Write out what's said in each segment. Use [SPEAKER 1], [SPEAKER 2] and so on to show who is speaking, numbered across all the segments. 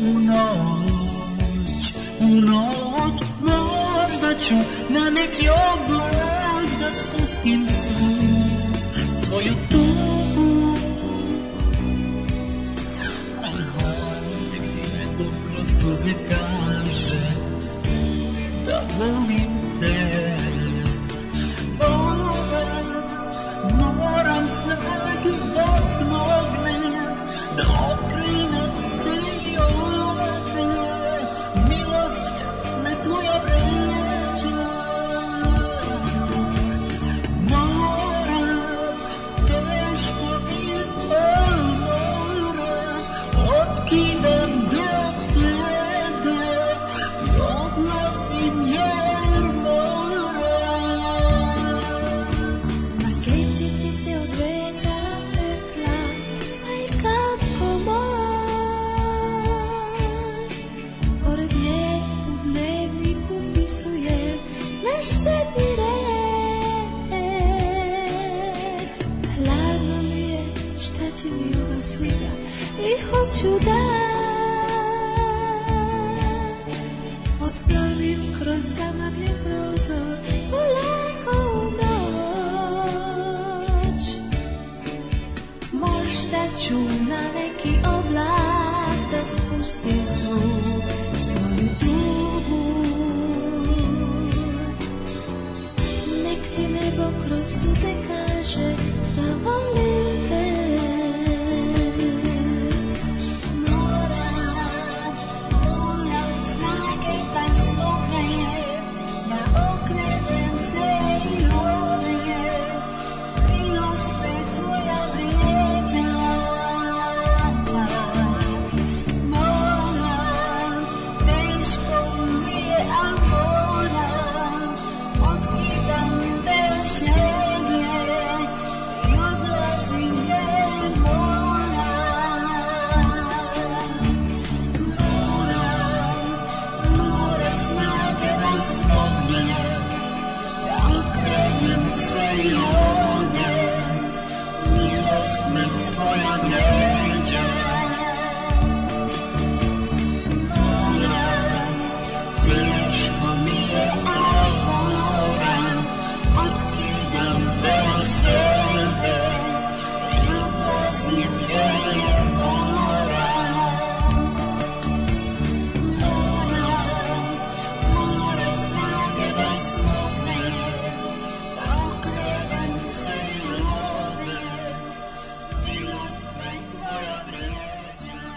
[SPEAKER 1] u noć, u noć Možda ću na neki oblak da spustim svu svoju tugu Aha, nek ti neko kroz suze kaže da volim te Moram, moram snage da smognem, da okrenem se i ovde. Milost me tvoja vređa. Moram, teško mi, al moram, otkidam deo sebe i odlazim jer moram.
[SPEAKER 2] Na slici ti se odvezala petlja, majka komar. Pored nje u dnevniku pisuje naš sedni red. Hladno mi je, šta će mi ova suza i hoću da Odplanim kroz zamagljen prozor Polako u noć Možda ću na neki oblak Da spustim svu svoju tugu Nek ti nebo kroz suze kaže Da volim te Moram, moram snage da smognem, da okrenem se i odem. Milost me tvoja vrijeđa. Moram, teško mi je, al moram, otkidam deo sebe i odlazim jer moram. Moram, moram snage da smognem, da okrenem se i odem, milost me tvoja vređa. Moram, teško mi je, al moram, otkidam deo sebe i odlazim jer moram. Moram, moram snage da smognem, da okrenem se i odem, milost me tvoja vrijeđa.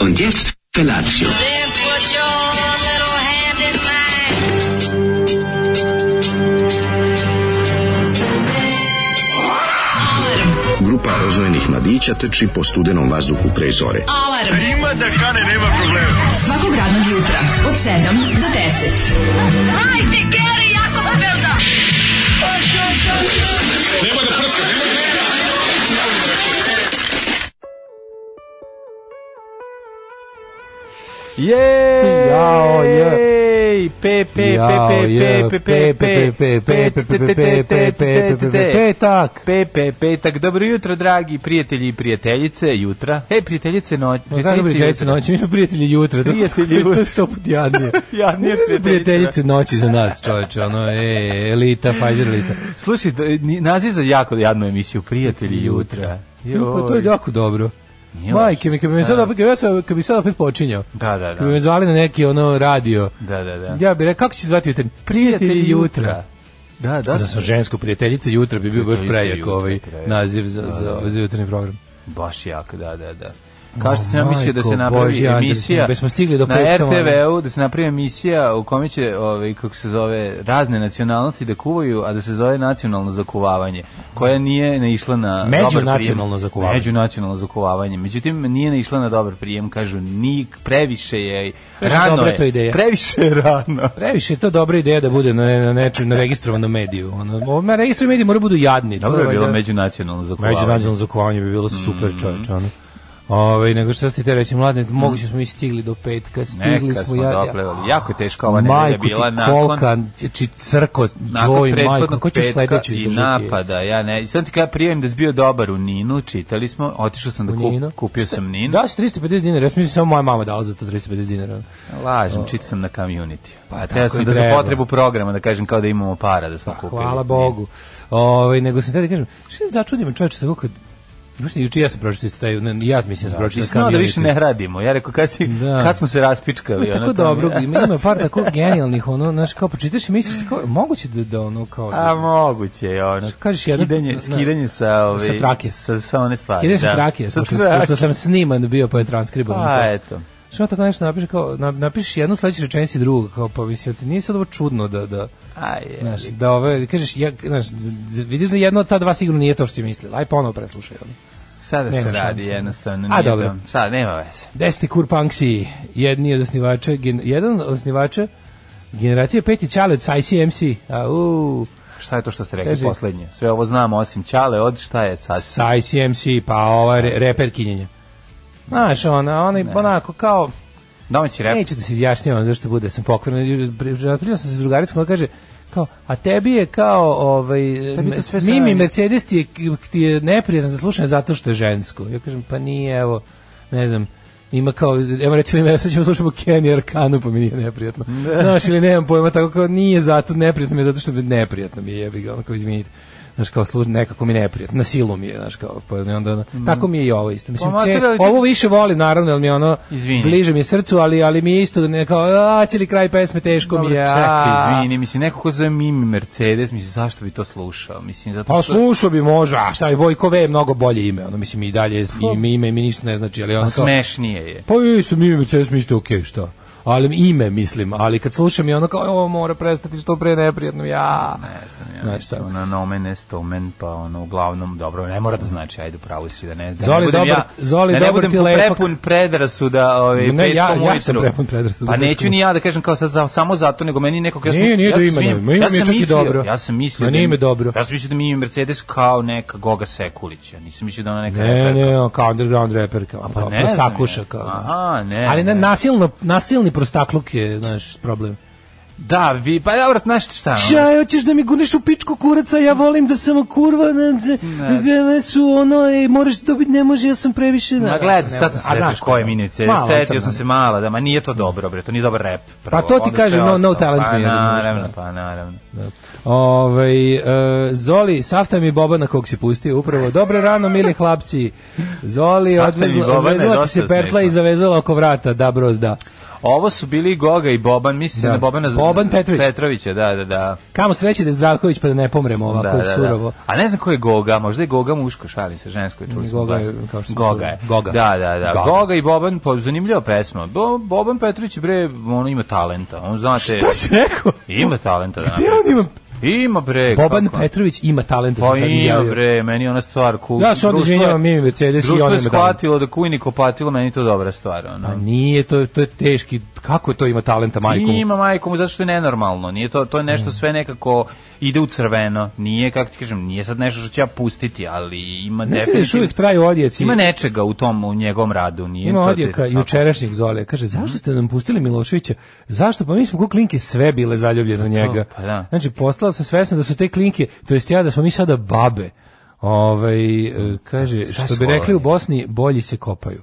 [SPEAKER 3] Und jetzt Felatio.
[SPEAKER 4] Then put your little hand in mine.
[SPEAKER 5] Grupa rozvojenih mladića teči po studenom vazduhu pre zore.
[SPEAKER 6] Alarm
[SPEAKER 7] Ima da kane, nema problema.
[SPEAKER 6] svakog radnog jutra od 7 do 10.
[SPEAKER 8] Je!
[SPEAKER 9] Jao, je.
[SPEAKER 8] Ej, pe pe pe pe pe pe pe pe pe pe
[SPEAKER 9] Petak.
[SPEAKER 8] pe pe petak. Dobro jutro, dragi prijatelji i prijateljice jutra. Hej, prijateljice noć,
[SPEAKER 9] Kako bi
[SPEAKER 8] prijateljice
[SPEAKER 9] prijateljice
[SPEAKER 8] jutra.
[SPEAKER 9] noći? Mi smo prijatelji jutra. to-
[SPEAKER 8] Prijatelji
[SPEAKER 9] to je- To
[SPEAKER 8] jutra.
[SPEAKER 9] je sto put jadnije.
[SPEAKER 8] Jadnije
[SPEAKER 9] Mi smo
[SPEAKER 8] prijateljice.
[SPEAKER 9] prijateljice noći za nas, čoveče. Ono, e, elita, Pfizer elita.
[SPEAKER 8] Slušaj, da, ni- naziv za jako jadnu emisiju, prijatelji jutra.
[SPEAKER 9] Pa to je jako dobro.
[SPEAKER 8] Nije
[SPEAKER 9] Majke mi, kad bi me sad
[SPEAKER 8] Da.
[SPEAKER 9] opet, kad bi ja sad- kad bi sad opet počinjao,
[SPEAKER 8] Da, da,
[SPEAKER 9] kad bi
[SPEAKER 8] da.
[SPEAKER 9] me zvali na neki ono radio,
[SPEAKER 8] Da, da, da.
[SPEAKER 9] ja bih rekao, kako će se zvati jutra? Prijatelji jutra.
[SPEAKER 8] Da, da.
[SPEAKER 9] Da sam žensko prijateljica jutra bi bio baš
[SPEAKER 8] Prijateljice
[SPEAKER 9] prejak
[SPEAKER 8] jutra,
[SPEAKER 9] ovaj
[SPEAKER 8] prejak.
[SPEAKER 9] naziv za, za, za jutrni program.
[SPEAKER 8] Baš jako, da, da, da. Kao što sam ja
[SPEAKER 9] Majko
[SPEAKER 8] mislio da se napravi
[SPEAKER 9] Božja, Anđelski,
[SPEAKER 8] emisija
[SPEAKER 9] bez smo stigli do
[SPEAKER 8] na
[SPEAKER 9] petka,
[SPEAKER 8] RTV-u, da se napravi emisija u kome će, ovaj, kako se zove, razne nacionalnosti da kuvaju, a da se zove nacionalno zakuvavanje, koja nije naišla na dobar
[SPEAKER 9] Međunacionalno
[SPEAKER 8] prijem.
[SPEAKER 9] zakuvavanje.
[SPEAKER 8] Međunacionalno zakuvavanje. Međutim, nije naišla na dobar prijem, kažu, ni previše je,
[SPEAKER 9] Previše
[SPEAKER 8] rano
[SPEAKER 9] dobra
[SPEAKER 8] je,
[SPEAKER 9] to ideja.
[SPEAKER 8] previše je rano.
[SPEAKER 9] Previše je to dobra ideja da bude na, na nečem na registrovanom mediju. Ono, ovo, na registrovanom mediju moraju budu jadni. to
[SPEAKER 8] Dobro je bilo Mm.
[SPEAKER 9] valjda-
[SPEAKER 8] međunacionalno zakuvavanje.
[SPEAKER 9] Međunacionalno zakovanje bi bilo super čovječe. Ono. Ove, nego što ste te reći, mladne, moguće smo i stigli do petka, stigli
[SPEAKER 8] Neka
[SPEAKER 9] smo,
[SPEAKER 8] smo
[SPEAKER 9] ja,
[SPEAKER 8] doplevali. Jako je teška ova nedelja
[SPEAKER 9] Majku ti
[SPEAKER 8] bila nakon
[SPEAKER 9] kolka, znači, či crko,
[SPEAKER 8] nakon
[SPEAKER 9] dvoj, majko, ko
[SPEAKER 8] prethodnog
[SPEAKER 9] ćeš
[SPEAKER 8] petka
[SPEAKER 9] sledeću
[SPEAKER 8] i
[SPEAKER 9] izdržati?
[SPEAKER 8] napada, ja ne. I sam ti kada prijavim da si bio dobar u Ninu, čitali smo, otišao sam da
[SPEAKER 9] U Ninu?
[SPEAKER 8] kup, kupio sam Ninu.
[SPEAKER 9] Da, si 350 dinara, ja sam mislio samo moja mama dala za to 350 dinara.
[SPEAKER 8] Lažem, čitao sam na community.
[SPEAKER 9] Pa,
[SPEAKER 8] Teo
[SPEAKER 9] tako
[SPEAKER 8] sam
[SPEAKER 9] i
[SPEAKER 8] da za
[SPEAKER 9] treba. Pa
[SPEAKER 8] potrebu programa, da kažem kao da imamo para da smo kupili.
[SPEAKER 9] Hvala Bogu. Ovaj nego sam te da kažem, što je začudim čoveče tako kad Baš ni juče ja sam pročitao isto taj, ne, ja mislim da sam
[SPEAKER 8] Ti
[SPEAKER 9] pročitao
[SPEAKER 8] znao
[SPEAKER 9] kamioniti.
[SPEAKER 8] da više ne radimo. Ja rekao, kad, si,
[SPEAKER 9] Da.
[SPEAKER 8] kad smo se
[SPEAKER 9] To
[SPEAKER 8] raspičkali?
[SPEAKER 9] je
[SPEAKER 8] ono,
[SPEAKER 9] tako
[SPEAKER 8] to mi je-
[SPEAKER 9] dobro, ima, ima par tako genijalnih, ono, znaš, kao počitaš i misliš, kao, moguće da, da ono, kao,
[SPEAKER 8] A
[SPEAKER 9] da,
[SPEAKER 8] moguće je ono.
[SPEAKER 9] Kažeš jedan-
[SPEAKER 8] skidanje,
[SPEAKER 9] na-
[SPEAKER 8] skidanje sa ove
[SPEAKER 9] Sa trake.
[SPEAKER 8] Sa, sa one stvari.
[SPEAKER 9] Skideš
[SPEAKER 8] da.
[SPEAKER 9] da, trake,
[SPEAKER 8] Sa
[SPEAKER 9] pošto,
[SPEAKER 8] trake.
[SPEAKER 9] pošto sam sniman bio pa je transkribovan.
[SPEAKER 8] Pa eto.
[SPEAKER 9] Što tako nešto napiše kao na- napišeš jednu sledeću rečenicu i drugu kao pa mislim ti nije sad ovo čudno da da
[SPEAKER 8] Aj, je.
[SPEAKER 9] znaš da ove kažeš ja znaš z- z- vidiš da jedno od ta dva sigurno nije to što si mislila. Aj ponovo preslušaj. ono.
[SPEAKER 8] Šta da se
[SPEAKER 9] Nema
[SPEAKER 8] radi
[SPEAKER 9] šanse.
[SPEAKER 8] jednostavno?
[SPEAKER 9] A,
[SPEAKER 8] nije
[SPEAKER 9] dobro.
[SPEAKER 8] to- Šta, nema veze.
[SPEAKER 9] Desti Kurpanksi, jedni od osnivača, gen, jedan od osnivača generacije peti Čale od ICMC. A, u,
[SPEAKER 8] Šta je to što ste rekli
[SPEAKER 9] Kaži.
[SPEAKER 8] poslednje? Sve ovo znamo osim Ćale od šta je sad?
[SPEAKER 9] s ICMC, pa ova re, reper kinjenje. Znaš, ona, ona je onako kao,
[SPEAKER 8] Domaći rep.
[SPEAKER 9] Neću da se izjašnjavam zašto bude sam pokvaren. Prijateljio sam se s drugaricom, ona kaže, kao, a tebi je kao, ovaj,
[SPEAKER 8] Tebi to sve
[SPEAKER 9] Mimi
[SPEAKER 8] sranje.
[SPEAKER 9] Mercedes ti je, ti je neprijatan za slušanje zato što je žensko. Ja kažem, pa nije, evo, ne znam, ima kao, evo recimo ima, sad ćemo slušamo Kenny Arkanu, pa mi nije neprijatno. Znaš, ili nemam pojma, tako kao nije zato, neprijatno mi je zato što mi je neprijatno mi je, jebi ga, ono kao izvinite. Znaš, kao služi, nekako mi je neprijatno, na silu mi je, znaš, kao, pa onda, ono, tako mi je i ovo isto. Mislim,
[SPEAKER 8] Mhm. Pa,
[SPEAKER 9] ce-
[SPEAKER 8] materijalno-
[SPEAKER 9] ovo više volim, naravno, jer mi je ono,
[SPEAKER 8] Izvini.
[SPEAKER 9] bliže mi je srcu, ali, ali mi je isto, ne, kao, a, cijeli kraj pesme, teško
[SPEAKER 8] Dobro,
[SPEAKER 9] mi je. a.
[SPEAKER 8] čekaj, izvini, mislim, neko ko zove Mimi Mercedes, mislim, zašto bi to slušao? Mislim, zato
[SPEAKER 9] Pa
[SPEAKER 8] što...
[SPEAKER 9] slušao bi možda, a šta je Vojkove je mnogo bolje ime, ono mislim i dalje ime, ime mi ništa ne znači, ali ono
[SPEAKER 8] Pa
[SPEAKER 9] kao,
[SPEAKER 8] smešnije je.
[SPEAKER 9] pa isto mi ime, sve mi isto okej, šta? Ali ime mislim, ali kad slušam i ono kao, ovo mora prestati što pre neprijatno, ja.
[SPEAKER 8] Ne znam, ja
[SPEAKER 9] Znaš
[SPEAKER 8] mislim,
[SPEAKER 9] šta?
[SPEAKER 8] ono, nomen est omen, pa ono, uglavnom, dobro, ne mora da znači, ajde, pravo si, da ne, da
[SPEAKER 9] Zoli,
[SPEAKER 8] ne budem
[SPEAKER 9] dobar-
[SPEAKER 8] ja,
[SPEAKER 9] Zoli,
[SPEAKER 8] da ne
[SPEAKER 9] dobar
[SPEAKER 8] budem
[SPEAKER 9] ti lepak.
[SPEAKER 8] prepun predrasuda, ove,
[SPEAKER 9] Ne, ja-
[SPEAKER 8] petkom
[SPEAKER 9] ja
[SPEAKER 8] ujutru.
[SPEAKER 9] sam prepun predrasuda
[SPEAKER 8] Pa neću
[SPEAKER 9] petkom.
[SPEAKER 8] ni ja da kažem kao sad za, samo zato, nego meni neko, ja sam,
[SPEAKER 9] Nije, nije
[SPEAKER 8] ja
[SPEAKER 9] do
[SPEAKER 8] sam
[SPEAKER 9] imena,
[SPEAKER 8] svim-
[SPEAKER 9] ima ime
[SPEAKER 8] ja
[SPEAKER 9] je
[SPEAKER 8] sam
[SPEAKER 9] čak i
[SPEAKER 8] mislio,
[SPEAKER 9] dobro.
[SPEAKER 8] Ja sam mislio, da
[SPEAKER 9] Ma nije
[SPEAKER 8] mi-
[SPEAKER 9] ime dobro.
[SPEAKER 8] Ja sam mislio da mi ime Mercedes kao neka Goga Sekulić, ja nisam mislio da ona neka
[SPEAKER 9] Ne,
[SPEAKER 8] reperka.
[SPEAKER 9] ne, on kao underground rapper, kao,
[SPEAKER 8] pa
[SPEAKER 9] kao
[SPEAKER 8] ne
[SPEAKER 9] prostakuša,
[SPEAKER 8] znam ja.
[SPEAKER 9] kao.
[SPEAKER 8] Aha, ne,
[SPEAKER 9] Ali ne,
[SPEAKER 8] ne.
[SPEAKER 9] nasilno, nasilni prostakluk je, znaš, problem.
[SPEAKER 8] Da, vi, pa dobro, znaš šta, ono,
[SPEAKER 9] Šta, hoćeš da mi guneš u pičku kuraca, ja volim da sam kurva, ne,
[SPEAKER 8] Ne.
[SPEAKER 9] ne, ne, su ono, ej, moraš dobiti, ne može, ja sam previše.
[SPEAKER 8] Ma
[SPEAKER 9] ne,
[SPEAKER 8] gledaj,
[SPEAKER 9] ne,
[SPEAKER 8] sad
[SPEAKER 9] ne,
[SPEAKER 8] sam
[SPEAKER 9] a
[SPEAKER 8] se
[SPEAKER 9] znaš
[SPEAKER 8] setio koje
[SPEAKER 9] ko,
[SPEAKER 8] minice,
[SPEAKER 9] mala
[SPEAKER 8] setio sam
[SPEAKER 9] ne.
[SPEAKER 8] se mala, da, ma nije to dobro, bre, to nije dobar rap.
[SPEAKER 9] Pa to ti
[SPEAKER 8] onda sve
[SPEAKER 9] kažem, no- no
[SPEAKER 8] ostalo.
[SPEAKER 9] talent
[SPEAKER 8] pa,
[SPEAKER 9] mi je, razumeš,
[SPEAKER 8] naravno,
[SPEAKER 9] da.
[SPEAKER 8] pa naravno.
[SPEAKER 9] Ovaj e, Zoli, safta mi Boba na kog si pustio upravo. Dobro rano, mili hlapci. Zoli,
[SPEAKER 8] Safta mi
[SPEAKER 9] odvezla,
[SPEAKER 8] Bobana je
[SPEAKER 9] odvezla ti
[SPEAKER 8] dosta
[SPEAKER 9] se pertla
[SPEAKER 8] smešno.
[SPEAKER 9] i zavezala oko vrata, da broz, da.
[SPEAKER 8] Ovo su bili Goga i Boban, mislim
[SPEAKER 9] Da.
[SPEAKER 8] da. na Bobana
[SPEAKER 9] Boban Petrović.
[SPEAKER 8] Petrovića, da, da, da.
[SPEAKER 9] Kamo sreće da je Zdravković pa da ne pomremo ovako
[SPEAKER 8] da, da,
[SPEAKER 9] surovo.
[SPEAKER 8] Da. A ne znam ko je Goga, možda je Goga muško, šalim se, žensko je, čuli smo
[SPEAKER 9] Goga je,
[SPEAKER 8] glas.
[SPEAKER 9] kao što smo
[SPEAKER 8] Goga
[SPEAKER 9] čuli.
[SPEAKER 8] je.
[SPEAKER 9] Goga.
[SPEAKER 8] Da, da, da.
[SPEAKER 9] Goga.
[SPEAKER 8] Goga, i Boban, pa zanimljiva pesma. Bo, Boban Petrović, bre, ono ima talenta. On, znate,
[SPEAKER 9] To si rekao?
[SPEAKER 8] ima talenta. Da
[SPEAKER 9] Gde on ima?
[SPEAKER 8] napravi. Ima, bre.
[SPEAKER 9] Boban
[SPEAKER 8] kako?
[SPEAKER 9] Petrović ima talent.
[SPEAKER 8] Pa ima bre, meni je ona stvar ku.
[SPEAKER 9] Ja se onda
[SPEAKER 8] društvo je-
[SPEAKER 9] izvinjavam, Mimi Mercedes i
[SPEAKER 8] Društvo
[SPEAKER 9] ona
[SPEAKER 8] je
[SPEAKER 9] medalja.
[SPEAKER 8] shvatilo da kujni kopatilo, meni je to dobra stvar.
[SPEAKER 9] A
[SPEAKER 8] Ono.
[SPEAKER 9] nije, to, je- to je teški, kako to ima talenta majkom?
[SPEAKER 8] Pa, Ima majkom, zato što je nenormalno. Nije to, to je nešto sve nekako ide u crveno. Nije, kako ti kažem, nije sad nešto što ću ja pustiti, ali ima
[SPEAKER 9] Ne se još
[SPEAKER 8] definitivno...
[SPEAKER 9] uvijek traju odjeci.
[SPEAKER 8] Ima nečega u tom, u njegovom radu. Nije
[SPEAKER 9] Ima
[SPEAKER 8] to
[SPEAKER 9] odjeka
[SPEAKER 8] ti-
[SPEAKER 9] jučerašnjeg Zole. Kaže, zašto ste nam pustili Miloševića? Zašto? Pa mi smo ko klinke sve bile zaljubljene u njega.
[SPEAKER 8] pa da.
[SPEAKER 9] Znači, postala sam svesna da su te klinke, to jest ja da smo mi sada babe. Ovaj, e, kaže,
[SPEAKER 8] Sve
[SPEAKER 9] što
[SPEAKER 8] Pa su
[SPEAKER 9] bi rekli u
[SPEAKER 8] voljeni.
[SPEAKER 9] Bosni, bolji se kopaju.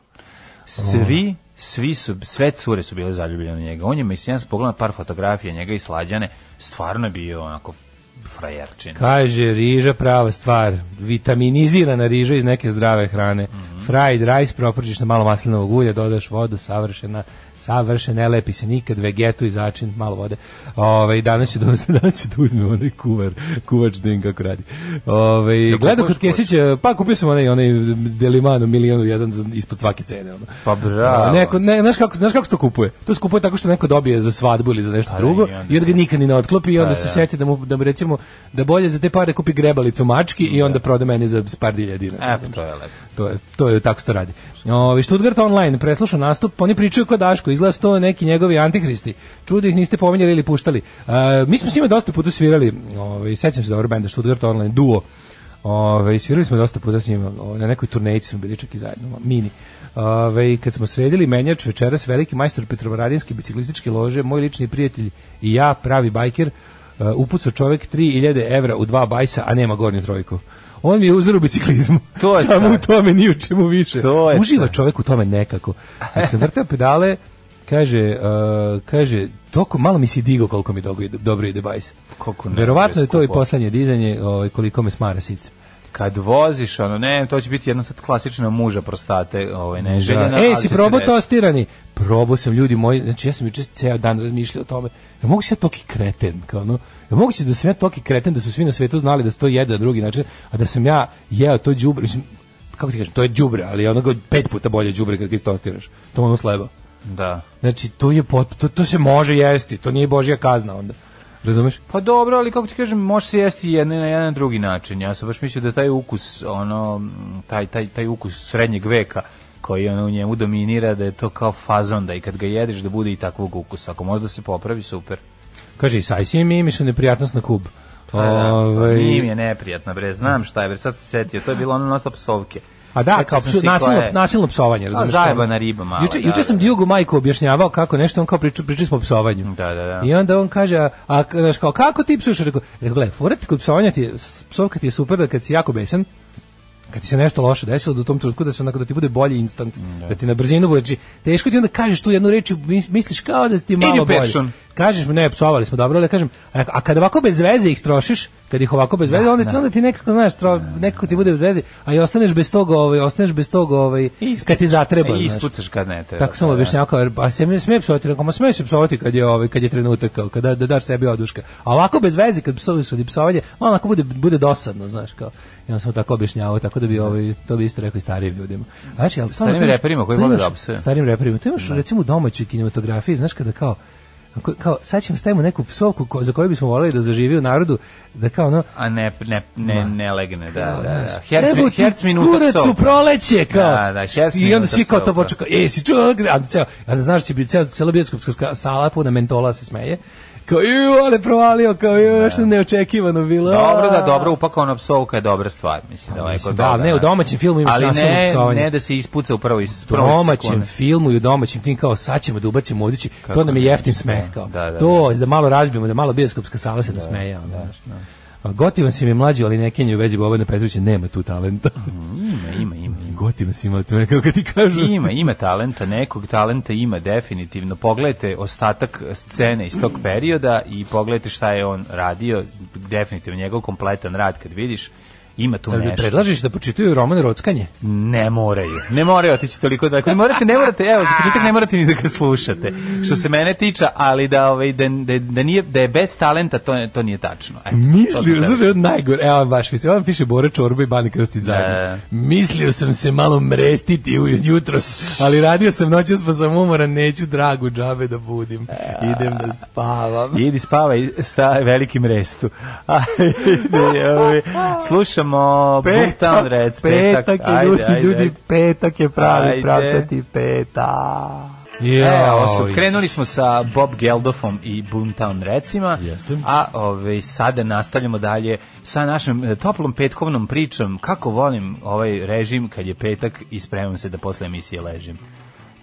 [SPEAKER 8] Svi svi su, sve cure su bile zaljubljene u njega. On je, mislim, ja sam pogledao par fotografija njega i slađane, stvarno je bio onako frajerčin.
[SPEAKER 9] Kaže, riža prava stvar, vitaminizirana riža iz neke zdrave hrane.
[SPEAKER 8] Mhm.
[SPEAKER 9] Fried rice proprčiš na malo maslinovog ulja, dodaš vodu, savršena, savršen, ne lepi se nikad, vegetu i začin, malo vode. Ove, danas ću da, uzme- danas ću da uzme onaj kuvar, kuvač da im kako radi. Ove,
[SPEAKER 8] Da
[SPEAKER 9] gledao
[SPEAKER 8] kupuješ
[SPEAKER 9] kod Kesića, pa kupio sam onaj, onaj Delimano milijonu jedan za- ispod svake cene. Ono.
[SPEAKER 8] Pa bravo.
[SPEAKER 9] A, Neko, ne, znaš, kako, znaš kako se to kupuje? To se kupuje tako što neko dobije za svadbu ili za nešto
[SPEAKER 8] Pa da,
[SPEAKER 9] drugo
[SPEAKER 8] i onda-
[SPEAKER 9] i onda ga nikad ni ne otklopi i onda
[SPEAKER 8] Pa
[SPEAKER 9] se
[SPEAKER 8] da.
[SPEAKER 9] seti da mu da mu recimo da bolje za te pare kupi grebalicu mački i onda proda meni za par dilja dinara.
[SPEAKER 8] E, pa to je lepo.
[SPEAKER 9] To je, to je tako što radi. Ovi, Stuttgart online preslušao nastup, pa oni pričaju kod Daško, izgleda su to neki njegovi antihristi. Čudo ih niste pominjali ili puštali. E, mi smo s njima dosta puta svirali, ovaj sećam se dobro benda Stuttgart online, duo. Ove, svirali smo dosta puta s njima, o, na nekoj turnejici smo bili čak i zajedno, mini. Ove, i kad smo sredili menjač večeras, veliki majstor Petrovaradinske biciklističke lože, moj lični prijatelj i ja, pravi bajker, uh, upucao čovek 3000 evra u dva bajsa, a nema gornju trojku. On mi je uzor u biciklizmu.
[SPEAKER 8] To je
[SPEAKER 9] Samo
[SPEAKER 8] to.
[SPEAKER 9] u tome ni u čemu više.
[SPEAKER 8] To je
[SPEAKER 9] Uživa
[SPEAKER 8] to.
[SPEAKER 9] čovek u tome nekako. Kad sam vrtao pedale, kaže, uh, kaže, toko, malo mi si digao koliko mi dobro ide, dobro ide bajs.
[SPEAKER 8] Koliko ne,
[SPEAKER 9] Verovatno je to i
[SPEAKER 8] skupo.
[SPEAKER 9] poslednje dizanje ovaj, koliko me smara sice.
[SPEAKER 8] Kad voziš, ono, ne, to će biti jedna sad klasična muža prostate, ovaj, neželjena.
[SPEAKER 9] Da. E,
[SPEAKER 8] ali
[SPEAKER 9] si
[SPEAKER 8] će se
[SPEAKER 9] probao
[SPEAKER 8] desiti.
[SPEAKER 9] tostirani? Probao sam, ljudi moji, znači ja sam juče ceo dan razmišljao o tome. Ja mogu se ja toki kreten, kao ono, ja mogu se da sam ja toki kreten, da su svi na svetu znali da se to jede na drugi način, a da sam ja jeo to đubre, mislim, kako ti kažem, to je đubre, ali je onoga pet puta bolje đubre kad ga istostiraš. To je ono sleba.
[SPEAKER 8] Da.
[SPEAKER 9] Znači, to je pot, to, to se može jesti, to nije božja kazna onda. Razumeš?
[SPEAKER 8] Pa dobro, ali kako ti kažem, može se jesti jedne na jedan drugi način. Ja sam baš mislio da taj ukus, ono, m, taj, taj, taj ukus srednjeg veka koji ono u njemu dominira, da je to kao fazon, da i kad ga jedeš da bude i takvog ukusa. Ako može da se popravi, super.
[SPEAKER 9] Kaže, saj si mi, mi su neprijatnost na kub.
[SPEAKER 8] Pa da,
[SPEAKER 9] Ovaj,
[SPEAKER 8] nije mi je neprijatno, bre, znam šta je, bre, sad se setio, to je bilo ono nosa psovke.
[SPEAKER 9] A da,
[SPEAKER 8] Setio
[SPEAKER 9] kao
[SPEAKER 8] sam
[SPEAKER 9] psu,
[SPEAKER 8] se
[SPEAKER 9] nasilno,
[SPEAKER 8] koja je- Pa
[SPEAKER 9] nasilno psovanje, razumeš?
[SPEAKER 8] zajebana riba mala,
[SPEAKER 9] Juče,
[SPEAKER 8] da,
[SPEAKER 9] juče sam
[SPEAKER 8] da.
[SPEAKER 9] Diogu majku objašnjavao kako nešto, on kao priča, pričali smo o psovanju.
[SPEAKER 8] Da, da, da.
[SPEAKER 9] I onda on kaže, a, a znaš, kao, kako ti psuš? Rekao, rekao, gledaj, fora ti kod psovanja ti je, psovka ti je super da kad si jako besan, kad ti se nešto loše desilo da u tom trenutku da se onako da ti bude bolji instant, da, ti na brzinu bude, znači, teško ti je onda kažeš tu jednu reč i mis- misliš kao da ti je malo
[SPEAKER 8] Idi u
[SPEAKER 9] bolje.
[SPEAKER 8] pešon.
[SPEAKER 9] Kažeš, ne, psovali smo dobro, ali kažem, a, a kad ovako bez veze ih trošiš, kad ih ovako bez veze, onda, ti, onda ti nekako, znaš, tro, nekako ti bude bez veze, a i ostaneš bez toga, ovaj, ostaneš bez toga, ovaj, kad ti zatreba,
[SPEAKER 8] E,
[SPEAKER 9] znaš.
[SPEAKER 8] ispucaš kad ne treba.
[SPEAKER 9] Tako sam objašnjavao kao, a se mi sme psovati, rekao, ma sme se psovati kad je ovaj kad je trenutak kao kada da daš sebi oduška. A ovako bez veze kad psovi su psovanje, malo onako bude bude dosadno, znaš, kao. Ja sam mu tako objašnjavao, tako da bi ovaj to bi isto rekao i starijim ljudima. Znači, al stvarno
[SPEAKER 8] Starijim
[SPEAKER 9] tu imaš-
[SPEAKER 8] reperima koji
[SPEAKER 9] tu
[SPEAKER 8] vole
[SPEAKER 9] imaš-
[SPEAKER 8] da opsuju.
[SPEAKER 9] Starijim reperima, to imaš recimo u domaćoj kinematografiji, znaš kada kao ako- kao sad ćemo stavimo neku psovku ko, za koju bismo voleli da zaživi u narodu da kao ono
[SPEAKER 8] A ne, ne, ne, ne legne, da,
[SPEAKER 9] Pa,
[SPEAKER 8] da, da. Pa, Herc,
[SPEAKER 9] Herc,
[SPEAKER 8] mi- herc minuta
[SPEAKER 9] kurac u
[SPEAKER 8] psovka.
[SPEAKER 9] proleće, kao.
[SPEAKER 8] Da, da, herc
[SPEAKER 9] I onda
[SPEAKER 8] minuta
[SPEAKER 9] svi kao to
[SPEAKER 8] psovka.
[SPEAKER 9] počeo, kao, e, si čuo, a ceo, a znaš će biti ceo, cela bioskopska ska- sala puna mentola se smeje. Kao, ju, ale provalio, kao, ju, što neočekivano bilo.
[SPEAKER 8] Dobro da dobro upakovana psovka je dobra stvar, mislim da
[SPEAKER 9] mislim,
[SPEAKER 8] leko
[SPEAKER 9] da, ne, u domaćem filmu imaš
[SPEAKER 8] Ali
[SPEAKER 9] nasilno
[SPEAKER 8] ne,
[SPEAKER 9] psovanje.
[SPEAKER 8] ne da se ispuca u prvoj s-
[SPEAKER 9] U
[SPEAKER 8] prvoj
[SPEAKER 9] domaćem
[SPEAKER 8] sekundi.
[SPEAKER 9] filmu i u domaćem tim kao sad ćemo da ubacimo odići, to nam je jeftin smeh kao.
[SPEAKER 8] Da, da,
[SPEAKER 9] to da malo razbijemo, da malo bioskopska sala se nasmeje. ono, znaš. A Gotivan si mi mlađi, ali ne Kenji u vezi Bobana Petrovića, nema tu talenta.
[SPEAKER 8] Ima, ima, ima. ima.
[SPEAKER 9] Gotivan si ima, to je kako ti kažu.
[SPEAKER 8] Mm. Ima, ima talenta, nekog talenta ima definitivno. Pogledajte ostatak scene iz tog perioda i pogledajte šta je on radio, definitivno njegov kompletan rad kad vidiš, ima tu
[SPEAKER 9] Da li
[SPEAKER 8] nešto.
[SPEAKER 9] predlažeš da počitaju roman Rockanje?
[SPEAKER 8] Ne moraju. Ne moraju otići toliko daleko. Ne morate, ne morate, evo, za početak ne morate ni da ga slušate. Što se mene tiče, ali da, ovaj, da, da, da, nije, da je bez talenta, to, je- to nije tačno. Eto, to sam
[SPEAKER 9] Mislio,
[SPEAKER 8] teo.
[SPEAKER 9] znaš, je od najgore, evo on baš mislio, on piše Bora Čorba i Bani Krstić zajedno.
[SPEAKER 8] Da.
[SPEAKER 9] Mislio sam se malo mrestiti u jutro, ali radio sam noćas pa sam umoran, neću dragu džabe da
[SPEAKER 8] E,
[SPEAKER 9] budim, idem da spavam.
[SPEAKER 8] Idi spavaj sa velikim restu. Ajde, ovaj, slušamo Boomtown Reds.
[SPEAKER 9] petak, je,
[SPEAKER 8] ajde,
[SPEAKER 9] ljudi,
[SPEAKER 8] ajde,
[SPEAKER 9] ljudi,
[SPEAKER 8] ajde.
[SPEAKER 9] petak je pravi,
[SPEAKER 8] Ajde.
[SPEAKER 9] pravcati peta.
[SPEAKER 8] E, ovo su,
[SPEAKER 9] Joj.
[SPEAKER 8] krenuli smo sa Bob Geldofom i Boomtown Recima,
[SPEAKER 9] Jeste.
[SPEAKER 8] a ove, sada nastavljamo dalje sa našom e, toplom petkovnom pričom kako volim ovaj režim kad je petak i spremam se da posle emisije ležim.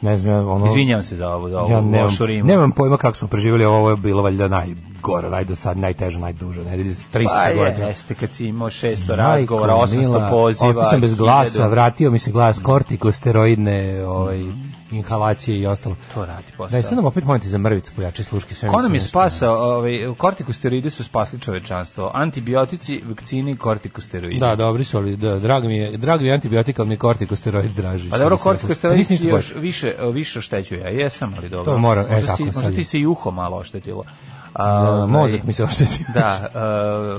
[SPEAKER 9] Ne znam, ja, ono...
[SPEAKER 8] Izvinjavam se za ovu, za ovu
[SPEAKER 9] Ja nemam,
[SPEAKER 8] lošu rimu.
[SPEAKER 9] nemam pojma kako smo preživjeli ovo, ovo je bilo valjda najgore, najdosad, najteže, najduže, nedelje, 300
[SPEAKER 8] Pa je,
[SPEAKER 9] godina.
[SPEAKER 8] jeste, kad si imao 600
[SPEAKER 9] Majko
[SPEAKER 8] razgovora, 800
[SPEAKER 9] mila,
[SPEAKER 8] poziva.
[SPEAKER 9] Ostao sam bez glasa,
[SPEAKER 8] 1000
[SPEAKER 9] vratio mi se glas, kortikosteroidne ovaj, inhalacije i ostalo.
[SPEAKER 8] To radi posao.
[SPEAKER 9] Daj, sad nam opet molite za mrvicu pojače sluške. Sve
[SPEAKER 8] Ko nam
[SPEAKER 9] mislim
[SPEAKER 8] je
[SPEAKER 9] nešto.
[SPEAKER 8] spasao, ovaj, kortikosteroidi su spasli čovečanstvo. Antibiotici, vakcini i kortikosteroidi.
[SPEAKER 9] Da, dobri su, ali da, drag mi je, drag mi je antibiotik, ali mi je kortikosteroid draži.
[SPEAKER 8] Pa dobro,
[SPEAKER 9] Sad nisam rekao.
[SPEAKER 8] kortikosteroidi
[SPEAKER 9] Nisi ništa
[SPEAKER 8] još
[SPEAKER 9] još.
[SPEAKER 8] više, e, više oštećuje. Ja jesam, ali dobro.
[SPEAKER 9] To mora, e,
[SPEAKER 8] možda,
[SPEAKER 9] tako,
[SPEAKER 8] si, možda
[SPEAKER 9] sad
[SPEAKER 8] ti
[SPEAKER 9] je.
[SPEAKER 8] se i uho malo oštetilo. A, ovaj,
[SPEAKER 9] Mozak mi se ošteti.
[SPEAKER 8] Da,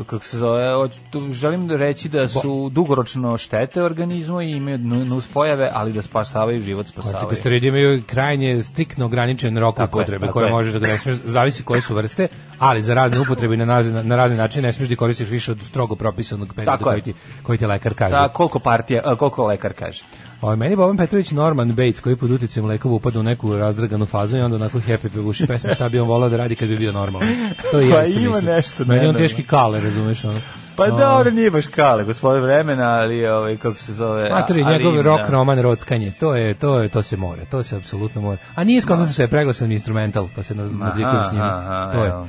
[SPEAKER 8] e, kako se zove, hoću- tu želim da reći da su dugoročno štete organizmu i imaju nu- nuspojave, ali da spasavaju
[SPEAKER 9] Pa,
[SPEAKER 8] život, spasavaju.
[SPEAKER 9] Kortikosteroidi imaju krajnje striktno ograničen rok
[SPEAKER 8] Tako je,
[SPEAKER 9] upotrebe
[SPEAKER 8] tako
[SPEAKER 9] koje
[SPEAKER 8] je.
[SPEAKER 9] možeš da ga ne smiješ, zavisi koje su vrste, ali za razne upotrebe i na, razne- na razne načine ne smiješ da ih koristiš više od strogo propisanog perioda
[SPEAKER 8] Tako je.
[SPEAKER 9] koji ti, koji ti lekar kaže.
[SPEAKER 8] Da, koliko partija, a, koliko lekar kaže.
[SPEAKER 9] Ovaj meni je Boban Petrović Norman Bates koji pod uticajem lekova upada u neku razdraganu fazu i onda onako happy pevuši pesmu šta bi on volao da radi kad bi bio normalan. To je
[SPEAKER 8] Pa
[SPEAKER 9] jeste
[SPEAKER 8] ima
[SPEAKER 9] mislim.
[SPEAKER 8] nešto
[SPEAKER 9] Meni je on
[SPEAKER 8] nenormalno.
[SPEAKER 9] teški kale, razumeš ono.
[SPEAKER 8] Pa dobro, nije baš kale, gospodin vremena, ali ovaj, kako se zove...
[SPEAKER 9] Matori,
[SPEAKER 8] ali
[SPEAKER 9] njegov
[SPEAKER 8] ima,
[SPEAKER 9] rock
[SPEAKER 8] da.
[SPEAKER 9] roman rockanje, to je, to je, to se more, to se apsolutno more. A nije skonto sam se preglasan instrumental, pa se nad- nadvikujem s njima.
[SPEAKER 8] aha,
[SPEAKER 9] to je.
[SPEAKER 8] evo.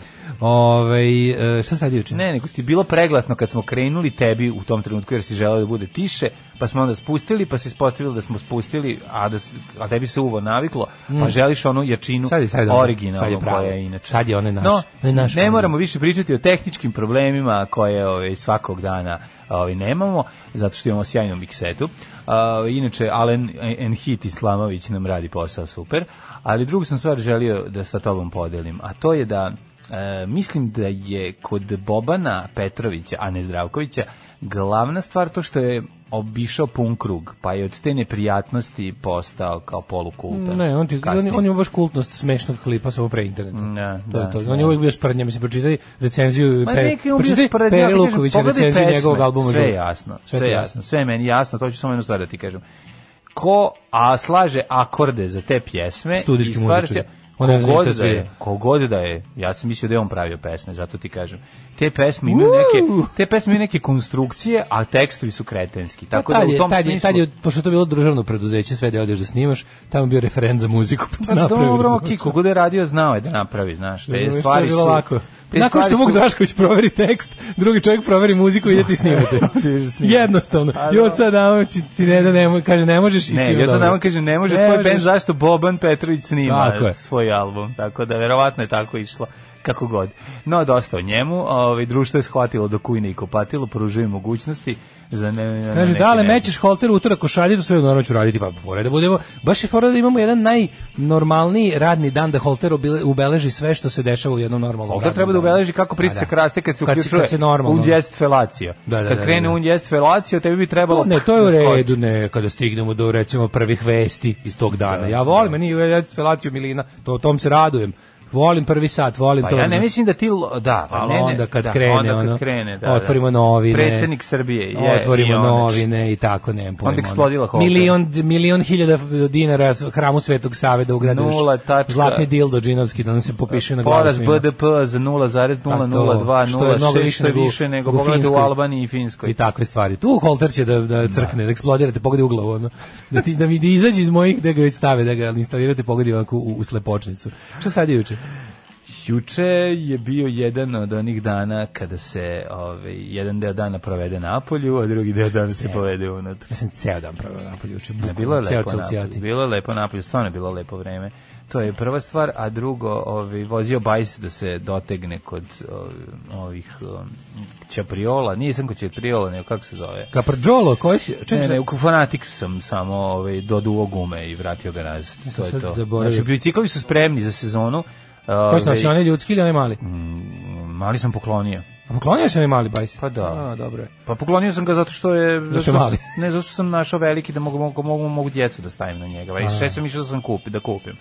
[SPEAKER 9] Ove, šta sad juče?
[SPEAKER 8] Ne, nego ti je bilo preglasno kad smo krenuli tebi u tom trenutku jer si želeo da bude tiše, pa smo onda spustili, pa se ispostavilo da smo spustili, a, da, s- a tebi se uvo naviklo, pa želiš onu jačinu
[SPEAKER 9] Mm. Sad je- sad je dobro. Sad je
[SPEAKER 8] originalnu
[SPEAKER 9] pravo.
[SPEAKER 8] koja je inače.
[SPEAKER 9] Sad je onaj naš-
[SPEAKER 8] No,
[SPEAKER 9] onaj naš
[SPEAKER 8] ne
[SPEAKER 9] fazon.
[SPEAKER 8] moramo više pričati o tehničkim problemima koje ove, svakog dana ove, nemamo, zato što imamo sjajnu miksetu. A, inače, Alen Enhit Islamović nam radi posao super, ali drugu sam stvar želio da sa tobom podelim, a to je da e, mislim da je kod Bobana Petrovića, a ne Zdravkovića, glavna stvar to što je obišao pun krug, pa je od te neprijatnosti postao kao polukultan.
[SPEAKER 9] Ne, on, ti, on,
[SPEAKER 8] kasnije.
[SPEAKER 9] je- on je baš kultnost smešnog klipa samo pre interneta.
[SPEAKER 8] Da,
[SPEAKER 9] to
[SPEAKER 8] da,
[SPEAKER 9] je to. On
[SPEAKER 8] da.
[SPEAKER 9] je uvijek bio sprdnja, mislim, pročitaj recenziju,
[SPEAKER 8] Ma
[SPEAKER 9] pe,
[SPEAKER 8] Pa neki on bio
[SPEAKER 9] pročitaj
[SPEAKER 8] sprednjak,
[SPEAKER 9] Pa Peri
[SPEAKER 8] kažem,
[SPEAKER 9] Lukovića
[SPEAKER 8] pogledaj
[SPEAKER 9] recenziju
[SPEAKER 8] pesme,
[SPEAKER 9] njegovog albuma.
[SPEAKER 8] Sve
[SPEAKER 9] Žur.
[SPEAKER 8] je jasno,
[SPEAKER 9] Sve
[SPEAKER 8] sve, je
[SPEAKER 9] ti je
[SPEAKER 8] jasno, sve je meni jasno, to ću samo jednu stvar da ti kažem. Ko a slaže akorde za te pjesme,
[SPEAKER 9] Studijski
[SPEAKER 8] i stvar će-
[SPEAKER 9] muzičar. On ne zna
[SPEAKER 8] kogod
[SPEAKER 9] ništa
[SPEAKER 8] da je,
[SPEAKER 9] svira.
[SPEAKER 8] kogod da je, ja sam mislio da je on pravio pesme, zato ti kažem. Te pesme imaju neke, te pesme imaju neke konstrukcije, a tekstovi su kretenski. Tako da
[SPEAKER 9] Tad
[SPEAKER 8] u
[SPEAKER 9] Pa je,
[SPEAKER 8] tom
[SPEAKER 9] tad je,
[SPEAKER 8] smislu...
[SPEAKER 9] tad je, pošto je to bilo državno preduzeće, sve da odeš da snimaš, tamo je bio referent za muziku, pa
[SPEAKER 8] Pa
[SPEAKER 9] ti napravio.
[SPEAKER 8] dobro,
[SPEAKER 9] razumeš?
[SPEAKER 8] ok, kogod je radio, znao je da napravi, znaš. Te
[SPEAKER 9] Razumeš, to
[SPEAKER 8] stvari
[SPEAKER 9] je bilo
[SPEAKER 8] su...
[SPEAKER 9] lako.
[SPEAKER 8] te
[SPEAKER 9] Nakon
[SPEAKER 8] stvari
[SPEAKER 9] što mog
[SPEAKER 8] su-
[SPEAKER 9] Drašković proveri tekst, drugi čovjek proveri muziku i idete i snimate. Jednostavno. I od sad nama ti, ti ne da ne, mo- kaže ne možeš i
[SPEAKER 8] Pa Ne,
[SPEAKER 9] svima
[SPEAKER 8] ja sad
[SPEAKER 9] dobro.
[SPEAKER 8] nama kaže, ne može
[SPEAKER 9] Ne
[SPEAKER 8] tvoj
[SPEAKER 9] možeš.
[SPEAKER 8] band, zašto Boban Petrović snima
[SPEAKER 9] Tako je.
[SPEAKER 8] svoj album, tako da verovatno je tako išlo kako god. No, dosta o njemu, ovaj, društvo je shvatilo do kujne i kopatilo, pružuje mogućnosti za ne... na- na
[SPEAKER 9] Kaže,
[SPEAKER 8] neki
[SPEAKER 9] da, ali
[SPEAKER 8] način.
[SPEAKER 9] mećeš holter utorak u šalje, to sve naravno ću raditi, pa fora je da budemo, baš je fora da imamo jedan najnormalniji radni dan da holter obile- ubeleži sve što se dešava u jednom normalnom
[SPEAKER 8] Ovdje
[SPEAKER 9] radnom
[SPEAKER 8] treba da
[SPEAKER 9] danu.
[SPEAKER 8] ubeleži kako
[SPEAKER 9] Pa
[SPEAKER 8] pritisak
[SPEAKER 9] da.
[SPEAKER 8] raste kad se
[SPEAKER 9] Kad si-
[SPEAKER 8] uključuje
[SPEAKER 9] kad se normalno.
[SPEAKER 8] un jest felacio.
[SPEAKER 9] Da, da, da,
[SPEAKER 8] kad
[SPEAKER 9] da,
[SPEAKER 8] krene
[SPEAKER 9] da.
[SPEAKER 8] un jest felacio, tebi bi trebalo...
[SPEAKER 9] To, ne, to je u
[SPEAKER 8] da skoči.
[SPEAKER 9] redu, ne, kada stignemo do recimo prvih vesti iz tog dana. ja volim, meni je ja felaciju Milina, to tom se radujem. Volim prvi sat, volim
[SPEAKER 8] Pa
[SPEAKER 9] to.
[SPEAKER 8] ja ne
[SPEAKER 9] znaš.
[SPEAKER 8] mislim da ti l- da, pa
[SPEAKER 9] Ali
[SPEAKER 8] ne, ne,
[SPEAKER 9] onda kad
[SPEAKER 8] da,
[SPEAKER 9] krene,
[SPEAKER 8] onda kad
[SPEAKER 9] ono,
[SPEAKER 8] krene, da, da.
[SPEAKER 9] otvorimo novine.
[SPEAKER 8] Predsjednik Srbije je
[SPEAKER 9] otvorimo
[SPEAKER 8] i one.
[SPEAKER 9] novine i tako, nemam pojma.
[SPEAKER 8] Onda eksplodila
[SPEAKER 9] ono.
[SPEAKER 8] holka.
[SPEAKER 9] Milion, milion hiljada dinara s- hramu Svetog Save da ugradiš.
[SPEAKER 8] Nula tačka.
[SPEAKER 9] Zlatni dil do džinovski, da nam se popiše na glavu
[SPEAKER 8] Poraz
[SPEAKER 9] svima.
[SPEAKER 8] BDP za
[SPEAKER 9] Pa to, što je mnogo
[SPEAKER 8] 0,00206,
[SPEAKER 9] više
[SPEAKER 8] što je
[SPEAKER 9] nego u-
[SPEAKER 8] više nego
[SPEAKER 9] nego u
[SPEAKER 8] pogledajte u
[SPEAKER 9] Finskoj.
[SPEAKER 8] Albaniji i Finskoj.
[SPEAKER 9] I takve stvari. Tu holter će da, da crkne, da, eksplodirate, pogodi u glavu. Ono. Da, ti, da mi da izađe iz mojih, da ga već stave, da ga instalirate, pogodi ovako u, u slepočnicu. Šta sad je juče?
[SPEAKER 8] Juče je bio jedan od onih dana kada se ovaj, jedan deo dana provede na polju, a drugi deo dana se povede unutra.
[SPEAKER 9] Ja sam ceo dan pravio napolje juče.
[SPEAKER 8] Ne,
[SPEAKER 9] bukvalno,
[SPEAKER 8] bilo je
[SPEAKER 9] ceo
[SPEAKER 8] lepo
[SPEAKER 9] celcijati.
[SPEAKER 8] napolju, bilo je lepo napolju, stvarno je bilo lepo vreme. To je prva stvar, a drugo, ovaj, vozio bajs da se dotegne kod ovaj, ovih um, Ćapriola, nije sam kod Ćapriola, nego kako se zove?
[SPEAKER 9] Kaprđolo, koji si?
[SPEAKER 8] Ne,
[SPEAKER 9] Čekaj,
[SPEAKER 8] ne, u Fanatik sam samo ovaj, doduo gume i vratio ga nazad.
[SPEAKER 9] sam
[SPEAKER 8] To je
[SPEAKER 9] sad
[SPEAKER 8] to.
[SPEAKER 9] zaboravio.
[SPEAKER 8] Znači, biciklovi su spremni za sezonu.
[SPEAKER 9] koji su
[SPEAKER 8] Ovaj,
[SPEAKER 9] nosi, onaj ljudski ili onaj mali?
[SPEAKER 8] Mali sam poklonio.
[SPEAKER 9] A poklonio se onaj mali bajs?
[SPEAKER 8] Pa da.
[SPEAKER 9] A, dobro je.
[SPEAKER 8] Pa poklonio sam ga zato što je... Zato što-
[SPEAKER 9] mali.
[SPEAKER 8] Ne, zato što sam našao veliki da mogu, mogu, mogu, mogu djecu da stavim na njega. I sve sam išao da sam kupi, da kupim.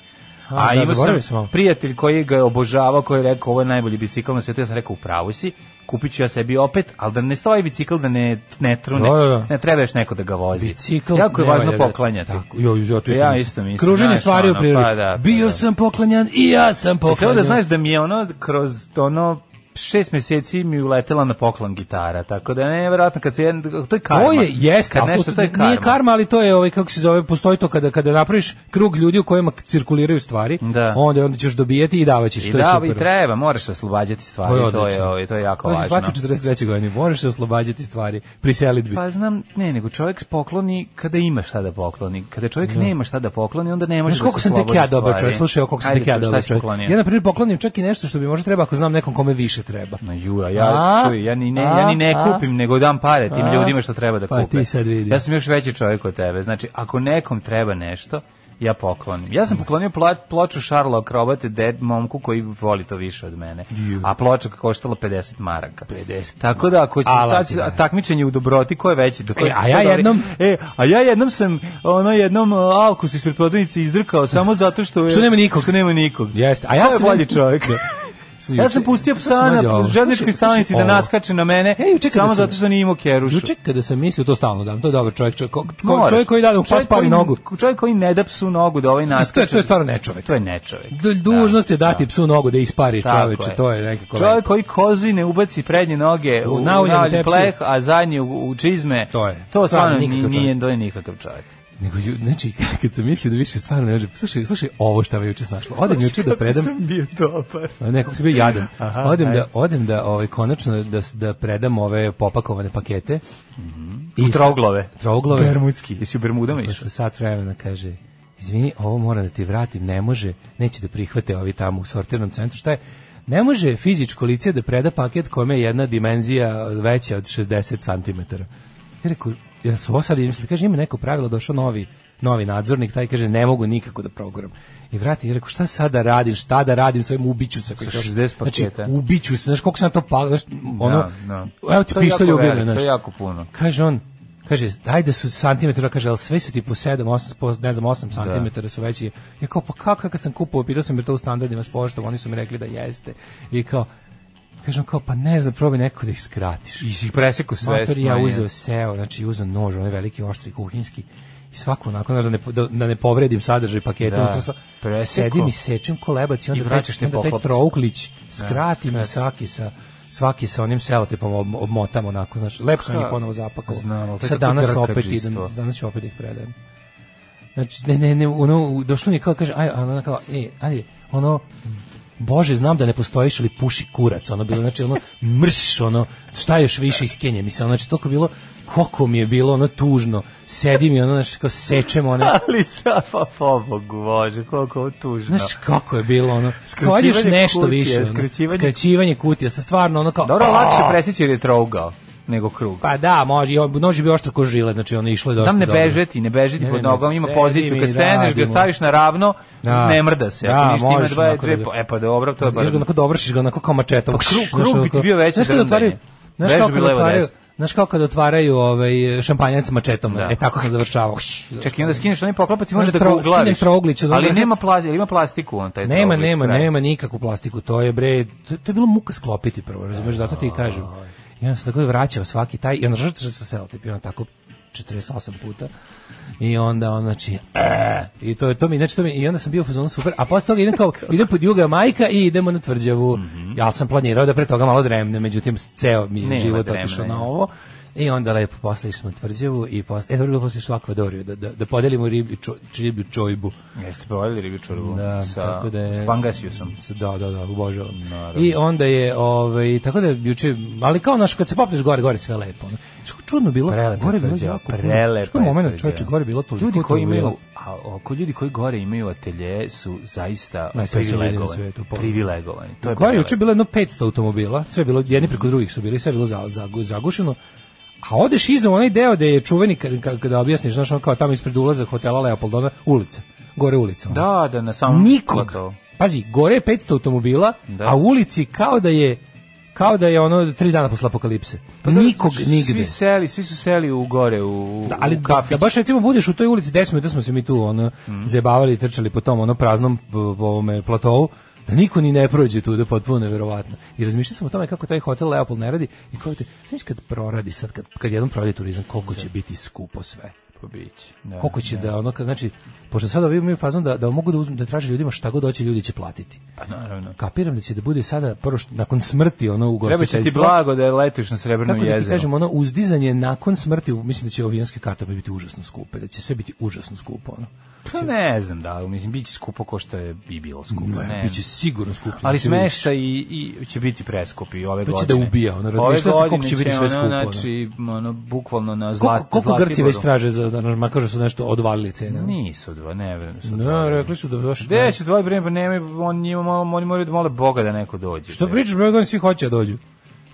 [SPEAKER 9] A,
[SPEAKER 8] A,
[SPEAKER 9] da,
[SPEAKER 8] imao
[SPEAKER 9] zaboravio
[SPEAKER 8] sam,
[SPEAKER 9] sam malo.
[SPEAKER 8] prijatelj koji ga je obožavao, koji je rekao ovo je najbolji bicikl na svijetu. Ja sam rekao, u pravu si, kupit ću ja sebi opet, ali da ne stoji bicikl, da ne, ne trune,
[SPEAKER 9] Da, da, da.
[SPEAKER 8] ne treba još neko da ga vozi.
[SPEAKER 9] Bicikl.
[SPEAKER 8] jako je
[SPEAKER 9] ne
[SPEAKER 8] važno
[SPEAKER 9] valja da-
[SPEAKER 8] poklanjati.
[SPEAKER 9] Tako, jo, jo, to isto
[SPEAKER 8] Ja
[SPEAKER 9] mislim.
[SPEAKER 8] isto mislim,
[SPEAKER 9] Kruženje
[SPEAKER 8] znaš,
[SPEAKER 9] stvari u
[SPEAKER 8] ono,
[SPEAKER 9] prirodi.
[SPEAKER 8] pa da, pa
[SPEAKER 9] Bio
[SPEAKER 8] da.
[SPEAKER 9] sam poklanjan i ja sam
[SPEAKER 8] E, Samo
[SPEAKER 9] poklanjan.
[SPEAKER 8] da znaš da mi je ono kroz ono šest meseci mi je uletela na poklon gitara, tako da ne, vjerojatno kad se jedan, to je karma.
[SPEAKER 9] To je jeste,
[SPEAKER 8] kad
[SPEAKER 9] ali
[SPEAKER 8] nešto, to je karma.
[SPEAKER 9] Nije karma, ali to je ovaj kako se zove, postoji to kada kada napraviš krug ljudi u kojima cirkuliraju stvari,
[SPEAKER 8] Da.
[SPEAKER 9] onda onda ćeš dobijati i davaćeš,
[SPEAKER 8] I
[SPEAKER 9] to je
[SPEAKER 8] da,
[SPEAKER 9] super.
[SPEAKER 8] i treba, moraš se oslobađati stvari, to je, to je,
[SPEAKER 9] odlično.
[SPEAKER 8] ovaj, to je jako
[SPEAKER 9] To si
[SPEAKER 8] važno.
[SPEAKER 9] shvatio u 43. godine, moraš se oslobađati stvari pri selidbi.
[SPEAKER 8] Pa znam, ne, nego čovjek pokloni kada ima šta da pokloni. Kada čovjek nema šta da pokloni, onda ne može da
[SPEAKER 9] Znaš
[SPEAKER 8] se
[SPEAKER 9] koliko sam tek
[SPEAKER 8] slobodi
[SPEAKER 9] ja dobar
[SPEAKER 8] stvari.
[SPEAKER 9] čovjek, slušaj, evo koliko sam
[SPEAKER 8] Ajde,
[SPEAKER 9] tek ja
[SPEAKER 8] čuj, šta
[SPEAKER 9] dobar
[SPEAKER 8] si
[SPEAKER 9] čovjek.
[SPEAKER 8] poklonio?
[SPEAKER 9] Ja na primjer poklonim čak i nešto što bi možda treba ako znam nekom kome više treba.
[SPEAKER 8] Ma Jura, ja,
[SPEAKER 9] A?
[SPEAKER 8] čuj, ja ni ne, ja ni ne
[SPEAKER 9] A?
[SPEAKER 8] kupim, nego dam pare tim
[SPEAKER 9] A?
[SPEAKER 8] ljudima što treba da
[SPEAKER 9] Pa
[SPEAKER 8] kupe.
[SPEAKER 9] ti sad vidi.
[SPEAKER 8] Ja sam još veći čovjek od tebe. Znači, ako nekom treba nešto, ja poklonim. Ja sam poklonio pla, ploču Šarla Akrobate ded momku koji voli to više od mene. A ploča koštala 50 maraka.
[SPEAKER 9] 50
[SPEAKER 8] Tako da ako će
[SPEAKER 9] Ala
[SPEAKER 8] sad
[SPEAKER 9] ti da.
[SPEAKER 8] takmičenje u dobroti ko je veći do koje-
[SPEAKER 9] E, a ja
[SPEAKER 8] ko je dobri-
[SPEAKER 9] jednom-
[SPEAKER 8] E, a ja jednom sam ono jednom uh, alkus ispred prodavnice izdrkao samo zato što je
[SPEAKER 9] Što nema nikog.
[SPEAKER 8] Što nema nikog.
[SPEAKER 9] Jeste. A ja
[SPEAKER 8] Ko je
[SPEAKER 9] sam
[SPEAKER 8] bolji čovjek. Ja sam pustio psa na želničkoj stanici da naskače na mene,
[SPEAKER 9] E, juče kada
[SPEAKER 8] samo
[SPEAKER 9] sam-
[SPEAKER 8] zato što nije imao kerušu.
[SPEAKER 9] Juče kada sam mislio to stalno dam, to je dobar čovjek, čovjek, ko- ko-
[SPEAKER 8] Moraš.
[SPEAKER 9] čovjek koji da da pas
[SPEAKER 8] Čovjek
[SPEAKER 9] pali
[SPEAKER 8] koji-
[SPEAKER 9] nogu.
[SPEAKER 8] Čovjek koji ne da psu nogu da ovaj
[SPEAKER 9] Mislim, To je,
[SPEAKER 8] naskače.
[SPEAKER 9] to je stvarno nečovjek.
[SPEAKER 8] To je nečovjek.
[SPEAKER 9] Du- Dužnost je dati psu nogu da ispari
[SPEAKER 8] Tako
[SPEAKER 9] čoveče, to je nekako...
[SPEAKER 8] Čovjek koji kozi ne ubaci prednje noge
[SPEAKER 9] U
[SPEAKER 8] u, u
[SPEAKER 9] nauljanu
[SPEAKER 8] nauljen
[SPEAKER 9] tepsiju.
[SPEAKER 8] pleh, a zadnje u, u čizme.
[SPEAKER 9] To je.
[SPEAKER 8] To stvarno
[SPEAKER 9] Stvarno nikakav
[SPEAKER 8] ni- nije, to je nikakav čovjek.
[SPEAKER 9] Nego, ju, znači, kad sam mislio da više stvarno ne može, slušaj, slušaj ovo šta me juče snašlo. Odem juče da predam,
[SPEAKER 8] Sam bio dobar.
[SPEAKER 9] nekako sam bio jadan. odem da, odem da, ovaj, konačno da, s- da predam ove popakovane pakete. I
[SPEAKER 8] Troglove.
[SPEAKER 9] Trouglove.
[SPEAKER 8] Bermudski. Jesi u Bermudama išao?
[SPEAKER 9] Posle sat vremena kaže, izvini, ovo moram da ti vratim, ne može, neće da prihvate ovi tamo u sortirnom centru, šta je? Ne može fizičko lice da preda paket kome je jedna dimenzija veća od 60 cm. Ja rekao, ja su ovo sad izmislili, kaže, ima neko pravilo, došao novi, novi nadzornik, taj kaže, ne mogu nikako da proguram. I vrati, ja rekao, šta sada radim, šta da radim sa ovim ubiću sa kojim...
[SPEAKER 8] 60 paketa.
[SPEAKER 9] Znači, ubiću se, znaš koliko sam to pa, znaš, ono,
[SPEAKER 8] Da, da.
[SPEAKER 9] evo ti
[SPEAKER 8] To je
[SPEAKER 9] pištolj
[SPEAKER 8] jako
[SPEAKER 9] ubijem,
[SPEAKER 8] veliko,
[SPEAKER 9] znaš.
[SPEAKER 8] To je jako puno.
[SPEAKER 9] ono, Kaže on, kaže, daj da su santimetra, kaže, ali sve su ti po 7, 8, po, ne znam, 8 santimetara su veći. Ja kao, pa kako, kad sam kupovao, pitao sam jer to u standardima s poštom, oni su mi rekli da jeste. I kao, kaže on kao, pa ne znam, probaj nekako da ih skratiš.
[SPEAKER 8] I si ih preseku sve.
[SPEAKER 9] Mator ja
[SPEAKER 8] smanjio.
[SPEAKER 9] uzeo seo, znači uzeo nož, onaj veliki, oštri, kuhinski, i svako onako, znaš, da ne, po- da, da ne povredim sadržaj paketa.
[SPEAKER 8] Da,
[SPEAKER 9] unutra sva-
[SPEAKER 8] preseko.
[SPEAKER 9] Sedim i sečem kolebac i onda,
[SPEAKER 8] I vraćaš te
[SPEAKER 9] taj, onda taj
[SPEAKER 8] poklopce.
[SPEAKER 9] trouklić skratim i svaki sa svaki sa onim selotipom ob, obmotam onako, znaš, lepo sam ih
[SPEAKER 8] Ka-
[SPEAKER 9] ponovo zapakovao.
[SPEAKER 8] Znam, ali to je
[SPEAKER 9] Sad
[SPEAKER 8] kako
[SPEAKER 9] danas opet
[SPEAKER 8] drkadžistvo.
[SPEAKER 9] idem, danas ću opet da ih predajem. Znači, ne, ne, ne, ono, došlo mi je kao, kaže, aj, a ona kao, e, ajde, ono, Bože, znam da ne postojiš, ali puši kurac, ono bilo, znači, ono, mrš, ono, šta još više iskenje mi se, ono, znači, toliko bilo, koliko mi je bilo, ono, tužno, sedim i ono, znači, kao sečem, ono,
[SPEAKER 8] Ali sa, pa pobogu, bože, koliko ovo tužno.
[SPEAKER 9] Znaš kako je bilo ono.
[SPEAKER 8] Skraćivanje
[SPEAKER 9] Skraćivanje nešto
[SPEAKER 8] kutije,
[SPEAKER 9] više. Ono.
[SPEAKER 8] skraćivanje-
[SPEAKER 9] Skraćivanje... kutija. Sa stvarno ono kao...
[SPEAKER 8] Dobro,
[SPEAKER 9] "A!"
[SPEAKER 8] lakše presjeći jer je trougao nego krug.
[SPEAKER 9] Pa da, može. i on- Nož je bio oštro ko žile, znači ono išlo je dosta
[SPEAKER 8] Sam ne
[SPEAKER 9] dobro.
[SPEAKER 8] bežeti, ne bežeti
[SPEAKER 9] Ne,
[SPEAKER 8] pod
[SPEAKER 9] ne, ne,
[SPEAKER 8] nogom, ima
[SPEAKER 9] sedi
[SPEAKER 8] poziciju,
[SPEAKER 9] mi,
[SPEAKER 8] kad steneš ga
[SPEAKER 9] radimo.
[SPEAKER 8] staviš na ravno,
[SPEAKER 9] Da.
[SPEAKER 8] ne mrda se,
[SPEAKER 9] Da,
[SPEAKER 8] ako ništa ima
[SPEAKER 9] možeš
[SPEAKER 8] dva,
[SPEAKER 9] onako
[SPEAKER 8] tri,
[SPEAKER 9] da ga-
[SPEAKER 8] po- e pa dobro, to je
[SPEAKER 9] Još
[SPEAKER 8] bar...
[SPEAKER 9] ga onako dovršiš ga onako kao mačetom.
[SPEAKER 8] Pa krug-
[SPEAKER 9] Znaš,
[SPEAKER 8] krug bi
[SPEAKER 9] onako-
[SPEAKER 8] ti bio veće
[SPEAKER 9] Znaš kada
[SPEAKER 8] drndanje.
[SPEAKER 9] otvaraju... Znaš
[SPEAKER 8] Vežu
[SPEAKER 9] kako
[SPEAKER 8] bi
[SPEAKER 9] kad
[SPEAKER 8] levo,
[SPEAKER 9] otvaraju...
[SPEAKER 8] desno.
[SPEAKER 9] Znaš kako kad otvaraju ovaj, šampanjac mačetom? E tako sam završavao.
[SPEAKER 8] Čak i onda skineš onaj poklopac i možeš da ga
[SPEAKER 9] Možda tro- skinem
[SPEAKER 8] uglaviš.
[SPEAKER 9] trouglić od onoga-
[SPEAKER 8] Ali nema plazi, ili ima plastiku on taj
[SPEAKER 9] Nema,
[SPEAKER 8] trouglić,
[SPEAKER 9] nema,
[SPEAKER 8] pravi.
[SPEAKER 9] nema nikakvu plastiku. To je bre, to, to je bilo muka sklopiti prvo, razumeš, zato ti i kažem. I onda sam tako vraćao svaki taj, i onda žrtve sa selotip, i onda tako 48 puta. I onda on znači e, i to je to mi znači to mi i onda sam bio u fazonu super a posle toga idem kao idem pod juga majka i idemo na tvrđavu. Ja sam planirao da pre toga malo dremne, međutim ceo mi je
[SPEAKER 8] Nema
[SPEAKER 9] život
[SPEAKER 8] dremena,
[SPEAKER 9] otišao
[SPEAKER 8] ja.
[SPEAKER 9] na ovo. I onda lepo posle išli smo na tvrđavu i posle e dobro je bilo posle išli u akvadoriju da da, da podelimo riblju čo, riblju čojbu.
[SPEAKER 8] Jeste provalili ribičaru
[SPEAKER 9] Da,
[SPEAKER 8] sa,
[SPEAKER 9] tako da je...
[SPEAKER 8] s pangasiusom.
[SPEAKER 9] S- Da, da, da, obožavam. I onda je, ovaj, tako da je juče, ali kao naš, kad se popneš gore, gore je sve lepo. ono. Što čudno bilo,
[SPEAKER 8] Prelepa
[SPEAKER 9] gore
[SPEAKER 8] je
[SPEAKER 9] je bilo
[SPEAKER 8] tvrđava,
[SPEAKER 9] jako puno.
[SPEAKER 8] prelepa
[SPEAKER 9] Što je
[SPEAKER 8] je
[SPEAKER 9] moment,
[SPEAKER 8] tvrđava.
[SPEAKER 9] čovječe, gore je bilo toliko.
[SPEAKER 8] Ljudi koji
[SPEAKER 9] toliko
[SPEAKER 8] imaju,
[SPEAKER 9] bilo.
[SPEAKER 8] a oko ljudi koji gore imaju atelje su zaista
[SPEAKER 9] Najsrećniji ljudi na
[SPEAKER 8] privilegovani.
[SPEAKER 9] svetu, pa.
[SPEAKER 8] Privilegovani. To je
[SPEAKER 9] Gore je
[SPEAKER 8] privileg.
[SPEAKER 9] juče bilo jedno 500 automobila, sve je bilo, jedni preko drugih su bili, sve je bilo za- za- zagušeno. A odeš iza u onaj deo da je čuveni, kad- kad- kada objasniš, znaš, ono kao tamo ispred ulaza hotela Leopoldona, ulica, gore ulica. ono.
[SPEAKER 8] Da, da, na samom...
[SPEAKER 9] nikog.
[SPEAKER 8] gotovo.
[SPEAKER 9] Pazi, gore je 500 automobila,
[SPEAKER 8] Pa Da.
[SPEAKER 9] a u ulici kao da je kao da je ono tri dana posle apokalipse.
[SPEAKER 8] Pa da,
[SPEAKER 9] Nikog
[SPEAKER 8] svi
[SPEAKER 9] nigde.
[SPEAKER 8] Svi seli, svi su seli u gore u,
[SPEAKER 9] Da, ali
[SPEAKER 8] u
[SPEAKER 9] da,
[SPEAKER 8] kafić. Mhm.
[SPEAKER 9] da baš recimo budeš u toj ulici 10 minuta smo se mi tu ono zebavali i trčali po tom ono praznom p- po ovome platovu da niko ni ne prođe tu, da je potpuno neverovatno. I razmišljao sam o tome kako taj hotel Leopold ne radi i kako te, znaš kad proradi sad, kad, kad jednom proradi turizam, koliko će biti skupo sve.
[SPEAKER 8] Pa biće, da.
[SPEAKER 9] Koliko će da ono, kad- znači, pošto sad ovi imaju fazon da, da mogu da, uzmu, da traže ljudima šta god hoće, ljudi će platiti.
[SPEAKER 8] Pa naravno.
[SPEAKER 9] kapiram da će da bude sada prvo što, nakon smrti ono u
[SPEAKER 8] Treba će ti
[SPEAKER 9] gostiteljstvu.
[SPEAKER 8] blago da je letiš na srebrnom
[SPEAKER 9] Kako da ti
[SPEAKER 8] jezeru.
[SPEAKER 9] kažem, ono uzdizanje nakon smrti, mislim da će avionske karte biti užasno skupe, da će sve biti užasno skupo. Ono.
[SPEAKER 8] Pa ne znam da, ali, mislim, bit će skupo ko što je i bilo skupo. Ne,
[SPEAKER 9] Ne, biće sigurno skuplje. znači,
[SPEAKER 8] Ali
[SPEAKER 9] Biće vidjet ćeš.
[SPEAKER 8] smešta i, i će biti preskup i ove
[SPEAKER 9] To
[SPEAKER 8] godine.
[SPEAKER 9] će da ubija, ono,
[SPEAKER 8] Ove
[SPEAKER 9] razmišljao sam koliko
[SPEAKER 8] godine
[SPEAKER 9] će biti sve
[SPEAKER 8] ono,
[SPEAKER 9] skupo, ono.
[SPEAKER 8] Znači, ono, bukvalno na zlat,
[SPEAKER 9] Koliko, koliko
[SPEAKER 8] Zlatiboru.
[SPEAKER 9] Grci već traže za da nam kažu su nešto odvalili cene? ono?
[SPEAKER 8] Nisu dva, ne vrem su dva.
[SPEAKER 9] Ne, rekli su da još...
[SPEAKER 8] Gde će dva vreme, pa nema, on njima, malo- oni moraju da mole Boga da neko dođe.
[SPEAKER 9] Što pričaš, ove godine svi hoće da dođu.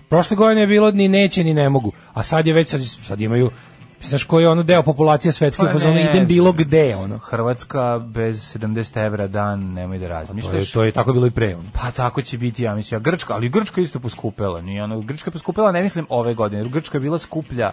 [SPEAKER 9] Prošle godine je bilo ni neće ni ne mogu, a sad je već, sad, sad imaju, znaš koji je ono deo populacije svetske,
[SPEAKER 8] Pa
[SPEAKER 9] pa, ono
[SPEAKER 8] ne
[SPEAKER 9] idem
[SPEAKER 8] znam.
[SPEAKER 9] bilo gde, ono.
[SPEAKER 8] Hrvatska bez 70 evra dan, nemoj da
[SPEAKER 9] Pa To je,
[SPEAKER 8] razmišljaš.
[SPEAKER 9] to je tako bilo i pre, ono.
[SPEAKER 8] Pa tako će biti, ja mislim, a Grčka, ali Grčka je isto poskupela, nije ono, Grčka je poskupela, ne mislim ove godine, jer Grčka je bila skuplja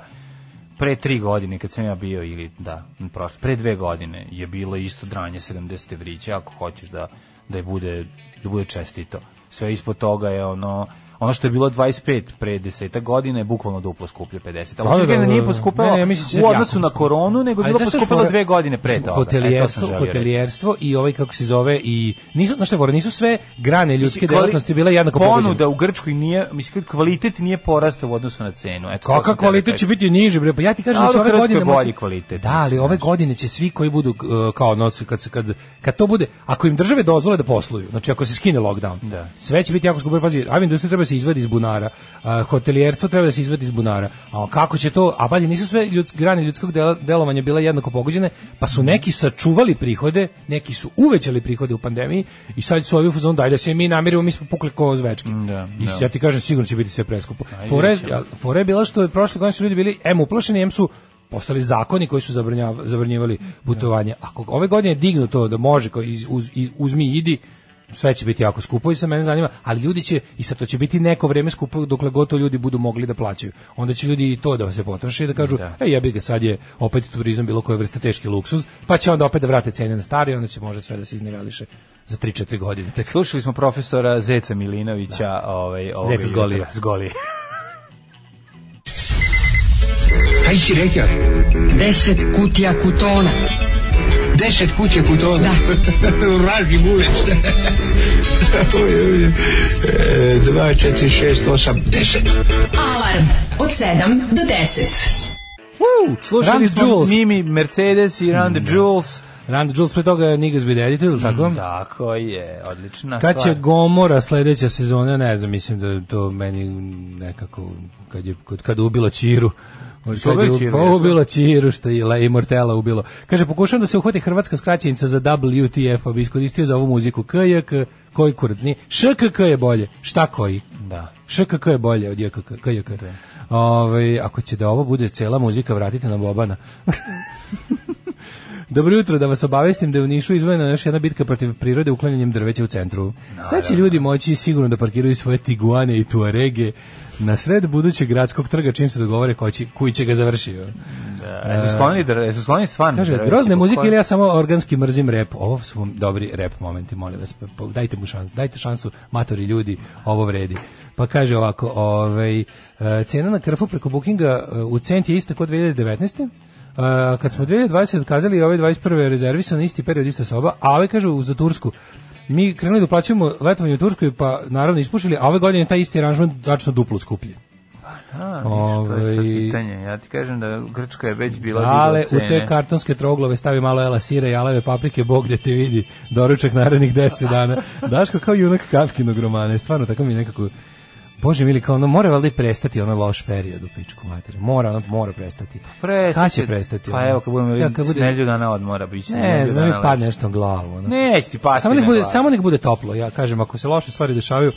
[SPEAKER 8] pre tri godine kad sam ja bio ili da, prošle, pre dve godine je bilo isto dranje 70 evrića, ako hoćeš da, da je bude, da bude čestito. sve ispod toga je ono ono što je bilo 25 pre 10 godina je bukvalno duplo skuplje 50.
[SPEAKER 9] Pa Da, da,
[SPEAKER 8] Ali da,
[SPEAKER 9] da, da,
[SPEAKER 8] nije
[SPEAKER 9] da.
[SPEAKER 8] poskupelo
[SPEAKER 9] Ne, ne, mislim da će
[SPEAKER 8] u
[SPEAKER 9] jako
[SPEAKER 8] odnosu na
[SPEAKER 9] poskupelo.
[SPEAKER 8] koronu, nego je
[SPEAKER 9] Ali
[SPEAKER 8] bilo
[SPEAKER 9] znaš šta je
[SPEAKER 8] poskupelo
[SPEAKER 9] fora?
[SPEAKER 8] dve godine pre toga. E,
[SPEAKER 9] Hotelijerstvo,
[SPEAKER 8] to sam želio reći.
[SPEAKER 9] hotelijerstvo i ovaj kako se zove i nisu, znaš šta je fora, nisu sve grane ljudske
[SPEAKER 8] Mislim, kvali-
[SPEAKER 9] delatnosti bile jednako pogođene.
[SPEAKER 8] Ponuda u Grčkoj nije, mislim, kvalitet nije porastao u odnosu na cenu. Eto, to sam
[SPEAKER 9] Kakav
[SPEAKER 8] teo da
[SPEAKER 9] kvalitet će
[SPEAKER 8] kažem.
[SPEAKER 9] biti niži bre? Pa ja ti kažem
[SPEAKER 8] Ali
[SPEAKER 9] da će
[SPEAKER 8] u
[SPEAKER 9] ove
[SPEAKER 8] Hrvatskoj
[SPEAKER 9] godine
[SPEAKER 8] je
[SPEAKER 9] moći-
[SPEAKER 8] bolji kvalitet,
[SPEAKER 9] Da, ali
[SPEAKER 8] mislim,
[SPEAKER 9] ove
[SPEAKER 8] znaš.
[SPEAKER 9] godine će svi koji budu uh, kao noci kad se kad kad to bude, ako im države dozvole da posluju, znači ako se skine lockdown.
[SPEAKER 8] Da.
[SPEAKER 9] Sve će biti jako skupo, pazi, aviindustrija treba da se izvadi iz bunara, uh, hotelijerstvo treba da se izvadi iz bunara. A kako će to, a pazi, nisu sve ljudske grane ljudskog dela, delovanja bile jednako pogođene, pa
[SPEAKER 8] Mhm.
[SPEAKER 9] su neki sačuvali prihode, neki su uvećali prihode u pandemiji i sad su ovi u fazonu daj da se mi namirimo, mi smo pukli ko zvečki.
[SPEAKER 8] Da,
[SPEAKER 9] I
[SPEAKER 8] da.
[SPEAKER 9] ja ti kažem sigurno će biti sve preskupo. Fora je, fora je bila što je prošle godine su ljudi bili em uplašeni, em su postali zakoni koji su zabranjav- zabranjivali putovanje. Ako ove godine je dignuto da može kao iz, uz, iz- uzmi i idi, sve će biti jako skupo i sa mene zanima, ali ljudi će, i sad to će biti neko vreme skupo dokle gotovo ljudi budu mogli da plaćaju. Onda će ljudi i to da se potroše i da kažu,
[SPEAKER 8] Da.
[SPEAKER 9] e jebi ga, sad je opet turizam bilo koje vrste teški luksuz, pa će onda opet da vrate cene na stari, onda će može sve da se izneveliše za 3-4 godine. Tek
[SPEAKER 8] Slušali smo profesora Zeca Milinovića, ovaj, ovog
[SPEAKER 9] Zeca Zgolije.
[SPEAKER 8] jutra, Zgolije.
[SPEAKER 6] 10 kutija kutona.
[SPEAKER 3] 10 kuće putona. Vraži bulec. 2, 4, 6, 8, 10.
[SPEAKER 6] Alarm od 7 do 10.
[SPEAKER 9] Woo!
[SPEAKER 8] Slušali
[SPEAKER 9] Run the
[SPEAKER 8] smo
[SPEAKER 9] Jewels.
[SPEAKER 8] Mimi Mercedes i Run the Jewels.
[SPEAKER 9] Rand Jules pre toga je Niggas with Attitude, ili
[SPEAKER 8] Mm,
[SPEAKER 9] tako?
[SPEAKER 8] Tako je, odlična
[SPEAKER 9] Kad će
[SPEAKER 8] stvar.
[SPEAKER 9] Gomora sledeća sezona, ne znam, mislim da to meni nekako, kad je, kad, kad je ubila Čiru, Od
[SPEAKER 8] Su ubili
[SPEAKER 9] je u-
[SPEAKER 8] Čiru,
[SPEAKER 9] pa
[SPEAKER 8] jesu?
[SPEAKER 9] ubila Čiru, što je La Immortela ubilo. Kaže, pokušavam da se uhvati hrvatska skraćenica za WTF, pa bi iskoristio za ovu muziku. KJK, koji kurac nije? ŠKK je bolje. Šta koji?
[SPEAKER 8] Da.
[SPEAKER 9] ŠKK je bolje od JKK. KJK. Ove, Ovaj, ako će da ovo bude cela muzika, vratite nam Bobana. Dobro jutro, da vas obavestim da je u Nišu izvojena još jedna bitka protiv prirode uklanjanjem drveća u centru. Sad će ljudi moći sigurno da parkiraju svoje tiguane i tuarege na sred budućeg gradskog trga čim se dogovore ko će, koji će ga završio.
[SPEAKER 8] Da, E, Jesu skloni, dr- jesu skloni stvarno.
[SPEAKER 9] Kaže,
[SPEAKER 8] drveće,
[SPEAKER 9] grozne
[SPEAKER 8] pa
[SPEAKER 9] muzike
[SPEAKER 8] ko-
[SPEAKER 9] ili ja samo organski mrzim rep. Ovo su vam dobri rep momenti, molim vas. Pa- pa Dajte mu šansu, dajte šansu, matori ljudi, ovo vredi. Pa kaže ovako, ovaj, e, cena na krfu preko bookinga e, u cent je ista kod 2019. E, kad smo 2020 otkazali i ove 21. rezervisan isti period ista soba, a ove kažu za Tursku. Mi krenuli da plaćamo letovanje u Turskoj, pa naravno ispušili, a ove godine je taj isti aranžman začno duplo skuplje.
[SPEAKER 8] A, vidiš, to je sad
[SPEAKER 9] Ovaj-
[SPEAKER 8] pitanje. Ja ti kažem da Grčka je već bila
[SPEAKER 9] Ale, u
[SPEAKER 8] digla cene.
[SPEAKER 9] te kartonske troglove stavi malo elasira i aleve paprike, bog gde te vidi, doručak narednih 10 dana. Daško kao junak Kafkinog romana, je stvarno tako mi nekako... Bože mili, kao ono, mora valjda i prestati ono loš period u pičku materiju. Mora, ono, mora prestati.
[SPEAKER 8] Prestati
[SPEAKER 9] Kad će
[SPEAKER 8] će-
[SPEAKER 9] prestati?
[SPEAKER 8] Pa
[SPEAKER 9] ono?
[SPEAKER 8] evo, kad budemo
[SPEAKER 9] Ja,
[SPEAKER 8] vidjeti,
[SPEAKER 9] kad
[SPEAKER 8] bude...
[SPEAKER 9] bude-
[SPEAKER 8] nedelju dana odmora biće.
[SPEAKER 9] Ne, znam, mi
[SPEAKER 8] pa
[SPEAKER 9] padne nešto na glavu. Ono.
[SPEAKER 8] Neće ti pasti
[SPEAKER 9] Samo nek,
[SPEAKER 8] na
[SPEAKER 9] bude,
[SPEAKER 8] glavu.
[SPEAKER 9] samo nek bude toplo, ja kažem, ako se loše stvari dešavaju,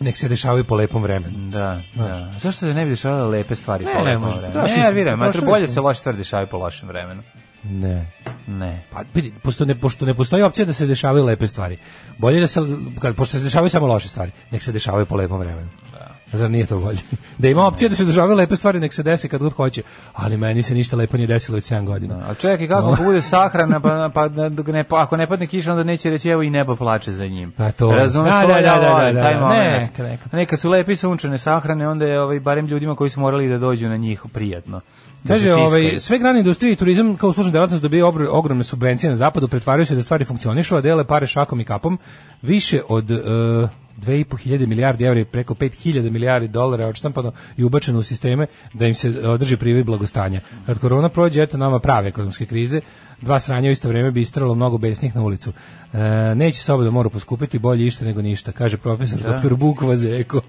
[SPEAKER 9] nek se dešavaju po lepom vremenu.
[SPEAKER 8] Da, da. Zašto se ne bi dešavale lepe stvari
[SPEAKER 9] Ne,
[SPEAKER 8] po lepom
[SPEAKER 9] možda,
[SPEAKER 8] vremenu?
[SPEAKER 9] trošili
[SPEAKER 8] Ne, ja
[SPEAKER 9] smo,
[SPEAKER 8] vjerujem, mater,
[SPEAKER 9] potrošili
[SPEAKER 8] bolje
[SPEAKER 9] smo.
[SPEAKER 8] se loše stvari dešavaju po lošem vremenu.
[SPEAKER 9] Ne.
[SPEAKER 8] Ne.
[SPEAKER 9] Pa vidi, pošto ne, pošto ne postoji opcija da se dešavaju lepe stvari. Bolje da se, kad, pošto se dešavaju samo loše stvari, nek se dešavaju po lepom vremenu. Da. Zar nije to bolje? Da ima opcija da se dešavaju lepe stvari, nek se desi kad god hoće. Ali meni se ništa lepo nije desilo već 7 godina.
[SPEAKER 8] A čekaj, kako
[SPEAKER 9] No.
[SPEAKER 8] ako bude sahrana, pa, pa da ne, pa ako ne padne kiša, onda neće reći evo i nebo plače za njim.
[SPEAKER 9] Pa to.
[SPEAKER 8] Razumeš,
[SPEAKER 9] Da,
[SPEAKER 8] to
[SPEAKER 9] da,
[SPEAKER 8] je
[SPEAKER 9] da, da,
[SPEAKER 8] volim,
[SPEAKER 9] da,
[SPEAKER 8] taj
[SPEAKER 9] da.
[SPEAKER 8] moment.
[SPEAKER 9] Neka, neka.
[SPEAKER 8] Nekad su lepe i sunčane sahrane, onda je ovaj, barem ljudima koji su morali da dođu na njih prijatno. Da se
[SPEAKER 9] Kaže,
[SPEAKER 8] tiskaju.
[SPEAKER 9] ovaj, sve grane industrije i turizam kao služna delatnost dobije obr- ogromne subvencije na zapadu, pretvaraju se da stvari funkcionišu, a dele pare šakom i kapom. Više od e, 2.500 milijardi evra i preko 5.000 milijardi dolara je odštampano i ubačeno u sisteme da im se održi privid blagostanja. Kad korona prođe, eto nama prave ekonomske krize, dva sranja u isto vreme bi istralo mnogo besnih na ulicu. E, neće se da mora poskupiti, bolje išta nego ništa, kaže profesor doktor Bukva Zeko.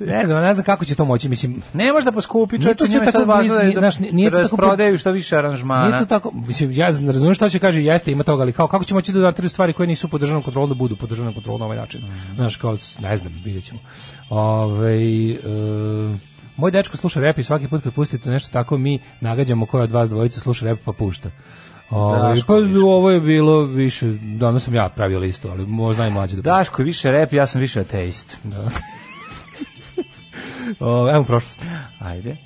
[SPEAKER 9] ne znam, ne znam kako će to moći, mislim,
[SPEAKER 8] Ne može da poskupi,
[SPEAKER 9] Nije
[SPEAKER 8] čovječe,
[SPEAKER 9] to sve
[SPEAKER 8] njima je sad
[SPEAKER 9] tako
[SPEAKER 8] važno da,
[SPEAKER 9] bliz-
[SPEAKER 8] je
[SPEAKER 9] nije- znaš, nije
[SPEAKER 8] da
[SPEAKER 9] to tako pri-
[SPEAKER 8] rasprodaju što više aranžmana.
[SPEAKER 9] Nije to tako, mislim, ja ne razumijem šta će kaže, jeste, ima toga, ali kao, kako ćemo moći da natraju stvari koje nisu pod državnom kontrolom da budu pod državnom kontrolom na ovaj način? Znaš, kao, ne znam, vidjet ćemo. Ovaj, e, moj dečko sluša rep i svaki put kad pustite nešto tako, mi nagađamo koja od vas dvojica sluša rep pa pušta. Ovaj,
[SPEAKER 8] Daško
[SPEAKER 9] pa ovo je bilo više, danas sam ja pravio listu, ali možda i mlađe da
[SPEAKER 8] Daško je više rep, ja sam više ateist.
[SPEAKER 9] pušta. O, evo prošlost.
[SPEAKER 8] Ajde.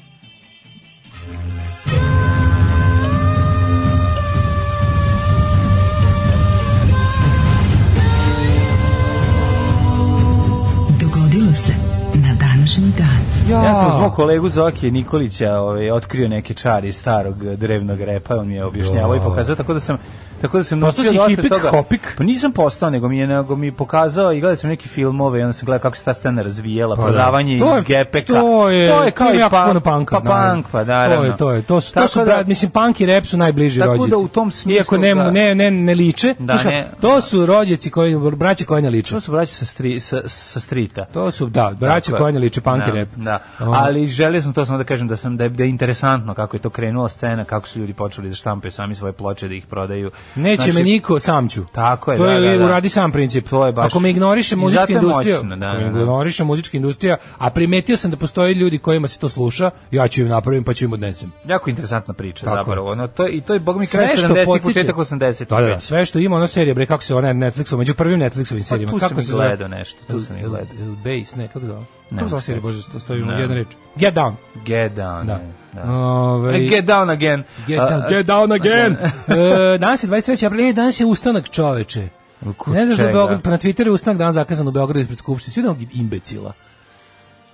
[SPEAKER 2] Thank
[SPEAKER 8] sam s mog kolegu Zokije Nikolića ovaj, otkrio neke čari starog eh, drevnog repa, on mi je objašnjavao i pokazao, tako da sam tako da sam
[SPEAKER 9] Postao
[SPEAKER 8] naučio
[SPEAKER 9] si
[SPEAKER 8] dosta
[SPEAKER 9] hipik,
[SPEAKER 8] toga.
[SPEAKER 9] hopik?
[SPEAKER 8] Pa nisam postao, nego mi je nego mi je pokazao i gledao sam neke filmove i onda sam gledao kako se ta scena razvijela,
[SPEAKER 9] Pa da.
[SPEAKER 8] prodavanje
[SPEAKER 9] To je-
[SPEAKER 8] iz gepeka.
[SPEAKER 9] To je,
[SPEAKER 8] to je kao i
[SPEAKER 9] jako
[SPEAKER 8] pa,
[SPEAKER 9] puno panka.
[SPEAKER 8] pa
[SPEAKER 9] naravno.
[SPEAKER 8] punk, pa naravno.
[SPEAKER 9] To je, to je. To su, to
[SPEAKER 8] Tako
[SPEAKER 9] su
[SPEAKER 8] da-
[SPEAKER 9] brat, mislim, punk i rap su najbliži
[SPEAKER 8] Tako da
[SPEAKER 9] rođaci.
[SPEAKER 8] u tom smislu,
[SPEAKER 9] Iako ne,
[SPEAKER 8] da.
[SPEAKER 9] ne, ne, ne liče.
[SPEAKER 8] Da,
[SPEAKER 9] znaš kako,
[SPEAKER 8] ne.
[SPEAKER 9] to su rođaci, koji, braće koji ne liče.
[SPEAKER 8] To su braća sa, stri, sa, sa strita.
[SPEAKER 9] To su, da, braće
[SPEAKER 8] Tako je.
[SPEAKER 9] koji ne liče, punk i
[SPEAKER 8] da,
[SPEAKER 9] rap.
[SPEAKER 8] Da.
[SPEAKER 9] Ono.
[SPEAKER 8] Ali želio sam to samo da kažem da sam da je, da je interesantno kako je to krenula scena, kako su ljudi počeli da štampaju sami svoje ploče da ih prodaju.
[SPEAKER 9] Neće
[SPEAKER 8] Znači,
[SPEAKER 9] me niko, sam ću.
[SPEAKER 8] Tako je,
[SPEAKER 9] to je
[SPEAKER 8] da, da, da.
[SPEAKER 9] uradi sam princip.
[SPEAKER 8] To je baš-
[SPEAKER 9] Ako me ignoriše
[SPEAKER 8] I
[SPEAKER 9] muzička
[SPEAKER 8] zato je
[SPEAKER 9] industrija,
[SPEAKER 8] moćno, da,
[SPEAKER 9] ako me
[SPEAKER 8] da, da.
[SPEAKER 9] ignoriše muzička industrija, a primetio sam da postoje ljudi kojima se to sluša, ja ću im napravim pa ću im odnesem.
[SPEAKER 8] Jako interesantna priča
[SPEAKER 9] Tako je.
[SPEAKER 8] zapravo. Ono, to, I to je, bog mi,
[SPEAKER 9] Sve
[SPEAKER 8] kraj
[SPEAKER 9] što
[SPEAKER 8] 70-ih,
[SPEAKER 9] potiče- Pa,
[SPEAKER 8] početak 80-ih.
[SPEAKER 9] Da, da, da, sve što ima ona serija, bre, kako se ona Netflixova, među prvim Netflixovim
[SPEAKER 8] Pa
[SPEAKER 9] serijama,
[SPEAKER 8] tu
[SPEAKER 9] kako
[SPEAKER 8] sam
[SPEAKER 9] se
[SPEAKER 8] i
[SPEAKER 9] zove?
[SPEAKER 8] gledao nešto, tu sam i
[SPEAKER 9] El-
[SPEAKER 8] gledao.
[SPEAKER 9] El- Base, ne, kako zove?
[SPEAKER 8] Ne,
[SPEAKER 9] Kako zove
[SPEAKER 8] ne
[SPEAKER 9] serija,
[SPEAKER 8] znam.
[SPEAKER 9] bože, to stoji u
[SPEAKER 8] Ne.
[SPEAKER 9] jedna reč. Get Down.
[SPEAKER 8] Get down.
[SPEAKER 9] Da.
[SPEAKER 8] Da. da.
[SPEAKER 9] Ovaj-
[SPEAKER 8] E, Get down again.
[SPEAKER 9] Get
[SPEAKER 8] A,
[SPEAKER 9] down,
[SPEAKER 8] a,
[SPEAKER 9] get down again. e, danas je 23. april, e, danas je ustanak čoveče.
[SPEAKER 8] Kod
[SPEAKER 9] ne znaš da je
[SPEAKER 8] čega?
[SPEAKER 9] Beograd, pa na Twitteru je ustanak dan zakazan u Beogradu ispred Skupštine, svi onog imbecila.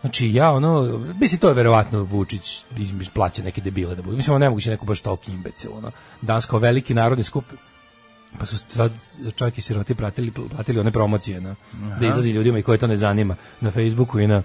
[SPEAKER 9] Znači ja ono, mislim to je verovatno Vučić iz- iz- plaća neke debile da budu. Mislim ono nemoguće neko baš toliki imbecil. Ono. Danas kao veliki narodni skup pa su sad čak i siroti pratili, platili one promocije na, da izlazi ljudima i koje to ne zanima na Facebooku i na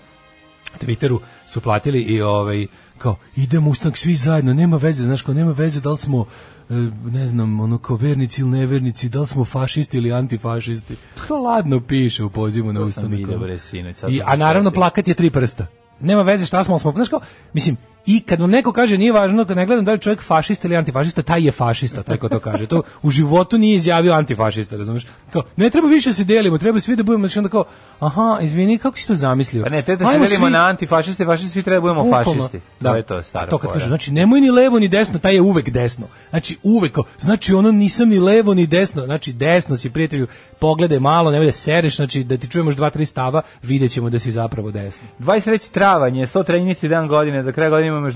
[SPEAKER 9] Twitteru su platili i ovaj kao idemo ustanak svi zajedno, nema veze, znaš kao nema veze da li smo e, ne znam, ono kao vernici ili nevernici, da li smo fašisti ili antifašisti. To ladno piše u pozivu na
[SPEAKER 8] To sam
[SPEAKER 9] ustanak.
[SPEAKER 8] vidio,
[SPEAKER 9] ono.
[SPEAKER 8] bre, sinoć. sad
[SPEAKER 9] I,
[SPEAKER 8] sam
[SPEAKER 9] a
[SPEAKER 8] se
[SPEAKER 9] naravno
[SPEAKER 8] setio.
[SPEAKER 9] plakat je tri prsta. Nema veze šta smo, ali smo, znaš kao, mislim, i kad vam neko kaže nije važno, kad ne gledam da li je čovjek fašista ili antifašista, taj je fašista, taj ko to kaže. To u životu nije izjavio antifašista, razumiješ? Kao, ne treba više da se delimo, treba svi da budemo, znači onda kao, aha, izvini, kako si to zamislio?
[SPEAKER 8] Pa ne, te da se
[SPEAKER 9] Ajmo
[SPEAKER 8] delimo
[SPEAKER 9] svi-
[SPEAKER 8] na antifašisti, fašisti, svi treba da budemo
[SPEAKER 9] Bukvalno,
[SPEAKER 8] fašisti.
[SPEAKER 9] Da.
[SPEAKER 8] To je to, stara
[SPEAKER 9] A to kad
[SPEAKER 8] fora.
[SPEAKER 9] kažu, znači nemoj ni levo ni desno, taj je uvek desno. Znači uvek, kao, znači ono nisam ni levo ni desno, znači desno si prijatelju, pogledaj malo, nemoj da sereš, znači da ti čujemo još dva, tri stava, vidjet ćemo da si zapravo desno.
[SPEAKER 8] 23. travanj je 113. dan godine, do kraja godine imamo još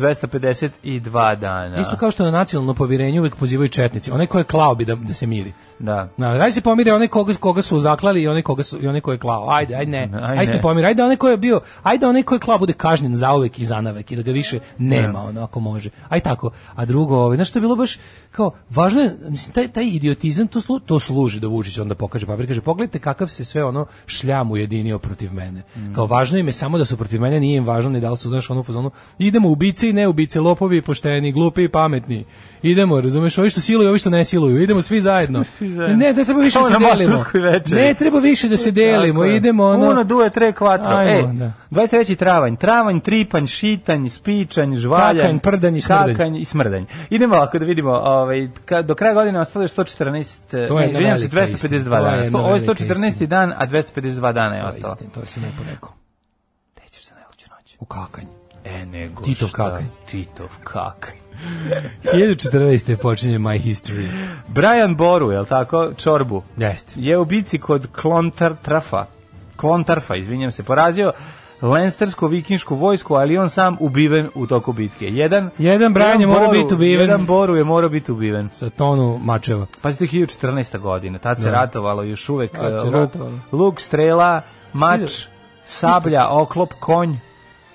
[SPEAKER 8] 252 dana.
[SPEAKER 9] Isto kao što na nacionalno povjerenje uvek pozivaju četnici, onaj ko je klao bi da, da se miri.
[SPEAKER 8] Da.
[SPEAKER 9] Na, daj se pomire onaj koga, koga su zaklali i onaj koga su i onaj ko je klao. Ajde, ajde ne.
[SPEAKER 8] Ajde
[SPEAKER 9] Ajde, se ne
[SPEAKER 8] ne.
[SPEAKER 9] pomire. Ajde onaj ko je bio, ajde onaj ko je klao bude kažnjen zauvek i zanavek i da ga više nema ono ako može. Aj tako. A drugo, ovaj znači što je bilo baš kao važno je mislim taj taj idiotizam to slu, to služi da Vučić onda pokaže papir kaže pogledajte kakav se sve ono šljam ujedinio protiv mene.
[SPEAKER 8] Mm.
[SPEAKER 9] Kao važno im je samo da su protiv mene, nije im važno ni da li su znaš ono u fazonu idemo ubice i ne ubice, lopovi, pošteni, glupi i pametni. Idemo, razumeš, ovi što siluju, ovi što ne siluju. Idemo svi zajedno.
[SPEAKER 8] zajedno.
[SPEAKER 9] Ne, ne treba više da
[SPEAKER 8] Kao
[SPEAKER 9] se
[SPEAKER 8] na
[SPEAKER 9] delimo.
[SPEAKER 8] maturskoj večeri.
[SPEAKER 9] Ne treba više da se delimo.
[SPEAKER 8] Tako je.
[SPEAKER 9] Idemo
[SPEAKER 8] Uno,
[SPEAKER 9] ono.
[SPEAKER 8] due, tre, kvatro.
[SPEAKER 9] Ajmo,
[SPEAKER 8] e,
[SPEAKER 9] da.
[SPEAKER 8] 23. travanj. Travanj, tripanj, šitanj, spičanj, žvaljanj.
[SPEAKER 9] Kakanj, prdanj i smrdanj.
[SPEAKER 8] Kakanj i smrdanj. Idemo ovako da vidimo. Ovaj, ka, do kraja godine ostalo je 114...
[SPEAKER 9] To je
[SPEAKER 8] ne,
[SPEAKER 9] jedna
[SPEAKER 8] izvinjam se,
[SPEAKER 9] velika istina.
[SPEAKER 8] 252
[SPEAKER 9] To je
[SPEAKER 8] dana.
[SPEAKER 9] jedna
[SPEAKER 8] Sto, ovo je
[SPEAKER 9] velika
[SPEAKER 8] 114. dan, a 252 dana je ostalo.
[SPEAKER 9] Istin, Pa to si lepo rekao.
[SPEAKER 8] Gde ćeš za najluđu noć?
[SPEAKER 9] U kakanj.
[SPEAKER 8] E, nego
[SPEAKER 9] Titov
[SPEAKER 8] šta?
[SPEAKER 9] kakanj.
[SPEAKER 8] Titov kakanj.
[SPEAKER 9] 2014. počinje My History.
[SPEAKER 8] Brian Boru, je li tako? Čorbu.
[SPEAKER 9] Jeste.
[SPEAKER 8] je u bici kod Klontar Trafa, Klontarfa, izvinjam se, porazio Lenstersku vikinšku vojsku, ali on sam ubiven u toku bitke. Jedan,
[SPEAKER 9] Jedan Brian je morao
[SPEAKER 8] Boru-
[SPEAKER 9] biti ubiven.
[SPEAKER 8] Jedan Boru je morao biti ubiven.
[SPEAKER 9] Sa tonu mačeva.
[SPEAKER 8] Pazite, 1014. godine, tad se ratovalo još uvek.
[SPEAKER 9] Tad se
[SPEAKER 8] e, luk-
[SPEAKER 9] ratovalo.
[SPEAKER 8] Luk, strela, mač, sablja, oklop, konj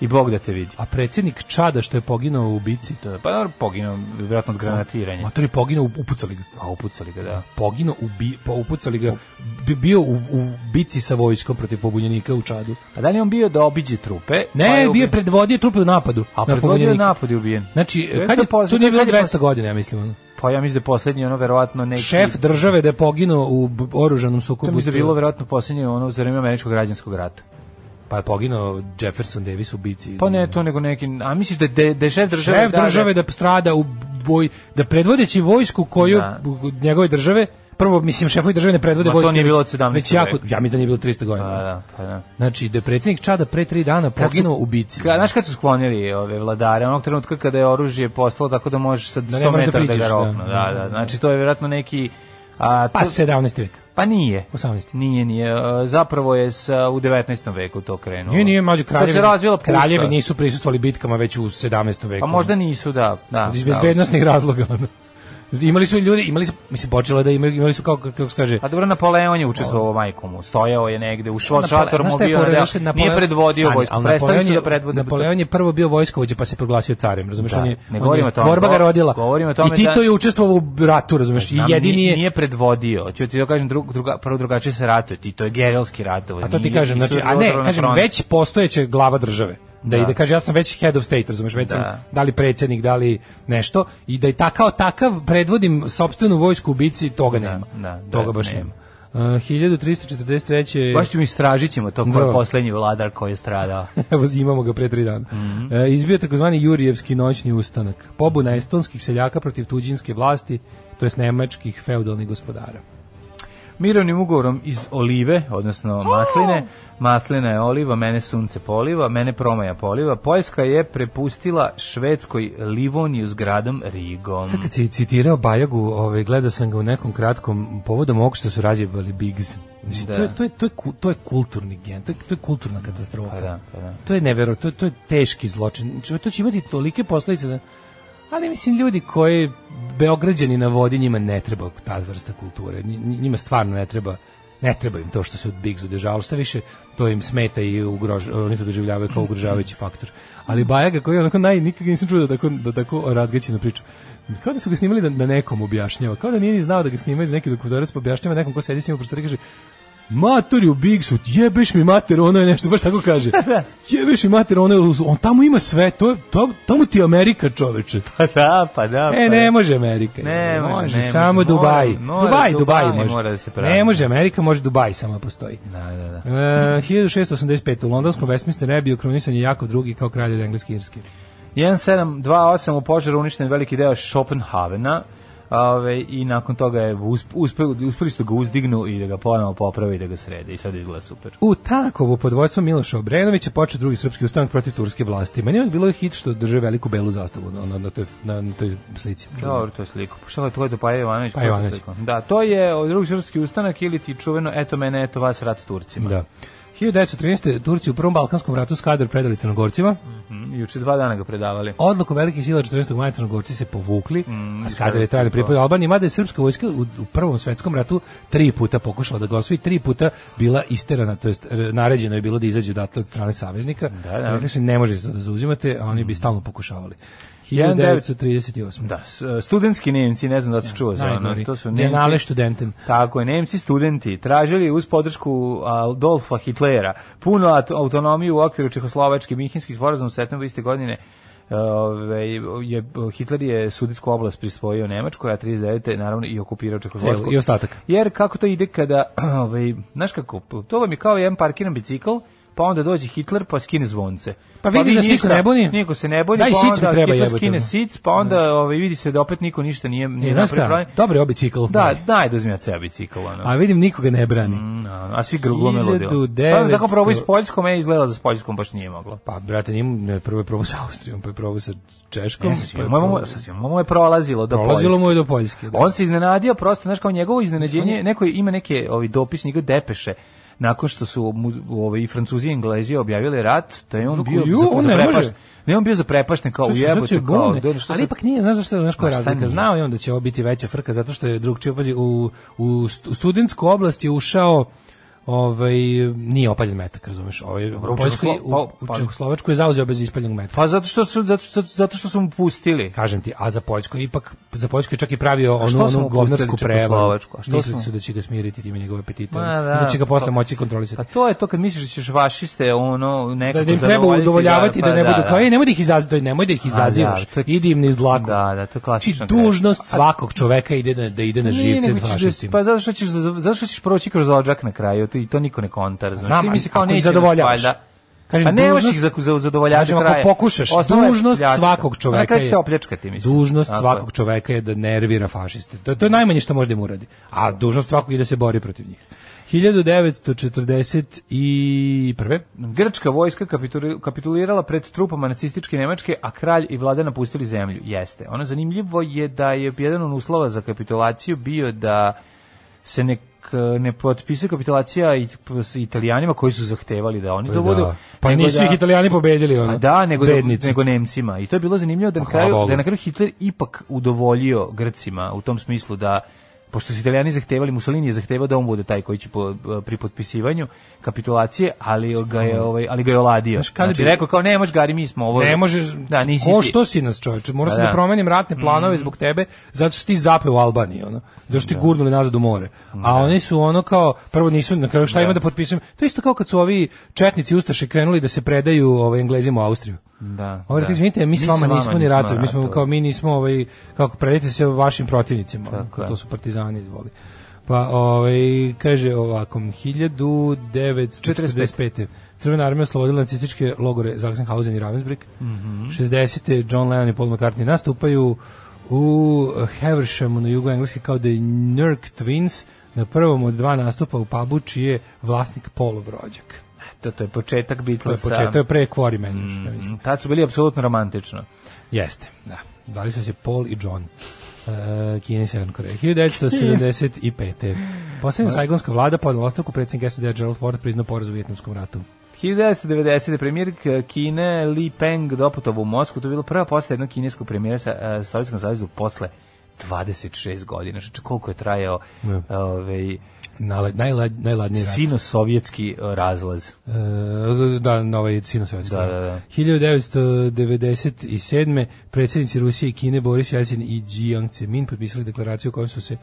[SPEAKER 8] i Bog da te vidi.
[SPEAKER 9] A predsjednik Čada što je poginuo u ubici.
[SPEAKER 8] Pa dobro, poginuo, vjerojatno od granatiranja.
[SPEAKER 9] Mator je poginuo, upucali ga.
[SPEAKER 8] Pa upucali ga, da.
[SPEAKER 9] Poginuo, ubi, pa upucali ga. Bi- Bio u, u bici sa vojskom protiv pobunjenika u Čadu.
[SPEAKER 8] A da li je on bio da obiđe trupe? pa
[SPEAKER 9] Ne, bio
[SPEAKER 8] ubijen?
[SPEAKER 9] je predvodio trupe u napadu.
[SPEAKER 8] A
[SPEAKER 9] na
[SPEAKER 8] predvodio je
[SPEAKER 9] pobunjenike.
[SPEAKER 8] napad i ubijen.
[SPEAKER 9] Znači,
[SPEAKER 8] To je
[SPEAKER 9] kad
[SPEAKER 8] to
[SPEAKER 9] je,
[SPEAKER 8] poz-
[SPEAKER 9] tu nije bilo
[SPEAKER 8] kad je poz-
[SPEAKER 9] 200 godina, ja mislim. ono.
[SPEAKER 8] Pa ja mislim da je poslednji ono verovatno neki
[SPEAKER 9] Šef države da je poginuo u b- oružanom
[SPEAKER 8] to
[SPEAKER 9] sukobu.
[SPEAKER 8] mislim da je bilo verovatno poslednje ono za vreme američkog građanskog rata.
[SPEAKER 9] Pa je poginuo Jefferson Davis u bici.
[SPEAKER 8] Pa ne to nego neki a misliš da da, da je šef države
[SPEAKER 9] Mm. šef
[SPEAKER 8] da,
[SPEAKER 9] države da strada u boj, da predvodeći vojsku koju
[SPEAKER 8] Da.
[SPEAKER 9] u- njegove države, prvo mislim šefovi države ne predvode
[SPEAKER 8] Ma to
[SPEAKER 9] vojsku.
[SPEAKER 8] nije
[SPEAKER 9] već-
[SPEAKER 8] bilo od 17.
[SPEAKER 9] Već jako,
[SPEAKER 8] veka.
[SPEAKER 9] ja mislim da nije bilo 300
[SPEAKER 8] Pa
[SPEAKER 9] godina.
[SPEAKER 8] da, pa da.
[SPEAKER 9] Znači, da je predsjednik Čada pre tri dana
[SPEAKER 8] Kad su-
[SPEAKER 9] poginuo u bici.
[SPEAKER 8] Ka, znaš kad su sklonili ove vladare, onog trenutka kada je oružje postalo tako da možeš sa 100
[SPEAKER 9] ne možeš da
[SPEAKER 8] metara da,
[SPEAKER 9] priđeš,
[SPEAKER 8] ga
[SPEAKER 9] da.
[SPEAKER 8] roknu. Da, da, Znači to je verovatno neki a,
[SPEAKER 9] pa
[SPEAKER 8] to-
[SPEAKER 9] 17. vek.
[SPEAKER 8] pa nije.
[SPEAKER 9] 18..
[SPEAKER 8] Nije, nije. E, Zapravo je sa, u 19. veku to krenulo.
[SPEAKER 9] Nije, nije, mađu
[SPEAKER 8] Kad se
[SPEAKER 9] kraljevi,
[SPEAKER 8] razvila puška.
[SPEAKER 9] kraljevi nisu prisustvovali bitkama već u 17. veku.
[SPEAKER 8] Pa možda nisu, da. da
[SPEAKER 9] Iz
[SPEAKER 8] pravo si.
[SPEAKER 9] bezbednostnih razloga. ono. Imali su ljudi, imali su, mislim, počelo je da imaju, imali su kao, kako se kaže,
[SPEAKER 8] A Pa dobro, Napoleon je učestvovao majkomu. Stojao je negde, ušao
[SPEAKER 9] Napole-
[SPEAKER 8] šator
[SPEAKER 9] znaš
[SPEAKER 8] mu
[SPEAKER 9] šta je
[SPEAKER 8] bio
[SPEAKER 9] fora?
[SPEAKER 8] na deo.
[SPEAKER 9] Znaš šta je
[SPEAKER 8] Nije
[SPEAKER 9] Napoleon-
[SPEAKER 8] predvodio
[SPEAKER 9] Stani,
[SPEAKER 8] vojsku.
[SPEAKER 9] ali
[SPEAKER 8] Prestali su
[SPEAKER 9] Napoleon
[SPEAKER 8] da
[SPEAKER 9] je-
[SPEAKER 8] predvode.
[SPEAKER 9] Napoleon je prvo bio vojskovođa pa se proglasio carem, razumeš?
[SPEAKER 8] Da,
[SPEAKER 9] on je,
[SPEAKER 8] ne
[SPEAKER 9] on
[SPEAKER 8] govorimo
[SPEAKER 9] je-
[SPEAKER 8] o tome,
[SPEAKER 9] Borba ga
[SPEAKER 8] go-
[SPEAKER 9] rodila.
[SPEAKER 8] govorimo o tome
[SPEAKER 9] I Tito
[SPEAKER 8] da-
[SPEAKER 9] je učestvovao u ratu, razumeš? I
[SPEAKER 8] Nam
[SPEAKER 9] jedini
[SPEAKER 8] nije,
[SPEAKER 9] je...
[SPEAKER 8] nije predvodio. Ću ti to kažem, drug, druga, prvo drugačije se ratuje. Ti to je gerilski ratovi.
[SPEAKER 9] Pa to ti
[SPEAKER 8] Nije-
[SPEAKER 9] kažem,
[SPEAKER 8] nisu
[SPEAKER 9] znači, a ne,
[SPEAKER 8] otrovna
[SPEAKER 9] kažem,
[SPEAKER 8] fronta.
[SPEAKER 9] već postojeće glava države. Da, i da kaže, ja sam već head of state, razumeš, već sam
[SPEAKER 8] Da.
[SPEAKER 9] da li predsednik, da li nešto, i da i ta kao takav predvodim sopstvenu vojsku u bici, toga nema.
[SPEAKER 8] da, da,
[SPEAKER 9] toga baš
[SPEAKER 8] nema.
[SPEAKER 9] nema. Uh, 1343.
[SPEAKER 8] Baš ćemo istražit ćemo to ko je
[SPEAKER 9] Da.
[SPEAKER 8] poslednji vladar koji je stradao.
[SPEAKER 9] Evo, imamo ga pre tri dana.
[SPEAKER 8] Mhm.
[SPEAKER 9] e, izbio takozvani Jurijevski noćni ustanak. Pobuna estonskih seljaka protiv tuđinske vlasti, to jest nemačkih feudalnih gospodara.
[SPEAKER 8] Mirovnim ugovorom iz olive,
[SPEAKER 9] Oh!
[SPEAKER 8] odnosno masline, maslina je oliva, mene sunce poliva, mene promaja poliva, Poljska je prepustila Švedskoj Livoniju s gradom Rigom.
[SPEAKER 9] Sad kad si citirao Bajagu, ovaj, gledao sam ga u nekom kratkom povodom ovog što su razjebali Biggs. Znači,
[SPEAKER 8] Da.
[SPEAKER 9] to, je, to, je, to, je, ku- to je kulturni gen, to je, to je kulturna katastrofa.
[SPEAKER 8] Pa da, pa da.
[SPEAKER 9] To je nevero, to, to je teški zločin. Znači, To će imati tolike posledice da... Ali mislim, ljudi koji Beograđani na vodi, njima ne treba ta vrsta kulture. Nj- Njima stvarno ne treba ne treba im to što se od Biggs udržavalo, šta više, to im smeta i ugrož, oni to doživljavaju kao ugrožavajući faktor. Ali Bajaga koji je onako naj, nikad nisam čuo da tako, da tako razgaćeno priča. Kao da su ga snimali da, da nekom objašnjava, kao da nije ni znao da ga snimaju iz neki dokumentarac, pa objašnjava nekom ko sedi s njim u prostoriji i kaže, Matori u Bigsu, jebeš mi mater, ono je nešto, baš tako kaže. jebeš mi mater, ono je, luz- on tamo ima sve, to je, to, tamo ti je Amerika čoveče.
[SPEAKER 8] Pa da, pa da. pa
[SPEAKER 9] E,
[SPEAKER 8] da.
[SPEAKER 9] ne može Amerika.
[SPEAKER 8] Ne može,
[SPEAKER 9] može,
[SPEAKER 8] ne može.
[SPEAKER 9] samo
[SPEAKER 8] Mora-
[SPEAKER 9] Dubai.
[SPEAKER 8] mora
[SPEAKER 9] Dubai, Dubai,
[SPEAKER 8] Dubai
[SPEAKER 9] može.
[SPEAKER 8] mora da se pravi.
[SPEAKER 9] ne može Amerika, može Dubai samo da postoji.
[SPEAKER 8] Da, da, da.
[SPEAKER 9] E, 1685. u londonskom Westminster Abbey kronisan je Jakov II kao kralj od engleske i irske.
[SPEAKER 8] 1728 u požaru uništen veliki deo Schopenhavena. Ove, i nakon toga je usp, uspe, uspeli su da ga uzdignu i da ga ponovo poprave i da ga srede i sad izgleda super.
[SPEAKER 9] U Takovu pod vojstvom Miloša Obrenovića počeo drugi srpski ustanak protiv turske vlasti. Meni je uvijek bilo hit što drže veliku belu zastavu na, na, na, toj, na, na toj slici.
[SPEAKER 8] Dobro, to je sliku. Šta je to je to Paja Ivanović?
[SPEAKER 9] Paja Ivanović.
[SPEAKER 8] Sliku. Da, to je o, drugi srpski ustanak ili ti čuveno eto mene, eto vas rat s Turcima.
[SPEAKER 9] Da. 1913. Turci u Prvom Balkanskom ratu skadar predali Crnogorcima.
[SPEAKER 8] Mhm, Juče dva dana ga predavali.
[SPEAKER 9] Odluku velikih sila 14. maja Crnogorci se povukli,
[SPEAKER 8] Mm,
[SPEAKER 9] a skadar je trajno pripojio Albaniji, mada je srpska vojska u, u Prvom svetskom ratu tri puta pokušala da ga osvoji, tri puta bila isterana, to jest r- naređeno je bilo da izađe odatle od strane saveznika.
[SPEAKER 8] Da, da.
[SPEAKER 9] Rekli su ne možete to da zauzimate, a oni bi stalno pokušavali. 1938.
[SPEAKER 8] Da, s- studentski Nemci, ne znam da li si čuo za ono.
[SPEAKER 9] Najgori.
[SPEAKER 8] To su
[SPEAKER 9] Biennale
[SPEAKER 8] Nemci.
[SPEAKER 9] studenten.
[SPEAKER 8] Tako je, Nemci studenti tražili uz podršku Adolfa Hitlera puno at- autonomiju u okviru Čehoslovačke Minhenskih sporazum u septembru iste godine e, Ove, je, Hitler je sudetsku oblast prisvojio Nemačkoj, a 39. naravno i okupirao Čehoslovačku.
[SPEAKER 9] Celo- i ostatak.
[SPEAKER 8] Jer kako to ide kada, ovaj, znaš kako, to vam je kao jedan parkiran bicikl, pa onda dođe Hitler pa skine zvonce.
[SPEAKER 9] Pa vidi
[SPEAKER 8] vi
[SPEAKER 9] da se niko
[SPEAKER 8] ništa-
[SPEAKER 9] ne buni.
[SPEAKER 8] Niko se ne buni,
[SPEAKER 9] Da, i
[SPEAKER 8] pa
[SPEAKER 9] sic mi
[SPEAKER 8] onda
[SPEAKER 9] treba
[SPEAKER 8] Hitler
[SPEAKER 9] jebote,
[SPEAKER 8] skine
[SPEAKER 9] ono.
[SPEAKER 8] sic, pa onda ovaj, vidi se da opet niko ništa nije,
[SPEAKER 9] E,
[SPEAKER 8] nije
[SPEAKER 9] znaš
[SPEAKER 8] napravio
[SPEAKER 9] šta,
[SPEAKER 8] problem.
[SPEAKER 9] dobro je obicikl.
[SPEAKER 8] Da, Mm. daj da uzmi ja ceo bicikl, ono.
[SPEAKER 9] A vidim nikoga ne brani.
[SPEAKER 8] No, a svi glome ludilo.
[SPEAKER 9] 1900
[SPEAKER 8] Pa onda tako probao i s Poljskom, meni izgledala za s Poljskom, baš nije moglo.
[SPEAKER 9] Pa, brate, njim, ne, prvo je probao sa Austrijom, pa je probao sa Češkom.
[SPEAKER 8] Moje,
[SPEAKER 9] pa je
[SPEAKER 8] moje,
[SPEAKER 9] probao-
[SPEAKER 8] moje prolazilo do
[SPEAKER 9] Prolazilo
[SPEAKER 8] Poljske.
[SPEAKER 9] mu je do Poljske. da.
[SPEAKER 8] On se iznenadio, prosto, znaš, kao njegovo iznenađenje, neko je- ima neke ovi dopis, njegove depeše, nakon što su mu, ovaj, i Francuzi i Englezi objavili rat, da je on bio
[SPEAKER 9] ju,
[SPEAKER 8] za,
[SPEAKER 9] on
[SPEAKER 8] za
[SPEAKER 9] ne može.
[SPEAKER 8] prepašten. Ne, on bio za prepašten, kao
[SPEAKER 9] To su
[SPEAKER 8] Pa ujebote,
[SPEAKER 9] sad
[SPEAKER 8] kao,
[SPEAKER 9] sigurne,
[SPEAKER 8] do- što
[SPEAKER 9] ali
[SPEAKER 8] sad-
[SPEAKER 9] ipak nije, znaš zašto, znaš koja je
[SPEAKER 8] Ma, šta
[SPEAKER 9] razlika,
[SPEAKER 8] nije?
[SPEAKER 9] znao je on da će ovo biti veća frka, zato što je drug pazi, u, u, st- u studentsku oblast je ušao ovaj nije opaljen metak, razumeš? Ovaj
[SPEAKER 8] Dobro, u
[SPEAKER 9] u Poljskoj u,
[SPEAKER 8] Čehoslo- pa-
[SPEAKER 9] u
[SPEAKER 8] pa-
[SPEAKER 9] Čehoslovačkoj je zauzeo bez ispaljenog metka.
[SPEAKER 8] Pa zato što su, zato što, zato što su mu pustili.
[SPEAKER 9] Kažem ti, a za Poljsku je ipak za Poljsku je čak i pravio
[SPEAKER 8] što
[SPEAKER 9] onu,
[SPEAKER 8] su
[SPEAKER 9] onu
[SPEAKER 8] mu pustili
[SPEAKER 9] govnarsku prevaru.
[SPEAKER 8] Čehoslovačku? A što su
[SPEAKER 9] Mislili
[SPEAKER 8] mu-
[SPEAKER 9] su da će ga smiriti time njegove apetite.
[SPEAKER 8] Ma,
[SPEAKER 9] da,
[SPEAKER 8] da,
[SPEAKER 9] će ga posle
[SPEAKER 8] pa-
[SPEAKER 9] moći kontrolisati.
[SPEAKER 8] Pa to je to kad misliš da ćeš vašiste, ono, nekako
[SPEAKER 9] da, da im treba
[SPEAKER 8] zadovoljiti,
[SPEAKER 9] udovoljavati da,
[SPEAKER 8] pa
[SPEAKER 9] ne budu kao "Ej, nemoj da ih izazivaš, nemoj da ih izazivaš.
[SPEAKER 8] da, to je-
[SPEAKER 9] idi im niz dlaku.
[SPEAKER 8] Da, da, to je klasična
[SPEAKER 9] Znači, dužnost svakog čoveka ide na, da ide na
[SPEAKER 8] Nije,
[SPEAKER 9] živce
[SPEAKER 8] nego ćeš da-
[SPEAKER 9] fašistima.
[SPEAKER 8] Pa zato što ćeš, zato što ćeš proći kroz odžak na kraju, to, i to niko ne kontar. Znaš,
[SPEAKER 9] Znam,
[SPEAKER 8] Ti misli
[SPEAKER 9] ali
[SPEAKER 8] kao
[SPEAKER 9] ako ih
[SPEAKER 8] neće nas
[SPEAKER 9] zadovoljavaš.
[SPEAKER 8] valjda.
[SPEAKER 9] Kažem,
[SPEAKER 8] pa nemaš
[SPEAKER 9] dužnost-
[SPEAKER 8] ih za, za zadovoljavaš
[SPEAKER 9] Kažem,
[SPEAKER 8] do kraja.
[SPEAKER 9] ako pokušaš,
[SPEAKER 8] Osnova je
[SPEAKER 9] dužnost
[SPEAKER 8] pljačka.
[SPEAKER 9] svakog
[SPEAKER 8] Pa na
[SPEAKER 9] čoveka
[SPEAKER 8] kraju ćeš
[SPEAKER 9] je,
[SPEAKER 8] te opljačkati, mislim.
[SPEAKER 9] dužnost
[SPEAKER 8] Tako je.
[SPEAKER 9] svakog čoveka je da nervira fašiste. To, to je najmanje što može da im uradi. A dužnost svakog je da se bori protiv njih. 1941.
[SPEAKER 8] Grčka vojska kapituli- kapitulirala pred trupama nacističke Nemačke, a kralj i vlada napustili zemlju. Jeste. Ono zanimljivo je da je jedan od uslova za kapitulaciju bio da se ne ne potpisuje kapitulacija i s Italijanima koji su zahtevali da oni to budu.
[SPEAKER 9] Pa
[SPEAKER 8] nego
[SPEAKER 9] nisu
[SPEAKER 8] da-
[SPEAKER 9] ih Italijani pobedili, ono.
[SPEAKER 8] a da, nego,
[SPEAKER 9] Bednici.
[SPEAKER 8] nego Nemcima. I to je bilo zanimljivo da, na
[SPEAKER 9] Pa,
[SPEAKER 8] kraju,
[SPEAKER 9] hvala Bogu.
[SPEAKER 8] da je na kraju Hitler ipak udovoljio Grcima u tom smislu da pošto su Italijani zahtevali, Mussolini je zahtevao da on bude taj koji će po, eh, pri potpisivanju kapitulacije, ali ga je, ovaj, ali ga je oladio.
[SPEAKER 9] Znaš, kada
[SPEAKER 8] Znači,
[SPEAKER 9] bi-
[SPEAKER 8] rekao kao, ne možeš, Gari, mi smo ovo...
[SPEAKER 9] Ne možeš,
[SPEAKER 8] Da, nisi
[SPEAKER 9] ko
[SPEAKER 8] ti.
[SPEAKER 9] što si nas čovječe, morao
[SPEAKER 8] Pa
[SPEAKER 9] sam da,
[SPEAKER 8] da.
[SPEAKER 9] promenim ratne planove zbog tebe, zato što si ti zape u Albaniji, ono, zato što ti gurnuli nazad u more. A oni su ono kao, prvo nisu, na kraju šta ima da potpisujem, to je isto kao kad su ovi četnici Ustaše krenuli da se predaju ovaj, Englezima u Austriju.
[SPEAKER 8] Da,
[SPEAKER 9] Ovo rekli,
[SPEAKER 8] da.
[SPEAKER 9] izvinite, mi s
[SPEAKER 8] Mi sa
[SPEAKER 9] vama
[SPEAKER 8] vama
[SPEAKER 9] nismo ni
[SPEAKER 8] nismo
[SPEAKER 9] ratovi, mi smo
[SPEAKER 8] ratovali.
[SPEAKER 9] kao mi nismo ovaj kako predajte se vašim protivnicima, ono,
[SPEAKER 8] Tako je.
[SPEAKER 9] to su partizani izvoli. Pa ovaj kaže ovako 1945. Crvena armija oslobodila nacističke logore Sachsenhausen i Ravensbrück. Mm 60. John Lennon i Paul McCartney nastupaju u Havershamu na jugu Engleske kao The Nurk Twins na prvom od dva nastupa u pubu čiji je vlasnik Paulov rođak.
[SPEAKER 8] To, to je početak
[SPEAKER 9] To je Mhm.
[SPEAKER 8] Beatlesa.
[SPEAKER 9] početak, to je pre Quarrymen. još, ja mislim.
[SPEAKER 8] Mm, Tad su bili apsolutno romantično.
[SPEAKER 9] Jeste, da. Dali su se Paul i John. Uh, Kina i Severna Koreja. 1975. Poslednja sajgonska vlada podala ostavku predsjednik SED Gerald Ford priznao poraz u Vjetnamskom ratu.
[SPEAKER 8] 1990. premijer K- Kine Li Peng doputovao u Moskvu, to je bilo prva posle jednog kineskog premijera sa e, Sovjetskom savezu posle 26 godina. Znači koliko je trajao
[SPEAKER 9] Ne.
[SPEAKER 8] ovaj
[SPEAKER 9] Nale, najlad, najladniji rat.
[SPEAKER 8] sino-sovjetski e, razlaz.
[SPEAKER 9] E, da, na ovaj sinosovjetski.
[SPEAKER 8] Da, da, da.
[SPEAKER 9] 1997. predsjednici Rusije i Kine Boris Jelcin i Jiang Zemin potpisali deklaraciju u kojoj su se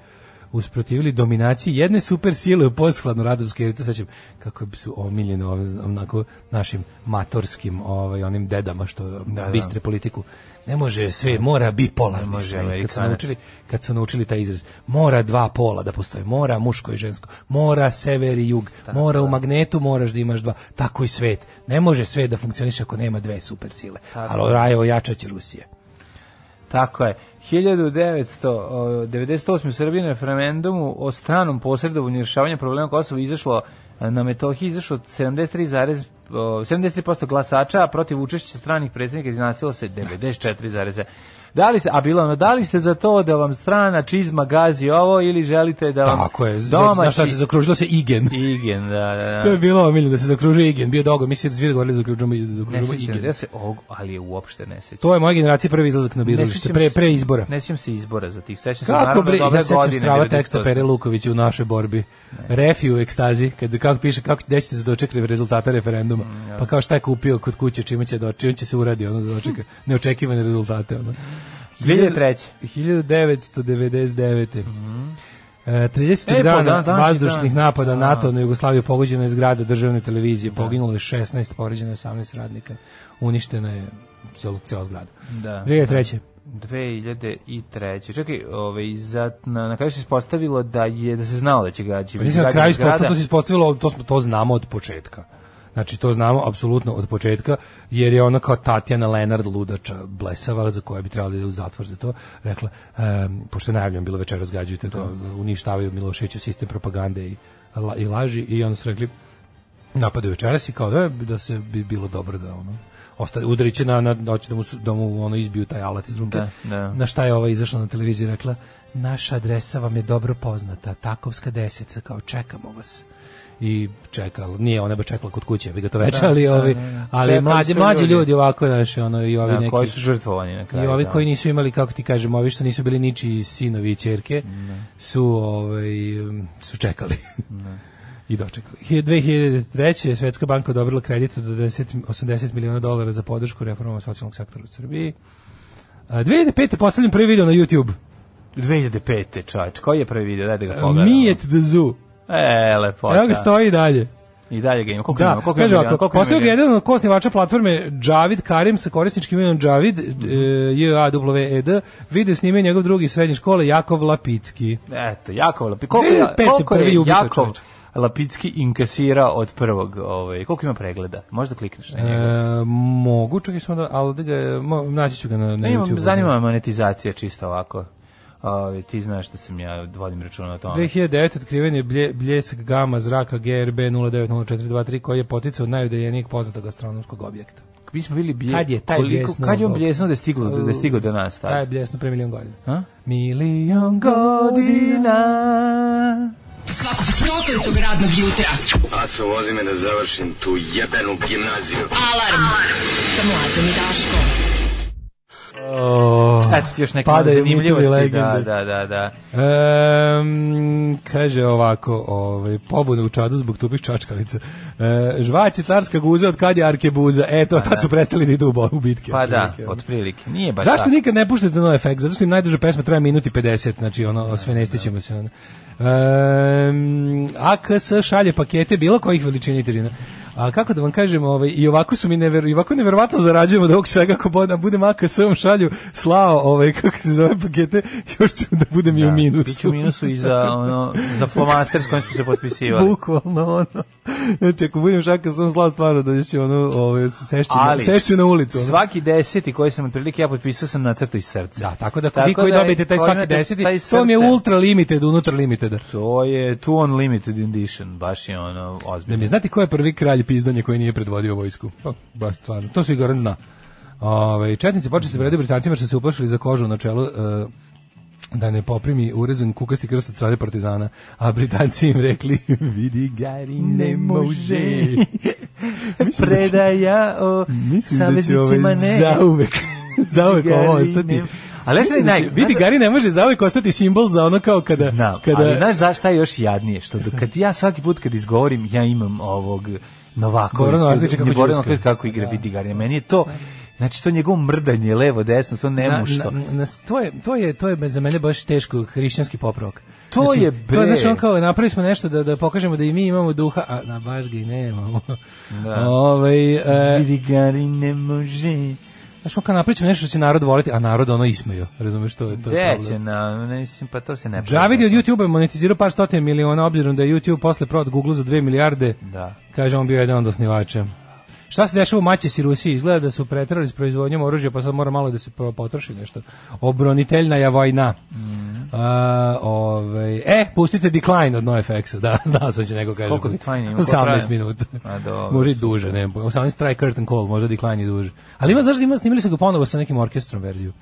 [SPEAKER 9] usprotivili dominaciji jedne super sile u poshladno radovskoj, jer to sećam kako su omiljene ove, onako našim matorskim ovaj, onim dedama što bistre politiku. Ne može sve, mora bipolarni
[SPEAKER 8] može
[SPEAKER 9] svet. Kad su,
[SPEAKER 8] Amerikanac.
[SPEAKER 9] naučili, kad su naučili taj izraz, mora dva pola da postoje, mora muško i žensko, mora sever i jug, mora u magnetu moraš da imaš dva, tako i svet. Ne može sve da funkcioniše ako nema dve super sile. Ali Rajevo jača će Rusije.
[SPEAKER 8] Tako je. 1998. u Srbiji na referendumu o stranom posredovanju i rješavanju problema Kosova izašlo e, na Metohiji izašlo 73, o, 73% glasača, a protiv učešća stranih predsjednika iznasilo se 94,7. Da li ste, a bilo je ono, da li ste za to da vam strana čizma gazi ovo ili želite da vam
[SPEAKER 9] Tako je, domaći...
[SPEAKER 8] domaći...
[SPEAKER 9] Znaš šta se zakružilo se Igen.
[SPEAKER 8] Igen, da, da, da.
[SPEAKER 9] To je bilo omiljeno da se zakruži Igen, bio dogo, mi se svi govorili da zakružujemo da
[SPEAKER 8] Ne
[SPEAKER 9] zakružujemo
[SPEAKER 8] sjećam se,
[SPEAKER 9] Igen.
[SPEAKER 8] ja se ovog, ali je uopšte ne sjećam.
[SPEAKER 9] To je moja generacija prvi izlazak na
[SPEAKER 8] Ne
[SPEAKER 9] biralište,
[SPEAKER 8] sjećam
[SPEAKER 9] pre,
[SPEAKER 8] se-
[SPEAKER 9] pre izbora.
[SPEAKER 8] Ne sjećam se izbora za tih. Sećam se
[SPEAKER 9] Kako
[SPEAKER 8] naravno
[SPEAKER 9] bre,
[SPEAKER 8] dobre
[SPEAKER 9] ja sećam
[SPEAKER 8] godine,
[SPEAKER 9] strava teksta
[SPEAKER 8] 98.
[SPEAKER 9] Pere Lukovića u našoj borbi. Refi u ekstazi, kad kako piše kako dećete za doček rezultata referenduma.
[SPEAKER 8] Mm,
[SPEAKER 9] Pa kao šta je kupio kod kuće, čime će doći, on će se uradi ono da dočeka neočekivane rezultate ono.
[SPEAKER 8] 2003.
[SPEAKER 9] 1999. E, 30.
[SPEAKER 8] Mhm. E, pa
[SPEAKER 9] dana
[SPEAKER 8] dan- današnji
[SPEAKER 9] vazdušnih
[SPEAKER 8] dan.
[SPEAKER 9] napada NATO na Jugoslaviju pogođena je zgrada državne televizije, poginulo je 16, poređeno je 18 radnika, uništena je cel- cela zgrada.
[SPEAKER 8] Da.
[SPEAKER 9] 2003.
[SPEAKER 8] 2003. Čekaj, ovaj, za, na, na kraju se ispostavilo da je da se znalo da će gađi.
[SPEAKER 9] Pa Mislim, na kraju ispostavilo, to se ispostavilo, to, smo, to znamo od početka. Znači, to znamo apsolutno od početka, jer je ona kao Tatjana Lenard Ludača Blesava, za koja bi trebala da ide u zatvor za to, rekla, em, pošto je najavljeno bilo večeras gađujete to, uništavaju Miloševiću sistem propagande i, la- i laži, i onda su rekli, napadaju večeras i kao da, da se bi bilo dobro da ono, ostane, udarit će na, na doći da mu, su- da mu ono izbiju taj alat iz ruke.
[SPEAKER 8] Da, da.
[SPEAKER 9] Na šta je ova izašla na televiziju i rekla naša adresa vam je dobro poznata, Takovska 10, kao čekamo vas i čekala, nije ona ba čekala kod kuće, bi ga to već, ali, ovi, ali
[SPEAKER 8] Čekali
[SPEAKER 9] mlađi,
[SPEAKER 8] su
[SPEAKER 9] mlađi
[SPEAKER 8] ljudi.
[SPEAKER 9] ljudi ovako, znaš, ono, i ovi
[SPEAKER 8] Da,
[SPEAKER 9] neki...
[SPEAKER 8] koji su žrtvovani na kraju.
[SPEAKER 9] I ovi
[SPEAKER 8] da.
[SPEAKER 9] koji nisu imali, kako ti kažem, ovi što nisu bili ničiji sinovi i čerke, su, ovaj, um, su čekali. I dočekali. Hi- 2003. Svetska banka odobrila kredit od 10 80 miliona dolara za podršku reformama socijalnog sektora u Srbiji. A, 2005. postavljam prvi video na YouTube.
[SPEAKER 8] 2005. čovječ, koji je prvi video? Daj da ga E, pogledamo.
[SPEAKER 9] Mi at the zoo.
[SPEAKER 8] E, lepota.
[SPEAKER 9] E, Evo ga stoji i dalje.
[SPEAKER 8] I dalje ga ima. Koliko
[SPEAKER 9] Da,
[SPEAKER 8] ima? Koliko
[SPEAKER 9] kaže
[SPEAKER 8] ima?
[SPEAKER 9] ovako,
[SPEAKER 8] koliko ima
[SPEAKER 9] postao ga
[SPEAKER 8] miliona?
[SPEAKER 9] jedan od kosnivača platforme Javid Karim sa korisničkim imenom Javid,
[SPEAKER 8] Mhm.
[SPEAKER 9] e, J-A-W-E-D, video snimio njegov drugi iz srednje škole, Jakov Lapicki.
[SPEAKER 8] Eto, Jakov Lapicki. Koliko, je-
[SPEAKER 9] 2005.
[SPEAKER 8] koliko
[SPEAKER 9] prvi
[SPEAKER 8] je
[SPEAKER 9] ubito,
[SPEAKER 8] Jakov
[SPEAKER 9] čovječ.
[SPEAKER 8] Lapicki inkasirao od prvog? Ovaj, koliko ima pregleda? Možda klikneš na njega.
[SPEAKER 9] E, mogu, čekaj samo da, ali da ga, mo, naći ću ga na, na
[SPEAKER 8] Ne, imam,
[SPEAKER 9] YouTube.
[SPEAKER 8] zanima me monetizacija čisto ovako. Ovaj, ti znaš da sam ja vodim računa o tome.
[SPEAKER 9] 2009. otkriven je blje, bljesak gama zraka GRB 090423 koji je poticao od najudaljenijeg poznatog astronomskog objekta.
[SPEAKER 8] Mi smo bili bije,
[SPEAKER 9] Kad je taj bljesnuo?
[SPEAKER 8] Kad je on bljesnuo da je stiglo, da je stiglo do nas
[SPEAKER 9] Taj je
[SPEAKER 8] tad?
[SPEAKER 9] bljesno pre milion godina.
[SPEAKER 8] A?
[SPEAKER 9] Milion godina.
[SPEAKER 8] Godina
[SPEAKER 6] prokletog radnog jutra.
[SPEAKER 7] Aco, vozi me da završim tu jebenu gimnaziju.
[SPEAKER 6] Alarm, sa mlađom i Daškom.
[SPEAKER 9] Oh.
[SPEAKER 8] Eto ti još neke
[SPEAKER 9] Padaju
[SPEAKER 8] zanimljivosti.
[SPEAKER 9] mitovi
[SPEAKER 8] Da,
[SPEAKER 9] legende.
[SPEAKER 8] da, da, da.
[SPEAKER 9] Ehm, kaže ovako, ovaj, pobune u čadu zbog tupih čačkalica. E, žvać je carska guza, od kad je arkebuza? Eto, tad su prestali da idu u, bo- u bitke.
[SPEAKER 8] Pa da,
[SPEAKER 9] otprilike. ono.
[SPEAKER 8] otprilike. Nije baš
[SPEAKER 9] Zašto
[SPEAKER 8] tako.
[SPEAKER 9] nikad ne puštate no efekt? Zato što im najduža pesma traje minuti 50, znači ono, sve ne stićemo se. Ono. Um, AKS šalje pakete bilo kojih veličina i težina. A kako da vam kažem, ovaj, i ovako su mi never, i ovako neverovatno zarađujemo da ovog svega ako bodam, budem AKS-om šalju slao ovaj, kako se zove pakete, još ću da budem i u minusu.
[SPEAKER 8] Biću u minusu i za, ono, za flomaster s kojim smo se potpisivali.
[SPEAKER 9] Bukvalno ono. Znači, ako budem šaka sam slao stvarno da će ono, ovaj, se sešću, na,
[SPEAKER 8] Ali
[SPEAKER 9] sešću na ulicu. Ono.
[SPEAKER 8] Svaki deseti koji sam otprilike ja potpisao sam na crtu iz srca.
[SPEAKER 9] Da, tako da vi koji dobijete taj
[SPEAKER 8] koji
[SPEAKER 9] svaki
[SPEAKER 8] imate
[SPEAKER 9] deseti,
[SPEAKER 8] taj
[SPEAKER 9] to mi je
[SPEAKER 8] srce,
[SPEAKER 9] ultra limited, unutra limited.
[SPEAKER 8] To je tu on limited edition, baš je ono
[SPEAKER 9] Da mi
[SPEAKER 8] ozbiljno.
[SPEAKER 9] znate ko je prvi kralj pizdanja koji nije predvodio vojsku? Pa, baš stvarno, to su i Goran zna. Ove, četnici počeli se vrede Britancima što se uplašili za kožu na čelu, e, da ne poprimi urezan kukasti krst od strane partizana, a Britanci im rekli, vidi Gari ne može. Mislim da će-
[SPEAKER 8] Predaja o
[SPEAKER 9] Mislim da će ovaj
[SPEAKER 8] saveznicima ne.
[SPEAKER 9] zauvek, zauvek
[SPEAKER 8] Gari
[SPEAKER 9] ovo ostati.
[SPEAKER 8] ne- Ali znaš šta je
[SPEAKER 9] Mislim da će-
[SPEAKER 8] naj-
[SPEAKER 9] Vidi,
[SPEAKER 8] znaš-
[SPEAKER 9] Gari ne može zauvek ostati simbol za ono kao kada...
[SPEAKER 8] Znam,
[SPEAKER 9] kada
[SPEAKER 8] ali znaš zašto šta je još jadnije? Što do, kad ja svaki put kad izgovorim, ja imam ovog Novakovića.
[SPEAKER 9] Goran Novakovića kako
[SPEAKER 8] ne, Goran
[SPEAKER 9] đuska.
[SPEAKER 8] Novaković kako igra vidi Garina. Meni je to, znači to njegovo mrdanje levo, desno, to
[SPEAKER 9] Na-
[SPEAKER 8] nemušto.
[SPEAKER 9] na- na- to je to je to je za mene baš teško hrišćanski popravak.
[SPEAKER 8] To je
[SPEAKER 9] To
[SPEAKER 8] bre.
[SPEAKER 9] znači on kao napravili smo nešto da da pokažemo da i mi imamo duha, a na baš ga i nemamo. Da. Ovaj e,
[SPEAKER 8] Vidi Garin ne može.
[SPEAKER 9] znači on kao napravićemo nešto što će narod voliti, a narod ono ismeju. Razumeš to je to je
[SPEAKER 8] Gde će
[SPEAKER 9] problem.
[SPEAKER 8] na, ne mislim, pa to se ne pravi.
[SPEAKER 9] Javidi od YouTube-a je monetizirao par stotina miliona obzirom da je YouTube posle prod Google za 2 milijarde.
[SPEAKER 8] Da.
[SPEAKER 9] Kaže on bio jedan od osnivača. Šta se dešava u Maćesi i Rusiji? Izgleda da su preterali s proizvodnjom oružja, pa sad mora malo da se po- potroši nešto. Obroniteljna je vojna.
[SPEAKER 8] Mhm.
[SPEAKER 9] A, ovaj, e, pustite Decline od NoFX-a, da, znao sam da će neko kaže.
[SPEAKER 8] Koliko Decline ima? Ko
[SPEAKER 9] 18
[SPEAKER 8] traje?
[SPEAKER 9] minuta.
[SPEAKER 8] A, dobro.
[SPEAKER 9] Može i duže, ne, znam, 18 try curtain call, možda Decline i duže. Ali ima, zašto ima, snimili su ga ponovo sa nekim orkestrom verziju.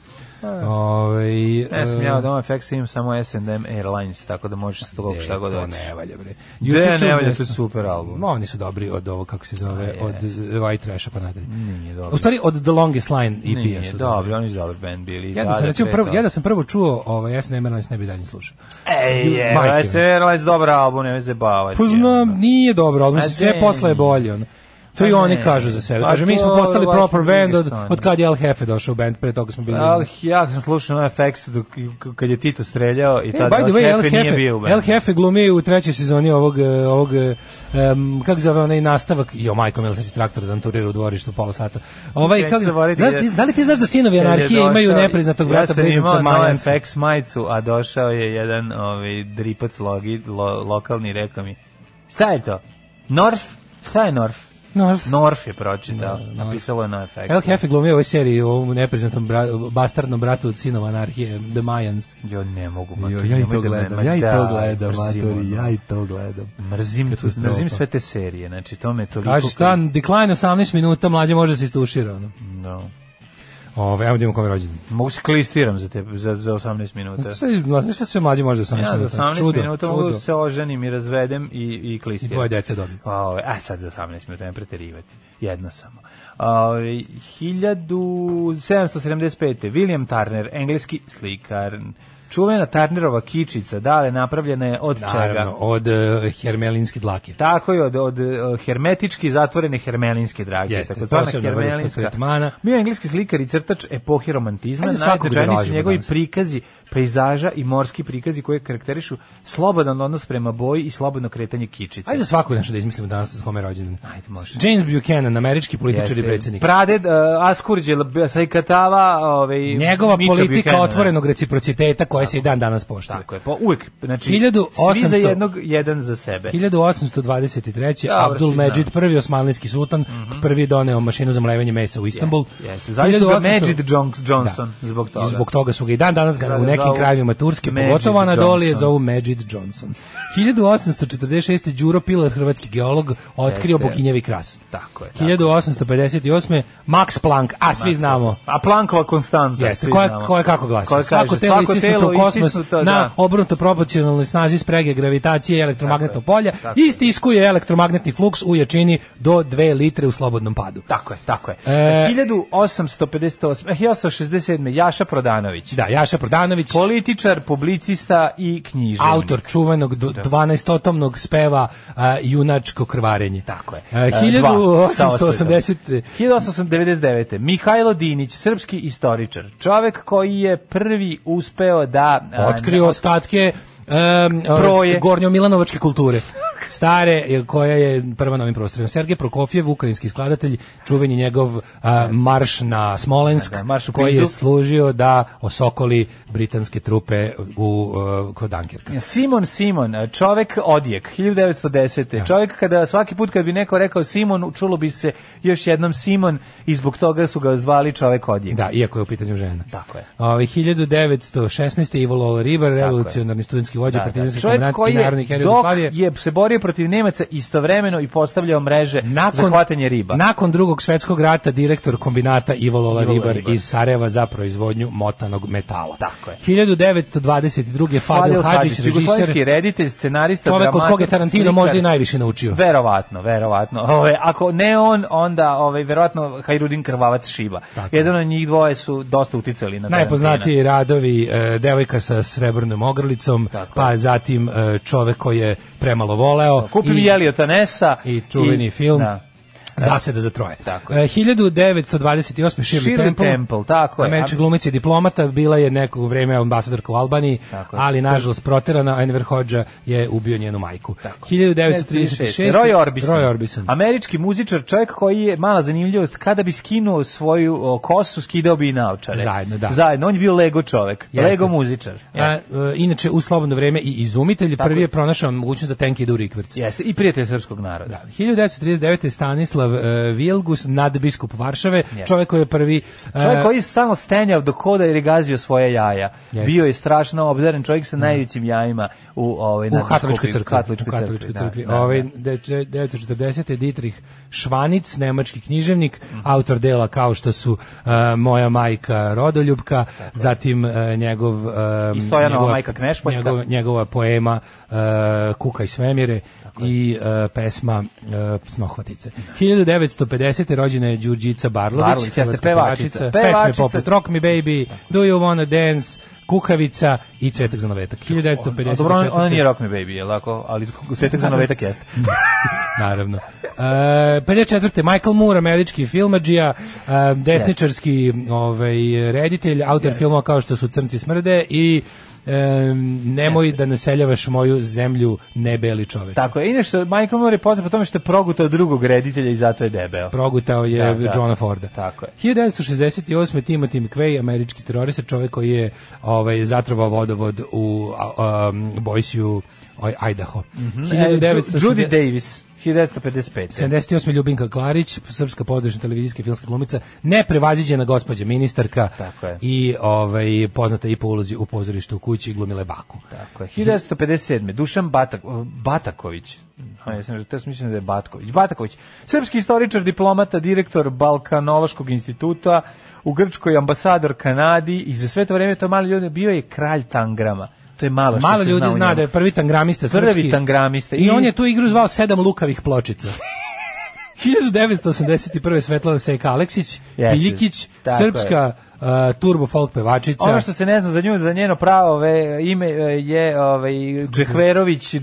[SPEAKER 9] Ovaj,
[SPEAKER 8] Ne E. sam ja
[SPEAKER 9] e,
[SPEAKER 8] od OFX imam samo S&M Airlines, tako da možeš s toga šta god
[SPEAKER 9] to
[SPEAKER 8] hoćeš.
[SPEAKER 9] ne valja bre.
[SPEAKER 8] E, Ne,
[SPEAKER 9] Juče
[SPEAKER 8] ne
[SPEAKER 9] čujem
[SPEAKER 8] valja,
[SPEAKER 9] nešto.
[SPEAKER 8] to je super album.
[SPEAKER 9] No, oni su dobri od ovo kako se zove, od z- White Trasha pa nadalje.
[SPEAKER 8] Nije dobro.
[SPEAKER 9] U stvari od The Longest Line EP-a
[SPEAKER 8] Nije,
[SPEAKER 9] su.
[SPEAKER 8] dobro, oni su dobar band bili.
[SPEAKER 9] Ja da sam recimo
[SPEAKER 8] sve
[SPEAKER 9] prvo,
[SPEAKER 8] to.
[SPEAKER 9] ja da sam prvo čuo, ovaj ja se ne ne bi dalje slušao.
[SPEAKER 8] Ej, ovaj je,
[SPEAKER 9] Majke mi. Pa
[SPEAKER 8] S&M Airlines dobar album, nemoj zabavati.
[SPEAKER 9] Poznam, nije dobro, ali
[SPEAKER 8] A
[SPEAKER 9] mislim, sve
[SPEAKER 8] ne.
[SPEAKER 9] posle je bolje. Ono. To
[SPEAKER 8] Pa
[SPEAKER 9] i oni
[SPEAKER 8] ne.
[SPEAKER 9] kažu za sebe.
[SPEAKER 8] Pa
[SPEAKER 9] Kaže, mi
[SPEAKER 8] to
[SPEAKER 9] smo postali
[SPEAKER 8] vaša
[SPEAKER 9] proper
[SPEAKER 8] briga
[SPEAKER 9] band od,
[SPEAKER 8] šta oni.
[SPEAKER 9] od kad je Al Hefe došao u band, pre toga smo bili...
[SPEAKER 8] Al, ja sam slušao na FX dok, kad je Tito streljao i
[SPEAKER 9] E,
[SPEAKER 8] tada
[SPEAKER 9] by the way, El Hefe,
[SPEAKER 8] nije bio u
[SPEAKER 9] El
[SPEAKER 8] bandu.
[SPEAKER 9] Hefe glumi u trećoj sezoni ovog, eh, ovog eh, em, kako zove onaj nastavak, jo majko, mila sam si traktor da anturira u dvorištu pola sata. Ovaj,
[SPEAKER 8] Neću
[SPEAKER 9] kako,
[SPEAKER 8] zaboraviti
[SPEAKER 9] znaš,
[SPEAKER 8] da-
[SPEAKER 9] ti- da li ti znaš da sinovi
[SPEAKER 8] Kad je
[SPEAKER 9] anarhije imaju
[SPEAKER 8] došao,
[SPEAKER 9] nepriznatog brata
[SPEAKER 8] Ja
[SPEAKER 9] blizanca
[SPEAKER 8] sam imao no
[SPEAKER 9] Majanca?
[SPEAKER 8] FX majicu, a došao je jedan ovaj, dripac logi, lo, lokalni i rekao mi, šta je to? Norf? Šta je Norf?
[SPEAKER 9] North.
[SPEAKER 8] Norf je pročitao,
[SPEAKER 9] Da, Norf.
[SPEAKER 8] napisalo je no FX.
[SPEAKER 9] El Hefe glumi u ovoj seriji, u ovom nepriznatom bra- bastardnom bratu od sinova anarhije, The Mayans.
[SPEAKER 8] Jo, ne mogu,
[SPEAKER 9] Jo,
[SPEAKER 8] matori,
[SPEAKER 9] ja i
[SPEAKER 8] nemoj
[SPEAKER 9] to
[SPEAKER 8] da me- ma
[SPEAKER 9] gledam, ja i
[SPEAKER 8] da,
[SPEAKER 9] to gledam,
[SPEAKER 8] mrzim
[SPEAKER 9] matori,
[SPEAKER 8] ono.
[SPEAKER 9] ja i to gledam.
[SPEAKER 8] Mrzim, tu,
[SPEAKER 9] Katastrofa.
[SPEAKER 8] mrzim sve te serije, znači to me toliko...
[SPEAKER 9] Kaže, stan, decline 18 minuta, mlađe može da se istušira. Ono.
[SPEAKER 8] No.
[SPEAKER 9] Ove, ajmo da imamo kome rođen.
[SPEAKER 8] Mogu se klistiram za, te, za, za 18 minuta.
[SPEAKER 9] Pa Šta, je- šta sve mlađe može da se
[SPEAKER 8] Ja za 18
[SPEAKER 9] ono, čudo,
[SPEAKER 8] minuta
[SPEAKER 9] čudo.
[SPEAKER 8] mogu da se oženim i razvedem i, i klistiram.
[SPEAKER 9] I tvoje dece dobiju.
[SPEAKER 8] A, ove, a sad za 18 minuta ne preterivati. Jedno samo. Ove, 1775. William Turner, engleski slikar. Čuvena Turnerova kičica, dale, napravljena je od čega?
[SPEAKER 9] Naravno, od uh, hermelinske dlake.
[SPEAKER 8] Tako je, od, od eh, hermetički zatvorene hermelinske drage.
[SPEAKER 9] Jeste,
[SPEAKER 8] tako zvana
[SPEAKER 9] posebna vrsta tretmana.
[SPEAKER 8] Bio je engleski slikar i crtač epohe romantizma.
[SPEAKER 9] Ajde svakog da
[SPEAKER 8] Najznačajniji su
[SPEAKER 9] nađemo
[SPEAKER 8] njegovi
[SPEAKER 9] danas.
[SPEAKER 8] prikazi, pejzaža i morski prikazi koje karakterišu slobodan odnos prema boji i slobodno kretanje kičice.
[SPEAKER 9] Ajde za svaku nešto da izmislimo danas s kome je rođendan.
[SPEAKER 8] Ajde, može.
[SPEAKER 9] James Buchanan, američki političar i
[SPEAKER 8] Jeste.
[SPEAKER 9] predsjednik.
[SPEAKER 8] Praded, uh, Askurđe, Lb- Sajkatava, ovaj,
[SPEAKER 9] Njegova
[SPEAKER 8] Mičo
[SPEAKER 9] politika
[SPEAKER 8] Buchanan.
[SPEAKER 9] otvorenog reciprociteta koja se i dan danas poštuje.
[SPEAKER 8] Tako je, pa uvek, znači,
[SPEAKER 9] 1800
[SPEAKER 8] svi za jednog, jedan za sebe.
[SPEAKER 9] 1823.
[SPEAKER 8] Dobro, svi
[SPEAKER 9] Abdul
[SPEAKER 8] znamo. Mhm.
[SPEAKER 9] Međid, prvi osmanlijski sultan, prvi doneo mašinu za mlevenje mesa u Istanbul.
[SPEAKER 8] Jeste, jeste. Zavisno ga
[SPEAKER 9] 1800
[SPEAKER 8] Međid Jones- Johnson zbog toga.
[SPEAKER 9] I zbog toga su ga i dan danas ga
[SPEAKER 8] Da,
[SPEAKER 9] u
[SPEAKER 8] da,
[SPEAKER 9] nekim
[SPEAKER 8] zovu
[SPEAKER 9] krajevima Turske,
[SPEAKER 8] Međid
[SPEAKER 9] pogotovo Anadolije,
[SPEAKER 8] Johnson.
[SPEAKER 9] zovu Međid Johnson. 1846. Đuro Pilar, hrvatski geolog, otkrio
[SPEAKER 8] Jeste.
[SPEAKER 9] Boginjevi kras.
[SPEAKER 8] Tako je, tako je.
[SPEAKER 9] 1858. Max Planck, a svi znamo.
[SPEAKER 8] A Plankova konstanta.
[SPEAKER 9] Jeste,
[SPEAKER 8] svi
[SPEAKER 9] koja,
[SPEAKER 8] znamo.
[SPEAKER 9] koja kako glasi?
[SPEAKER 8] Koja
[SPEAKER 9] svako
[SPEAKER 8] kaže,
[SPEAKER 9] telo
[SPEAKER 8] svako
[SPEAKER 9] istisnuto
[SPEAKER 8] telo
[SPEAKER 9] u kosmos
[SPEAKER 8] istisnuto, da.
[SPEAKER 9] na obrnuto proporcionalnoj snazi sprege gravitacije i elektromagnetnog polja
[SPEAKER 8] tako
[SPEAKER 9] i stiskuje elektromagnetni fluks u jačini do 2 litre u slobodnom padu.
[SPEAKER 8] Tako je, tako je.
[SPEAKER 9] E,
[SPEAKER 8] 1858, eh, 1867. Jaša Prodanović.
[SPEAKER 9] Da, Jaša Prodanović,
[SPEAKER 8] Političar, publicista i književnik.
[SPEAKER 9] autor čuvenog do- 12-otomnog speva a, Junačko krvarenje.
[SPEAKER 8] Tako je.
[SPEAKER 9] E,
[SPEAKER 8] E, dva, sa osvetom.
[SPEAKER 9] 1880.
[SPEAKER 8] 1899. Mihajlo Dinić, srpski istoričar. Čovek koji je prvi uspeo da... e, a,
[SPEAKER 9] E, otkrio ostatke um,
[SPEAKER 8] Proje.
[SPEAKER 9] gornjo Milanovačke kulture. Stare, e, koja je prva na ovim prostorima. Sergej Prokofjev, ukrajinski skladatelj, čuveni njegov a, marš na Smolensk,
[SPEAKER 8] Da, da, marš u
[SPEAKER 9] koji je
[SPEAKER 8] pizdu.
[SPEAKER 9] služio da osokoli britanske trupe u, e, kod Dunkirka.
[SPEAKER 8] Simon Simon, čovek odjek, 1910. Čovek kada svaki put kad bi neko rekao Simon, čulo bi se još jednom Simon i zbog toga su ga zvali čovek odjek.
[SPEAKER 9] Da, iako je u pitanju žena.
[SPEAKER 8] Tako je.
[SPEAKER 9] Ovaj, 1916. Ivo Lola Ribar, revolucionarni studentski vođa,
[SPEAKER 8] Da, da.
[SPEAKER 9] partizanski
[SPEAKER 8] Čovjek
[SPEAKER 9] komandant
[SPEAKER 8] koji
[SPEAKER 9] i narodni
[SPEAKER 8] je,
[SPEAKER 9] heroj
[SPEAKER 8] dok
[SPEAKER 9] Jugoslavije.
[SPEAKER 8] je se borio protiv Nemaca istovremeno i postavljao mreže za hvatanje riba.
[SPEAKER 9] Nakon drugog svetskog rata direktor kombinata Ivo Lola
[SPEAKER 8] Ivo Lola
[SPEAKER 9] Ribar
[SPEAKER 8] Ribar.
[SPEAKER 9] iz Sarajeva za proizvodnju motanog metala.
[SPEAKER 8] Tako je.
[SPEAKER 9] 1922. Fadil Hadžić,
[SPEAKER 8] jugoslovenski
[SPEAKER 9] režiser,
[SPEAKER 8] reditelj, scenarista,
[SPEAKER 9] čovek od
[SPEAKER 8] dramaturg,
[SPEAKER 9] koga je Tarantino možda i
[SPEAKER 8] slikar.
[SPEAKER 9] najviše naučio.
[SPEAKER 8] Verovatno, verovatno. Ove, ako ne on, onda ove, verovatno Hajrudin Krvavac Šiba.
[SPEAKER 9] Tako.
[SPEAKER 8] Jedan od njih dvoje su dosta uticali na Tarantino.
[SPEAKER 9] Najpoznatiji radovi e, Devojka sa srebrnom ogrlicom,
[SPEAKER 8] Tako
[SPEAKER 9] pa zatim e, Čovek koji je premalo voleo.
[SPEAKER 8] Kupim
[SPEAKER 9] i-
[SPEAKER 8] jeli od Tanesa.
[SPEAKER 9] i čuveni film.
[SPEAKER 8] Da.
[SPEAKER 9] Zaseda za troje.
[SPEAKER 8] Tako
[SPEAKER 9] E, 1928. Shirley,
[SPEAKER 8] Shirley
[SPEAKER 9] Temple,
[SPEAKER 8] Temple, tako je.
[SPEAKER 9] Američka glumica i diplomata, bila je nekog vreme ambasadorka u Albaniji,
[SPEAKER 8] Tako je.
[SPEAKER 9] ali nažalost proterana, Enver Hoxha je ubio njenu majku. Tako. 1936.
[SPEAKER 8] Roy Orbison.
[SPEAKER 9] Roy Orbison.
[SPEAKER 8] Američki muzičar, čovjek koji je mala zanimljivost, kada bi skinuo svoju o, kosu, skidao bi i naočare.
[SPEAKER 9] Zajedno, da.
[SPEAKER 8] Zajedno, on je bio Lego čovjek,
[SPEAKER 9] Jeste.
[SPEAKER 8] Lego muzičar.
[SPEAKER 9] Ja, e, inače, u slobodno vreme i izumitelj,
[SPEAKER 8] Tako
[SPEAKER 9] prvi
[SPEAKER 8] je.
[SPEAKER 9] je pronašao mogućnost da tenki ide u rikverc.
[SPEAKER 8] Jeste, i prijatelj srpskog naroda.
[SPEAKER 9] Da. 1939. Stanislav e, Vilgus, nadbiskup Varšave,
[SPEAKER 8] Jeste.
[SPEAKER 9] čovjek koji je prvi... e,
[SPEAKER 8] Čovjek koji je stalno stenjao do koda jer je gazio svoje jaja.
[SPEAKER 9] Jeste.
[SPEAKER 8] Bio je strašno obdaren čovjek sa najvećim jajima u ovaj
[SPEAKER 9] u
[SPEAKER 8] nadbiskupiji-
[SPEAKER 9] katoličkoj crkvi.
[SPEAKER 8] katoličkoj
[SPEAKER 9] u katoličkoj
[SPEAKER 8] crkvi,
[SPEAKER 9] crkvi.
[SPEAKER 8] da, da,
[SPEAKER 9] Ovaj
[SPEAKER 8] da.
[SPEAKER 9] 940. Dietrich Švanic, nemački književnik, autor dela kao što su e, Moja majka Rodoljubka, zatim e, njegov e,
[SPEAKER 8] I Stojanova majka Knežpoljka.
[SPEAKER 9] njegov- njegova poema e, Kuka i svemire i e, pesma e, Snohvatice. 1950. rođena je Đurđica Barlović,
[SPEAKER 8] Barlović, jeste
[SPEAKER 9] hrvatska
[SPEAKER 8] pevačica.
[SPEAKER 9] pesme
[SPEAKER 8] Pevačica.
[SPEAKER 9] poput Rock Me Baby, Do You Wanna Dance, Kukavica i Cvetak za novetak. 1954.
[SPEAKER 8] A Dobro, ona, ona nije Rock Me Baby, je lako, ali Svetak za novetak jeste.
[SPEAKER 9] Naravno. E, 54. Michael Moore, američki filmadžija, e, desničarski ovaj, reditelj, autor filmova kao što su Crnci smrde i e, nemoj da naseljavaš moju zemlju nebeli čoveč.
[SPEAKER 8] Tako je. Inače, Michael Moore je poznat po tome što je progutao drugog reditelja i zato je debeo.
[SPEAKER 9] Progutao je
[SPEAKER 8] Da, da.
[SPEAKER 9] Johna Forda.
[SPEAKER 8] Tako je.
[SPEAKER 9] 1968. Timothy McVeigh, američki terorista, čovjek koji je ovaj, zatrovao vodovod u a, um, Boiseu, oj, Idaho.
[SPEAKER 8] E, Ju-
[SPEAKER 9] 1960
[SPEAKER 8] Judy Davis, 1955.
[SPEAKER 9] 78. Ljubinka Klarić, srpska podružna televizijska i filmska glumica, neprevaziđena gospođa ministarka
[SPEAKER 8] Tako je.
[SPEAKER 9] i ovaj, poznata i po ulozi u pozorištu u kući glumile baku.
[SPEAKER 8] Tako je. 1957. Dušan Batak, Bataković. A, ja sam rekao, to sam mislio da je Batković. Bataković, srpski istoričar, diplomata, direktor Balkanološkog instituta, u Grčkoj ambasador Kanadi i za sve to vreme to malo ljudi bio je kralj tangrama. To je malo što
[SPEAKER 9] Malo
[SPEAKER 8] se
[SPEAKER 9] ljudi
[SPEAKER 8] zna, o
[SPEAKER 9] zna
[SPEAKER 8] njemu.
[SPEAKER 9] da je prvi tangramista
[SPEAKER 8] Prvi
[SPEAKER 9] srpski.
[SPEAKER 8] tangramista.
[SPEAKER 9] I, on je tu igru zvao sedam lukavih pločica. 1981. Svetlana Sejka Aleksić,
[SPEAKER 8] Jeste.
[SPEAKER 9] Piljikić,
[SPEAKER 8] Tako
[SPEAKER 9] srpska uh, turbo folk pevačica.
[SPEAKER 8] Ono što se ne zna za nju, za njeno pravo ve, ime e, je ovaj Džehverović Džehva.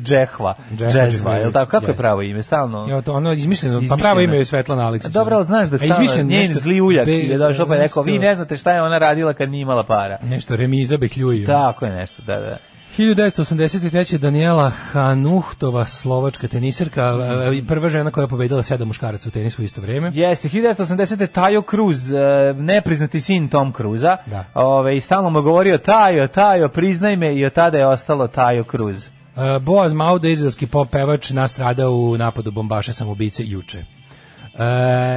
[SPEAKER 9] Džehva
[SPEAKER 8] Džezva,
[SPEAKER 9] Džehverović,
[SPEAKER 8] je li tako? Kako je
[SPEAKER 9] jeste.
[SPEAKER 8] pravo ime? Stalno.
[SPEAKER 9] Jo, to ono izmišljeno, pa
[SPEAKER 8] Izmišljeno.
[SPEAKER 9] pravo ime je Svetlana Aleksić.
[SPEAKER 8] Dobro, ali znaš da
[SPEAKER 9] A
[SPEAKER 8] stano,
[SPEAKER 9] izmišljeno
[SPEAKER 8] Znači, njen
[SPEAKER 9] nešto-
[SPEAKER 8] zli uljak
[SPEAKER 9] Be-
[SPEAKER 8] je došao pa je rekao, vi
[SPEAKER 9] nešto-
[SPEAKER 8] ne znate šta je ona radila kad nije imala para.
[SPEAKER 9] Nešto remiza Behljuju.
[SPEAKER 8] Tako je nešto, da, da.
[SPEAKER 9] 1983. Daniela Hanuhtova, slovačka teniserka, e, prva žena koja je pobedila sedam muškaraca u tenisu u isto vrijeme.
[SPEAKER 8] Jeste, 1980. Tajo Cruz, e, nepriznati sin Tom Cruza,
[SPEAKER 9] Da.
[SPEAKER 8] ove, i stalno mu govorio Tajo, Tajo, priznaj me, i od tada je ostalo Tajo Cruz.
[SPEAKER 9] E, Boaz Mauda, izraelski pop pevač, nastradao u napadu bombaša samobice juče. E,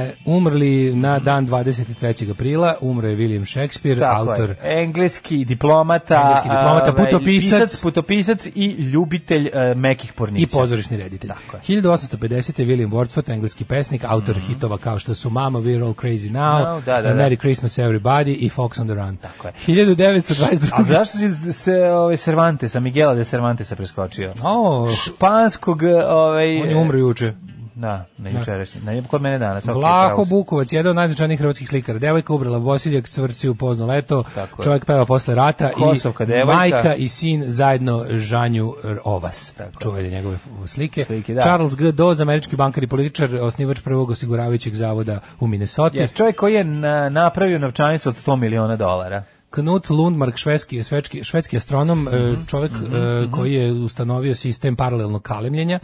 [SPEAKER 9] E, umrli na dan 23. aprila, umro je William Shakespeare,
[SPEAKER 8] Tako
[SPEAKER 9] autor
[SPEAKER 8] je. E, Engleski diplomata,
[SPEAKER 9] Engleski diplomata,
[SPEAKER 8] ovaj,
[SPEAKER 9] putopisac.
[SPEAKER 8] putopisac i ljubitelj eh, mekih pornića.
[SPEAKER 9] i pozorišni reditelj.
[SPEAKER 8] Tako je. Mhm.
[SPEAKER 9] 1850. je William Wordsworth, engleski pesnik, autor hitova kao što su Mama, We're All Crazy Now,
[SPEAKER 8] No, da, da, da.
[SPEAKER 9] Merry Christmas Everybody i Fox on the Run.
[SPEAKER 8] Tako je.
[SPEAKER 9] 1922.
[SPEAKER 8] A zašto si se ovaj Cervantesa, Miguela de Cervantesa preskočio?
[SPEAKER 9] O,
[SPEAKER 8] Španskog, eh, ovaj
[SPEAKER 9] on je umro juče.
[SPEAKER 8] Da, na jučerašnji. Na kod mene danas. ok,
[SPEAKER 9] Vlaho
[SPEAKER 8] pravo si.
[SPEAKER 9] Bukovac, jedan od najznačajnijih hrvatskih slikara. Devojka ubrala bosiljak, cvrci u pozno leto,
[SPEAKER 8] Tako je.
[SPEAKER 9] čovjek peva posle rata
[SPEAKER 8] Kosovka
[SPEAKER 9] i
[SPEAKER 8] devojka.
[SPEAKER 9] majka i sin zajedno žanju R- ovas.
[SPEAKER 8] Tako je.
[SPEAKER 9] Čuvajte njegove f- slike.
[SPEAKER 8] Slike, da.
[SPEAKER 9] Charles G. Dawes, američki bankar i političar, osnivač prvog osiguravajućeg zavoda u Minnesota.
[SPEAKER 8] Jes, čovjek koji je na, napravio novčanicu od 100 miliona dolara.
[SPEAKER 9] Knut Lundmark, švedski, švedski, švedski astronom, e,
[SPEAKER 8] Mhm.
[SPEAKER 9] čovjek e, koji je ustanovio sistem paralelnog kalemljenja.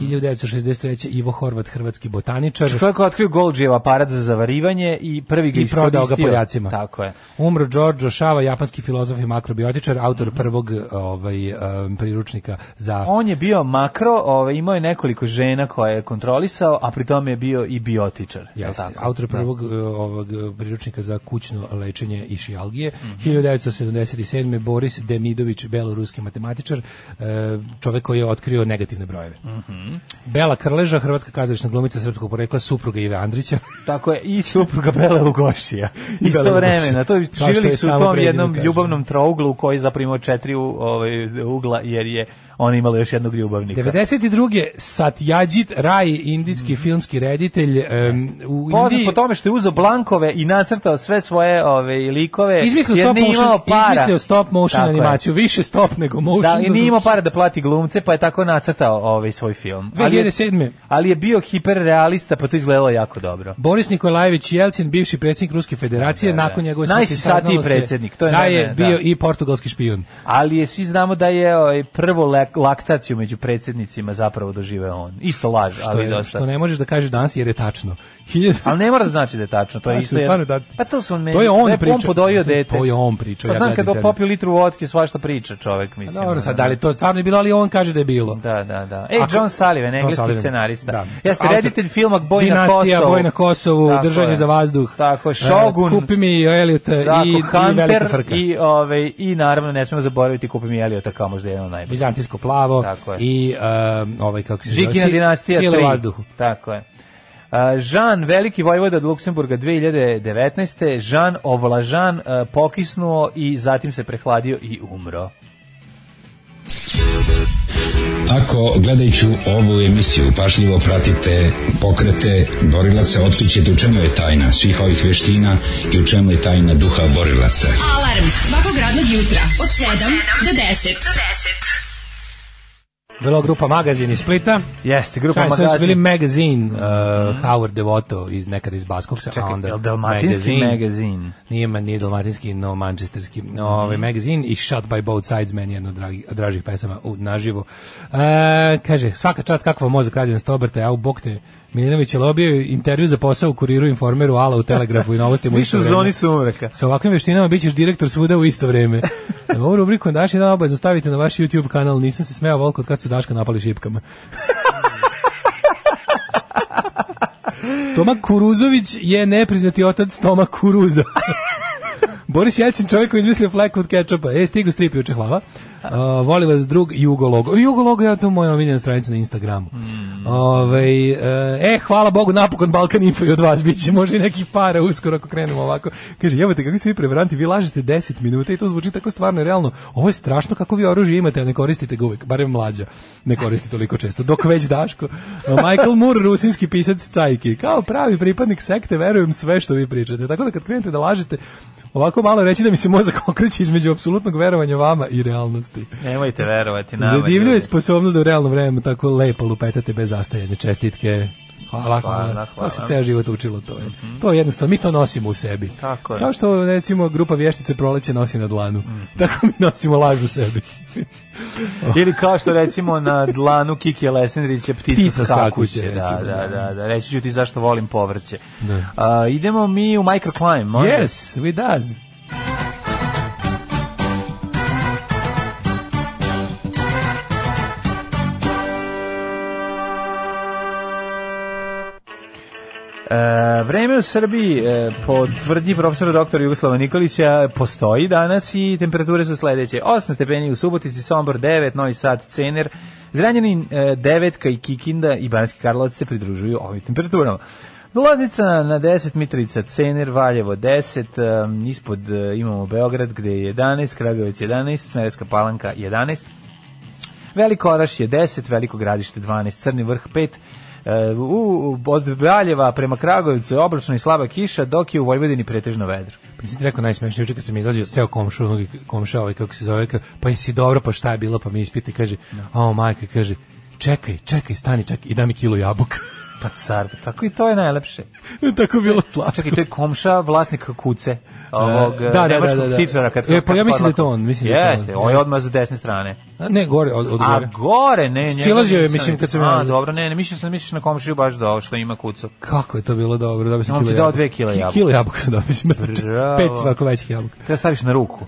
[SPEAKER 9] 1963. Ivo Horvat, hrvatski botaničar.
[SPEAKER 8] Čovjek koji Mhm. je otkrio Goldžijeva aparat za zavarivanje i prvi ga
[SPEAKER 9] i prodao ga
[SPEAKER 8] iskoristio.
[SPEAKER 9] Poljacima.
[SPEAKER 8] Tako je.
[SPEAKER 9] Umro Giorgio Shava, japanski filozof i makrobiotičar, autor prvog ovaj em, priručnika za
[SPEAKER 8] Mhm. On je bio makro, ovaj, imao je nekoliko žena koje je kontrolisao, a pri tome je bio i biotičar.
[SPEAKER 9] Jeste,
[SPEAKER 8] Je li tako?
[SPEAKER 9] autor prvog e, ovog e, priručnika za kućno lečenje i šijalgije.
[SPEAKER 8] Mhm.
[SPEAKER 9] 1977. Boris Demidović, beloruski matematičar, e, čovek koji je otkrio negativne brojeve.
[SPEAKER 8] Mhm.
[SPEAKER 9] Bela Krleža, hrvatska kazališna glumica srpskog porekla, supruga Ive Andrića.
[SPEAKER 8] Tako je, i supruga Bela Lugošija.
[SPEAKER 9] Bela
[SPEAKER 8] Isto
[SPEAKER 9] Lugošija.
[SPEAKER 8] vremena. To, je-
[SPEAKER 9] Kao što je
[SPEAKER 8] živjeli su u
[SPEAKER 9] samo
[SPEAKER 8] tom
[SPEAKER 9] prezime,
[SPEAKER 8] jednom
[SPEAKER 9] kažem.
[SPEAKER 8] ljubavnom trouglu koji je zaprimao četiri u, ovaj, ugla, jer je ona imala još jednog ljubavnika.
[SPEAKER 9] 92. Satyajit Rai, indijski filmski reditelj. em, u
[SPEAKER 8] Mhm. Poznat
[SPEAKER 9] Indiji-
[SPEAKER 8] po tome što je uzeo blankove i nacrtao sve svoje ove likove.
[SPEAKER 9] Izmislio
[SPEAKER 8] E, jer
[SPEAKER 9] stop
[SPEAKER 8] nije
[SPEAKER 9] motion,
[SPEAKER 8] imao para.
[SPEAKER 9] izmislio stop motion
[SPEAKER 8] Tako je.
[SPEAKER 9] animaciju, više stop nego
[SPEAKER 8] Da,
[SPEAKER 9] motion.
[SPEAKER 8] i nije imao para da plati glumce, pa je tako nacrtao ovaj svoj film. Ali je,
[SPEAKER 9] 2007.
[SPEAKER 8] ali je bio hiperrealista, pa to izgledalo jako dobro.
[SPEAKER 9] Boris Nikolajević Jelcin, bivši predsjednik Ruske federacije,
[SPEAKER 8] Da, da, da.
[SPEAKER 9] nakon njegove smrti
[SPEAKER 8] Najsisadniji
[SPEAKER 9] saznalo se
[SPEAKER 8] predsjednik, to je
[SPEAKER 9] da
[SPEAKER 8] najmanje,
[SPEAKER 9] je bio
[SPEAKER 8] da.
[SPEAKER 9] i portugalski špijun.
[SPEAKER 8] Ali je, svi znamo da je ovaj, prvo lak- laktaciju među predsjednicima zapravo doživeo on. Isto laž,
[SPEAKER 9] To
[SPEAKER 8] ali
[SPEAKER 9] je,
[SPEAKER 8] dosta.
[SPEAKER 9] što ne možeš da kažeš danas jer je tačno. Hiljadu-
[SPEAKER 8] Ali ne mora da znači da je tačno, to je
[SPEAKER 9] Tačno,
[SPEAKER 8] isto. jedan-
[SPEAKER 9] stvarno da-
[SPEAKER 8] Pa to su meni.
[SPEAKER 9] To je on
[SPEAKER 8] to
[SPEAKER 9] pričao.
[SPEAKER 8] On podojio
[SPEAKER 9] To je-
[SPEAKER 8] dete.
[SPEAKER 9] to je on pričao,
[SPEAKER 8] Pa
[SPEAKER 9] ja
[SPEAKER 8] znam
[SPEAKER 9] gledam
[SPEAKER 8] kad on
[SPEAKER 9] tebe.
[SPEAKER 8] popio litru vodke, svašta priča čovek, mislim.
[SPEAKER 9] Pa Dobro,
[SPEAKER 8] ono,
[SPEAKER 9] sad, da li je to stvarno je bilo, ali on kaže da je bilo.
[SPEAKER 8] Da, da, da. Ej,
[SPEAKER 9] Ako-
[SPEAKER 8] John Sullivan,
[SPEAKER 9] John
[SPEAKER 8] engleski
[SPEAKER 9] Sullivan,
[SPEAKER 8] scenarista.
[SPEAKER 9] da.
[SPEAKER 8] Jeste
[SPEAKER 9] Autor-
[SPEAKER 8] reditelj filma Boj na Kosovu.
[SPEAKER 9] Dinastija, Boj na Kosovu,
[SPEAKER 8] Tako
[SPEAKER 9] Držanje
[SPEAKER 8] je.
[SPEAKER 9] za vazduh.
[SPEAKER 8] Tako,
[SPEAKER 9] e,
[SPEAKER 8] Shogun.
[SPEAKER 9] Kupi mi Eliota
[SPEAKER 8] Tako,
[SPEAKER 9] i, i Velika
[SPEAKER 8] Hunter
[SPEAKER 9] frka.
[SPEAKER 8] i, ovaj, i naravno ne smemo zaboraviti kupi mi Eliota kao možda jedan od najboljih.
[SPEAKER 9] Bizantijsko plavo
[SPEAKER 8] Tako je.
[SPEAKER 9] i um, ovaj kako se zove
[SPEAKER 8] Žigina
[SPEAKER 9] si-
[SPEAKER 8] dinastija
[SPEAKER 9] Sile
[SPEAKER 8] 3.
[SPEAKER 9] u vazduhu.
[SPEAKER 8] Tako je. Uh, Žan, veliki vojvoda od Luksemburga 2019. Žan Ovlažan uh, pokisnuo i zatim se prehladio i umro.
[SPEAKER 10] Ako gledajući ovu emisiju pašljivo pratite pokrete borilaca, otkrićete u čemu je tajna svih ovih veština i u čemu je tajna duha borilaca.
[SPEAKER 6] Alarm svakog radnog jutra od 7 do 10.
[SPEAKER 9] Bila grupa Magazin iz Splita.
[SPEAKER 8] Jeste, grupa
[SPEAKER 9] Šta je, sve su
[SPEAKER 8] Magazin. Mhm.
[SPEAKER 9] bili Magazin, uh, Howard Devoto iz nekada iz Baskoksa, a
[SPEAKER 8] Čekaj,
[SPEAKER 9] onda
[SPEAKER 8] je li dalmatinski
[SPEAKER 9] Magazine.
[SPEAKER 8] magazin?
[SPEAKER 9] Nije, ma- nije dalmatinski, no mančesterski. No, ovaj
[SPEAKER 8] Mhm.
[SPEAKER 9] magazin i Shot by Both Sides, meni je jedno od dragi, dražih pesama u, naživo. E, kaže, svaka čast kakva mozak radi na stobrta, ja u bok te Milinović je lobio intervju za posao u kuriru, informeru, ala u telegrafu i novostima. u
[SPEAKER 8] Više
[SPEAKER 9] isto
[SPEAKER 8] u
[SPEAKER 9] vreme.
[SPEAKER 8] zoni sumraka.
[SPEAKER 9] Sa ovakvim veštinama bit ćeš direktor svuda u isto vreme. Ovu rubriku Daši dan obavezno stavite na vaš YouTube kanal. Nisam se smeo volko od kad su Daška napali šipkama. Toma Kuruzović je nepriznati otac Toma Kuruza. Boris Jelcin čovjek koji je izmislio flajku od kečapa. E, stigu strip juče, hvala. Uh, voli vas drug Jugo Logo. Jugo Logo je to moja omiljena stranica na Instagramu. Ovaj, e, hvala Bogu, napokon Balkan Info i od vas bit će može i nekih para uskoro ako krenemo ovako. Kaže, jebate, kako ste vi prevaranti, vi lažete 10 minuta i to zvuči tako stvarno i realno. Ovo je strašno kako vi oružje imate, a ne koristite ga uvek, barem mlađa ne koristi toliko često, dok već Daško. Michael Moore, rusinski pisac Cajki, kao pravi pripadnik sekte, verujem sve što vi pričate. Tako da kad krenete da lažete, ovako malo reći da mi se mozak okreće između apsolutnog verovanja vama i realnosti.
[SPEAKER 8] Nemojte verovati nama.
[SPEAKER 9] Zadivljuje
[SPEAKER 8] ljudi.
[SPEAKER 9] sposobnost da u realnom vremenu tako lepo lupetate bez zastajanja. Čestitke. Hvala, hvala.
[SPEAKER 8] Hvala, hvala. Mhm.
[SPEAKER 9] To se ceo život učilo to. Je. To je jednostavno, mi to nosimo u sebi.
[SPEAKER 8] Tako je. Mhm.
[SPEAKER 9] Kao što, recimo, grupa vještice proleće nosi na dlanu. Tako mi nosimo laž u sebi.
[SPEAKER 8] Ili kao što recimo na dlanu Kiki Lesendrić je ptica,
[SPEAKER 9] Ptica
[SPEAKER 8] skakuće.
[SPEAKER 9] skakuće,
[SPEAKER 8] da,
[SPEAKER 9] recimo,
[SPEAKER 8] da,
[SPEAKER 9] da.
[SPEAKER 8] da, da. Reći ću ti zašto volim povrće. A, idemo mi u microclimb, može?
[SPEAKER 9] yes, we does.
[SPEAKER 8] E, vreme u Srbiji, e, po tvrdnji profesora doktora Jugoslava Nikolića, postoji danas i temperature su sledeće. 8 stepeni u Subotici, Sombor 9, Novi Sad, Cener, Zrenjanin e, Devetka i Kikinda i Banski Karlovac se pridružuju ovim temperaturama. Loznica na 10, Mitrovica, Cener, Valjevo 10, em, ispod e, imamo Beograd gde je 11, Kragovic 11, Smerecka palanka 11, Veliko Oraš je 10, Veliko gradište 12, Crni vrh 5, e, u, od Braljeva prema Kragovicu je oblačno i slaba kiša, dok je u Vojvodini pretežno vedro.
[SPEAKER 9] Pa nisi ti rekao najsmešnije, juče kad sam izlazio, ceo komšu, onog komša, ovaj, kako se zove, kao, pa jesi dobro, pa šta je bilo, pa mi ispiti, kaže, a o, majka, kaže, čekaj, čekaj, stani, čekaj, i da mi kilo jabuka.
[SPEAKER 8] Pa car, tako i to je najlepše.
[SPEAKER 9] Tako je bilo slatko.
[SPEAKER 8] Čak i to je komša, vlasnik kuce, ovog
[SPEAKER 9] E,
[SPEAKER 8] e,
[SPEAKER 9] da, da,
[SPEAKER 8] nemačkog
[SPEAKER 9] da, da, da.
[SPEAKER 8] ptičara. Kad,
[SPEAKER 9] E, pa ja
[SPEAKER 8] kad
[SPEAKER 9] mislim da je to
[SPEAKER 8] podlako.
[SPEAKER 9] on, mislim da je to on.
[SPEAKER 8] Jeste, on je
[SPEAKER 9] Jeste.
[SPEAKER 8] odmah s desne strane.
[SPEAKER 9] A, ne, gore, od, od
[SPEAKER 8] A
[SPEAKER 9] gore.
[SPEAKER 8] gore, ne, njega
[SPEAKER 9] Silazio je,
[SPEAKER 8] nisam
[SPEAKER 9] mislim, kad sam
[SPEAKER 8] vidio. A,
[SPEAKER 9] ja-
[SPEAKER 8] dobro, ne, ne, mislio sam, misliš na komšiju baš do što ima kucu.
[SPEAKER 9] Kako je to bilo dobro, dobio sam
[SPEAKER 8] On
[SPEAKER 9] kilo
[SPEAKER 8] ti
[SPEAKER 9] jabuka.
[SPEAKER 8] dao dve kila jabuka.
[SPEAKER 9] Kilo jabuka sam dobio, mislim,
[SPEAKER 8] Bravo.
[SPEAKER 9] pet ovako većih jabuka.
[SPEAKER 8] Treba staviš na ruku.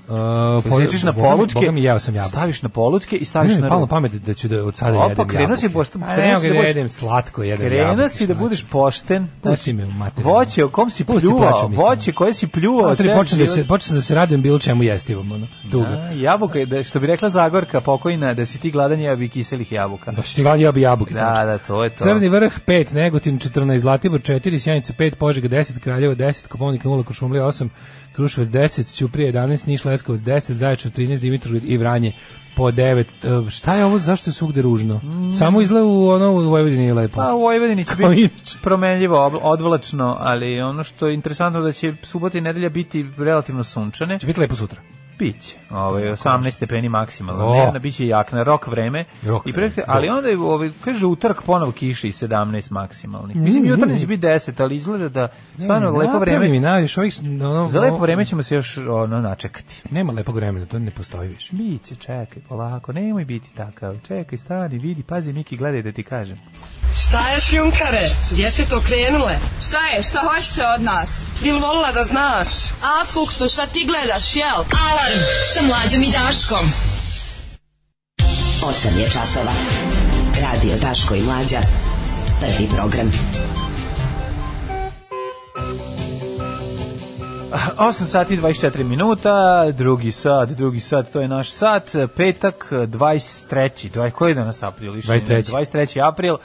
[SPEAKER 9] Uh,
[SPEAKER 8] Sjećaš na polutke,
[SPEAKER 9] Boga mi jeo sam jabuka.
[SPEAKER 8] staviš na polutke i staviš
[SPEAKER 9] Ne,
[SPEAKER 8] na
[SPEAKER 9] ne, palo na
[SPEAKER 8] ruku.
[SPEAKER 9] pamet da ću da od sada
[SPEAKER 8] Opa,
[SPEAKER 9] jedem jabuke.
[SPEAKER 8] krenuo si, boš-
[SPEAKER 9] A
[SPEAKER 8] krenuo
[SPEAKER 9] ne,
[SPEAKER 8] si
[SPEAKER 9] mogu
[SPEAKER 8] da
[SPEAKER 9] da
[SPEAKER 8] budeš-
[SPEAKER 9] jedem slatko, jedem jabuke.
[SPEAKER 8] Krena si da
[SPEAKER 9] šta
[SPEAKER 8] budeš pošten.
[SPEAKER 9] Pusti
[SPEAKER 8] znači,
[SPEAKER 9] me u materinu.
[SPEAKER 8] Voće o kom si
[SPEAKER 9] Pusti,
[SPEAKER 8] pljuvao,
[SPEAKER 9] plačem, mislim.
[SPEAKER 8] voće koje si pljuvao.
[SPEAKER 9] Matri,
[SPEAKER 8] ceo
[SPEAKER 9] počnem Ono da
[SPEAKER 8] život.
[SPEAKER 9] se, počnem da se radujem bilo čemu jestivom, ono, tuga.
[SPEAKER 8] A, jabuka, je, da, što bi rekla Zagorka pokojna, da si ti gladan ja bi kiselih jabuka.
[SPEAKER 9] Da si ti gledali, ja bi jabuke.
[SPEAKER 8] Da, da, to je to.
[SPEAKER 9] Crni vrh 5, Negotin 14, Zlatibor 4, Sjanica 5, Požega 10, Kraljevo 10, Koponik 0, Košumlija 8, Kruševac 10, Ćuprije 11, Niš Leskovac 10, Zaječar 13, Dimitrov i Vranje po 9. E, Šta je ovo, zašto je svugde ružno? Samo izgleda u, ono, u Vojvodini je lepo.
[SPEAKER 8] Mm. Pa u Vojvodini će
[SPEAKER 9] Kao
[SPEAKER 8] biti
[SPEAKER 9] inače.
[SPEAKER 8] promenljivo, obla- odvlačno, ali ono što je interesantno da će subota i nedelja biti relativno sunčane.
[SPEAKER 9] Će biti lepo sutra.
[SPEAKER 8] Biće. Ovaj 18 stepeni maksimalno.
[SPEAKER 9] O.
[SPEAKER 8] Oh. Jedna biće jakna, rok vreme.
[SPEAKER 9] Rok
[SPEAKER 8] I
[SPEAKER 9] vreme,
[SPEAKER 8] prekte, ali onda je ovaj kaže utorak ponovo kiše i 17 maksimalni. Mislim jutarnje će biti 10, ali izgleda da stvarno lepo
[SPEAKER 9] Napravi Mi
[SPEAKER 8] vreme.
[SPEAKER 9] naviš ovih... Ono,
[SPEAKER 8] Za lepo vreme ćemo se još ono načekati.
[SPEAKER 9] Nema lepog vremena, to ne postoji više.
[SPEAKER 8] Biće, čekaj, polako, nemoj biti takav. Čekaj, stani, vidi, pazi, Miki, gledaj da ti kažem.
[SPEAKER 1] Šta je šljunkare? Gdje ste to krenule?
[SPEAKER 6] Šta je? Šta hoćete od nas?
[SPEAKER 1] Bil volila da znaš?
[SPEAKER 4] A, Fuksu, šta ti gledaš, jel?
[SPEAKER 6] Alarm sa mlađom i Daškom.
[SPEAKER 11] 8 je časova. Radio Daško i Mlađa. Prvi program.
[SPEAKER 8] 8 sati i 24 minuta, drugi sat, drugi sat, to je naš sat, petak 23. 20, koji je danas april? Više ne,
[SPEAKER 9] 23..
[SPEAKER 8] 23. april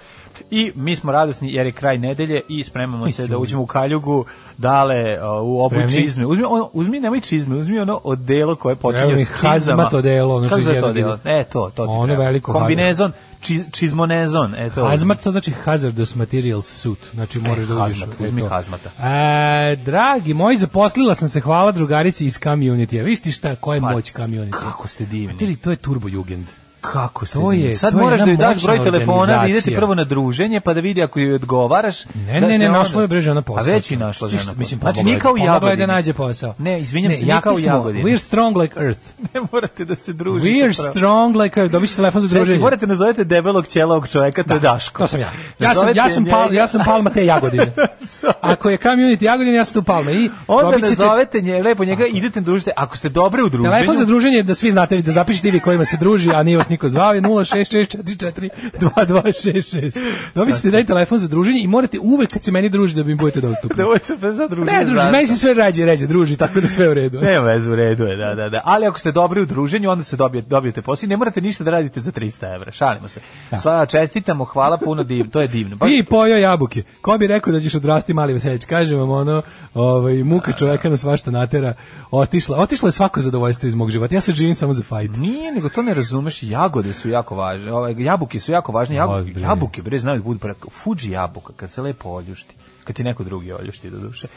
[SPEAKER 8] i mi smo radosni jer je kraj nedelje i spremamo se da uđemo u kaljugu, dale o, u obu
[SPEAKER 9] Spremni?
[SPEAKER 8] čizme. Uzmi, ono, uzmi nemoj čizme, uzmi ono odelo koje
[SPEAKER 9] Evo
[SPEAKER 8] počinje
[SPEAKER 9] mi
[SPEAKER 8] od čizama.
[SPEAKER 9] hazmat odelo, ono što
[SPEAKER 8] Kako
[SPEAKER 9] iz
[SPEAKER 8] se zove to
[SPEAKER 9] jednog
[SPEAKER 8] odelo? E, to, to ti
[SPEAKER 9] Ono
[SPEAKER 8] treba.
[SPEAKER 9] veliko
[SPEAKER 8] Kombinezon, čiz, čizmonezon. E, to
[SPEAKER 9] Hazmat to znači hazardous materials suit. Znači moraš da uđeš.
[SPEAKER 8] hazmat,
[SPEAKER 9] u- e,
[SPEAKER 8] uzmi
[SPEAKER 9] to.
[SPEAKER 8] hazmata.
[SPEAKER 9] E, dragi moji, zaposlila sam se, hvala drugarici iz community. A viš ti šta, koja je
[SPEAKER 8] Pa,
[SPEAKER 9] moć community?
[SPEAKER 8] Kako ste divni.
[SPEAKER 9] Ti li, to je turbo jugend.
[SPEAKER 8] Kako se
[SPEAKER 9] To je-
[SPEAKER 8] sad
[SPEAKER 9] to je
[SPEAKER 8] moraš
[SPEAKER 9] jedna
[SPEAKER 8] da joj daš broj
[SPEAKER 9] moćna
[SPEAKER 8] telefona, da idete
[SPEAKER 9] organizacija.
[SPEAKER 8] prvo na druženje, pa da vidi ako joj odgovaraš.
[SPEAKER 9] Ne,
[SPEAKER 8] da
[SPEAKER 9] ne,
[SPEAKER 8] se
[SPEAKER 9] ne,
[SPEAKER 8] onda-
[SPEAKER 9] našla je bre žena posao.
[SPEAKER 8] A već i našla
[SPEAKER 9] Ti
[SPEAKER 8] žena
[SPEAKER 9] što-
[SPEAKER 8] posao.
[SPEAKER 9] Mislim,
[SPEAKER 8] znači,
[SPEAKER 9] pomogla je-
[SPEAKER 8] nije kao
[SPEAKER 9] pomogla je
[SPEAKER 8] jagodini.
[SPEAKER 9] da nađe posao.
[SPEAKER 8] Ne, izvinjam se, nije
[SPEAKER 9] jaki
[SPEAKER 8] kao
[SPEAKER 9] smo.
[SPEAKER 8] jagodini.
[SPEAKER 9] We're strong like earth.
[SPEAKER 8] Ne morate da se družite.
[SPEAKER 9] We're
[SPEAKER 8] pravo.
[SPEAKER 9] strong like earth. Dobit ćete telefon za
[SPEAKER 8] Čekaj,
[SPEAKER 9] druženje.
[SPEAKER 8] morate nazovete debelog ćelavog čoveka, to je Daško.
[SPEAKER 9] To sam ja. Ja sam, ja
[SPEAKER 8] Nazovete
[SPEAKER 9] sam, pal,
[SPEAKER 8] njega-
[SPEAKER 9] ja sam palma te jagodine. Ako je community jagodine, ja sam tu palma. I
[SPEAKER 8] Onda
[SPEAKER 9] dobit
[SPEAKER 8] ne
[SPEAKER 9] ćete
[SPEAKER 8] zovete nje, lepo njega, idete na družite. Ako ste dobre u druženju...
[SPEAKER 9] Telefon za druženje da svi znate da zapišete i vi kojima se druži, a nije vas niko zvao je 066442266. Dobiste daj telefon za druženje i morate uvek kad se meni druži da mi budete dostupni.
[SPEAKER 8] Da budete za druženje.
[SPEAKER 9] Ne, druži,
[SPEAKER 8] znaš.
[SPEAKER 9] meni se sve rađe ređe druži, tako da sve u redu.
[SPEAKER 8] Nema veze, u redu je, da, da, da. Ali ako ste dobri u druženju, onda se dobijete, dobijete posao i ne morate ništa da radite za 300 evra. Šalimo se. Sva čestitamo, hvala puno, div, to je divno. Pa,
[SPEAKER 9] Ti pojeo jabuke. Ko bi rekao da ćeš odrasti mali veselić? Kažem vam ono, ovaj, muka čoveka na svašta natera. Otišla, otišlo je svako zadovoljstvo iz mog života. Ja se živim samo za fajt.
[SPEAKER 8] Nije, nego to ne razumeš, jagode su jako važne, ovaj, jabuke su jako važne, jabuke,
[SPEAKER 9] Ozbiljno.
[SPEAKER 8] jabuke bre, znaju da budu pre, fuđi jabuka, kad se lepo oljušti, kad ti neko drugi oljušti do duše,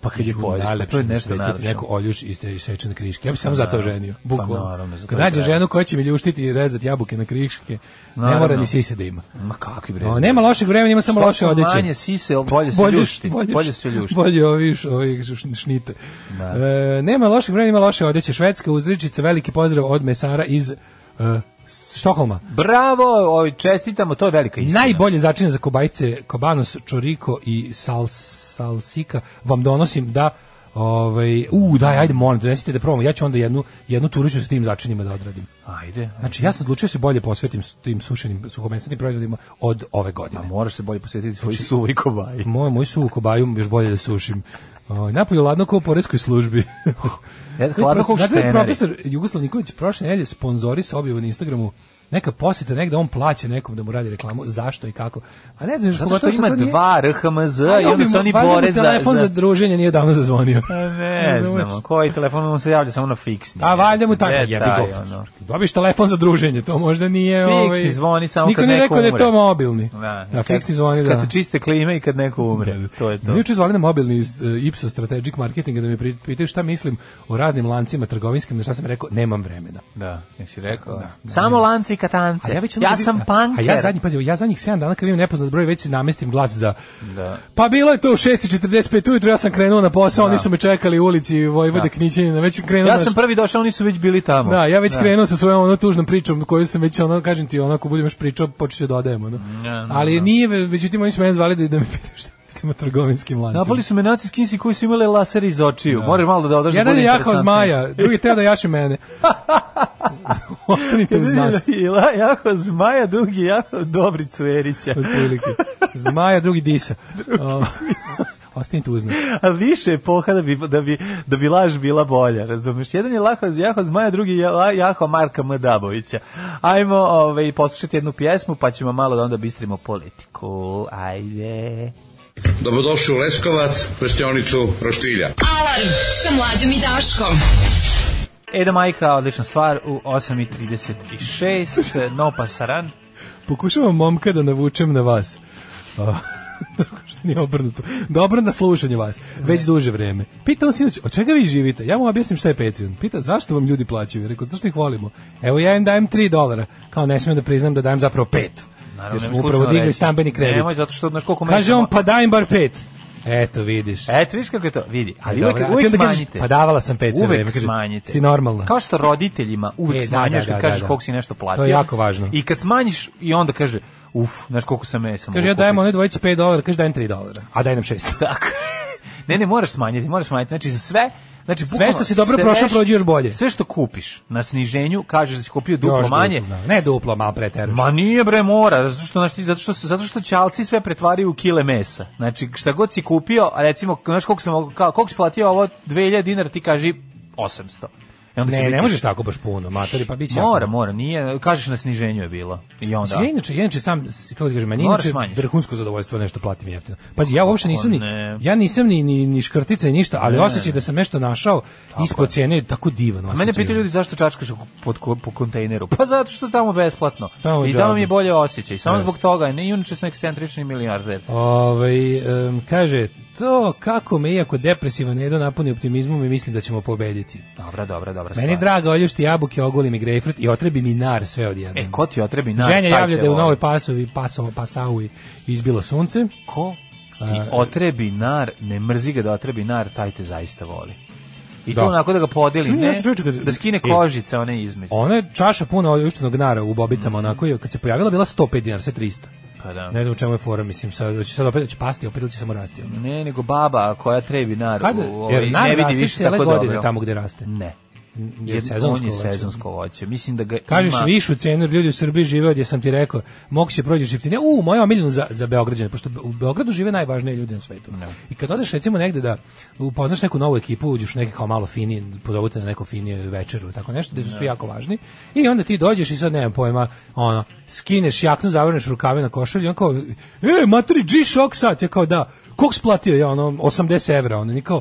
[SPEAKER 8] pa kad je pojedeš, pa to je nešto
[SPEAKER 9] naravno. Neko
[SPEAKER 8] naravno.
[SPEAKER 9] oljuš iz te isečene kriške. Ja bih samo zato ženio. Bukvalno.
[SPEAKER 8] Pa naravno, za to
[SPEAKER 9] Kad
[SPEAKER 8] je
[SPEAKER 9] nađe
[SPEAKER 8] treba.
[SPEAKER 9] ženu koja će mi ljuštiti i rezati jabuke na kriške, ne
[SPEAKER 8] Naravno.
[SPEAKER 9] mora ni sise da ima.
[SPEAKER 8] Ma kakvi bre.
[SPEAKER 9] O, nema lošeg vremena, ima samo
[SPEAKER 8] Što
[SPEAKER 9] loše
[SPEAKER 8] su
[SPEAKER 9] odeće.
[SPEAKER 8] Manje sise, bolje se ljušti, bolje se ljušti.
[SPEAKER 9] Bolje ovi, š- ovi š- šnite.
[SPEAKER 8] Da.
[SPEAKER 9] E, nema lošeg vremena, ima loše odeće. Švedska uzričica, veliki pozdrav od mesara iz e, Štokholma.
[SPEAKER 8] Bravo, ovaj, čestitamo, to je velika istina.
[SPEAKER 9] Najbolje začine za kobajce, kobanos, čoriko i sal, salsika vam donosim da Ovaj, u, daj, ajde, molim, te, donesite da probamo. Ja ću onda jednu, jednu turiću sa tim začinima da odradim.
[SPEAKER 8] Ajde.
[SPEAKER 9] Znači, ja sam odlučio se bolje posvetim s- tim sušenim suhomesnatim proizvodima od ove godine.
[SPEAKER 8] A Pa moraš se bolje posvetiti svoj znači, suvoj kobaji.
[SPEAKER 9] Moj, moj suvu kobaju još bolje da sušim. Ovaj, Napolju ladno kao u poreskoj službi.
[SPEAKER 8] Ja, E, hladno su
[SPEAKER 9] Znate da je
[SPEAKER 8] štenari.
[SPEAKER 9] profesor Jugoslav Nikolić prošle nedelje sponzori sa objavu na Instagramu neka posjeta negde, on plaća nekom da mu radi reklamu, zašto i kako. A ne znam, još
[SPEAKER 8] Zato što
[SPEAKER 9] pogotovo
[SPEAKER 8] ima
[SPEAKER 9] Pa to nije-
[SPEAKER 8] dva RHMZ
[SPEAKER 9] Ali
[SPEAKER 8] i
[SPEAKER 9] on
[SPEAKER 8] onda
[SPEAKER 9] bi
[SPEAKER 8] se
[SPEAKER 9] mu-
[SPEAKER 8] oni
[SPEAKER 9] valjda mu
[SPEAKER 8] bore za...
[SPEAKER 9] telefon za druženje nije davno zazvonio.
[SPEAKER 8] Pa Ne
[SPEAKER 9] Razumeš?
[SPEAKER 8] znamo, koji telefon mu se javlja samo na fiksni.
[SPEAKER 9] A valjda mu tako
[SPEAKER 8] Je,
[SPEAKER 9] jebi
[SPEAKER 8] taj,
[SPEAKER 9] ga.
[SPEAKER 8] ono.
[SPEAKER 9] Dobiš telefon za druženje, to možda nije
[SPEAKER 8] Fiksni
[SPEAKER 9] ovaj.
[SPEAKER 8] zvoni samo
[SPEAKER 9] Niko
[SPEAKER 8] kad
[SPEAKER 9] nije
[SPEAKER 8] neko
[SPEAKER 9] rekao da je
[SPEAKER 8] umre.
[SPEAKER 9] to mobilni.
[SPEAKER 8] Da,
[SPEAKER 9] da, fiksni zvoni da.
[SPEAKER 8] Kad se čiste klime i kad neko umre, to je to.
[SPEAKER 9] Mene juče zvali na mobilni iz, e, Ipsos Strategic Marketinga da me pri- pitaju šta mislim o raznim lancima trgovinskim, na šta sam rekao, nemam vremena.
[SPEAKER 8] Da, jesi rekao.
[SPEAKER 9] Da, da.
[SPEAKER 8] Samo lanci i katance.
[SPEAKER 9] A
[SPEAKER 8] ja,
[SPEAKER 9] već ono kad vidim-
[SPEAKER 8] sam
[SPEAKER 9] a-
[SPEAKER 8] panker.
[SPEAKER 9] A ja zadnji, pazi, ja zadnjih 7 dana kad vidim nepoznat broj, već si namestim glas za...
[SPEAKER 8] Da.
[SPEAKER 9] Pa bilo je to u 6.45 ujutro, ja sam krenuo na posao, oni su me čekali u ulici Vojvode da.
[SPEAKER 8] Da.
[SPEAKER 9] Knićenina, već sam krenuo
[SPEAKER 8] Ja
[SPEAKER 9] naš-
[SPEAKER 8] sam prvi došao, oni su već bili tamo.
[SPEAKER 9] ono Da, ja već krenuo sa svojom ono tužnom pričom koju sam već ono kažem ti onako budem još pričao počeće dodajem ono.
[SPEAKER 8] ne,
[SPEAKER 9] Ali nije međutim oni su mene zvali da, da me pitaju šta mislim o trgovinskim lancima.
[SPEAKER 8] Napali su me naci skinsi koji su imali laser iz očiju. Moraš malo da održiš.
[SPEAKER 9] Jedan je jahao zmaja, drugi teo da jaše mene. Ostanite uz nas.
[SPEAKER 8] Jako zmaja, drugi je jako dobri cuerića.
[SPEAKER 9] Otprilike. Zmaja, drugi disa. O, Ostanite uz nas.
[SPEAKER 8] A više je poha da bi, da, bi, da bi laž bila bolja, razumiješ? Jedan je laho, jaho Zmaja, drugi je la- jaho Marka M. Dabovića. Ajmo ovaj, poslušati jednu pjesmu, pa ćemo malo da onda bistrimo politiku. Ajde.
[SPEAKER 7] Dobrodošli u Leskovac, prštionicu Roštilja.
[SPEAKER 6] Alarm sa mlađom i Daškom.
[SPEAKER 8] Eda Majka, odlična stvar, u 8.36, no pa pasaran.
[SPEAKER 9] Pokušavam momka da navučem na vas. O, Tako što nije obrnuto. Dobro na slušanje vas, već duže vreme. Pitao sinoć, od čega vi živite? Ja mu objasnim šta je Patreon. Pita, zašto vam ljudi plaćaju? Ja Rekao, zato što ih volimo. Evo ja im dajem 3 dolara. Kao ne smijem da priznam da dajem zapravo 5.
[SPEAKER 8] Naravno,
[SPEAKER 9] jer smo
[SPEAKER 8] nemoj
[SPEAKER 9] upravo
[SPEAKER 8] slučajno
[SPEAKER 9] digli
[SPEAKER 8] reći.
[SPEAKER 9] stambeni kredit.
[SPEAKER 8] Nemoj, zato što, znaš, koliko
[SPEAKER 9] Kaže
[SPEAKER 8] meseca-
[SPEAKER 9] on, pa dajem bar 5. Eto, vidiš.
[SPEAKER 8] Eto, vidiš kako je to, vidi. E, Ali uvek,
[SPEAKER 9] Dobro, a ti
[SPEAKER 8] uvek
[SPEAKER 9] onda kažeš,
[SPEAKER 8] smanjite.
[SPEAKER 9] Pa davala sam 5 sve vreme.
[SPEAKER 8] Uvek
[SPEAKER 9] Kaže,
[SPEAKER 8] smanjite.
[SPEAKER 9] Ti normalna.
[SPEAKER 8] Kao što roditeljima
[SPEAKER 9] E,
[SPEAKER 8] uvek
[SPEAKER 9] da,
[SPEAKER 8] smanjaš
[SPEAKER 9] da, da,
[SPEAKER 8] kad kažeš
[SPEAKER 9] da, da.
[SPEAKER 8] koliko si nešto platio.
[SPEAKER 9] To je jako važno.
[SPEAKER 8] I kad smanjiš i onda kaže, uf, znaš koliko sam e, ja sam
[SPEAKER 9] Kaže, ja dajem one dvojici 5 dolara, kaže dajem 3 dolara. A daj nam 6.
[SPEAKER 8] Tako. ne, ne, moraš smanjiti, moraš smanjiti. Znači, za sve, znači, bukvalno
[SPEAKER 9] što si dobro
[SPEAKER 8] sve
[SPEAKER 9] prošao,
[SPEAKER 8] š-
[SPEAKER 9] prođi još bolje.
[SPEAKER 8] Sve što kupiš na sniženju, kažeš da si kupio duplo manje,
[SPEAKER 9] Duplo, da. ne duplo, malo preteraš.
[SPEAKER 8] Ma nije bre mora, zato što znači zato što zato što ćalci sve pretvaraju u kile mesa. Znači šta god si kupio, a recimo znaš koliko sam kao koliko si platio ovo 2000 dinara, ti kaži 800. I onda će
[SPEAKER 9] Ne,
[SPEAKER 8] biti-
[SPEAKER 9] ne možeš tako baš puno, matori, pa biće.
[SPEAKER 8] Mora, mora, nije, kažeš na sniženju je bilo. I onda.
[SPEAKER 9] Ja inače, ja inače sam, s- kako ti kažem, meni
[SPEAKER 8] Moraš
[SPEAKER 9] inače
[SPEAKER 8] smanjiš. Pa
[SPEAKER 9] vrhunsko zadovoljstvo je nešto platim jeftino. Pazi, ja uopšte nisam ni,
[SPEAKER 8] ne.
[SPEAKER 9] ja nisam ni, ni, ni škrtica i ništa, ali osjećaj da sam nešto našao ispod cijene je tako divan.
[SPEAKER 8] A mene pitaju ljudi zašto čačkaš pod, ko- po kontejneru. Pa zato što je tamo besplatno.
[SPEAKER 9] Tamo
[SPEAKER 8] I
[SPEAKER 9] džabe.
[SPEAKER 8] tamo mi je bolje osjećaj. Samo
[SPEAKER 9] Jeste.
[SPEAKER 8] zbog toga. Ne, inače sam ekscentrični milijarder.
[SPEAKER 9] Ovaj em, kaže, to kako me iako depresivan Edo napuni optimizmom i mislim da ćemo pobediti.
[SPEAKER 8] Dobra, dobra, dobra
[SPEAKER 9] Meni je
[SPEAKER 8] stvar.
[SPEAKER 9] draga oljušti jabuke, ogoli mi grejpfrut i otrebi mi nar sve odjednom.
[SPEAKER 8] E, ko ti otrebi na?
[SPEAKER 9] Ženja
[SPEAKER 8] taj
[SPEAKER 9] javlja
[SPEAKER 8] te
[SPEAKER 9] da je u
[SPEAKER 8] voli.
[SPEAKER 9] novoj pasovi, paso, pasaui izbilo sunce.
[SPEAKER 8] ko ti otrebi nar, ne mrzi ga da otrebi nar, taj te zaista voli. I
[SPEAKER 9] Da.
[SPEAKER 8] to onako da ga podeli,
[SPEAKER 9] Što mi
[SPEAKER 8] ne,
[SPEAKER 9] ja čovječe kad-
[SPEAKER 8] da skine
[SPEAKER 9] E.
[SPEAKER 8] kožice one između.
[SPEAKER 9] Ona je čaša puna oljuštenog nara u bobicama, onako, i kad se pojavila bila 105 dinara, sve 300.
[SPEAKER 8] Pa da.
[SPEAKER 9] Ne
[SPEAKER 8] ne,
[SPEAKER 9] znam u čemu je fora, mislim, sad, će sad opet će pasti, opet ili će samo rasti. ono.
[SPEAKER 8] nego baba koja trebi nar,
[SPEAKER 9] Kada,
[SPEAKER 8] u, ovaj,
[SPEAKER 9] jer nar
[SPEAKER 8] ne vidi
[SPEAKER 9] raste
[SPEAKER 8] više
[SPEAKER 9] cijele
[SPEAKER 8] tako
[SPEAKER 9] godine
[SPEAKER 8] dobro.
[SPEAKER 9] tamo gde raste.
[SPEAKER 8] Ne.
[SPEAKER 9] Jer
[SPEAKER 8] Jer
[SPEAKER 9] sezonsko
[SPEAKER 8] on je
[SPEAKER 9] voće.
[SPEAKER 8] sezonsko voće. Mislim da ga
[SPEAKER 9] Kažeš
[SPEAKER 8] ima...
[SPEAKER 9] višu cenu, jer ljudi u Srbiji žive od, ja sam ti rekao, mog se prođe jeftinije. U, moja omiljena za, za Beograđane, pošto u Beogradu žive najvažniji ljudi na svetu. I kad odeš recimo negde da upoznaš neku novu ekipu, uđeš u neke kao malo finije, pozovete na neko finije večeru, tako nešto, gde su svi jako važni. I onda ti dođeš i sad nemam pojma, ono, skineš jaknu, zavrneš rukave na košulju, i on kao, e, maturi, G-Shock sat, ja kao da, kog splatio ja, ono, 80 evra, ono, ni kao,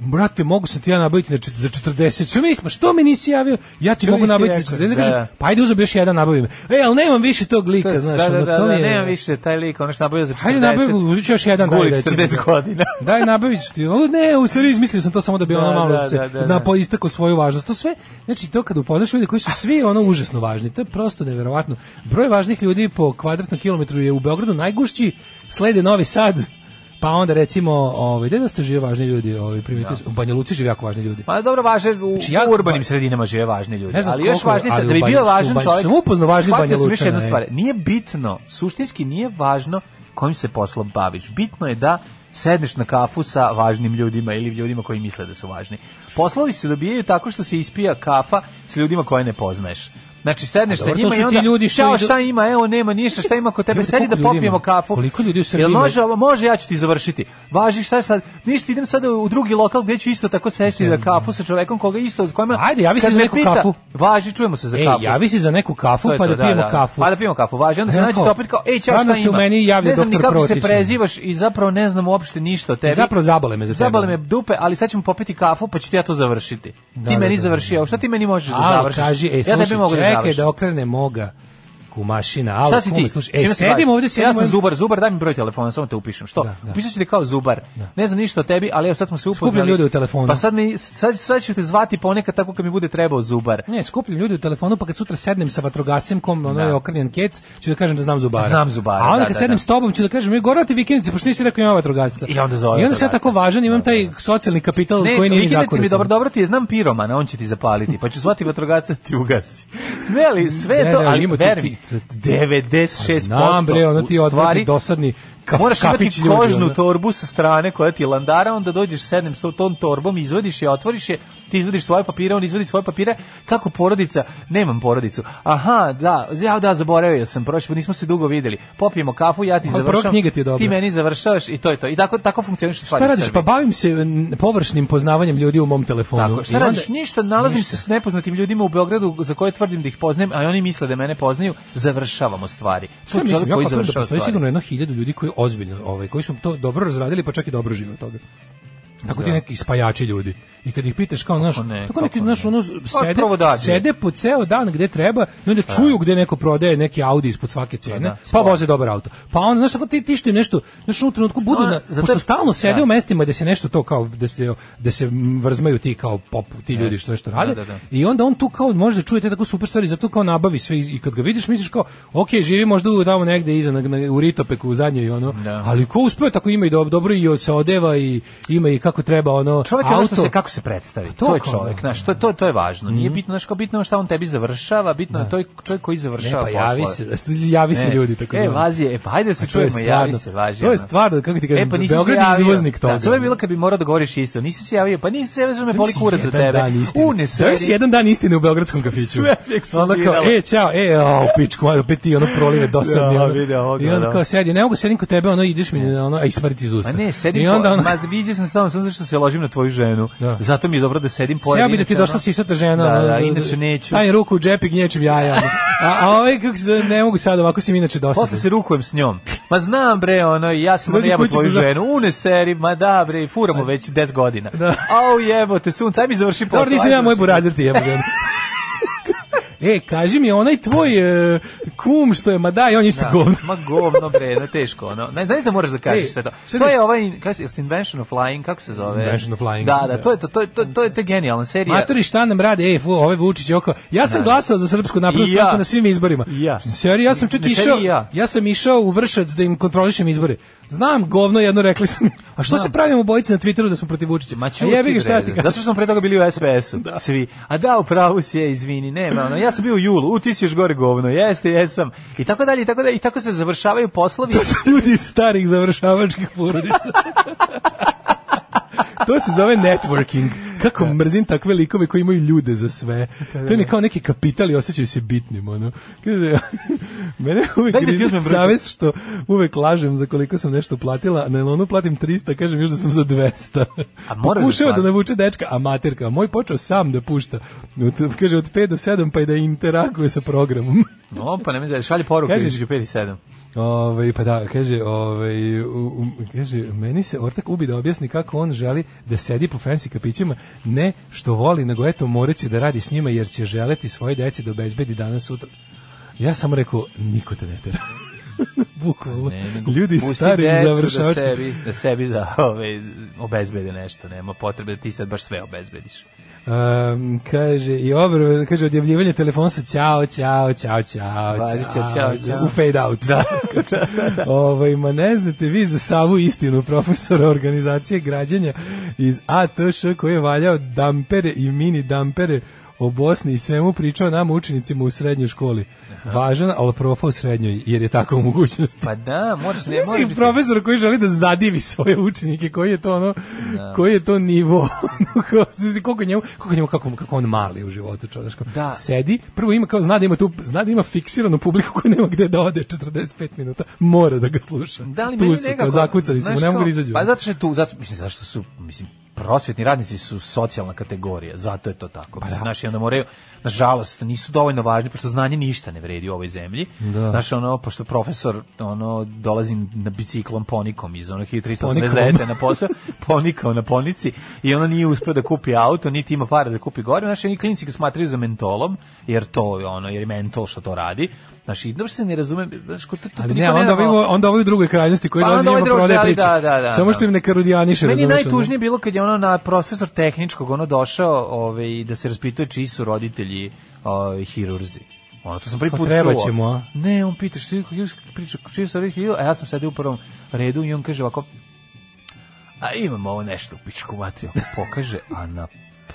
[SPEAKER 9] Brate, mogu sam ti ja nabaviti na čet- za 40. Što mi nismo, što mi nisi javio? Ja ti
[SPEAKER 8] Što
[SPEAKER 9] mogu
[SPEAKER 8] nisi
[SPEAKER 9] nabaviti
[SPEAKER 8] rekao?
[SPEAKER 9] za 40.
[SPEAKER 8] Da,
[SPEAKER 9] Kažem,
[SPEAKER 8] da.
[SPEAKER 9] pa ajde uzem još jedan nabavim. E, ali nemam više tog
[SPEAKER 8] To
[SPEAKER 9] lika,
[SPEAKER 8] je-
[SPEAKER 9] znaš,
[SPEAKER 8] da,
[SPEAKER 9] ono,
[SPEAKER 8] da, da,
[SPEAKER 9] to mi
[SPEAKER 8] da,
[SPEAKER 9] je...
[SPEAKER 8] nemam više taj lik, ono što nabavio za 40.
[SPEAKER 9] Hajde nabavim, uzet ću još jedan. daj,
[SPEAKER 8] Gulić,
[SPEAKER 9] recimo.
[SPEAKER 8] 40 godina.
[SPEAKER 9] daj, nabavit ću ti. O, ne, u stvari izmislio sam to samo da bi
[SPEAKER 8] Da,
[SPEAKER 9] ono malo
[SPEAKER 8] da,
[SPEAKER 9] se
[SPEAKER 8] da, da,
[SPEAKER 9] na
[SPEAKER 8] da.
[SPEAKER 9] po istako svoju važnost. To sve, znači to kad upoznaš ljude koji su svi ono užasno važni, to je prosto neverovatno. Broj važnih ljudi po kvadratnom kilometru je u Beogradu najgušći, slede Novi Sad, pa onda recimo, ovaj, gde da ste žive važni ljudi, ovaj, primetio sam, u Banja Luci žive jako važni ljudi.
[SPEAKER 8] Ma dobro, važe u,
[SPEAKER 9] Znači, ja-
[SPEAKER 8] u urbanim sredinama žive važni ljudi,
[SPEAKER 9] Ne znam
[SPEAKER 8] ali još
[SPEAKER 9] koliko je,
[SPEAKER 8] važnije
[SPEAKER 9] ali
[SPEAKER 8] sad,
[SPEAKER 9] u
[SPEAKER 8] da bi
[SPEAKER 9] Banja-
[SPEAKER 8] bio
[SPEAKER 9] su u
[SPEAKER 8] važan
[SPEAKER 9] Banja-
[SPEAKER 8] čovjek.
[SPEAKER 9] sam upoznao važnih
[SPEAKER 8] Shvatio sam još
[SPEAKER 9] Banjalučana,
[SPEAKER 8] jednu
[SPEAKER 9] je.
[SPEAKER 8] stvar. Nije bitno, suštinski nije važno kojim se poslom baviš. Bitno je da sedneš na kafu sa važnim ljudima ili ljudima koji misle da su važni. Poslovi se dobijaju tako što se ispija kafa s ljudima koje ne poznaješ. Znači sedneš
[SPEAKER 9] A
[SPEAKER 8] sa
[SPEAKER 9] dobro, to
[SPEAKER 8] njima
[SPEAKER 9] su
[SPEAKER 8] i
[SPEAKER 9] ti
[SPEAKER 8] onda
[SPEAKER 9] ljudi što
[SPEAKER 8] "Ćao,
[SPEAKER 9] idu-
[SPEAKER 8] šta ima, evo nema ništa, šta ima kod tebe,
[SPEAKER 9] Ljudi,
[SPEAKER 8] sedi da
[SPEAKER 9] koliko ljudi
[SPEAKER 8] popijemo
[SPEAKER 9] ima?
[SPEAKER 8] kafu.
[SPEAKER 9] Koliko ljudi u Srbiji
[SPEAKER 8] Jel
[SPEAKER 9] ima?
[SPEAKER 8] može, ovo? može, ja ću ti završiti. Važi šta sad, ništa, idem sada u drugi lokal gdje ću isto tako sesti da kafu sa čovekom koga isto od kojima...
[SPEAKER 9] Ajde, javi se
[SPEAKER 8] Kad
[SPEAKER 9] za
[SPEAKER 8] me
[SPEAKER 9] neku kafu.
[SPEAKER 8] Važi, čujemo se za
[SPEAKER 9] Ej,
[SPEAKER 8] kafu.
[SPEAKER 9] E, javi se za neku kafu
[SPEAKER 8] To je
[SPEAKER 9] pa
[SPEAKER 8] to,
[SPEAKER 9] da pijemo kafu.
[SPEAKER 8] Pa da pijemo kafu, važi. Onda se
[SPEAKER 9] Znaš
[SPEAKER 8] nađete
[SPEAKER 9] kao,
[SPEAKER 8] opet kao, ej, ćao, šta ima?
[SPEAKER 9] stvarno se u meni javio
[SPEAKER 8] ne znam ni
[SPEAKER 9] doktor
[SPEAKER 8] kako se
[SPEAKER 9] Protić.
[SPEAKER 8] prezivaš i zapravo ne znam uopšte ništa o tebi.
[SPEAKER 9] Zapravo zabole me za tebe.
[SPEAKER 8] Zabole me dupe, ali sad ćemo popiti kafu, pa ću ti ja to završiti.
[SPEAKER 9] Da,
[SPEAKER 8] ti
[SPEAKER 9] da,
[SPEAKER 8] meni
[SPEAKER 9] da,
[SPEAKER 8] završi, a šta ti meni možeš da
[SPEAKER 9] Al,
[SPEAKER 8] završiš?
[SPEAKER 9] kaži, ej,
[SPEAKER 8] ja
[SPEAKER 9] slušaj,
[SPEAKER 8] tebi mogu da
[SPEAKER 9] čekaj
[SPEAKER 8] završim.
[SPEAKER 9] da okrene moga kumašina. Al,
[SPEAKER 8] Šta si
[SPEAKER 9] kume,
[SPEAKER 8] ti?
[SPEAKER 9] Slušaj,
[SPEAKER 8] Čime
[SPEAKER 9] ej,
[SPEAKER 8] se baviš?
[SPEAKER 9] sedim ovde, sedim
[SPEAKER 8] Ja sam
[SPEAKER 9] ovde.
[SPEAKER 8] zubar, zubar, daj mi broj telefona, samo te upišem. Što?
[SPEAKER 9] Da, da.
[SPEAKER 8] Upisat ću te kao zubar. Ne znam ništa o tebi, ali evo sad smo se upoznali.
[SPEAKER 9] ljude u telefonu.
[SPEAKER 8] Pa sad, mi, sad, sad ću te zvati ponekad tako kad mi bude trebao zubar.
[SPEAKER 9] Ne, skupljam ljudi u telefonu, pa kad sutra sednem sa vatrogascem, kom ono
[SPEAKER 8] Da.
[SPEAKER 9] je okrnjen kec, ću da kažem da znam zubara.
[SPEAKER 8] Znam zubara,
[SPEAKER 9] A onda
[SPEAKER 8] da,
[SPEAKER 9] kad
[SPEAKER 8] da,
[SPEAKER 9] sednem
[SPEAKER 8] da.
[SPEAKER 9] s tobom, ću da kažem, je gorati vikendice, pošto nisi rekao ima vatrogasca.
[SPEAKER 8] I onda zove
[SPEAKER 9] I onda sam ja
[SPEAKER 8] vatrogasca.
[SPEAKER 9] tako važan, imam taj socijalni kapital
[SPEAKER 8] Ne,
[SPEAKER 9] koji nije ni
[SPEAKER 8] vikendice mi
[SPEAKER 9] zakonic.
[SPEAKER 8] dobro, dobro ti je, znam piromana, on će ti zapaliti, pa ću zvati vatrogasca da ti ugasi. Ne, ali sve je
[SPEAKER 9] Ne,
[SPEAKER 8] to,
[SPEAKER 9] ne,
[SPEAKER 8] ali
[SPEAKER 9] ima tu
[SPEAKER 8] veruj
[SPEAKER 9] ti-
[SPEAKER 8] mi, 96%
[SPEAKER 9] Znam bre, ono ti
[SPEAKER 8] u
[SPEAKER 9] odvadi
[SPEAKER 8] stvari
[SPEAKER 9] dosadni kaf,
[SPEAKER 8] Moraš
[SPEAKER 9] kafić
[SPEAKER 8] imati
[SPEAKER 9] ljudi.
[SPEAKER 8] kožnu
[SPEAKER 9] ono.
[SPEAKER 8] torbu sa strane koja ti je landara, onda dođeš sednem s to- tom torbom, izvadiš je, otvoriš je, ti izvadiš svoje papire, on izvadi svoje papire, kako porodica, nemam porodicu, aha, da, ja da, zaboravio sam, prošli, put nismo se dugo videli, popijemo kafu, ja ti
[SPEAKER 9] Ali prva
[SPEAKER 8] završavam,
[SPEAKER 9] knjiga ti je dobra.
[SPEAKER 8] ti meni završavaš i to je to, i tako, tako funkcioniš
[SPEAKER 9] Šta radiš? Pa bavim se m, površnim poznavanjem ljudi u mom telefonu.
[SPEAKER 8] tako,
[SPEAKER 9] I
[SPEAKER 8] šta
[SPEAKER 9] onda-
[SPEAKER 8] radiš? Ništa, nalazim se s nepoznatim ljudima u Beogradu za koje tvrdim da ih poznajem, a oni misle da mene poznaju, završavamo stvari.
[SPEAKER 9] Šta
[SPEAKER 8] To je
[SPEAKER 9] mislim,
[SPEAKER 8] čovjek
[SPEAKER 9] ja
[SPEAKER 8] koji
[SPEAKER 9] kapiram da
[SPEAKER 8] završava
[SPEAKER 9] postoji
[SPEAKER 8] stvari.
[SPEAKER 9] sigurno jedno hiljadu ljudi koji ozbiljno, ovaj, koji su to dobro razradili, pa čak i dobro žive od toga. Tako ti neki spajači ljudi. I kad ih pitaš kao, znaš,
[SPEAKER 8] ne, Pa
[SPEAKER 9] tako neki,
[SPEAKER 8] kako
[SPEAKER 9] znaš, ono, sede,
[SPEAKER 8] provodadije.
[SPEAKER 9] sede po ceo dan gde treba i onda čuju gde neko prodaje neki Audi ispod svake cene,
[SPEAKER 8] da,
[SPEAKER 9] pa voze dobar auto. Pa onda, znaš, tako ti, ti što je nešto, znaš, u trenutku budu,
[SPEAKER 8] Ona,
[SPEAKER 9] na,
[SPEAKER 8] zato-
[SPEAKER 9] pošto stalno sede
[SPEAKER 8] da.
[SPEAKER 9] u mestima gde se nešto to kao, gde se, gde se vrzmaju ti kao pop, ti ljudi što nešto rade,
[SPEAKER 8] Da, da, da.
[SPEAKER 9] i onda on tu kao može da čuje te tako super stvari, zato kao nabavi sve i kad ga vidiš misliš kao, ok, živi možda u tamo negde iza na, na- u Ritopeku u zadnjoj ono,
[SPEAKER 8] Da.
[SPEAKER 9] ali ko uspeo tako ima i dob- dobro i od se odeva i ima i kako treba ono
[SPEAKER 8] Čovjek je ono
[SPEAKER 9] auto.
[SPEAKER 8] što se kako se predstavi.
[SPEAKER 9] to
[SPEAKER 8] To, je
[SPEAKER 9] kao, Mhm.
[SPEAKER 8] čovjek,
[SPEAKER 9] da.
[SPEAKER 8] znaš, to to to je važno. Nije bitno znači bitno je šta on tebi završava, bitno je to je čovjek koji
[SPEAKER 9] Ne,
[SPEAKER 8] završava
[SPEAKER 9] pa javi se,
[SPEAKER 8] poslove.
[SPEAKER 9] da se- javi se
[SPEAKER 8] Ne.
[SPEAKER 9] ljudi tako. ono.
[SPEAKER 8] E,
[SPEAKER 9] zvani.
[SPEAKER 8] vazi, je, e, pa ajde da se
[SPEAKER 9] A to je
[SPEAKER 8] čujemo, javi
[SPEAKER 9] stvarno-
[SPEAKER 8] se, važi.
[SPEAKER 9] To je
[SPEAKER 8] ono.
[SPEAKER 9] stvarno, kako ti kažem,
[SPEAKER 8] E, pa nisi se
[SPEAKER 9] Beograd je
[SPEAKER 8] javio.
[SPEAKER 9] izvoznik toga.
[SPEAKER 8] Da, to je bilo kad bi morao da govoriš isto. Nisi se javio, pa nisi se javio, me
[SPEAKER 9] Zamisli
[SPEAKER 8] boli kurac za
[SPEAKER 9] jedan
[SPEAKER 8] tebe.
[SPEAKER 9] dan istine.
[SPEAKER 8] U, ne
[SPEAKER 9] Zamisli
[SPEAKER 8] seri.
[SPEAKER 9] jedan dan istine u beogradskom kafiću.
[SPEAKER 8] Sve je
[SPEAKER 9] Onda kao,
[SPEAKER 8] eksplodiralo.
[SPEAKER 9] e, ćao, e, o, pičku, ajde, opet ti ono prolive dosadni.
[SPEAKER 8] Ja,
[SPEAKER 9] ono.
[SPEAKER 8] vidio ovoga,
[SPEAKER 9] I onda
[SPEAKER 8] da.
[SPEAKER 9] kao sedi, ne mogu sedim kod tebe, ono, ideš mi, ono, a i smrti iz usta.
[SPEAKER 8] Ma Pa ne, sedim,
[SPEAKER 9] I onda, ono,
[SPEAKER 8] ma viđao sam stalno samo zato što se ložim na tvoju ženu.
[SPEAKER 9] Da.
[SPEAKER 8] Zato mi je dobro da sedim pored.
[SPEAKER 9] Sjeo bi da
[SPEAKER 8] inače,
[SPEAKER 9] ti došla
[SPEAKER 8] ono-
[SPEAKER 9] sisata žena.
[SPEAKER 8] Da,
[SPEAKER 9] ono,
[SPEAKER 8] da, inače neću.
[SPEAKER 9] Stavi ruku u džep i gnječim jaja. ono. A, a ovaj, kako se, ne mogu sad, ovako si mi inače
[SPEAKER 8] Posle
[SPEAKER 9] dosadan.
[SPEAKER 8] se rukujem s njom. Ma znam bre, ono, ja sam ono
[SPEAKER 9] Dođi
[SPEAKER 8] jebo
[SPEAKER 9] kući,
[SPEAKER 8] tvoju
[SPEAKER 9] za-
[SPEAKER 8] ženu. Une seri, ma da bre, furamo već 10 godina.
[SPEAKER 9] Da.
[SPEAKER 8] Au jebo te sunce, aj mi završi posao.
[SPEAKER 9] Dobro, nisam
[SPEAKER 8] aj
[SPEAKER 9] ja moj
[SPEAKER 8] završi
[SPEAKER 9] burazir ti jebam. E, kaži mi, onaj tvoj e, kum što je, ma daj, on je isto
[SPEAKER 8] Da,
[SPEAKER 9] govno.
[SPEAKER 8] Ma govno bre, ne teško ono. Ne znaš da moraš da
[SPEAKER 9] Ej,
[SPEAKER 8] kažeš sve to.
[SPEAKER 9] šta
[SPEAKER 8] To
[SPEAKER 9] ti-
[SPEAKER 8] je ovaj kako se jel se Invention of Flying, kako se zove?
[SPEAKER 9] Invention of Lying,
[SPEAKER 8] Da, da,
[SPEAKER 9] da.
[SPEAKER 8] to je to, to je to, to je to je genijalna serija.
[SPEAKER 9] Matori šta nam rade, ej, fu, ovaj Vučić je oko. Ja sam glasao za srpsku naprednu
[SPEAKER 8] I ja.
[SPEAKER 9] stranku na svim izborima.
[SPEAKER 8] I ja.
[SPEAKER 9] Seri, ja sam čak
[SPEAKER 8] Ne, seri
[SPEAKER 9] išao,
[SPEAKER 8] i ja.
[SPEAKER 9] ja. sam išao u Vršac da im kontrolišem izbore. Znam, govno jedno rekli su mi. A što se pravimo bojice na Twitteru da smo protiv Vučića?
[SPEAKER 8] Ma
[SPEAKER 9] A
[SPEAKER 8] ćuti
[SPEAKER 9] jebi E, ga,
[SPEAKER 8] bre,
[SPEAKER 9] šta ti kažem?
[SPEAKER 8] Zato što smo pre toga bili u SPS-u, svi. A da, u pravu si je, izvini, nema, ono, ja sam bio u julu, u, ti si još gore govno, jeste, jesam. I tako dalje, i tako dalje, i tako se završavaju poslovi.
[SPEAKER 9] To su ljudi iz starih završavačkih porodica. to se zove networking. Kako mrzim takve likove koji imaju ljude za sve. To mi je kao neki kapital i osjećaju se bitnim. Ono. Kaže, mene uvek
[SPEAKER 8] Daj da ti
[SPEAKER 9] grize
[SPEAKER 8] uzmem broj.
[SPEAKER 9] savest što uvek lažem za koliko sam nešto platila, a na onu platim 300, kažem još da sam za 200.
[SPEAKER 8] A moraš da
[SPEAKER 9] Pokušava da
[SPEAKER 8] platiš.
[SPEAKER 9] navuče dečka, a materka, a moj počeo sam da pušta. Od- kaže, od 5 do 7 pa i da interaguje sa programom.
[SPEAKER 8] No, pa ne mi znaš, šalje poruku
[SPEAKER 9] Kažeš-
[SPEAKER 8] između 5 i 7.
[SPEAKER 9] Ove, pa da, kaže, ove, u, u, kaže, meni se ortak ubi da objasni kako on želi da sedi po fancy kapićima, ne što voli, nego eto moreće da radi s njima jer će želeti svoje deci da obezbedi danas sutra. Ja sam rekao, niko te ne tera. Bukvalno.
[SPEAKER 8] Ne, nego
[SPEAKER 9] Ljudi
[SPEAKER 8] pusti
[SPEAKER 9] stari
[SPEAKER 8] decu Da
[SPEAKER 9] završavački.
[SPEAKER 8] sebi, da sebi za, ove, obezbede nešto, nema potrebe da ti sad baš sve obezbediš.
[SPEAKER 9] Um, kaže, i obr, kaže, odjavljivanje telefona sa ćao, ćao, ćao, ćao,
[SPEAKER 8] Važi, ćao, ćao, ćao.
[SPEAKER 9] u fade out. Da. Ovaj, ma ne znate vi za savu istinu profesora organizacije građenja iz ATŠ koji je valjao dampere i mini dampere o Bosni i svemu pričao nama učenicima u srednjoj školi. Važan, ali profa u srednjoj, jer je tako u mogućnosti.
[SPEAKER 8] Pa da, moraš ne moraš.
[SPEAKER 9] Mislim,
[SPEAKER 8] biti-
[SPEAKER 9] profesor koji želi da zadivi svoje učenike, koji je to ono, koji je to nivo, ono, kao, znaš, koliko njemu, koliko njemu, kako, kako on mali u životu čovječko.
[SPEAKER 8] Da.
[SPEAKER 9] Sedi, prvo ima kao, zna da ima tu, zna da ima fiksiranu publiku koja nema gde da ode 45 minuta, mora da ga sluša.
[SPEAKER 8] Da li
[SPEAKER 9] tu
[SPEAKER 8] meni
[SPEAKER 9] su,
[SPEAKER 8] nekako,
[SPEAKER 9] kao, zakucali su,
[SPEAKER 8] znaš
[SPEAKER 9] mu, ne mogu
[SPEAKER 8] kao,
[SPEAKER 9] da izađu.
[SPEAKER 8] Pa zato što je tu, zato, mislim, zašto su, mislim, prosvjetni radnici su socijalna kategorija, zato je to
[SPEAKER 9] Pa
[SPEAKER 8] tako. mislim, Znaš, i onda moraju, nažalost, nisu dovoljno važni, pošto znanje ništa ne vredi u ovoj zemlji.
[SPEAKER 9] Da.
[SPEAKER 8] Znaš, ono, pošto profesor, ono, dolazi na biciklom ponikom iz ono, onog
[SPEAKER 9] Ponikom.
[SPEAKER 8] 1389. na posao, ponikao na ponici, i ono nije uspio da kupi auto, niti ima para da kupi gore. Znaš, oni klinici ga smatraju za mentolom, jer to, je ono, jer je mentol što to radi. Znaš, i dobro se ne razume, znaš, ko to, to,
[SPEAKER 9] Ali
[SPEAKER 8] niko
[SPEAKER 9] ne, onda
[SPEAKER 8] nema-
[SPEAKER 9] ovaj, onda ovaj u drugoj krajnosti koji
[SPEAKER 8] Pa
[SPEAKER 9] dolazi
[SPEAKER 8] onda ovaj
[SPEAKER 9] njima
[SPEAKER 8] drugi,
[SPEAKER 9] prodaje
[SPEAKER 8] ali
[SPEAKER 9] priče.
[SPEAKER 8] da, da, da,
[SPEAKER 9] Samo što
[SPEAKER 8] da.
[SPEAKER 9] im ne karudijaniše.
[SPEAKER 8] Meni je
[SPEAKER 9] razumeš, ono.
[SPEAKER 8] najtužnije bilo kad je ono na profesor tehničkog ono došao ovaj, da se raspituje čiji su roditelji ovaj, hirurzi. Ono, to sam prvi
[SPEAKER 9] Pa
[SPEAKER 8] put
[SPEAKER 9] treba
[SPEAKER 8] čuo.
[SPEAKER 9] će mu, a?
[SPEAKER 8] Ne, on pita što je priča, čiji su roditelji hirurzi, a ja sam sad u prvom redu i on kaže ovako, a imam ovo nešto u pičku materiju. Pokaže, a na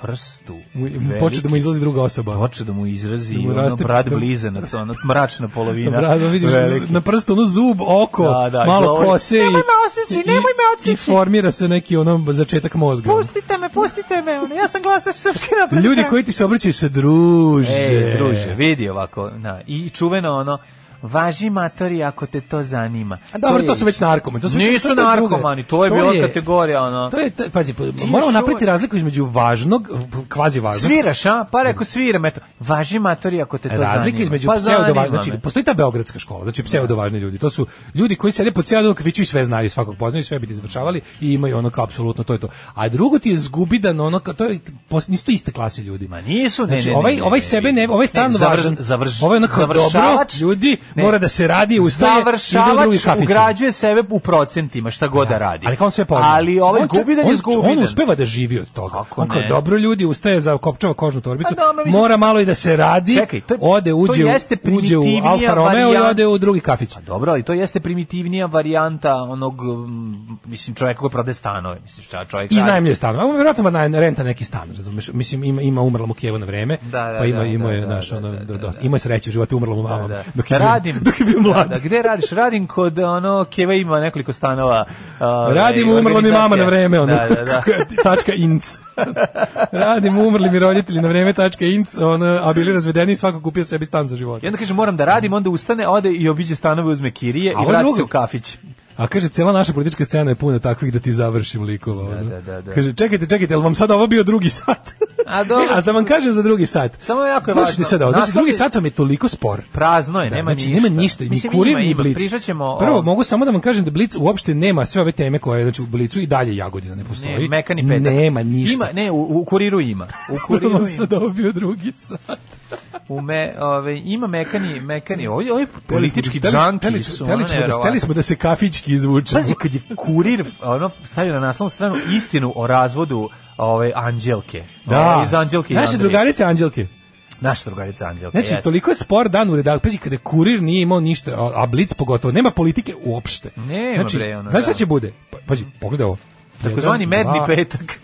[SPEAKER 8] prstu
[SPEAKER 9] Mu- mu
[SPEAKER 8] veliki-
[SPEAKER 9] Počne da mu izlazi druga osoba.
[SPEAKER 8] Počne da mu izrazi
[SPEAKER 9] Da mu
[SPEAKER 8] ono,
[SPEAKER 9] raste-
[SPEAKER 8] brat
[SPEAKER 9] da-
[SPEAKER 8] blizanac, ono, mračna polovina.
[SPEAKER 9] Razum, vidiš,
[SPEAKER 8] Veliki.
[SPEAKER 9] na prstu ono zub, oko,
[SPEAKER 8] Da, da,
[SPEAKER 9] malo
[SPEAKER 8] govori,
[SPEAKER 9] kose i,
[SPEAKER 8] "Nemoj me oseći,
[SPEAKER 9] i-
[SPEAKER 8] nemoj me oseći."
[SPEAKER 9] i formira se neki ono začetak mozga.
[SPEAKER 8] Pustite me, pustite me, ono, ja sam glasač Srpske napredne
[SPEAKER 9] Ljudi
[SPEAKER 8] stranke.
[SPEAKER 9] koji ti se obraćaju se druže.
[SPEAKER 8] E, druže, vidi ovako, na, i čuveno ono, važi matori ako te to zanima.
[SPEAKER 9] A dobro,
[SPEAKER 8] je-
[SPEAKER 9] to su već narkomani. To su već-
[SPEAKER 8] Nisu
[SPEAKER 9] to je drugo.
[SPEAKER 8] narkomani, to je bila kategorija, ono.
[SPEAKER 9] To je, to- pazi, pa- moramo
[SPEAKER 8] još
[SPEAKER 9] napraviti
[SPEAKER 8] uvek-
[SPEAKER 9] razliku između važnog, kvazi važnog.
[SPEAKER 8] Sviraš, a? Pa rekao sviram, eto. Važi matori ako te to zanima.
[SPEAKER 9] razlika između
[SPEAKER 8] pa
[SPEAKER 9] pseudovažni,
[SPEAKER 8] zanima
[SPEAKER 9] znači
[SPEAKER 8] me.
[SPEAKER 9] postoji ta beogradska škola, znači pseudovažni ljudi. To su ljudi koji sede po cijelu dan kviću i sve znaju, svakog poznaju, sve bi ti izvršavali i imaju ono kao apsolutno to je to. A drugo ti je zgubidan ono kao to je pos- nisu to iste klase ljudi.
[SPEAKER 8] Ma nisu, ne,
[SPEAKER 9] Znači,
[SPEAKER 8] ne, ne,
[SPEAKER 9] ovaj
[SPEAKER 8] ne,
[SPEAKER 9] ovaj
[SPEAKER 8] ne,
[SPEAKER 9] sebe ne,
[SPEAKER 8] ne,
[SPEAKER 9] ovaj
[SPEAKER 8] ne,
[SPEAKER 9] stalno
[SPEAKER 8] završ-
[SPEAKER 9] važan.
[SPEAKER 8] završ-
[SPEAKER 9] ovaj onako dobro,
[SPEAKER 8] završavač-
[SPEAKER 9] ljudi,
[SPEAKER 8] ne.
[SPEAKER 9] mora da se radi, ustaje, ide u drugi
[SPEAKER 8] Završavač
[SPEAKER 9] kafić.
[SPEAKER 8] ugrađuje sebe u procentima, šta god da radi.
[SPEAKER 9] Ali kao on sve poznaje. Znači,
[SPEAKER 8] Ali ovaj
[SPEAKER 9] On čak-
[SPEAKER 8] zgubidan je
[SPEAKER 9] on-
[SPEAKER 8] zgubidan.
[SPEAKER 9] On uspeva da živi od toga.
[SPEAKER 8] Kako
[SPEAKER 9] on kao,
[SPEAKER 8] ne?
[SPEAKER 9] dobro ljudi ustaje za kopčava kožnu torbicu.
[SPEAKER 8] Pa dobro, mislim-
[SPEAKER 9] mora malo i da se radi.
[SPEAKER 8] Čekaj, to je-
[SPEAKER 9] ode
[SPEAKER 8] to
[SPEAKER 9] uđe, u-
[SPEAKER 8] jeste
[SPEAKER 9] uđe u
[SPEAKER 8] primitivnija
[SPEAKER 9] Alfa Romeo i
[SPEAKER 8] varijanta.
[SPEAKER 9] ode u drugi kafić.
[SPEAKER 8] Pa dobro, ali to jeste primitivnija varijanta onog, mm, mislim, čovjeka koji prode stanove. Mislim, šta čovjek
[SPEAKER 9] I
[SPEAKER 8] radi.
[SPEAKER 9] iznajmljuje stan. A on verovatno van renta neki stan, razumeš? Mislim ima ima umrlo mu Kijeva na vreme,
[SPEAKER 8] Da, da,
[SPEAKER 9] pa ima
[SPEAKER 8] da,
[SPEAKER 9] ima
[SPEAKER 8] da,
[SPEAKER 9] je
[SPEAKER 8] da,
[SPEAKER 9] naš
[SPEAKER 8] da,
[SPEAKER 9] ono
[SPEAKER 8] da,
[SPEAKER 9] do,
[SPEAKER 8] da,
[SPEAKER 9] do,
[SPEAKER 8] da.
[SPEAKER 9] ima sreće u životu umrlo mu
[SPEAKER 8] Da,
[SPEAKER 9] malo.
[SPEAKER 8] da.
[SPEAKER 9] Dok je bio,
[SPEAKER 8] radim,
[SPEAKER 9] dok je bio mlad.
[SPEAKER 8] Da, da, gde radiš? Radim kod ono Keva ima nekoliko stanova. ovaj,
[SPEAKER 9] Radim umrlo mi mama na vreme, ono.
[SPEAKER 8] Da, da, da.
[SPEAKER 9] tačka inc. Radim umrli mi roditelji na vreme, tačka inc, ono, a bili razvedeni i svako kupio sebi stan za život.
[SPEAKER 8] I onda kaže moram da radim, onda ustane, ode i obiđe stanove, uzme kirije
[SPEAKER 9] A
[SPEAKER 8] i
[SPEAKER 9] ovo
[SPEAKER 8] vrati
[SPEAKER 9] drugo?
[SPEAKER 8] se u kafić.
[SPEAKER 9] A kaže, cijela naša politička scena je puna takvih da ti završim likova. ono.
[SPEAKER 8] da, da, da.
[SPEAKER 9] Kaže, čekajte, čekajte, jel vam sad ovo bio drugi sat?
[SPEAKER 8] A dobro.
[SPEAKER 9] E, a da vam kažem za drugi sat.
[SPEAKER 8] Samo jako je
[SPEAKER 9] Slušajte
[SPEAKER 8] važno.
[SPEAKER 9] sad ovo, znači,
[SPEAKER 8] Nastavite-
[SPEAKER 9] drugi sat vam je toliko spor.
[SPEAKER 8] Prazno je, Pa
[SPEAKER 9] Da,
[SPEAKER 8] nema
[SPEAKER 9] znači,
[SPEAKER 8] ništa.
[SPEAKER 9] nema ništa, ni
[SPEAKER 8] Mislim,
[SPEAKER 9] kurir,
[SPEAKER 8] ima,
[SPEAKER 9] ni
[SPEAKER 8] ima,
[SPEAKER 9] blic.
[SPEAKER 8] pričat ćemo
[SPEAKER 9] Prvo,
[SPEAKER 8] o-
[SPEAKER 9] mogu samo da vam kažem da blic uopšte nema sve ove teme koje, znači, u blicu i dalje Jagodina ne postoji.
[SPEAKER 8] Ne, mekani petak.
[SPEAKER 9] Nema ništa.
[SPEAKER 8] Ima, ne, u, u kuriru ima. U
[SPEAKER 9] Prvo
[SPEAKER 8] kuriru
[SPEAKER 9] vam
[SPEAKER 8] ima.
[SPEAKER 9] sad ovo bio drugi sat.
[SPEAKER 8] U me, ove, ima mekani, mekani. Ovi, ovi politički
[SPEAKER 9] Hteli smo da- hteli-
[SPEAKER 8] džanki su.
[SPEAKER 9] hteli
[SPEAKER 8] ono,
[SPEAKER 9] smo da-
[SPEAKER 8] neverovatno.
[SPEAKER 9] Hteli smo da se kafićki izvučemo.
[SPEAKER 8] Pazi, kad je kurir ono, stavio na naslovnu stranu istinu o razvodu ove, Anđelke.
[SPEAKER 9] Da.
[SPEAKER 8] Ove, iz Anđelke i
[SPEAKER 9] Naše
[SPEAKER 8] Andreja.
[SPEAKER 9] drugarice Anđelke.
[SPEAKER 8] Naša drugarica Anđelka.
[SPEAKER 9] Znači,
[SPEAKER 8] jeste.
[SPEAKER 9] toliko je spor dan u redakciji. Pazi, kada kurir nije imao ništa, a, a Blitz pogotovo, nema politike uopšte.
[SPEAKER 8] Nema,
[SPEAKER 9] znači,
[SPEAKER 8] bre, ono,
[SPEAKER 9] Znaš šta
[SPEAKER 8] da.
[SPEAKER 9] će bude? Pa- Pazi, pogledaj ovo.
[SPEAKER 8] Takozvani
[SPEAKER 9] Jedan,
[SPEAKER 8] medni
[SPEAKER 9] dva-
[SPEAKER 8] petak.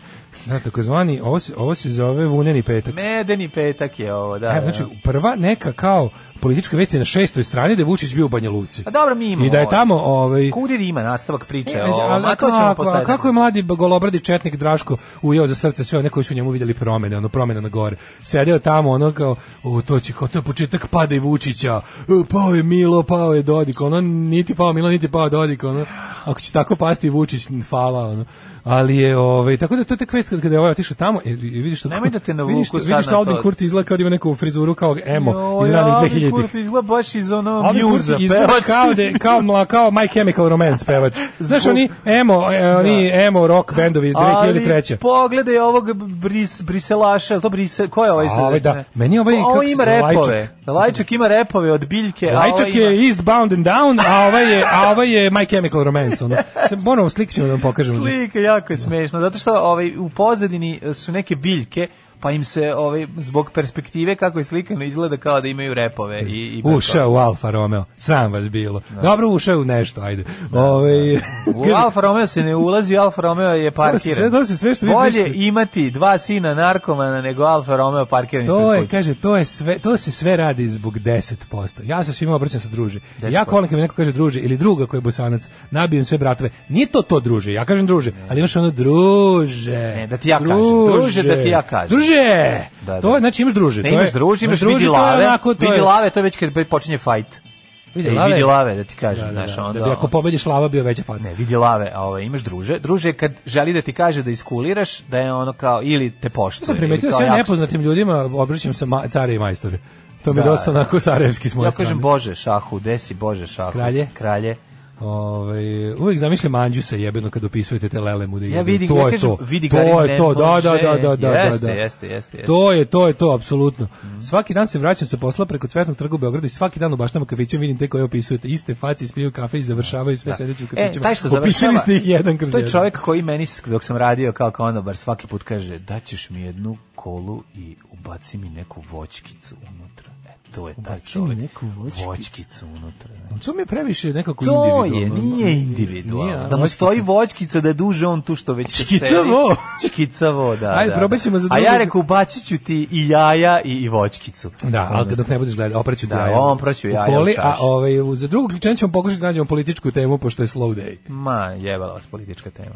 [SPEAKER 9] Da, takozvani, ovo se, ovo se zove vuneni petak.
[SPEAKER 8] Medeni petak je ovo, da.
[SPEAKER 9] E,
[SPEAKER 8] da.
[SPEAKER 9] znači, prva neka kao politička vest je na šestoj strani da je Vučić bio u Banja Luci.
[SPEAKER 8] A Pa dobro, mi imamo.
[SPEAKER 9] I da je
[SPEAKER 8] ovo.
[SPEAKER 9] tamo... Ovaj,
[SPEAKER 8] Kurir ima nastavak priče
[SPEAKER 9] E,
[SPEAKER 8] o ovom, a to
[SPEAKER 9] kako-
[SPEAKER 8] ćemo
[SPEAKER 9] a
[SPEAKER 8] postaviti.
[SPEAKER 9] kako je mladi golobradi četnik Draško ujeo za srce sve one koji su u njemu vidjeli promene, ono promene na gore. Sedeo tamo ono kao, u, to će, kao, to je početak pada i Vučića, U, pao je Milo, pao je Dodik, ono, niti pao Milo, niti pao Dodik, ono, ako će tako pasti i Vučić, fala, ono. Ali je, ovaj, tako da to je tek vest kada je ovaj otišao tamo, i, i vidiš što...
[SPEAKER 8] Nemoj da te navuku
[SPEAKER 9] vidiš što,
[SPEAKER 8] sad
[SPEAKER 9] vidiš što
[SPEAKER 8] na
[SPEAKER 9] Albin
[SPEAKER 8] to.
[SPEAKER 9] Kurti izgleda kao da ima neku frizuru kao emo
[SPEAKER 8] Joj,
[SPEAKER 9] iz ranih
[SPEAKER 8] Alvin
[SPEAKER 9] 2000-ih.
[SPEAKER 8] Kurti izgleda baš iz ono
[SPEAKER 9] Albin
[SPEAKER 8] mjuza.
[SPEAKER 9] Kurti izgleda
[SPEAKER 8] pevač.
[SPEAKER 9] kao, da, kao, mla, kao My Chemical Romance pevač. Znaš, oni emo, e, oni emo rock bendovi iz 2003.
[SPEAKER 8] Ali pogledaj ovog bris, briselaša, jel to brise, ko je ovaj
[SPEAKER 9] A,
[SPEAKER 8] sa
[SPEAKER 9] ovaj da.
[SPEAKER 8] desne?
[SPEAKER 9] Meni je ovaj,
[SPEAKER 8] Pa,
[SPEAKER 9] kako
[SPEAKER 8] Ovo
[SPEAKER 9] se-
[SPEAKER 8] ima repove. Lajčak ima repove od biljke. a
[SPEAKER 9] Lajčak
[SPEAKER 8] ovaj
[SPEAKER 9] je
[SPEAKER 8] ima-
[SPEAKER 9] Eastbound and Down, a ovaj je, a ovaj je My Chemical Romance. Ono. Sad Moramo slik ćemo da vam pokažemo.
[SPEAKER 8] Slika, jako je smešno, zato što ovaj, u pozadini e, su neke biljke pa im se ovaj zbog perspektive kako je slikano izgleda kao da imaju repove i i
[SPEAKER 9] Ušao u Alfa Romeo, sram vas bilo. Dobro, ušao je u nešto, ajde. Ovaj,
[SPEAKER 8] U Alfa Romeo se ne ulazi, Alfa Romeo je parkiran.
[SPEAKER 9] sve- to se sve što vi
[SPEAKER 8] Bolje
[SPEAKER 9] mislite.
[SPEAKER 8] imati dva sina narkomana nego Alfa Romeo parkiran
[SPEAKER 9] To
[SPEAKER 8] ispred
[SPEAKER 9] je,
[SPEAKER 8] kuće.
[SPEAKER 9] kaže, to je sve, to se sve radi zbog 10%. Ja se svima obraćam sa druže.
[SPEAKER 8] 10%.
[SPEAKER 9] Ja kolim kad mi neko kaže druže ili druga koji je bosanac, nabijem sve bratove. Nije to to druže, ja kažem druže, ali imaš ono druže.
[SPEAKER 8] Ne, da ti ja kažem, druže, da ti ja kažem.
[SPEAKER 9] Druže!
[SPEAKER 8] Da, da.
[SPEAKER 9] To je, znači imaš druže.
[SPEAKER 8] Ne
[SPEAKER 9] to je-
[SPEAKER 8] imaš druži, imaš
[SPEAKER 9] druže,
[SPEAKER 8] vidi
[SPEAKER 9] to je
[SPEAKER 8] lave.
[SPEAKER 9] onako, to
[SPEAKER 8] Vidi
[SPEAKER 9] je-
[SPEAKER 8] lave, to je već kad počinje fajt.
[SPEAKER 9] Vidi
[SPEAKER 8] E,
[SPEAKER 9] lave.
[SPEAKER 8] Vidi lave, da ti kažem.
[SPEAKER 9] Da, da,
[SPEAKER 8] znaš,
[SPEAKER 9] da,
[SPEAKER 8] onda, ono.
[SPEAKER 9] da bi ako pobediš lava bio veća faca.
[SPEAKER 8] Ne, vidi lave, a ovaj, imaš druže. Druže, kad želi da ti kaže da iskuliraš, da je ono kao, ili te poštuje.
[SPEAKER 9] Ja sam
[SPEAKER 8] ili
[SPEAKER 9] primetio
[SPEAKER 8] kao
[SPEAKER 9] sve
[SPEAKER 8] jako-
[SPEAKER 9] nepoznatim ljudima, obraćam se ma, care i majstore. To mi je
[SPEAKER 8] Da,
[SPEAKER 9] dosta onako sarajevski s moje
[SPEAKER 8] Ja
[SPEAKER 9] strane.
[SPEAKER 8] kažem, Bože, šahu, desi Bože, šahu?
[SPEAKER 9] Kralje?
[SPEAKER 8] Kralje.
[SPEAKER 9] Ovaj uvek zamislim Anđu sa jebeno kad opisujete te lele mu da
[SPEAKER 8] Ja
[SPEAKER 9] jedu.
[SPEAKER 8] vidim,
[SPEAKER 9] to
[SPEAKER 8] ja
[SPEAKER 9] je
[SPEAKER 8] kažem,
[SPEAKER 9] to.
[SPEAKER 8] vidi ga,
[SPEAKER 9] to
[SPEAKER 8] ne
[SPEAKER 9] je to, da, da,
[SPEAKER 8] može.
[SPEAKER 9] da, da, da, da,
[SPEAKER 8] Jeste,
[SPEAKER 9] da.
[SPEAKER 8] jeste, Mhm. jeste, jeste.
[SPEAKER 9] To je, to je to, apsolutno. Svaki dan se vraćam sa posla preko Cvetnog trga u Beogradu i svaki dan u baštama kafićem vidim te koje opisujete. Iste face, ispiju kafe i završavaju sve sedeći u
[SPEAKER 8] E,
[SPEAKER 9] kafićima.
[SPEAKER 8] taj što završava.
[SPEAKER 9] Opisali ste ih jedan kroz
[SPEAKER 8] To je
[SPEAKER 9] jedan.
[SPEAKER 8] čovjek koji meni, s- dok sam radio kao konobar, svaki put kaže, daćeš mi jednu kolu i ubaci mi neku voćkicu unutra. E, to je taj
[SPEAKER 9] Ubaci mi
[SPEAKER 8] čovjek.
[SPEAKER 9] neku voćkicu.
[SPEAKER 8] voćkicu unutra. znači.
[SPEAKER 9] To mi je previše nekako
[SPEAKER 8] To
[SPEAKER 9] individualno.
[SPEAKER 8] je, nije
[SPEAKER 9] Nije,
[SPEAKER 8] individualno.
[SPEAKER 9] a
[SPEAKER 8] Da mu
[SPEAKER 9] voćkica.
[SPEAKER 8] stoji voćkica da duže on tu što već sedi.
[SPEAKER 9] Škicavo.
[SPEAKER 8] Škicavo, da.
[SPEAKER 9] Ajde,
[SPEAKER 8] da.
[SPEAKER 9] probaj ćemo za
[SPEAKER 8] A
[SPEAKER 9] drugo-
[SPEAKER 8] ja reku, bacit ću ti i jaja i, i voćkicu. Ono,
[SPEAKER 9] Da, ali dok ne budeš gledao, opraću ti
[SPEAKER 8] Da,
[SPEAKER 9] jaja.
[SPEAKER 8] on proći
[SPEAKER 9] U
[SPEAKER 8] jaja u
[SPEAKER 9] Koli, a
[SPEAKER 8] čaši.
[SPEAKER 9] ovaj, u- za drugu ključenje ćemo pokušati da nađemo političku temu, pošto je slow day.
[SPEAKER 8] Ma, jebala vas politička tema.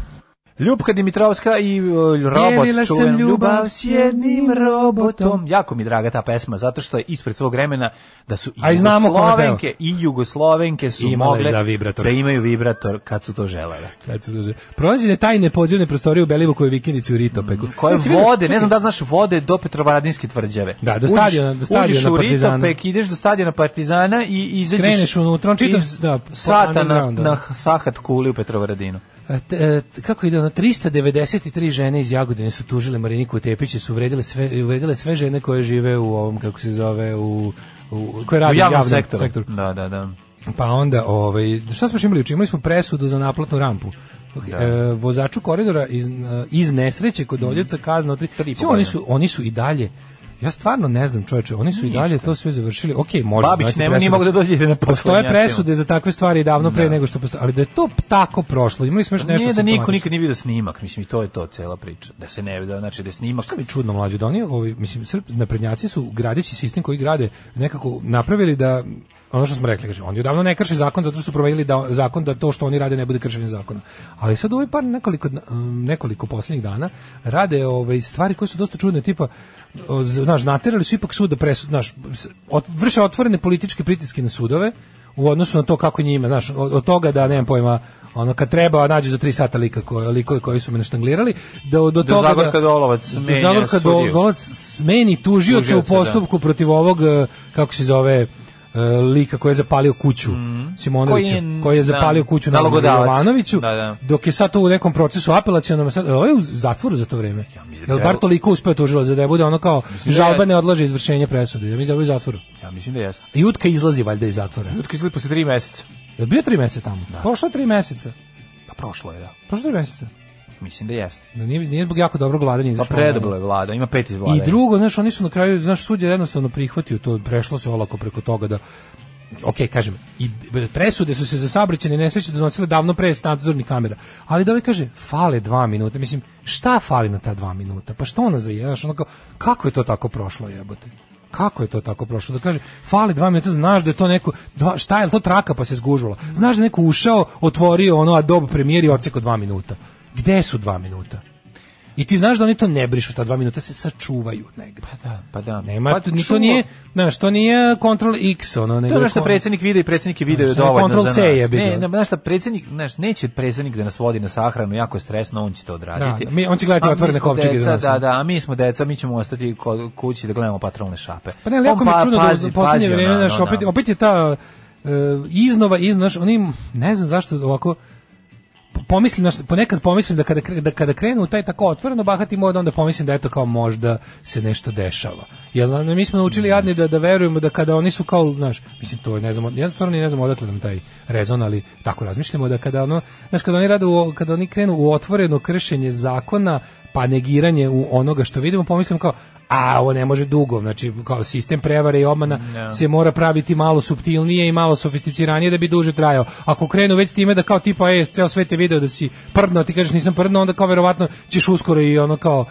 [SPEAKER 8] Ljubka Dimitrovska i e, robot
[SPEAKER 9] Dijelila sam
[SPEAKER 8] čuven,
[SPEAKER 9] ljubav
[SPEAKER 8] ljubav
[SPEAKER 9] s
[SPEAKER 8] s jednim
[SPEAKER 9] jednim robotom.
[SPEAKER 8] robotom. Jako mi je draga ta pesma, zato što je ispred svog vremena da su
[SPEAKER 9] A i
[SPEAKER 8] i
[SPEAKER 9] znamo ko je peva.
[SPEAKER 8] Jugoslovenke, i Jugoslovenke su
[SPEAKER 9] Imale
[SPEAKER 8] mogle
[SPEAKER 9] za vibrator.
[SPEAKER 8] da imaju vibrator kad su to želele.
[SPEAKER 9] Kad se dođe. Pronađene tajne podzemne prostorije u Belivuku i Vikendici u Ritopeku.
[SPEAKER 8] Koje
[SPEAKER 9] Ja sam vidio-
[SPEAKER 8] vode, ne znam da li znaš vode do Petrovaradinske tvrđave.
[SPEAKER 9] Da, do
[SPEAKER 8] Uđeš-
[SPEAKER 9] stadiona- do
[SPEAKER 8] uđeš
[SPEAKER 9] stadiona
[SPEAKER 8] u
[SPEAKER 9] Partizana.
[SPEAKER 8] Ritopek, ideš do stadiona Partizana i izađeš...
[SPEAKER 9] Kreneš unutra, on čitav-
[SPEAKER 8] iz
[SPEAKER 9] da, po
[SPEAKER 8] sata na,
[SPEAKER 9] underground, da.
[SPEAKER 8] na sahat kuli u Petrovaradinu.
[SPEAKER 9] E, t- e, t- kako ide ono, 393 žene iz Jagodine su tužile Mariniku Tepić jer su uvredile sve, uvredile sve žene koje žive u ovom, kako se zove, u, u koje rade
[SPEAKER 8] U
[SPEAKER 9] u
[SPEAKER 8] javnom
[SPEAKER 9] javnom
[SPEAKER 8] sektoru. Da, da, da.
[SPEAKER 9] Pa onda, ovaj, šta smo još imali? juče? Imali smo presudu za naplatnu rampu. E, vozaču koridora iz, e, iz nesreće kod Oljevca kazna od tri.
[SPEAKER 8] Mhm. Tri i po
[SPEAKER 9] Svi oni
[SPEAKER 8] godine.
[SPEAKER 9] su, oni su i dalje Ja stvarno ne znam, čoveče, oni su i dalje to sve završili. Okej, može.
[SPEAKER 8] Babić
[SPEAKER 9] znači,
[SPEAKER 8] nema-
[SPEAKER 9] presuda-
[SPEAKER 8] nije mogao da dođe na
[SPEAKER 9] Postoje
[SPEAKER 8] potkornjacima.
[SPEAKER 9] presude za takve stvari davno pre nego što postoje, ali da je to tako prošlo. Imali smo još
[SPEAKER 8] Pa
[SPEAKER 9] nešto
[SPEAKER 8] Nije da niko
[SPEAKER 9] simptomatično.
[SPEAKER 8] nikad nije vidio snimak, mislim i to je to cela priča. Da se ne vidi, znači da je snimak.
[SPEAKER 9] Šta mi je Ono, čudno mlađe da oni, ovi, mislim, srp, naprednjaci su gradeći sistem koji grade nekako napravili da ono što smo rekli, kažem, oni odavno ne krše zakon zato što su promenili da, zakon da to što oni rade ne bude kršenje zakona. Ali sad ovaj par nekoliko, dna- um, nekoliko posljednjih dana rade ovaj, stvari koje su dosta čudne, tipa o, z- znaš, naterali su ipak sud da presud, znaš, s- ot, vrše otvorene političke pritiske na sudove u odnosu na to kako njima, znaš, od, od toga da, nemam pojma, ono kad treba nađu za 3 sata lika koje, likove koji su me naštanglirali, da do, do
[SPEAKER 8] Da
[SPEAKER 9] toga
[SPEAKER 8] Zagorka Dolovac
[SPEAKER 9] da
[SPEAKER 8] menja
[SPEAKER 9] Zagorka Do-
[SPEAKER 8] sudiju.
[SPEAKER 9] Dolovac smeni tužioca u
[SPEAKER 8] Tužioca,
[SPEAKER 9] postupku protiv ovog e, kako se zove e, lika koji je zapalio kuću Simonovića,
[SPEAKER 8] Mm. Koji
[SPEAKER 9] koji
[SPEAKER 8] je, da,
[SPEAKER 9] je, zapalio kuću na
[SPEAKER 8] nalogodavac.
[SPEAKER 9] Jovanoviću,
[SPEAKER 8] Da, da.
[SPEAKER 9] dok je sad to u nekom procesu apelacionom, sad, e, ovo je u zatvoru za to vreme.
[SPEAKER 8] mislim da
[SPEAKER 9] Jel
[SPEAKER 8] je-
[SPEAKER 9] bar toliko uspeo tužilac da je bude ono kao
[SPEAKER 8] da
[SPEAKER 9] žalba
[SPEAKER 8] jeste.
[SPEAKER 9] ne odlaže izvršenje presude, ja mislim da je u zatvoru.
[SPEAKER 8] Ja mislim da jeste.
[SPEAKER 9] I Utka izlazi valjda iz zatvora.
[SPEAKER 8] Ljudski slip posle 3 meseca.
[SPEAKER 9] Jel bio tri meseca tamo? Prošlo je tri meseca.
[SPEAKER 8] Pa prošlo je, da.
[SPEAKER 9] Prošlo je tri meseca.
[SPEAKER 8] Mislim da jeste.
[SPEAKER 9] Da Nije, nije zbog jako dobrog vladanja
[SPEAKER 8] Pa
[SPEAKER 9] izašlo.
[SPEAKER 8] predoblo je vlada, ima pet iz vlade.
[SPEAKER 9] I drugo, znaš, oni su na kraju, znaš, sud je jednostavno prihvatio to, prešlo se olako preko toga da ok, kažem, i presude su se za saobraćajne nesreće donosile davno pre nadzornih kamera, ali da ovaj kaže, fale dva minuta, mislim, šta fali na ta dva minuta, pa što ona za jedan, znaš, ono kao, kako je to tako prošlo, jebote? Kako je to tako prošlo? Da kaže, fale dva minuta, znaš da je to neko, dva, šta je, jel to traka pa se zgužvala? Znaš da je neko ušao, otvorio ono Adobe Premiere i odsekao dva minuta. Gde su dva minuta? I ti znaš da oni to ne brišu, ta dva minuta se sačuvaju negde.
[SPEAKER 8] Pa da, pa da.
[SPEAKER 9] Nema,
[SPEAKER 8] pa,
[SPEAKER 9] to, ni- to
[SPEAKER 8] čuo-
[SPEAKER 9] nije, znaš, to nije Ctrl X, ono, nego...
[SPEAKER 8] To je ono što
[SPEAKER 9] kon-
[SPEAKER 8] predsjednik vide i predsjednik vide je
[SPEAKER 9] Znaš, ono,
[SPEAKER 8] dovoljno za
[SPEAKER 9] Ctrl
[SPEAKER 8] nas.
[SPEAKER 9] C je bilo.
[SPEAKER 8] Ne, ne, znaš šta, predsjednik, znaš, neće predsjednik da nas vodi na sahranu, jako je stresno, on će to odraditi.
[SPEAKER 9] Da, da, mi- on će gledati
[SPEAKER 8] A mi
[SPEAKER 9] otvorene
[SPEAKER 8] smo
[SPEAKER 9] kovčege
[SPEAKER 8] deca,
[SPEAKER 9] za nas.
[SPEAKER 8] Da, da, a mi smo deca, mi ćemo ostati ko- kući da gledamo patrolne šape.
[SPEAKER 9] Pa ne, ali
[SPEAKER 8] On
[SPEAKER 9] jako mi je
[SPEAKER 8] pa-
[SPEAKER 9] čudno da
[SPEAKER 8] pazi-
[SPEAKER 9] u poslednje
[SPEAKER 8] pazi
[SPEAKER 9] vreme,
[SPEAKER 8] ono,
[SPEAKER 9] znaš,
[SPEAKER 8] ono,
[SPEAKER 9] opet,
[SPEAKER 8] ono.
[SPEAKER 9] opet je ta e, iznova, iznova, znaš, oni, ne znam zašto ovako, pomislim, znaš, ponekad pomislim da kada, kre- da kada krenu u taj tako otvoreno bahati mod, onda pomislim da eto kao možda se nešto dešava. Jer na- mi smo
[SPEAKER 8] Mm.
[SPEAKER 9] naučili jadni da, da verujemo da kada oni su kao, znaš, mislim to je, ne znam, ja stvarno ni ne znam odakle nam taj rezon, ali tako razmišljamo da kada ono, znaš, kada oni, rade u, kada oni krenu u otvoreno kršenje zakona, pa negiranje u onoga što vidimo, pomislim kao, a ovo ne može dugo, znači kao sistem prevare i obmana se mora praviti malo suptilnije i malo sofisticiranije da bi duže trajao. Ako krenu već s time da kao tipa, e, ceo svet je video da si prdno, a ti kažeš nisam prdno, onda kao verovatno ćeš uskoro i ono kao,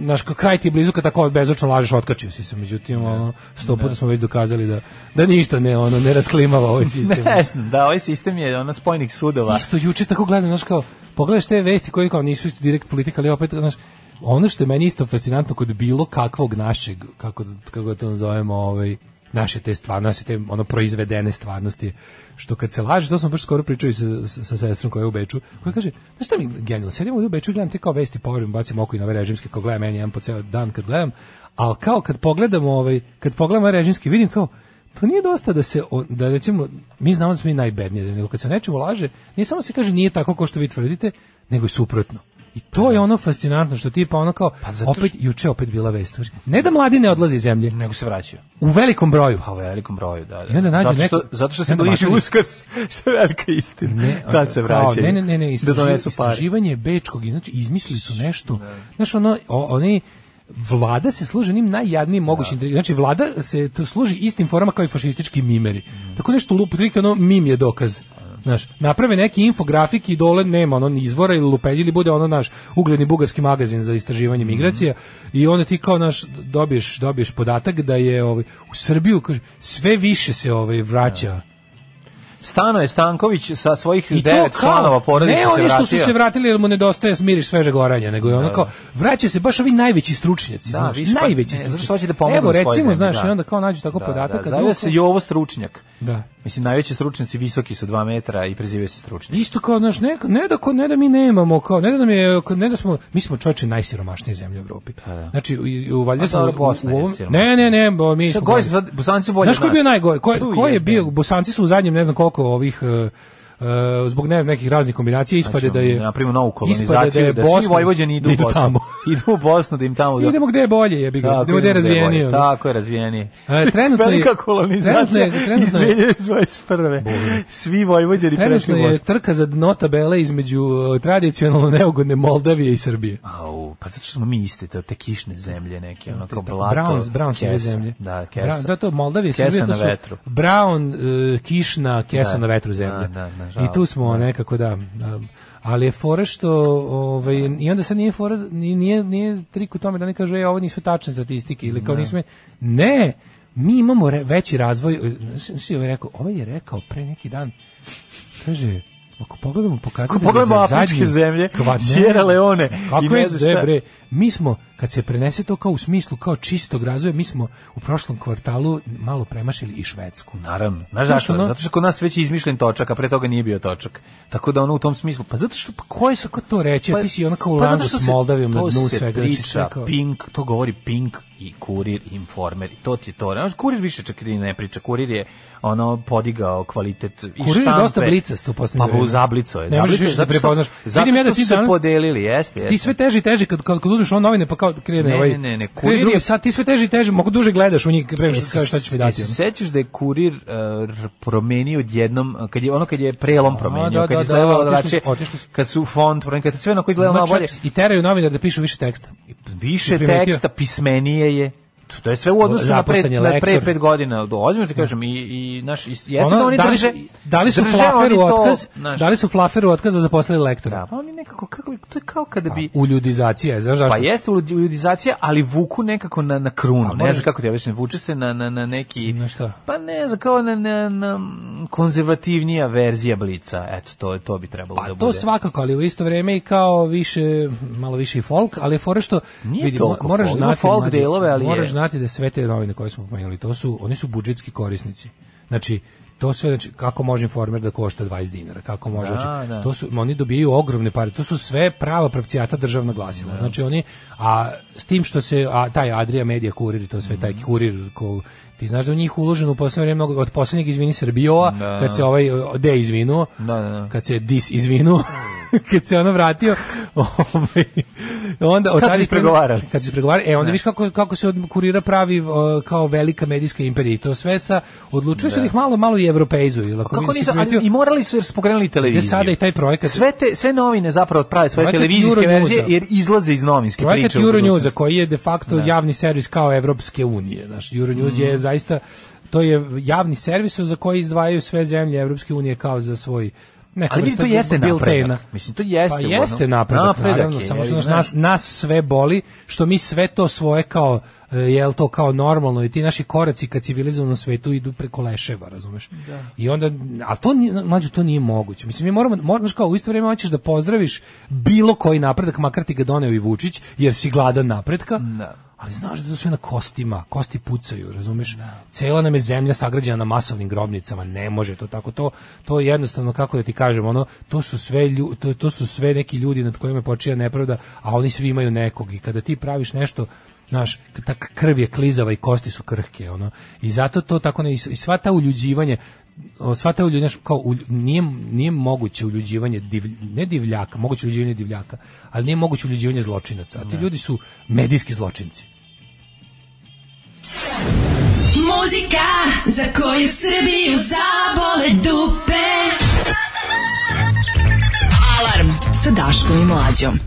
[SPEAKER 9] znaš, kao kraj ti je blizu kad tako bezočno lažeš, otkačio si se, međutim, ono, sto puta smo već dokazali da, da ništa ne, ono, ne rasklimava ovaj sistem.
[SPEAKER 8] Ne znam, da, ovaj sistem je ono spojnik sudova.
[SPEAKER 9] Isto juče tako gledam, znaš kao, pogledaš te vesti koje kao nisu isto direkt politika, ali opet, znaš, ono što je meni isto fascinantno kod bilo kakvog našeg, kako, kako da to nazovemo, ovaj, naše te stvarnosti, te ono proizvedene stvarnosti, što kad se laže, to smo baš skoro pričali sa, sa, sa sestrom koja je u Beču, koja kaže, znaš šta mi je genijalno, sedim ovdje u Beču i gledam te kao vesti, povrem, bacim oko i na ove režimske, kao gledam jedan po ceo dan kad gledam, ali kao kad pogledamo, ovaj, kad pogledamo ovaj režimski, vidim kao, to nije dosta da se o- da recimo mi znamo da smo mi najbednije zemlje, nego kad se nečemu laže, nije samo se kaže nije tako kao što vi tvrdite, nego i suprotno. I to je ono fascinantno što tipa ono kao opet juče opet bila vest. Ne da mladi ne odlaze iz zemlje,
[SPEAKER 8] Nego se vraćaju.
[SPEAKER 9] u velikom broju.
[SPEAKER 8] Pa u velikom broju, da. da.
[SPEAKER 9] I onda nađe
[SPEAKER 8] zato što,
[SPEAKER 9] neko-
[SPEAKER 8] zato što se
[SPEAKER 9] onda
[SPEAKER 8] bliži
[SPEAKER 9] makar-
[SPEAKER 8] uskrs, što je velika istina. Ne, Tad se
[SPEAKER 9] kao,
[SPEAKER 8] vraćaju.
[SPEAKER 9] Ne, ne, ne, ne,
[SPEAKER 8] da
[SPEAKER 9] istraži-
[SPEAKER 8] donesu pare.
[SPEAKER 9] istraživanje bečkog, znači izmislili su nešto. Znaš, ono, o- oni, vlada se služi onim najjadnijim mogućim tri- znači vlada se tu služi istim formama kao i fašistički mimeri
[SPEAKER 8] Mm.
[SPEAKER 9] tako nešto lupo trike ono mim je dokaz Znaš, naprave neki infografik i dole nema ono ni izvora ili lupelji ili bude ono naš ugledni bugarski magazin za
[SPEAKER 8] Mm.
[SPEAKER 9] istraživanje migracija i onda ti kao naš dobiješ, dobiješ podatak da je ovaj, u Srbiju kaže, sve više se ovaj vraća
[SPEAKER 8] Stano je Stanković sa svojih
[SPEAKER 9] i to
[SPEAKER 8] devet
[SPEAKER 9] kao,
[SPEAKER 8] članova porodice
[SPEAKER 9] Ne
[SPEAKER 8] se
[SPEAKER 9] oni što su
[SPEAKER 8] vratio.
[SPEAKER 9] se vratili jer mu nedostaje smiriš svežeg oranja, nego je ono kao, vraća se baš ovi najveći stručnjaci,
[SPEAKER 8] Da,
[SPEAKER 9] znaš,
[SPEAKER 8] više, pa-
[SPEAKER 9] najveći
[SPEAKER 8] ne, zato što
[SPEAKER 9] stručnjaci.
[SPEAKER 8] hoće da pomognu
[SPEAKER 9] Evo
[SPEAKER 8] svojoj
[SPEAKER 9] recimo,
[SPEAKER 8] zemlji,
[SPEAKER 9] znaš,
[SPEAKER 8] da.
[SPEAKER 9] i onda kao nađu tako
[SPEAKER 8] Da,
[SPEAKER 9] podataka.
[SPEAKER 8] Da, zove se Jovo Stručnjak.
[SPEAKER 9] Da.
[SPEAKER 8] Mislim, najveći stručnjaci visoki su dva metra i prezivaju se stručnjak.
[SPEAKER 9] Isto kao, znaš, ne, ne, da, ko- ne da mi nemamo, kao, ne da nam je, ne da smo, mi smo čovječe najsiromašnije zemlje u Evropi. Znači, u, u, valjda
[SPEAKER 8] Pa A
[SPEAKER 9] smo...
[SPEAKER 8] dobro,
[SPEAKER 9] u- u
[SPEAKER 8] Bosna je
[SPEAKER 9] ovom-
[SPEAKER 8] siromašnija.
[SPEAKER 9] ne, ne, ne, bo, mi
[SPEAKER 8] Šta,
[SPEAKER 9] smo-
[SPEAKER 8] koji su sad, Bosanci su bolje
[SPEAKER 9] Znaš ko je
[SPEAKER 8] od
[SPEAKER 9] bio
[SPEAKER 8] nas?
[SPEAKER 9] najgori? Ko,
[SPEAKER 8] Tu
[SPEAKER 9] ko je
[SPEAKER 8] jebe.
[SPEAKER 9] bio? Bosanci su u zadnjem ne znam koliko ovih e, e, zbog ne, nekih raznih kombinacija ispada
[SPEAKER 8] Znači,
[SPEAKER 9] da je
[SPEAKER 8] napravimo novu
[SPEAKER 9] ispada da,
[SPEAKER 8] kolonizaciju,
[SPEAKER 9] je
[SPEAKER 8] da, svi
[SPEAKER 9] Bosna-
[SPEAKER 8] Vojvođani idu, u Bosnu.
[SPEAKER 9] tamo.
[SPEAKER 8] idu u Bosnu da im tamo... Da,
[SPEAKER 9] Idemo gde je bolje, jebi ga.
[SPEAKER 8] Tako,
[SPEAKER 9] Idemo gde je razvijenije. ono.
[SPEAKER 8] Tako je razvijenije.
[SPEAKER 9] E, trenutno je-
[SPEAKER 8] Velika kolonizacija
[SPEAKER 9] trenutno je- trenutno je-
[SPEAKER 8] iz 2021. Svi Vojvođani prešli
[SPEAKER 9] Trenutno
[SPEAKER 8] u
[SPEAKER 9] je
[SPEAKER 8] Bosnu.
[SPEAKER 9] trka za dno tabele između e, tradicionalno neugodne Moldavije i Srbije.
[SPEAKER 8] Au, pa zato što smo mi iste, to te kišne zemlje neke, ono kao
[SPEAKER 9] Tako,
[SPEAKER 8] blato.
[SPEAKER 9] Brown, Brown sve
[SPEAKER 8] kesa.
[SPEAKER 9] zemlje.
[SPEAKER 8] Da, kesa.
[SPEAKER 9] Brown, da, to Moldavija,
[SPEAKER 8] Kesa
[SPEAKER 9] Srbija, to
[SPEAKER 8] na
[SPEAKER 9] su
[SPEAKER 8] vetru.
[SPEAKER 9] Brown, e, kišna, kesa
[SPEAKER 8] Da.
[SPEAKER 9] na vetru zemlje.
[SPEAKER 8] Da, da, nažalost.
[SPEAKER 9] I tu smo nekako, da. da. Ali je fora što, ovaj, i onda sad nije fora, nije, nije, nije trik u tome da ne kažu, e, ovo nisu tačne statistike, ili kao nismo, ne, mi imamo re- veći razvoj, znaš, znaš, ovaj je rekao, ovaj je rekao pre neki dan, kaže, ako pogledamo pokazatelje
[SPEAKER 8] Ako pogledamo
[SPEAKER 9] za
[SPEAKER 8] afričke
[SPEAKER 9] zadnji
[SPEAKER 8] zemlje,
[SPEAKER 9] kvart- ne.
[SPEAKER 8] Sierra Leone i
[SPEAKER 9] Kako
[SPEAKER 8] ne
[SPEAKER 9] je
[SPEAKER 8] znam
[SPEAKER 9] zde,
[SPEAKER 8] šta.
[SPEAKER 9] bre? Mi smo, kad se prenese to kao u smislu kao čistog razvoja, mi smo u prošlom kvartalu malo premašili i Švedsku.
[SPEAKER 8] Naravno. Znaš
[SPEAKER 9] Znaš,
[SPEAKER 8] zašto?
[SPEAKER 9] ono-
[SPEAKER 8] Zato što kod nas već je izmišljen točak, a pre toga nije bio točak. Tako da ono u tom smislu, pa zato što pa koji su
[SPEAKER 9] Kako to reći? A ti si onako u landu
[SPEAKER 8] zato što
[SPEAKER 9] s
[SPEAKER 8] se-
[SPEAKER 9] Moldavijom na
[SPEAKER 8] to
[SPEAKER 9] dnu
[SPEAKER 8] se
[SPEAKER 9] svega. znači, sve
[SPEAKER 8] Priča,
[SPEAKER 9] kao-
[SPEAKER 8] Pink, to govori Pink i Kurir i Informer. I to ti je to. Znaš, kurir više čak i ne priča. Kurir je ono podigao kvalitet i
[SPEAKER 9] Kurir je
[SPEAKER 8] štampe.
[SPEAKER 9] dosta blicast u posljednje
[SPEAKER 8] Pa bu-
[SPEAKER 9] vreme.
[SPEAKER 8] zablico je.
[SPEAKER 9] Ne možeš
[SPEAKER 8] zablico je
[SPEAKER 9] više da
[SPEAKER 8] zato što-
[SPEAKER 9] prepoznaš.
[SPEAKER 8] Zato
[SPEAKER 9] Vidim ja da
[SPEAKER 8] što
[SPEAKER 9] ti
[SPEAKER 8] su se
[SPEAKER 9] danas-
[SPEAKER 8] podelili, jeste.
[SPEAKER 9] Ti
[SPEAKER 8] jeste.
[SPEAKER 9] sve teži i teži kad kad, kad uzmeš ono novine pa kao krene
[SPEAKER 8] Ne,
[SPEAKER 9] ovaj.
[SPEAKER 8] ne, ne, ne,
[SPEAKER 9] krene
[SPEAKER 8] kurir
[SPEAKER 9] drugi
[SPEAKER 8] je-
[SPEAKER 9] sat, ti sve teži i teži, mogu duže gledaš u njih pre nego što kažeš šta ćeš mi dati.
[SPEAKER 8] Jesi
[SPEAKER 9] ono.
[SPEAKER 8] se sećaš da je kurir uh, r- promenio odjednom uh, kad je ono kad je prelom promenio,
[SPEAKER 9] da,
[SPEAKER 8] kad je
[SPEAKER 9] da,
[SPEAKER 8] izgledalo
[SPEAKER 9] da,
[SPEAKER 8] drugačije,
[SPEAKER 9] otišli su- otišli su.
[SPEAKER 8] kad su font promenio, kad je sve onako izgledalo malo
[SPEAKER 9] Znači,
[SPEAKER 8] bolje.
[SPEAKER 9] I teraju novinar da pišu više teksta.
[SPEAKER 8] Više
[SPEAKER 9] primetio.
[SPEAKER 8] teksta pismenije je. To- To je sve u odnosu na pre,
[SPEAKER 9] Zaposlen je
[SPEAKER 8] na pre
[SPEAKER 9] lektor.
[SPEAKER 8] pet godina. Do- Ozbiljno ti kažem, i, i naš, i, jeste
[SPEAKER 9] Ono,
[SPEAKER 8] da oni
[SPEAKER 9] da li,
[SPEAKER 8] drže...
[SPEAKER 9] da li su
[SPEAKER 8] drže
[SPEAKER 9] flaferu
[SPEAKER 8] oni to,
[SPEAKER 9] otkaz,
[SPEAKER 8] znaš,
[SPEAKER 9] da li su flaferu otkaz za zaposlili lektora?
[SPEAKER 8] Da, pa oni nekako, kako, bi- to je kao kada bi...
[SPEAKER 9] u ljudizacija, znaš
[SPEAKER 8] Pa
[SPEAKER 9] zašto?
[SPEAKER 8] jeste uludi- uljudizacija, ali vuku nekako na, na krunu.
[SPEAKER 9] A
[SPEAKER 8] ne
[SPEAKER 9] možeš-
[SPEAKER 8] znam kako ti objasnim, vuče se na, na, na neki...
[SPEAKER 9] Na šta?
[SPEAKER 8] Pa ne znam, kao na, na, na konzervativnija verzija blica. Eto, to, to bi trebalo
[SPEAKER 9] Pa
[SPEAKER 8] da bude.
[SPEAKER 9] to svakako, ali u isto vrijeme i kao više, malo više i folk, ali je fora što
[SPEAKER 8] Nije
[SPEAKER 9] vidi,
[SPEAKER 8] toliko
[SPEAKER 9] mo- moraš
[SPEAKER 8] folk, ima
[SPEAKER 9] znati,
[SPEAKER 8] folk
[SPEAKER 9] mlađe,
[SPEAKER 8] delove, ali je-
[SPEAKER 9] moraš znati da sve te novine koje smo pomenuli, to su, oni su budžetski korisnici. Znači, to sve, znači, kako može informer da košta 20 dinara, kako može,
[SPEAKER 8] Da,
[SPEAKER 9] znači,
[SPEAKER 8] da.
[SPEAKER 9] to su, oni dobijaju ogromne pare, to su sve prava pravcijata državna glasila, znači oni, a s tim što se, a taj Adria Media kurir i to sve, taj
[SPEAKER 8] Mhm.
[SPEAKER 9] kurir, ko, ti znaš da u njih uloženo u poslednje vreme mnogo, od poslednjeg izvini Srbijova,
[SPEAKER 8] Da.
[SPEAKER 9] kad se ovaj, o, de izvinuo,
[SPEAKER 8] Da, da, da.
[SPEAKER 9] kad se dis izvinuo, kad se ono vratio, ovaj, onda... od
[SPEAKER 8] Kad su
[SPEAKER 9] tada-
[SPEAKER 8] ispregovarali?
[SPEAKER 9] Kad su ispregovarali, e, onda viš kako, kako se od kurira pravi o, kao velika medijska imperija i to sve sa, odlučili su da ih malo, malo i evropeizuju. jel ako
[SPEAKER 8] Kako
[SPEAKER 9] vidiš,
[SPEAKER 8] nisu, ali
[SPEAKER 9] primetio-
[SPEAKER 8] i morali su jer su pogrenuli televiziju.
[SPEAKER 9] sada i taj projekat?
[SPEAKER 8] Sve, te, sve novine zapravo prave svoje
[SPEAKER 9] Projekat
[SPEAKER 8] televizijske
[SPEAKER 9] Euronewsa.
[SPEAKER 8] verzije jer izlaze iz novinske
[SPEAKER 9] Projekat
[SPEAKER 8] priče. u
[SPEAKER 9] Euronewsa
[SPEAKER 8] budućnosti.
[SPEAKER 9] koji je de facto javni servis kao Evropske unije. Znaš, Euronews
[SPEAKER 8] Mhm.
[SPEAKER 9] je zaista, to je javni servis za koji izdvajaju sve zemlje Evropske unije kao za svoj neka
[SPEAKER 8] Ali vidi,
[SPEAKER 9] vrsta
[SPEAKER 8] to jeste
[SPEAKER 9] biltena.
[SPEAKER 8] napredak. Mislim, to jeste.
[SPEAKER 9] Pa
[SPEAKER 8] u onom-
[SPEAKER 9] jeste napredak,
[SPEAKER 8] Napredak
[SPEAKER 9] naravno,
[SPEAKER 8] je,
[SPEAKER 9] samo što
[SPEAKER 8] je,
[SPEAKER 9] znaš, nas,
[SPEAKER 8] znaš.
[SPEAKER 9] nas sve boli, što mi sve to svoje kao e, jel to kao normalno i ti naši koraci ka civilizovanom svetu idu preko leševa, razumeš? I onda, a to nije, mlađo, to nije moguće. Mislim, mi moramo, moraš kao u isto vrijeme hoćeš da pozdraviš bilo koji napredak, makar ti ga doneo i Vučić, jer si gladan napretka, ali znaš da je to sve na kostima, kosti pucaju, razumeš? Cela nam je zemlja sagrađena na masovnim grobnicama, ne može to tako, to, to je jednostavno, kako da ti kažem, ono, to su sve, lju- to, to su sve neki ljudi nad kojima počija nepravda, a oni svi imaju nekog i kada ti praviš nešto, znaš, k- ta krv je klizava i kosti su krhke, ono, i zato to tako ne, i s- i sva ta uljuđivanje, o, sva ta uljuđivanje, kao, ulj- nije, nije moguće uljuđivanje, divlj- ne divljaka, moguće uljuđivanje divljaka, ali nije moguće uljuđivanje zločinaca, a ti ljudi su medijski zločinci.
[SPEAKER 6] Muzika za koju Srbiju zabole dupe. Alarm sa Daškom i Mlađom.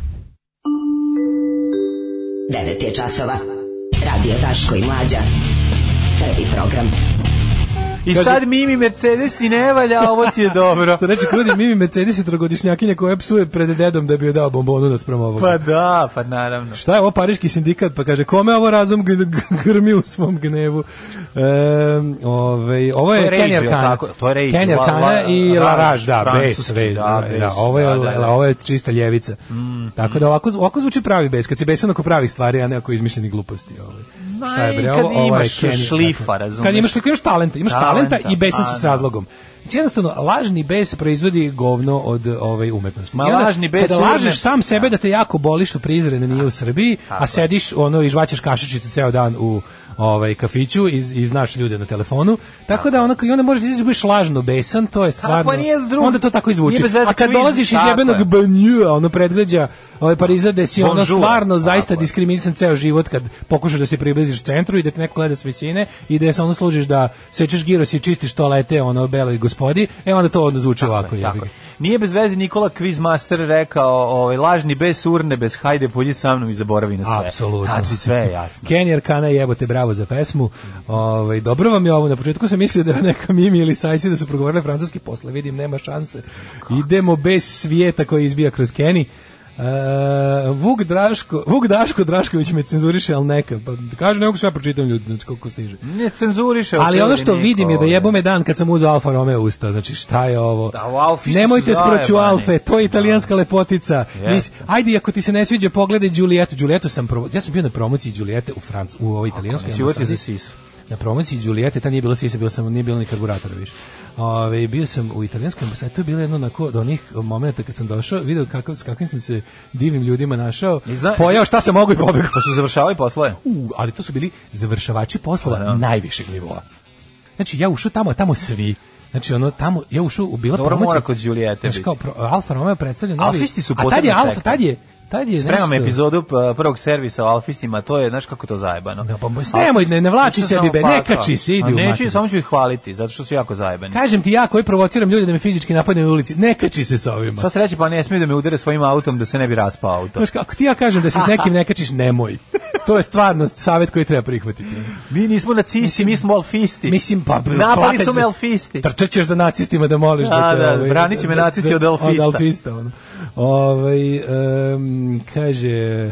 [SPEAKER 11] 9 je časova. Radio Daško i Mlađa. Prvi program.
[SPEAKER 8] I sad Mimi Mercedes ti ne valja, a ovo ti je dobro.
[SPEAKER 9] Što reče Krudi, Mimi Mercedes je trogodišnjakinja koja psuje pred dedom da bi joj dao bombonu da sprem ovoga.
[SPEAKER 8] Pa da, pa naravno.
[SPEAKER 9] Šta je ovo pariški sindikat? Pa kaže, kome ovo razum g- g- grmi u svom gnevu? Ehm, ovaj, ovo
[SPEAKER 8] To je
[SPEAKER 9] je
[SPEAKER 8] Rage,
[SPEAKER 9] Kenny
[SPEAKER 8] jel
[SPEAKER 9] Arcana.
[SPEAKER 8] tako? To je Rage,
[SPEAKER 9] Kenny
[SPEAKER 8] La-
[SPEAKER 9] Arcana
[SPEAKER 8] La-
[SPEAKER 9] i La
[SPEAKER 8] Rage,
[SPEAKER 9] Rage, da, bes,
[SPEAKER 8] francuski,
[SPEAKER 9] ve-
[SPEAKER 8] da,
[SPEAKER 9] da,
[SPEAKER 8] bes,
[SPEAKER 9] da, ovo je,
[SPEAKER 8] da, da, Mm, da.
[SPEAKER 9] ovo je čista ljevica. Tako da ovako, ovako zvuči pravi bes, kad se besan oko pravih stvari, a ne oko izmišljenih gluposti. Ovaj.
[SPEAKER 8] Ma
[SPEAKER 9] Šta je
[SPEAKER 8] i
[SPEAKER 9] bre,
[SPEAKER 8] kad
[SPEAKER 9] ovo, ovo je
[SPEAKER 8] imaš
[SPEAKER 9] Kenny
[SPEAKER 8] šlifa,
[SPEAKER 9] Arcana.
[SPEAKER 8] razumeš?
[SPEAKER 9] Kad imaš šlifa, imaš talenta, imaš talenta,
[SPEAKER 8] Talenta, pa,
[SPEAKER 9] i besan si s
[SPEAKER 8] a, da.
[SPEAKER 9] razlogom. Znači jednostavno, lažni bes proizvodi govno od ovaj umetnosti.
[SPEAKER 8] Ma,
[SPEAKER 9] I onda,
[SPEAKER 8] lažni bes
[SPEAKER 9] Kada
[SPEAKER 8] urne-
[SPEAKER 9] lažeš sam sebe da te jako boli što Prizren nije u Srbiji, a sediš ono i žvaćeš kašičicu ceo dan u ovaj kafiću i, i znaš ljude na telefonu. Tako da onako i onda možeš da izađeš da budeš lažno besan, to je stvarno.
[SPEAKER 8] pa nije drugo-
[SPEAKER 9] onda to tako
[SPEAKER 8] nije
[SPEAKER 9] izvuči.
[SPEAKER 8] bez veze
[SPEAKER 9] A kad
[SPEAKER 8] kviz,
[SPEAKER 9] dolaziš iz
[SPEAKER 8] tako
[SPEAKER 9] jebenog
[SPEAKER 8] je.
[SPEAKER 9] banjua, ono predgrađa ovaj Pariza da si ono
[SPEAKER 8] Bonjour.
[SPEAKER 9] stvarno
[SPEAKER 8] Tako
[SPEAKER 9] zaista
[SPEAKER 8] je.
[SPEAKER 9] diskriminisan ceo život kad pokušaš da se približiš centru i da te neko gleda s visine i da se ono služiš da sečeš giros i čistiš toalete ono beloj gospodi, e onda to onda zvuči ovako. jebi
[SPEAKER 8] Tako
[SPEAKER 9] ga.
[SPEAKER 8] je. Nije bez veze Nikola Quizmaster rekao ovaj, lažni bez urne, bez hajde, pođi sa mnom i zaboravi na sve.
[SPEAKER 9] Apsolutno.
[SPEAKER 8] Znači sve je jasno.
[SPEAKER 9] Kenny Arcana jebote bravo za pesmu. Ovaj dobro vam je ovo. Na početku sam mislio da je neka Mimi ili Sajsi da su progovorile francuski, posle vidim nema šanse. Idemo bez svijeta koji izbija kroz Kenny. E, Vuk Draško, Vuk Daško Drašković me cenzuriše, ali neka. Pa kaže, ne mogu sve pročitam ljudi, znači koliko stiže.
[SPEAKER 8] Ne cenzuriše.
[SPEAKER 9] Ali ono što
[SPEAKER 8] Nikola,
[SPEAKER 9] vidim je da
[SPEAKER 8] ovaj.
[SPEAKER 9] jebome dan kad sam uzeo Alfa Romeo u usta, znači šta je ovo?
[SPEAKER 8] Da, u Alfi su
[SPEAKER 9] Nemojte sproću
[SPEAKER 8] zajebani.
[SPEAKER 9] Alfe, to je italijanska lepotica.
[SPEAKER 8] Jeste.
[SPEAKER 9] Nisi, ajde, ako ti se ne sviđa, pogledaj Giulietu. Giulietu sam, provo- ja sam bio na promociji Giuliette u, Franc, u ovoj italijanskoj
[SPEAKER 8] Život je za
[SPEAKER 9] ambasadi
[SPEAKER 8] sisu.
[SPEAKER 9] na promociji Giuliette, ta nije bila sisa, bila sam, nije bilo ni karburatora više. Ove, bio sam u italijanskom ambasadu, to je bilo jedno onako, od onih momenta kad sam došao, video kakav, s kakvim sam se divnim ljudima našao,
[SPEAKER 8] I zna-
[SPEAKER 9] pojao šta sam mogu i pobegao.
[SPEAKER 8] Pa su završavali poslove.
[SPEAKER 9] U, ali to su bili završavači poslova najvišeg nivoa. Znači, ja ušao tamo, a tamo svi. Znači, ono, tamo, ja ušao, u- bila
[SPEAKER 8] Dobro,
[SPEAKER 9] promocija-
[SPEAKER 8] mora kod Giuliette
[SPEAKER 9] Pa Znaš,
[SPEAKER 8] biti.
[SPEAKER 9] kao, pro- Alfa Romeo predstavlja novi...
[SPEAKER 8] Alfisti su
[SPEAKER 9] A tad je
[SPEAKER 8] posebna
[SPEAKER 9] Alfa,
[SPEAKER 8] sekta.
[SPEAKER 9] tad je, tad je
[SPEAKER 8] Spremam
[SPEAKER 9] nešto-
[SPEAKER 8] epizodu p- prvog servisa o alfistima, to je, znaš kako to zajebano.
[SPEAKER 9] Da, pa moj- nemoj, ne- ne vlači
[SPEAKER 8] Nisam
[SPEAKER 9] sebi,
[SPEAKER 8] samo
[SPEAKER 9] be, ne
[SPEAKER 8] plakao.
[SPEAKER 9] kači se, idi
[SPEAKER 8] A
[SPEAKER 9] u
[SPEAKER 8] Neću,
[SPEAKER 9] materinu.
[SPEAKER 8] samo ću ih hvaliti, zato što su jako zajebani.
[SPEAKER 9] Kažem ti ja koji provociram ljude da me fizički napadne na ulici, ne kači se sa ovima.
[SPEAKER 8] Sva sreće, pa ne smiju da me udare svojim autom da se ne bi raspao auto.
[SPEAKER 9] Znaš, ako ti ja kažem da se s nekim ne kačiš, nemoj. To je stvarno savjet koji treba prihvatiti.
[SPEAKER 8] Mi nismo nacisti, mi smo alfisti.
[SPEAKER 9] Mislim, pa...
[SPEAKER 8] Napali
[SPEAKER 9] plakać
[SPEAKER 8] su me
[SPEAKER 9] se-
[SPEAKER 8] alfisti.
[SPEAKER 9] Trčat ćeš za nacistima da moliš
[SPEAKER 8] A,
[SPEAKER 9] te,
[SPEAKER 8] da,
[SPEAKER 9] ovaj,
[SPEAKER 8] branit će me nacisti od alfista.
[SPEAKER 9] Od alfista, ono. Ovaj, em, kaže...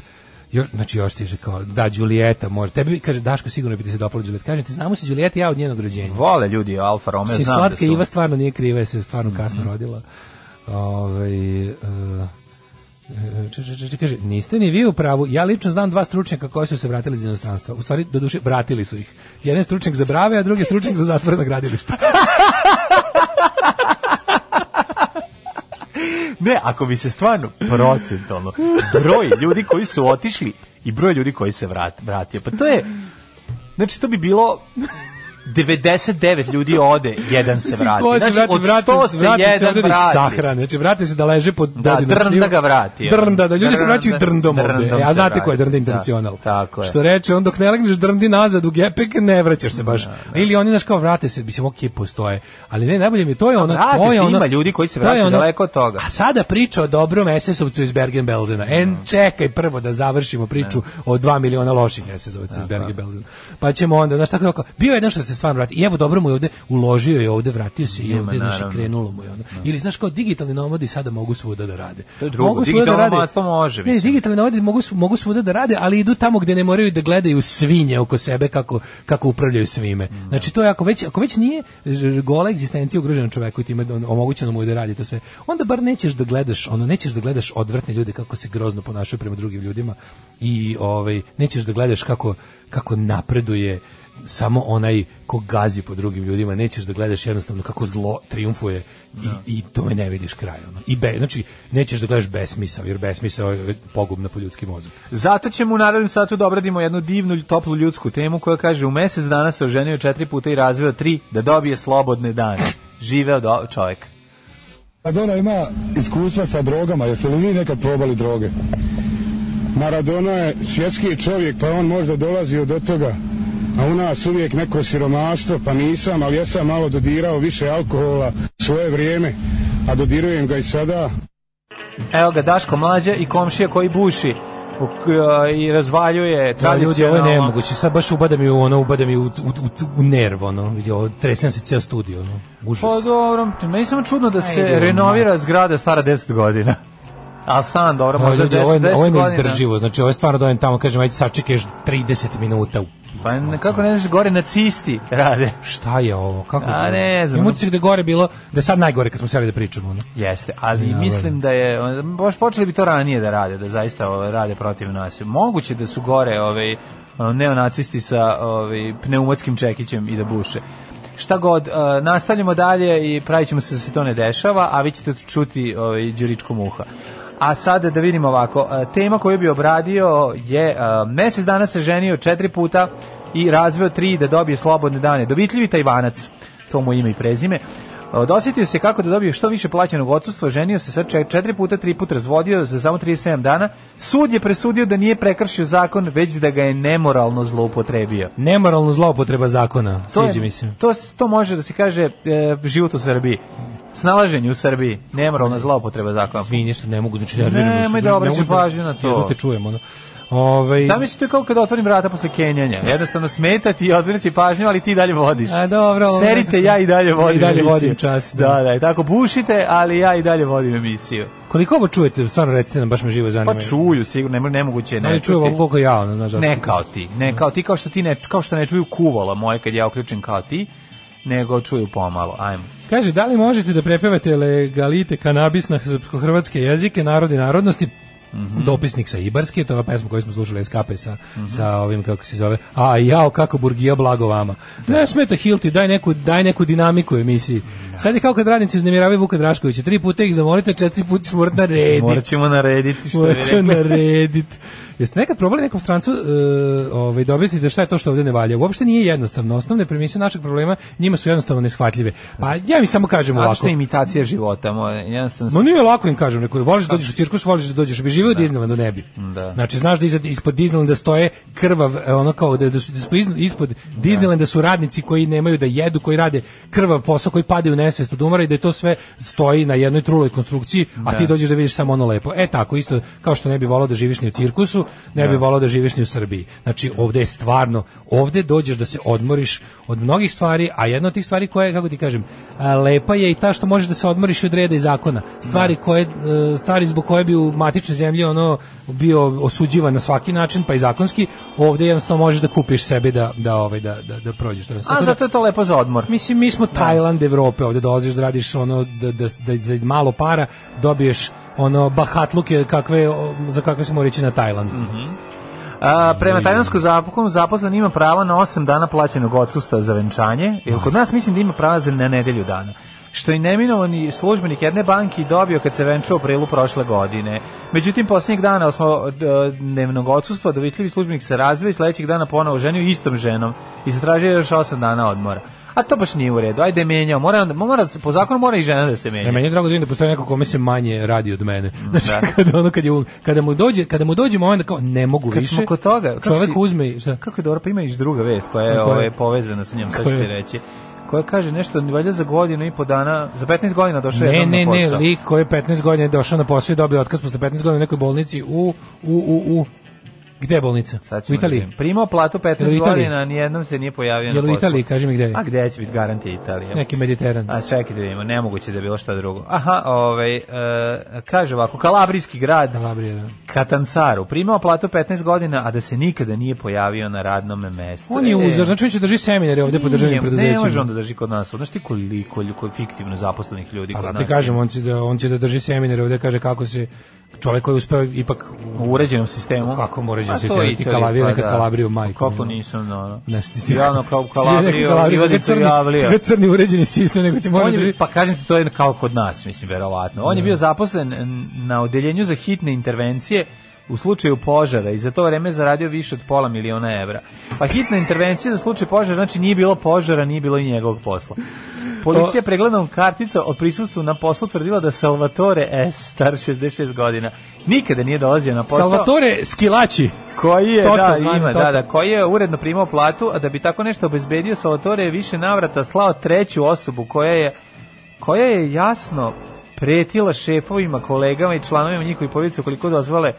[SPEAKER 9] Jo, znači još ti je kao, da, Đulijeta može. Tebi, kaže, Daško, sigurno bi ti se dopalo Đulijeta. Kaže, ti znamo se Đulijeta i ja od njenog rođenja.
[SPEAKER 8] Vole ljudi Alfa Romeo,
[SPEAKER 9] Mislim,
[SPEAKER 8] znam da
[SPEAKER 9] Znači, slatka
[SPEAKER 8] su. Mhm.
[SPEAKER 9] Iva stvarno nije kriva, jer se stvarno kasno rodila. Ovaj, e, če- če- če- če- kaže, niste ni vi u pravu. Ja lično znam dva stručnjaka koji su se vratili iz inostranstva. U stvari, do duše, vratili su ih. Jedan je stručnjak za brave, a drugi je stručnjak za zatvorena gradilišta.
[SPEAKER 8] Ne, ako bi se stvarno procentualno broj ljudi koji su otišli i broj ljudi koji se vrat, vratio, pa to je... Znači, to bi bilo 99 ljudi ode, jedan se vrati.
[SPEAKER 9] Ko se
[SPEAKER 8] Znači,
[SPEAKER 9] vrati,
[SPEAKER 8] od
[SPEAKER 9] vrati,
[SPEAKER 8] 100 se
[SPEAKER 9] vrati se
[SPEAKER 8] jedan
[SPEAKER 9] ovde da ih
[SPEAKER 8] vrati.
[SPEAKER 9] sahrane. Znači, vrate se da leže pod
[SPEAKER 8] Da,
[SPEAKER 9] dedinom
[SPEAKER 8] drnda
[SPEAKER 9] šljivom.
[SPEAKER 8] ga vrati, ono.
[SPEAKER 9] Drnda, da ljudi se vraćaju drndom
[SPEAKER 8] Drndom
[SPEAKER 9] ovde.
[SPEAKER 8] se
[SPEAKER 9] Ja znate
[SPEAKER 8] vrati.
[SPEAKER 9] ko je drnda
[SPEAKER 8] Da,
[SPEAKER 9] internacional.
[SPEAKER 8] tako je.
[SPEAKER 9] Što reče, on dok ne legneš drndi nazad u gepek, ne vraćaš se baš. Ili oni, znaš, kao vrate se, mislim, okej, postoje. Ali ne, najbolje mi je, to je ono...
[SPEAKER 8] vrate
[SPEAKER 9] to je
[SPEAKER 8] se,
[SPEAKER 9] ono-
[SPEAKER 8] ima ljudi koji se
[SPEAKER 9] to je
[SPEAKER 8] vraćaju
[SPEAKER 9] ono-
[SPEAKER 8] daleko od toga.
[SPEAKER 9] A sada priča o dobrom SS-ovcu iz Bergen-Belzena. En,
[SPEAKER 8] Mhm.
[SPEAKER 9] čekaj prvo da završimo priču o dva miliona loših SS-ovaca iz Bergen-Belzena. Pa ćemo onda, znaš, tako je oko- bio je jedan što se stvarno vrati. I evo, dobro mu je ovde, uložio je ovde, vratio se i ovde, znaš, i
[SPEAKER 8] naravno.
[SPEAKER 9] krenulo mu je ono. Ili, znaš, kao digitalni nomadi sada mogu svuda da rade.
[SPEAKER 8] To je drugo,
[SPEAKER 9] Mogu svuda
[SPEAKER 8] digitalno
[SPEAKER 9] da rade.
[SPEAKER 8] nomadstvo može,
[SPEAKER 9] Ne,
[SPEAKER 8] mislim.
[SPEAKER 9] digitalni nomadi mogu, sv- mogu svuda da rade, ali idu tamo gde ne moraju da gledaju svinje oko sebe kako, kako upravljaju svime. Znači to je ako već, ako već nije ž- gola egzistencija ugrožena čoveku i time on- omogućeno mu je da radi to sve, onda bar nećeš da gledaš, ono, nećeš da gledaš odvrtne ljude kako se grozno ponašaju prema drugim ljudima i ovaj, nećeš da gledaš kako, kako napreduje samo onaj ko gazi po drugim ljudima, nećeš da gledaš jednostavno kako zlo triumfuje i, i tome ne vidiš kraj. Ono. I be, znači, nećeš da gledaš besmisao, jer besmisao je pogubna po ljudski mozak.
[SPEAKER 8] Zato ćemo u narednom satu da obradimo jednu divnu, toplu ljudsku temu koja kaže u mesec dana se oženio četiri puta i razveo tri da dobije slobodne dane. Živeo do čovek.
[SPEAKER 12] Maradona ima iskustva sa drogama, jeste li vi nekad probali droge? Maradona je svjetski čovjek, pa on možda dolazio do toga, a u nas uvijek neko siromaštvo, pa nisam, ali ja sam malo dodirao više alkohola svoje vrijeme, a dodirujem ga i sada.
[SPEAKER 8] Evo ga Daško mlađa i komšija koji buši u- k- i razvaljuje
[SPEAKER 9] Da, ljudi, ovo je
[SPEAKER 8] tradicionalno-
[SPEAKER 9] nemoguće. Sad baš ubada mi u ono, ubada mi u, u, u, u nerv, ono. Vidi, ovo, tresem se ceo studio, ono. Užas.
[SPEAKER 8] Pa dobro, meni je samo čudno da se
[SPEAKER 9] Ajde,
[SPEAKER 8] renovira zgrada stara 10 godina. A stan, dobro,
[SPEAKER 9] Ovo,
[SPEAKER 8] možda
[SPEAKER 9] ljudi, ovo,
[SPEAKER 8] 10,
[SPEAKER 9] je,
[SPEAKER 8] 10
[SPEAKER 9] ovo je
[SPEAKER 8] godina.
[SPEAKER 9] neizdrživo, znači ovo je stvarno dojem tamo, kažem, ajde sačekaš 30 minuta. u-
[SPEAKER 8] Pa ne- kako ne znaš, gore nacisti rade.
[SPEAKER 9] Šta je ovo? Kako?
[SPEAKER 8] A, ne znam.
[SPEAKER 9] Imam utisak da je gore bilo, da je sad najgore kad smo sjeli da pričamo, ono.
[SPEAKER 8] Jeste, ali
[SPEAKER 9] Ja,
[SPEAKER 8] mislim da je baš počeli bi to ranije da rade, da zaista ovaj, rade protiv nas. Moguće da su gore ovaj neonacisti sa ovaj pneumatskim čekićem i da buše. Šta god, eh, nastavljamo dalje i pravit ćemo se da se to ne dešava, a vi ćete čuti ovaj, Đuričku muha. A sada da vidimo ovako, eh, tema koju bi obradio je eh, mesec dana se ženio četiri puta i razveo tri da dobije slobodne dane. Dovitljivi Tajvanac, to mu je ime i prezime. Dosjetio se kako da dobije što više plaćenog odsustva, ženio se sa čet- četiri puta, tri puta razvodio za samo 37 dana. Sud je presudio da nije prekršio zakon, već da ga je nemoralno zloupotrebio.
[SPEAKER 9] Nemoralno zloupotreba zakona,
[SPEAKER 8] To,
[SPEAKER 9] sviđa
[SPEAKER 8] je-
[SPEAKER 9] mi se.
[SPEAKER 8] to, to može da se kaže e, život u Srbiji. Snalaženje u Srbiji, nemoralna zloupotreba zakona.
[SPEAKER 9] Izvini što ne mogu, znači nerviram.
[SPEAKER 8] Nemoj da obraćaš pažnju na to.
[SPEAKER 9] Jedno te čujem, ono. Ovaj,
[SPEAKER 8] Sam misli to je kao kada otvorim vrata posle Kenjanja. Jednostavno smeta ti, odvrći pažnju, ali ti dalje vodiš.
[SPEAKER 9] A, dobro, ovo-
[SPEAKER 8] Serite, ja i dalje vodim
[SPEAKER 9] I dalje
[SPEAKER 8] emisiju.
[SPEAKER 9] vodim čas, da.
[SPEAKER 8] Da, da, i tako bušite, ali ja i dalje vodim emisiju.
[SPEAKER 9] Koliko ovo čujete, stvarno recite nam, baš me živo zanima.
[SPEAKER 8] Pa čuju, sigurno, ne, nemoguće je ne
[SPEAKER 9] Ali čujem
[SPEAKER 8] čuti.
[SPEAKER 9] ovo koliko ja, ono, znaš.
[SPEAKER 8] Ne kao ti, ne kao ti, kao što ti ne, kao što ne čuju kuvala moje kad ja uključim kao ti, nego čuju pomalo, ajmo.
[SPEAKER 9] Kaže, da li možete da prepevate legalite kanabis na srpsko-hrvatske jezike, narodi narodnosti, dopisnik sa Ibarske, to je ova pesma koju smo slušali SKP sa, sa ovim, kako se zove, a jao, kako Burgija, blago vama. Ne smeta Hilti, daj neku, daj neku dinamiku emisiji. Sad je kao kad radnici uznemiravaju Vuka Draškovića, tri puta ih zamolite, četiri puta ćeš morat narediti.
[SPEAKER 8] Morat ćemo narediti što bi
[SPEAKER 9] Morat ćemo
[SPEAKER 8] rekli.
[SPEAKER 9] narediti. Jeste nekad probali nekom strancu e, ovaj, da objasnite šta je to što ovdje ne valja? Uopšte nije jednostavno. Osnovne premise našeg problema njima su jednostavno neshvatljive. Pa ja mi samo kažem
[SPEAKER 8] Zato
[SPEAKER 9] ovako.
[SPEAKER 8] što je imitacija života, moj, jednostavno...
[SPEAKER 9] Ma nije lako im kažem, neko voliš da dođeš u cirkus, voliš da dođeš, bi živeo u Disneylandu ne bi.
[SPEAKER 8] Da.
[SPEAKER 9] Znači znaš da iza- ispod Disneylanda stoje krvav, e, ono kao da, da su da su iz- ispod Disneylanda su radnici koji nemaju da jedu, koji rade krvav posao, koji padaju u nesvest od umora i da je to sve stoji na jednoj truloj konstrukciji, a ti dođeš da vidiš samo ono lepo. E tako isto kao što ne bi volao da živiš ni u cirkusu, ne bi volao da živiš ni u Srbiji. Znači ovdje je stvarno, ovdje dođeš da se odmoriš od mnogih stvari, a jedna od tih stvari koja je kako ti kažem, a, lepa je i ta što možeš da se odmoriš i od reda i zakona. Stvari koje e, stvari zbog koje bi u matičnoj zemlji ono bio osuđivan na svaki način, pa i zakonski, ovdje jednostavno možeš da kupiš sebi da da ovaj da da, da prođeš. Tako
[SPEAKER 8] A
[SPEAKER 9] da-
[SPEAKER 8] zato je to lepo za odmor.
[SPEAKER 9] Mislim, mi smo Tajland Evrope, ovdje dolaziš da radiš ono, da, da, da za malo para dobiješ ono bahatluke kakve, o, za kakve smo reći na
[SPEAKER 8] Mhm.
[SPEAKER 9] Tajlandu.
[SPEAKER 8] A, prema tajvanskom zakonu zaposlen ima pravo na 8 dana plaćenog odsusta za venčanje, jer kod nas mislim da ima pravo za na nedelju dana. što je neminovani službenik jedne banki dobio kad se venčao u aprilu prošle godine. Međutim, posljednjeg dana smo dnevnog odsustva dovitljivi službenik se razvio i sledećeg dana ponovo ženio istom ženom i zatražio još 8 dana odmora. A to baš nije u redu. Ajde menjao. Mora, mora, po zakonu mora i žena da se menja.
[SPEAKER 9] Ja, E, meni je drago da vidim da postoji neko kome se manje radi od mene. Znači, kada, ono, kad je, u- kada, mu dođe, kada mu dođe moment da kao, ne mogu
[SPEAKER 8] Kad
[SPEAKER 9] više,
[SPEAKER 8] smo kod toga, kako
[SPEAKER 9] čovek
[SPEAKER 8] si-
[SPEAKER 9] uzme, i- šta?
[SPEAKER 8] Kako je dobro, pa ima još druga vest koja je,
[SPEAKER 9] A koja?
[SPEAKER 8] ovaj, povezana sa njom, sad ću
[SPEAKER 9] Koja?
[SPEAKER 8] ti reći. Koja kaže nešto, valjda za godinu i po dana, za 15 godina došao
[SPEAKER 9] Ne,
[SPEAKER 8] jednom
[SPEAKER 9] ne,
[SPEAKER 8] na
[SPEAKER 9] ne,
[SPEAKER 8] posao.
[SPEAKER 9] lik koji je 15 godina došao na posao i dobio otkaz posle 15 godina u nekoj bolnici u, u, u, u. Gde je bolnica?
[SPEAKER 8] Sad
[SPEAKER 9] U
[SPEAKER 8] ćemo da
[SPEAKER 9] Italiji.
[SPEAKER 8] vidimo. Primao platu 15
[SPEAKER 9] Jel u Italiji?
[SPEAKER 8] godina, a nijednom se nije pojavio na
[SPEAKER 9] Jel u
[SPEAKER 8] poslu.
[SPEAKER 9] Italiji, kaži mi gde je.
[SPEAKER 8] A gde će biti garantija Italija?
[SPEAKER 9] Neki Mediteran.
[SPEAKER 8] A čekajte da vidimo, nemoguće da je bilo šta drugo. Aha, ovaj, e, kaže ovako, Kalabrijski grad,
[SPEAKER 9] Kalabrija, da.
[SPEAKER 8] Katancaru, primao platu 15 godina, a da se nikada nije pojavio na radnom mestu.
[SPEAKER 9] On je
[SPEAKER 8] E,
[SPEAKER 9] uzor, znači on će drži seminare ovde po državnim
[SPEAKER 8] Nije, Ne može
[SPEAKER 9] preduzećima.
[SPEAKER 8] on da drži kod nas. Znaš ti koliko, koliko fiktivno zaposlenih ljudi
[SPEAKER 9] A
[SPEAKER 8] kod
[SPEAKER 9] zato
[SPEAKER 8] nas?
[SPEAKER 9] ti kažem, on će, Pa, da, on će da drži seminare ovde, kaže kako se čovek koji je uspeo ipak
[SPEAKER 8] u uređenom sistemu.
[SPEAKER 9] Kako mu uređenom
[SPEAKER 8] A to
[SPEAKER 9] sistemu?
[SPEAKER 8] je
[SPEAKER 9] Ti
[SPEAKER 8] Italija,
[SPEAKER 9] kalavio
[SPEAKER 8] pa
[SPEAKER 9] neka
[SPEAKER 8] da.
[SPEAKER 9] kalavrio majku,
[SPEAKER 8] Kako
[SPEAKER 9] ono.
[SPEAKER 8] nisam, no, no.
[SPEAKER 9] Znaš, ti si-
[SPEAKER 8] Ja ono kao
[SPEAKER 9] Svi neko
[SPEAKER 8] kalavrio,
[SPEAKER 9] kalavrio,
[SPEAKER 8] Ivanicu
[SPEAKER 9] kako je crni-
[SPEAKER 8] javlija.
[SPEAKER 9] kako je crni uređeni sistem, nego će morati
[SPEAKER 8] On je,
[SPEAKER 9] drži-
[SPEAKER 8] pa kažem ti, to je kao kod nas, mislim, verovatno. On je bio zaposlen na odeljenju za hitne intervencije u slučaju požara i za to vreme je zaradio više od pola miliona evra. Pa hitna intervencija za slučaj požara, znači nije bilo požara, nije bilo i njegovog posla. Policija je pregledom kartica o prisustvu na poslu tvrdila da Salvatore S, star 66 godina, nikada nije dolazio na posao
[SPEAKER 9] Salvatore Skilači.
[SPEAKER 8] koji je
[SPEAKER 9] Toto
[SPEAKER 8] da
[SPEAKER 9] zvani,
[SPEAKER 8] ima
[SPEAKER 9] Toto.
[SPEAKER 8] da da koji je uredno primao platu a da bi tako nešto obezbedio Salvatore je više navrata slao treću osobu koja je koja je jasno pretila šefovima, kolegama i članovima njihovih porodice koliko dozvole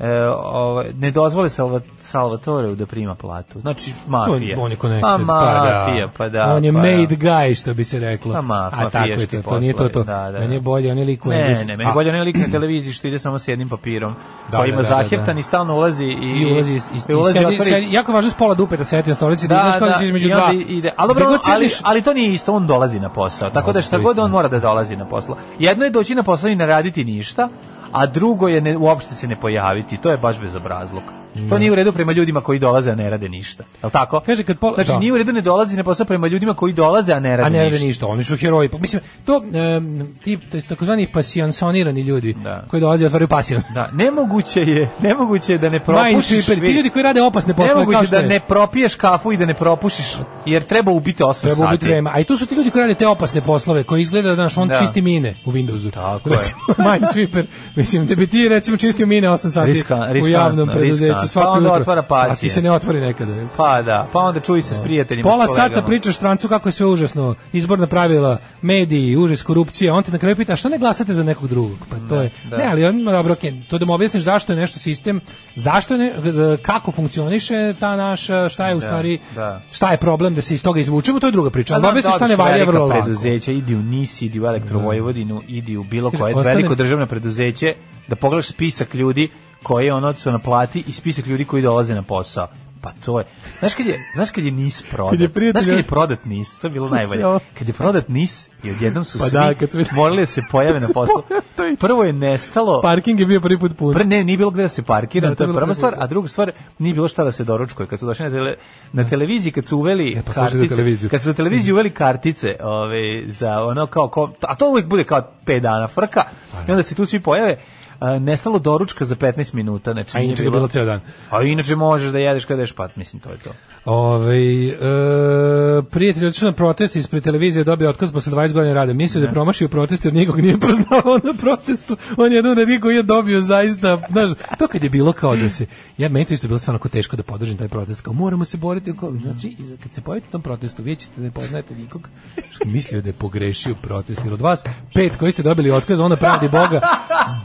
[SPEAKER 8] e, ovaj, ne dozvole Salva, Salvatoreu da prima platu. Znači, mafija.
[SPEAKER 9] On, on je connected,
[SPEAKER 8] pa,
[SPEAKER 9] pa, da.
[SPEAKER 8] mafija, pa da.
[SPEAKER 9] On je
[SPEAKER 8] pa da.
[SPEAKER 9] made guy, što bi se reklo.
[SPEAKER 8] Pa ma,
[SPEAKER 9] A tako je
[SPEAKER 8] mafijaški
[SPEAKER 9] to, to nije to to.
[SPEAKER 8] poslovi, da, da, da.
[SPEAKER 9] Meni je bolje, on je lik u
[SPEAKER 8] Ne,
[SPEAKER 9] Englesku.
[SPEAKER 8] ne, meni je
[SPEAKER 9] A,
[SPEAKER 8] bolje onaj lik na televiziji što ide samo s jednim papirom,
[SPEAKER 9] Da,
[SPEAKER 8] koji
[SPEAKER 9] da,
[SPEAKER 8] ima
[SPEAKER 9] da, da,
[SPEAKER 8] zaheftan
[SPEAKER 9] da.
[SPEAKER 8] i stalno ulazi i,
[SPEAKER 9] I ulazi, i, i,
[SPEAKER 8] i ulazi,
[SPEAKER 9] sedi,
[SPEAKER 8] otvori-
[SPEAKER 9] sedi, jako je važno s pola dupe da sedi na stolici, da,
[SPEAKER 8] da,
[SPEAKER 9] znaš kada
[SPEAKER 8] da,
[SPEAKER 9] si između
[SPEAKER 8] i
[SPEAKER 9] dva.
[SPEAKER 8] onda Ide. Ali, dobro,
[SPEAKER 9] Gde god
[SPEAKER 8] ali,
[SPEAKER 9] sediš-
[SPEAKER 8] ali to nije isto, on dolazi na posao. Tako da
[SPEAKER 9] Dolazi,
[SPEAKER 8] šta
[SPEAKER 9] to
[SPEAKER 8] god
[SPEAKER 9] istina.
[SPEAKER 8] on mora da dolazi na posao. Jedno je doći na posao i ne raditi ništa, a drugo je ne, uopšte se ne pojaviti. To je baš bezobrazluk. To nije u redu prema ljudima koji dolaze, a ne rade ništa. Je li tako?
[SPEAKER 9] Kaže, kad pola-
[SPEAKER 8] znači,
[SPEAKER 9] da.
[SPEAKER 8] nije u redu ne dolazi na posao prema ljudima koji dolaze, a ne rade,
[SPEAKER 9] A ne rade
[SPEAKER 8] ništa.
[SPEAKER 9] ništa, oni su heroji. Pa, mislim, to, em, ti to jest takozvani pasijansonirani ljudi
[SPEAKER 8] Da.
[SPEAKER 9] koji dolaze i otvaraju pasijans.
[SPEAKER 8] Da, nemoguće je, nemoguće je da ne propušiš.
[SPEAKER 9] Minesweeper, ti
[SPEAKER 8] vidi.
[SPEAKER 9] ljudi koji rade opasne poslove, kao
[SPEAKER 8] Nemoguće
[SPEAKER 9] što
[SPEAKER 8] da
[SPEAKER 9] je.
[SPEAKER 8] ne propiješ kafu i da ne propušiš, jer treba ubiti 8
[SPEAKER 9] Treba ubiti
[SPEAKER 8] sati.
[SPEAKER 9] vreme. A i tu su ti ljudi koji rade te opasne poslove, koji izgleda da naš on
[SPEAKER 8] Da.
[SPEAKER 9] čisti mine u Windowsu.
[SPEAKER 8] Tako je.
[SPEAKER 9] Recimo, Minesweeper, mislim, da bi ti recimo čistio mine 8 sati
[SPEAKER 8] Riska-
[SPEAKER 9] u
[SPEAKER 8] riskantno,
[SPEAKER 9] javnom preduzeću
[SPEAKER 8] riskantno.
[SPEAKER 9] svako
[SPEAKER 8] Pa onda
[SPEAKER 9] jutro.
[SPEAKER 8] otvara
[SPEAKER 9] A ti se
[SPEAKER 8] pasijans.
[SPEAKER 9] ne otvori nekada.
[SPEAKER 8] Pa da, pa onda čuj se s prijateljima.
[SPEAKER 9] Pola
[SPEAKER 8] s kolegama.
[SPEAKER 9] sata pričaš strancu kako je sve užasno, izborna pravila, mediji, užas korupcije, a on te na kraju pita "A što ne glasate za nekog drugog? Pa to je.
[SPEAKER 8] da.
[SPEAKER 9] Ne, ali on ima dobro, okej, to da mu objasniš zašto je nešto sistem, zašto je ne- za- kako funkcioniše ta naša, šta je u
[SPEAKER 8] Da,
[SPEAKER 9] stvari,
[SPEAKER 8] da.
[SPEAKER 9] šta je problem da se iz toga izvučemo, to je druga priča.
[SPEAKER 8] Pa
[SPEAKER 9] Ali da
[SPEAKER 8] znam,
[SPEAKER 9] objasniš šta ne
[SPEAKER 8] dobro,
[SPEAKER 9] valja je
[SPEAKER 8] velika
[SPEAKER 9] vrlo lako.
[SPEAKER 8] preduzeća, idi u NIS, idi u Elektrovojvodinu, idi u bilo koje
[SPEAKER 9] Ostane-
[SPEAKER 8] veliko državno preduzeće, da pogledaš spisak ljudi koji ono su na plati i spisak ljudi koji dolaze na posao. Pa to je. Znaš kad je, znaš kad je NIS prodat?
[SPEAKER 9] Kad je prijatelj-
[SPEAKER 8] znaš kad je prodat NIS? To je bilo najbolje.
[SPEAKER 9] ovo.
[SPEAKER 8] Kad je prodat NIS i odjednom su
[SPEAKER 9] Pa
[SPEAKER 8] svi
[SPEAKER 9] da, kad su-
[SPEAKER 8] morali da se pojave na poslu.
[SPEAKER 9] to je-
[SPEAKER 8] Prvo je nestalo...
[SPEAKER 9] Parking je bio prvi put pun.
[SPEAKER 8] Pre, ne, nije bilo gde da se parkira,
[SPEAKER 9] Da,
[SPEAKER 8] to
[SPEAKER 9] to je
[SPEAKER 8] je
[SPEAKER 9] bilo
[SPEAKER 8] prva
[SPEAKER 9] prvi
[SPEAKER 8] stvar,
[SPEAKER 9] put.
[SPEAKER 8] a druga stvar, nije bilo šta da se doručkuje. Kad su došli na, tele, na televiziji, kad su uveli
[SPEAKER 9] E, pa slušaj za
[SPEAKER 8] kartice,
[SPEAKER 9] televiziju.
[SPEAKER 8] kad su na televiziji uveli kartice, ove, za ono kao, ko, a to uvijek bude kao 5 dana frka,
[SPEAKER 9] Pa
[SPEAKER 8] i onda se tu svi pojave, a, nestalo doručka za 15 minuta, znači
[SPEAKER 9] A
[SPEAKER 8] nije
[SPEAKER 9] inače ga je bilo ceo dan.
[SPEAKER 8] A inače možeš da jedeš kada ješ pat, mislim, to je to.
[SPEAKER 9] Ove, e, Ovaj, prijatelj je otišao na protest ispred televizije dobio otkaz posle 20 godina rada. Mislio da je promašio protest jer nikog nije poznavao na protestu. On je jedan od njih koji je dobio zaista, znaš, to kad je bilo kao da se, ja meni to isto bilo stvarno kao teško da podržim taj protest, kao moramo se boriti. Kao, znači, i za- kad se pojavite na tom protestu, vi ćete da ne poznajete nikog. Što je Mislio da je pogrešio protest, jer od vas pet koji ste dobili otkaz, onda pravdi Boga,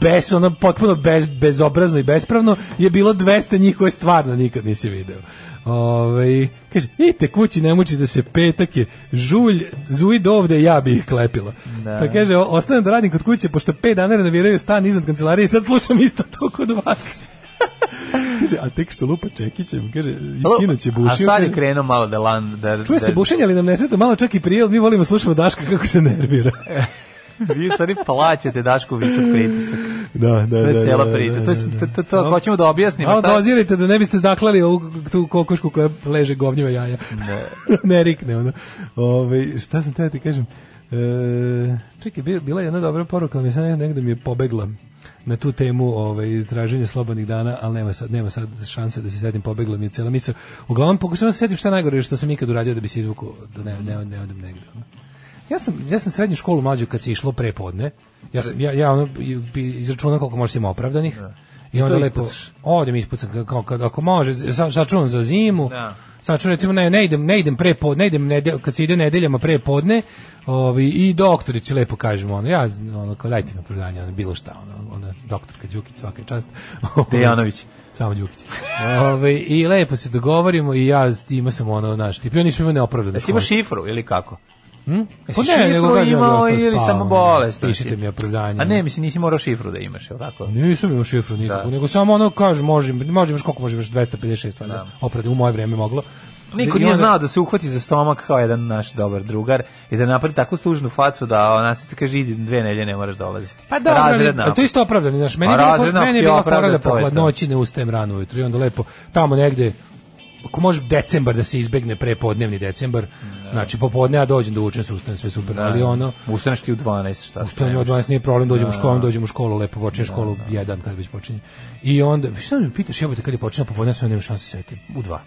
[SPEAKER 9] bez, ono potpuno bez, bezobrazno i bespravno, je bilo 200 njih koje stvarno nikad nisi video. Ovaj kaže, idite kući, ne mučite se, petak je, žulj, zuj do ovde, ja bi ih klepila. Pa kaže, "O- ostanem da radim kod kuće, pošto pet dana renoviraju stan iznad kancelarije i sad slušam isto to kod vas. kaže, a tek što lupa Čekićem, kaže, i sinoć je
[SPEAKER 8] A
[SPEAKER 9] bušio.
[SPEAKER 8] sad je
[SPEAKER 9] kaže,
[SPEAKER 8] krenuo malo da... Lan, da
[SPEAKER 9] Čuje se
[SPEAKER 8] da-
[SPEAKER 9] bušenje, ali nam ne sveta malo čak i prijel, mi volimo slušamo Daška kako se nervira.
[SPEAKER 8] E, Vi u stvari plaćate Dašku visok pritisak.
[SPEAKER 9] da, da,
[SPEAKER 8] To je
[SPEAKER 9] da,
[SPEAKER 8] cela
[SPEAKER 9] da,
[SPEAKER 8] priča.
[SPEAKER 9] da,
[SPEAKER 8] To, je,
[SPEAKER 9] da,
[SPEAKER 8] to, to, to,
[SPEAKER 9] da.
[SPEAKER 8] hoćemo da objasnimo.
[SPEAKER 9] Malo
[SPEAKER 8] šta-
[SPEAKER 9] dozirajte da ne biste zaklali ovu tu kokošku ono. koja leže govnjiva jaja. Ne, rikne ona. Ovaj šta sam teo ti kažem? E, E, čekaj, bi- bila je jedna dobra poruka, ali mi sad negde mi je pobegla na tu temu ovaj, traženja slobodnih dana, ali nema sad, nema sad šanse da se setim, pobegla mi je cela misla. Uglavnom, pokušavam da se setim šta je najgore što sam ikad uradio da bi se izvukao, da ne, ne, ne odem negde. ono. Ja sam, ja sam srednju školu mlađu kad se išlo prepodne, ja, sam, ja, ja ono, i- bi izračunao koliko možda ima opravdanih, I
[SPEAKER 8] I
[SPEAKER 9] onda
[SPEAKER 8] to
[SPEAKER 9] lepo,
[SPEAKER 8] ispucaš.
[SPEAKER 9] odem ispucam, ka- kao kad, ako može, sa- sačuvam za zimu,
[SPEAKER 8] Da.
[SPEAKER 9] Sad ću recimo ne, ne idem, ne idem pre podne, ne idem nedelj, kad se ide nedeljama pre podne, ovaj i doktorici lepo kažemo ono ja ono kao dajte mi opravdanje, ono bilo šta, ono, ono doktorka Đukić svaka čast.
[SPEAKER 8] Dejanović.
[SPEAKER 9] Samo Đukić. Ovaj i lepo se dogovorimo i ja s- imao sam ono naš tip, oni su imali neopravdano.
[SPEAKER 8] Jesi imao šifru ili kako?
[SPEAKER 9] Hm?
[SPEAKER 8] Jesi
[SPEAKER 9] Pa ne,
[SPEAKER 8] šifru
[SPEAKER 9] nego kažem, ja
[SPEAKER 8] imao
[SPEAKER 9] sam
[SPEAKER 8] ili
[SPEAKER 9] spavao,
[SPEAKER 8] samo
[SPEAKER 9] ono,
[SPEAKER 8] bolest?
[SPEAKER 9] Pišite
[SPEAKER 8] znači?
[SPEAKER 9] mi opravdanje. ono. Pa
[SPEAKER 8] A ne, mislim, nisi morao šifru da imaš, je li tako?
[SPEAKER 9] Nisam imao šifru nikakvu, nego samo ono kaže možem, možem koliko možeš 256 valjda. Opravdanje, u moje vreme moglo.
[SPEAKER 8] Niko
[SPEAKER 9] I
[SPEAKER 8] nije
[SPEAKER 9] onda-
[SPEAKER 8] znao da se uhvati za stomak kao jedan naš dobar drugar i da napravi takvu služnu facu da ona se kaže idi dve nelje ne moraš dolaziti.
[SPEAKER 9] Pa da,
[SPEAKER 8] Razred
[SPEAKER 9] razred
[SPEAKER 8] napad.
[SPEAKER 9] to je isto opravdano, znaš, meni
[SPEAKER 8] Pa
[SPEAKER 9] je bila,
[SPEAKER 8] razred
[SPEAKER 9] meni je
[SPEAKER 8] napad
[SPEAKER 9] bila
[SPEAKER 8] je
[SPEAKER 9] fora da
[SPEAKER 8] opravdan, to
[SPEAKER 9] po
[SPEAKER 8] je to.
[SPEAKER 9] hladnoći ne ustajem rano ujutro i onda lepo tamo negde ako može decembar da se izbegne prepodnevni decembar, znači popodne ja dođem da učim se ustajem sve super, ali ono
[SPEAKER 8] Ustaneš ti u 12, šta?
[SPEAKER 9] Ustajem od 12 nije problem, dođem u školu, dođem u školu, lepo počinje školu, jedan kad već počinje. I onda, šta me pitaš, jebote, kad je počinje popodne, ja sam nemam šanse setim.
[SPEAKER 8] U 2.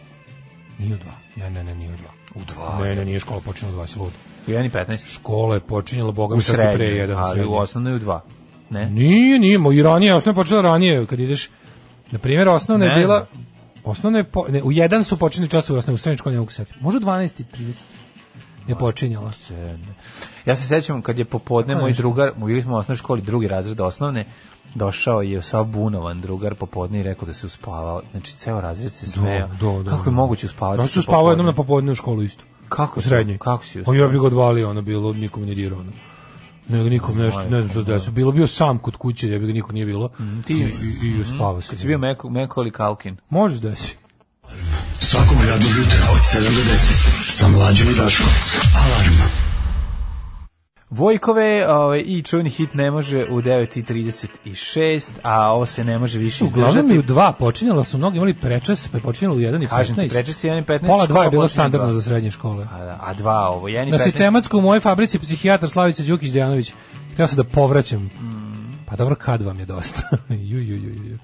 [SPEAKER 9] Nije u dva. Ne, ne, ne, nije u dva.
[SPEAKER 8] U 2.
[SPEAKER 9] Ne, ne, nije škola počinjela u dva, si lud.
[SPEAKER 8] U 1 i 15.
[SPEAKER 9] Škola je počinjela, boga
[SPEAKER 8] U
[SPEAKER 9] mi čak i pre
[SPEAKER 8] srednjoj,
[SPEAKER 9] jedan. Mm.
[SPEAKER 8] ali u
[SPEAKER 9] srednjoj.
[SPEAKER 8] osnovnoj u 2. Ne?
[SPEAKER 9] Nije, nije, mo- i ranije, osnovna je počela ranije, kad ideš, na primjer, osnovna je
[SPEAKER 8] Ne
[SPEAKER 9] bila,
[SPEAKER 8] znam.
[SPEAKER 9] osnovna je, po, ne, u jedan su počinili časovi osnovne, u srednjoj školi ne mogu se setiti. Može u 12 i 30 je počinjala.
[SPEAKER 8] Ja se sećam kad je popodne
[SPEAKER 9] Tako
[SPEAKER 8] moj
[SPEAKER 9] nešto.
[SPEAKER 8] drugar, mu bili smo u osnovnoj školi drugi razred osnovne, došao je sav bunovan drugar popodne i rekao da se uspavao. Znači, ceo razred se smeo.
[SPEAKER 9] do, do,
[SPEAKER 8] Kako je
[SPEAKER 9] do.
[SPEAKER 8] moguće uspavati?
[SPEAKER 9] Ja
[SPEAKER 8] se
[SPEAKER 9] sam spavao jednom na popodne u školu isto.
[SPEAKER 8] Kako
[SPEAKER 9] U
[SPEAKER 8] si-
[SPEAKER 9] srednjoj.
[SPEAKER 8] kako si
[SPEAKER 9] Pa
[SPEAKER 8] uspavao?
[SPEAKER 9] ja bih ga odvalio, ono bilo, nikom ne dirao, ono. Nego nikom nešto, ne znam što se desilo. Bilo bio sam kod kuće, ja bih ga nikog nije bilo. Ti i, i, i spavao se.
[SPEAKER 8] Mm, Kad si bio Meko, Meko ili Kalkin?
[SPEAKER 9] Možeš da si.
[SPEAKER 13] Svakog radnog jutra od 7 do 10 sa mlađom i Daškom. Alarm.
[SPEAKER 8] Vojkove ovaj, i čuveni hit ne može u 9.36, a ovo se ne može više izdržati.
[SPEAKER 9] Uglavnom je u dva počinjala su mnogi imali prečas, pa je počinjalo u jedan i
[SPEAKER 8] Kažem ti,
[SPEAKER 9] 15.
[SPEAKER 8] prečas je jedan i 15,
[SPEAKER 9] Pola dva
[SPEAKER 8] škola
[SPEAKER 9] je bilo
[SPEAKER 8] počinje
[SPEAKER 9] standardno
[SPEAKER 8] dva.
[SPEAKER 9] za srednje škole.
[SPEAKER 8] A, da, a dva ovo, jedan i
[SPEAKER 9] Na
[SPEAKER 8] 15.
[SPEAKER 9] sistematsko u mojoj fabrici psihijatar Slavica Đukić Dejanović. Htio sam da povraćam. Pa dobro, kad vam je dosta? ju, ju, ju, ju, ju.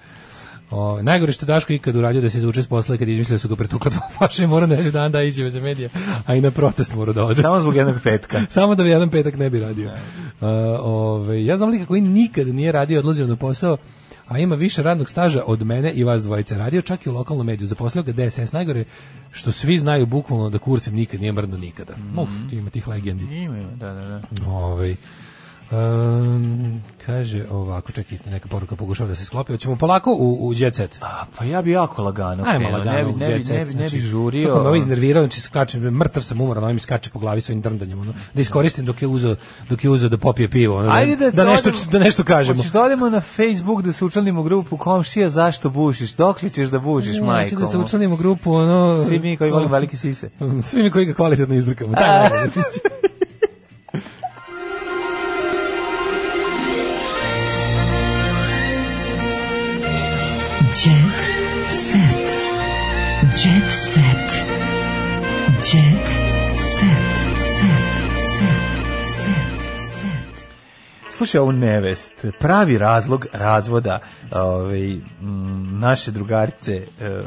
[SPEAKER 9] O, najgore što je Daško ikad uradio da se izvuče s posla je kad je izmislio da su ga pretukla dva faša i mora na dan da iđe za medije, a i na protest mora da ode.
[SPEAKER 8] Samo zbog jednog petka.
[SPEAKER 9] Samo da bi jedan petak ne bi radio. Uh, ovaj, ja znam lika koji nikad nije radio, odlazio na posao, a ima više radnog staža od mene i vas dvojice. Radio čak i u lokalnom mediju. Zaposlio ga DSS. Najgore što svi znaju bukvalno da kurcem nikad nije mrdno nikada.
[SPEAKER 8] Mm.
[SPEAKER 9] Uf, ti ima tih legendi.
[SPEAKER 8] Ima, ima, da, da, da.
[SPEAKER 9] Ovaj, um, kaže ovako, čekaj, neka poruka pokušava da se sklopi. Hoćemo polako u, u jet set.
[SPEAKER 8] A, pa ja bi jako lagano.
[SPEAKER 9] Ajmo
[SPEAKER 8] krenuo,
[SPEAKER 9] lagano u
[SPEAKER 8] ne bi, ne
[SPEAKER 9] jet
[SPEAKER 8] bi,
[SPEAKER 9] set,
[SPEAKER 8] ne bi, ne
[SPEAKER 9] znači,
[SPEAKER 8] bi žurio.
[SPEAKER 9] Kako me ovo iznervirao, znači skače, mrtav sam umoran, ovaj mi skače po glavi svojim drndanjem, ono, da iskoristim dok je uzeo, dok je uzeo da popije pivo, ono,
[SPEAKER 8] Ajde
[SPEAKER 9] da,
[SPEAKER 8] da,
[SPEAKER 9] da, nešto,
[SPEAKER 8] odemo-
[SPEAKER 9] da nešto kažemo.
[SPEAKER 8] Hoćeš da odemo na Facebook da se učlanimo u grupu komšija zašto bušiš? Dokle ćeš da bušiš,
[SPEAKER 9] Ne,
[SPEAKER 8] majko?
[SPEAKER 9] hoću Znači da se učlanimo u grupu, ono...
[SPEAKER 8] Svi mi koji
[SPEAKER 9] ono,
[SPEAKER 8] volimo velike sise.
[SPEAKER 9] Svi mi koji ga kvalitetno izdrkamo. Taj najbolji otis.
[SPEAKER 6] Jet set. Jet set. Jet set. Set. Set.
[SPEAKER 8] Slušaj ovu nevest. Pravi razlog razvoda ovaj, m, naše drugarice eh,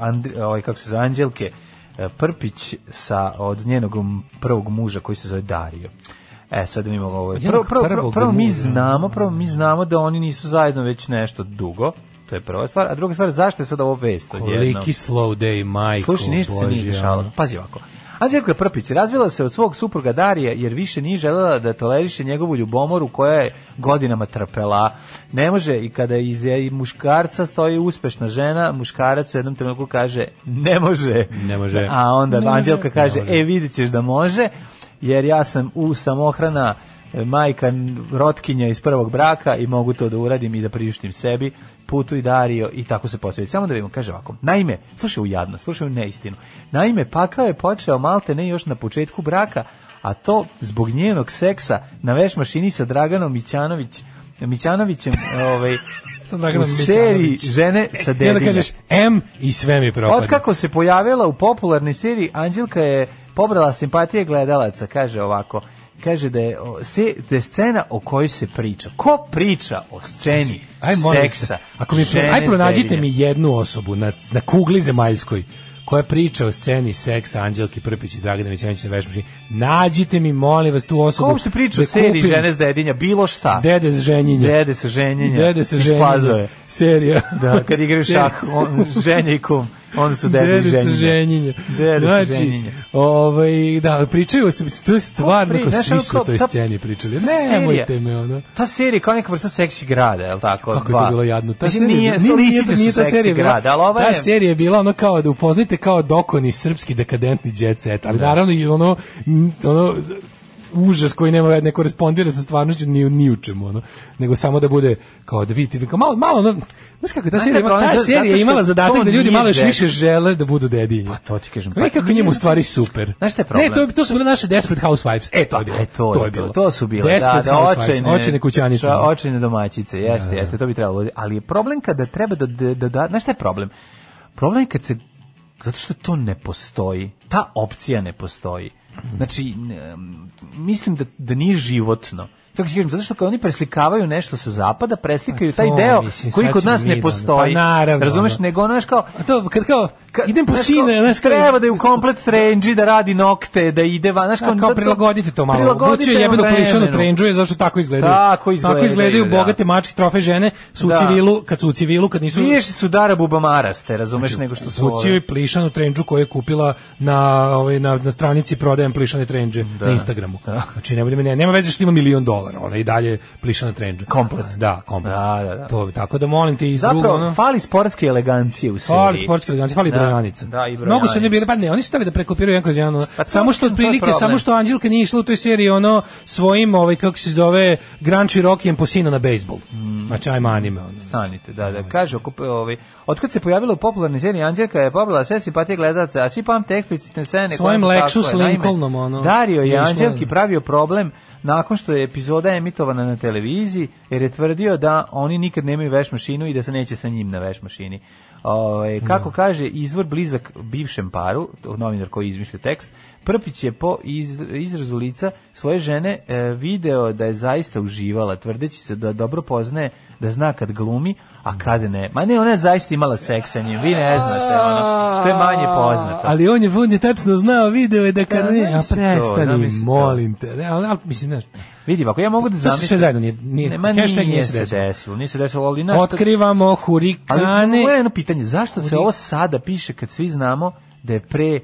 [SPEAKER 8] Andri, ovaj, kako se zove, Anđelke eh, Prpić sa, od njenog prvog muža koji se zove Dario. E, sad mi imamo ovo.
[SPEAKER 9] Od
[SPEAKER 8] Prvo,
[SPEAKER 9] njenog
[SPEAKER 8] prvo, prvo,
[SPEAKER 9] prvog
[SPEAKER 8] prvo mi
[SPEAKER 9] muža.
[SPEAKER 8] znamo, prvo mi znamo da oni nisu zajedno već nešto dugo. To je prva stvar. A druga stvar, zašto je sad ovo vest? odjednom?
[SPEAKER 9] Koliki slow day, majko.
[SPEAKER 8] Slušaj, ništa se nije
[SPEAKER 9] Bože,
[SPEAKER 8] dešavalo.
[SPEAKER 9] ono.
[SPEAKER 8] Pazi ovako. Anđelka Prpić razvila se od svog supruga Darija jer više nije želela da toleriše njegovu ljubomoru koja je godinama trpela. Ne može i kada iz i muškarca stoji uspešna žena, muškarac u jednom trenutku kaže ne može.
[SPEAKER 9] Ne može.
[SPEAKER 8] A onda
[SPEAKER 9] Ne može.
[SPEAKER 8] Anđelka kaže
[SPEAKER 9] Ne može.
[SPEAKER 8] e vidit ćeš da može jer ja sam u samohrana e, majka n- rotkinja iz prvog braka i mogu to da uradim i da priuštim sebi putu i Dario i tako se posveti. Samo da vidimo, kaže ovako, naime, slušaj u jadno, slušaj u neistinu, naime, pakao je počeo malte ne još na početku braka, a to zbog njenog seksa na veš mašini sa Draganom Mićanović, Mićanovićem, ovaj,
[SPEAKER 9] Sa Draganom
[SPEAKER 8] u seriji
[SPEAKER 9] Mićanović.
[SPEAKER 8] žene sa
[SPEAKER 9] I onda
[SPEAKER 8] dedinja.
[SPEAKER 9] kažeš M i sve mi propada.
[SPEAKER 8] Od kako se pojavila u popularnoj seriji, Anđelka je pobrala simpatije gledalaca, kaže ovako. kaže da je, o, se, da je scena o kojoj se priča. Ko priča o sceni
[SPEAKER 9] Znači, Aj, molim vas,
[SPEAKER 8] seksa?
[SPEAKER 9] Ako mi,
[SPEAKER 8] žene
[SPEAKER 9] aj pronađite
[SPEAKER 8] s
[SPEAKER 9] mi jednu osobu na, na kugli zemaljskoj koja priča o sceni seksa Anđelki Prpić i Dragane Mićanić na vešmačini. Nađite mi, molim vas, tu osobu.
[SPEAKER 8] Ko uopšte priča o
[SPEAKER 9] da
[SPEAKER 8] seriji
[SPEAKER 9] kupim
[SPEAKER 8] žene s dedinja, bilo šta.
[SPEAKER 9] Dede se ženjenja.
[SPEAKER 8] Dede se ženjenja.
[SPEAKER 9] Dede se
[SPEAKER 8] iz
[SPEAKER 9] ženjenja.
[SPEAKER 8] Plazove.
[SPEAKER 9] Serija.
[SPEAKER 8] Da, kad igraju
[SPEAKER 9] Serija.
[SPEAKER 8] šah, on, ženje i kum, onda su dede, i
[SPEAKER 9] Dede
[SPEAKER 8] ženjenja.
[SPEAKER 9] se ženjenja.
[SPEAKER 8] Dede se
[SPEAKER 9] znači,
[SPEAKER 8] ženjenja.
[SPEAKER 9] ovaj, da, pričaju se, to je stvarno,
[SPEAKER 8] Pri-
[SPEAKER 9] kao
[SPEAKER 8] znaš,
[SPEAKER 9] svi
[SPEAKER 8] ono
[SPEAKER 9] su
[SPEAKER 8] kao
[SPEAKER 9] o toj
[SPEAKER 8] ta-
[SPEAKER 9] sceni pričali.
[SPEAKER 8] ta
[SPEAKER 9] Nemojte
[SPEAKER 8] serija-
[SPEAKER 9] me, ono.
[SPEAKER 8] Ta serija kao neka vrsta seksi grada, je li tako?
[SPEAKER 9] Kako je
[SPEAKER 8] Dva.
[SPEAKER 9] to bilo jadno. Ta
[SPEAKER 8] Mislim,
[SPEAKER 9] serija,
[SPEAKER 8] nije, lisice su seksi grada, ali ova
[SPEAKER 9] ta
[SPEAKER 8] je...
[SPEAKER 9] serija je bila ono kao da upoznajte kao dokoni srpski dekadentni jet set, ali naravno i ono, n- ono užas koji nema ne korespondira sa stvarnošću ni, u- ni u čemu ono nego samo da bude kao da vidite kao malo malo ono, znaš kako je ta
[SPEAKER 8] Znaš šta
[SPEAKER 9] serija
[SPEAKER 8] je
[SPEAKER 9] ima-
[SPEAKER 8] problem? Zato-
[SPEAKER 9] ta
[SPEAKER 8] zato
[SPEAKER 9] serija je
[SPEAKER 8] što
[SPEAKER 9] imala
[SPEAKER 8] to
[SPEAKER 9] zadatak da ljudi
[SPEAKER 8] nije
[SPEAKER 9] malo još
[SPEAKER 8] dete.
[SPEAKER 9] više žele da budu dedinje. Pa to
[SPEAKER 8] ti kažem.
[SPEAKER 9] Pa, kako njemu u stvari super.
[SPEAKER 8] Znaš šta je problem?
[SPEAKER 9] Ne, to, to su bile naše Desperate Housewives. E, to je bilo.
[SPEAKER 8] E, to,
[SPEAKER 9] to je
[SPEAKER 8] je
[SPEAKER 9] bilo.
[SPEAKER 8] bilo. To su bile,
[SPEAKER 9] Desperate
[SPEAKER 8] da, da,
[SPEAKER 9] Housewives,
[SPEAKER 8] očajne,
[SPEAKER 9] očajne kućanice.
[SPEAKER 8] ča- Očajne domaćice, jeste,
[SPEAKER 9] Da, da.
[SPEAKER 8] jeste, to bi trebalo. Ali je problem kada treba da, da, da, da znaš šta je problem? Problem je kad se, zato što to ne postoji, ta opcija ne postoji. Znači, ne, m, mislim da, da nije životno. Kako ti kažem, zato što kad oni preslikavaju nešto sa zapada, preslikaju
[SPEAKER 9] Pa
[SPEAKER 8] taj
[SPEAKER 9] to,
[SPEAKER 8] deo
[SPEAKER 9] mislim,
[SPEAKER 8] koji
[SPEAKER 9] sad
[SPEAKER 8] kod
[SPEAKER 9] ćemo
[SPEAKER 8] nas
[SPEAKER 9] mi
[SPEAKER 8] ne
[SPEAKER 9] da-
[SPEAKER 8] postoji.
[SPEAKER 9] pa naravno,
[SPEAKER 8] Razumeš,
[SPEAKER 9] ono.
[SPEAKER 8] nego ono, znaš kao,
[SPEAKER 9] A to kad kao idem po
[SPEAKER 8] Znaš
[SPEAKER 9] sine,
[SPEAKER 8] kao,
[SPEAKER 9] znaš kao
[SPEAKER 8] treba da je u komplet trenđi da radi nokte, da ide van, znaš
[SPEAKER 9] Znaš, kao,
[SPEAKER 8] da-
[SPEAKER 9] prilagodite to malo.
[SPEAKER 8] prilagodite
[SPEAKER 9] Bucio je jebeno
[SPEAKER 8] vremenu.
[SPEAKER 9] plišano trendžuje zašto tako izgledaju.
[SPEAKER 8] Tako izgledaju,
[SPEAKER 9] izgledaju
[SPEAKER 8] da.
[SPEAKER 9] bogate mačke trofe žene su u
[SPEAKER 8] Da.
[SPEAKER 9] civilu, kad su u civilu, kad nisu
[SPEAKER 8] Više su Dara Bubamaraste, razumeš, nego što su
[SPEAKER 9] Bucio
[SPEAKER 8] ove.
[SPEAKER 9] Znači, je plišanu trendžu koju je kupila na, ovaj, na, na stranici prodajem plišane trendže na Instagramu. Znači, ne budem, ne, nema veze što ima milion dolara, ona je i dalje plišana trendža. Komplet. Da, komplet.
[SPEAKER 8] Da, da, da.
[SPEAKER 9] To, tako da molim te iz
[SPEAKER 8] Zapravo,
[SPEAKER 9] drugo, ono...
[SPEAKER 8] fali sportske elegancije u seriji.
[SPEAKER 9] Fali sportske elegancije, fali
[SPEAKER 8] Da,
[SPEAKER 9] brojanica.
[SPEAKER 8] Da, i
[SPEAKER 9] Mnogo
[SPEAKER 8] brojanica.
[SPEAKER 9] su ne bili, pa ne, oni su stavili da prekopiraju jedan kroz jedan. ono.
[SPEAKER 8] Pa to-
[SPEAKER 9] samo što
[SPEAKER 8] to je
[SPEAKER 9] otprilike,
[SPEAKER 8] problem.
[SPEAKER 9] samo što Anđelka nije išla u toj seriji ono svojim, ovaj, kako se zove, Grand Cherokeeom po sina na bejsbol.
[SPEAKER 8] Mm.
[SPEAKER 9] Znači, ajma anime. Ono.
[SPEAKER 8] Stanite, da, da, kaže, okup, ovaj, otkad se pojavila u popularnoj seriji Anđelka je pobila sve simpatije gledalaca, a svi pamte eksplicitne scene.
[SPEAKER 9] Svojim
[SPEAKER 8] koje-
[SPEAKER 9] Lexus
[SPEAKER 8] tako je, naime,
[SPEAKER 9] Lincolnom, ono,
[SPEAKER 8] Dario je
[SPEAKER 9] nije išlo,
[SPEAKER 8] Anđelki
[SPEAKER 9] ono.
[SPEAKER 8] pravio problem nakon što je epizoda emitovana na televiziji, jer je tvrdio da oni nikad nemaju veš mašinu i da se neće sa njim na veš mašini. Ovaj, kako kaže, izvor blizak bivšem paru, to novinar koji izmišlja tekst, Prpić je po iz, izrazu lica svoje žene e, video da je zaista uživala, tvrdeći se da dobro poznaje, da zna kad glumi, a kad ne. Ma ne, ona je zaista imala seks sa njim, vi ne znate, ono, to je manje poznato.
[SPEAKER 9] Ali on je, on je tačno znao, video je da kad
[SPEAKER 8] Da,
[SPEAKER 9] ne, a
[SPEAKER 8] zamisli to,
[SPEAKER 9] prestani,
[SPEAKER 8] zamisli to.
[SPEAKER 9] molim te. Ne, ali, ali, mislim, znaš,
[SPEAKER 8] Vidi, ako ja mogu da
[SPEAKER 9] To se sve
[SPEAKER 8] zamislim...
[SPEAKER 9] zajedno nije- nije-
[SPEAKER 8] Nema,
[SPEAKER 9] hashtag
[SPEAKER 8] nije
[SPEAKER 9] nije
[SPEAKER 8] se
[SPEAKER 9] se
[SPEAKER 8] desilo. Nije se desilo, ali... znaš, to-
[SPEAKER 9] otkrivamo
[SPEAKER 8] Ali
[SPEAKER 9] hurikane.
[SPEAKER 8] moje jedno pitanje, zašto se
[SPEAKER 9] Uri-
[SPEAKER 8] ovo sada piše kad svi znamo da je pre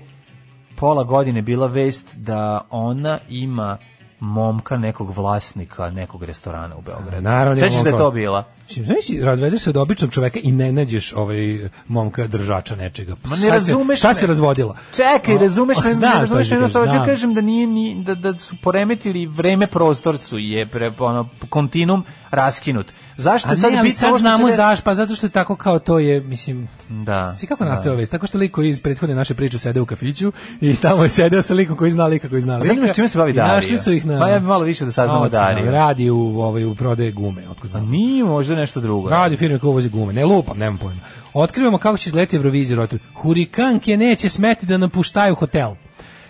[SPEAKER 8] pola godine bila vest da ona ima momka nekog vlasnika nekog restorana u Beogradu.
[SPEAKER 9] Naravno,
[SPEAKER 8] Sećaš
[SPEAKER 9] imamo
[SPEAKER 8] da je
[SPEAKER 9] kao-
[SPEAKER 8] to bila?
[SPEAKER 9] Mislim, znaš, si, razvedeš se od običnog čoveka i ne nađeš ovaj momka držača nečega.
[SPEAKER 8] Ma ne
[SPEAKER 9] Šta se-
[SPEAKER 8] razumeš
[SPEAKER 9] Šta
[SPEAKER 8] me.
[SPEAKER 9] se razvodila?
[SPEAKER 8] Čekaj,
[SPEAKER 9] A,
[SPEAKER 8] razumeš
[SPEAKER 9] a,
[SPEAKER 8] me,
[SPEAKER 9] znam
[SPEAKER 8] ne
[SPEAKER 9] šta
[SPEAKER 8] razumeš
[SPEAKER 9] ću
[SPEAKER 8] me,
[SPEAKER 9] kažem,
[SPEAKER 8] jednostavno hoću
[SPEAKER 9] znam.
[SPEAKER 8] da kažem da nije ni da da su poremetili vreme prostorcu je pre ono kontinum raskinut. Zašto
[SPEAKER 9] A
[SPEAKER 8] je sad
[SPEAKER 9] ne, ali
[SPEAKER 8] bitno ovo
[SPEAKER 9] sad
[SPEAKER 8] što
[SPEAKER 9] znamo
[SPEAKER 8] se de-
[SPEAKER 9] zaš, pa zato što je tako kao to je, mislim...
[SPEAKER 8] Da.
[SPEAKER 9] Si kako nastaje vest? Tako što lik koji iz prethodne naše priče sede u kafiću i tamo je sedeo sa likom koji zna lika koji zna lika.
[SPEAKER 8] Zanima me s čime se bavi
[SPEAKER 9] I
[SPEAKER 8] Dario.
[SPEAKER 9] Našli su ih na...
[SPEAKER 8] Pa ja bi malo više da saznamo
[SPEAKER 9] Otkud znam,
[SPEAKER 8] Dario.
[SPEAKER 9] Radi u, ovaj, u prodaje gume, otko znam.
[SPEAKER 8] Pa Nije možda nešto drugo.
[SPEAKER 9] Radi firme koja uvozi gume, ne lupam, nemam pojma. Otkrivamo kako će izgledati Eurovizija rotor. Hurikanke neće smeti da napuštaju hotel.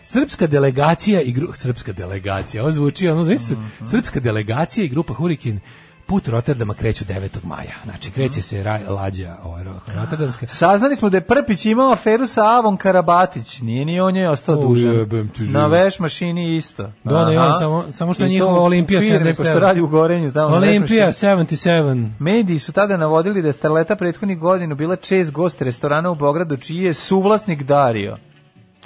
[SPEAKER 9] Srpska delegacija i gru... srpska delegacija, ovo zvuči, ono, znaš,
[SPEAKER 8] Mhm.
[SPEAKER 9] srpska delegacija i grupa Hurikin put Rotterdama kreću 9. maja. Znači, kreće
[SPEAKER 8] Mhm.
[SPEAKER 9] se raj, lađa ovaj,
[SPEAKER 8] Ah,
[SPEAKER 9] ro- Rotterdamska.
[SPEAKER 8] Saznali smo da je Prpić imao aferu sa Avon Karabatić. Nije ni on je ostao
[SPEAKER 9] O,
[SPEAKER 8] dužan.
[SPEAKER 9] jebem ti život.
[SPEAKER 8] Na veš mašini isto.
[SPEAKER 9] Dono je on
[SPEAKER 8] Aha.
[SPEAKER 9] samo- samo što
[SPEAKER 8] I
[SPEAKER 9] je
[SPEAKER 8] to
[SPEAKER 9] njihova Olimpija
[SPEAKER 8] u firmi, pošto
[SPEAKER 9] 77.
[SPEAKER 8] radi u Gorenju. Tamo na veš
[SPEAKER 9] Olimpija
[SPEAKER 8] mašini.
[SPEAKER 9] 77.
[SPEAKER 8] Mediji su tada navodili da je Starleta prethodnih godinu bila čest gost restorana u Beogradu, čiji je suvlasnik Dario.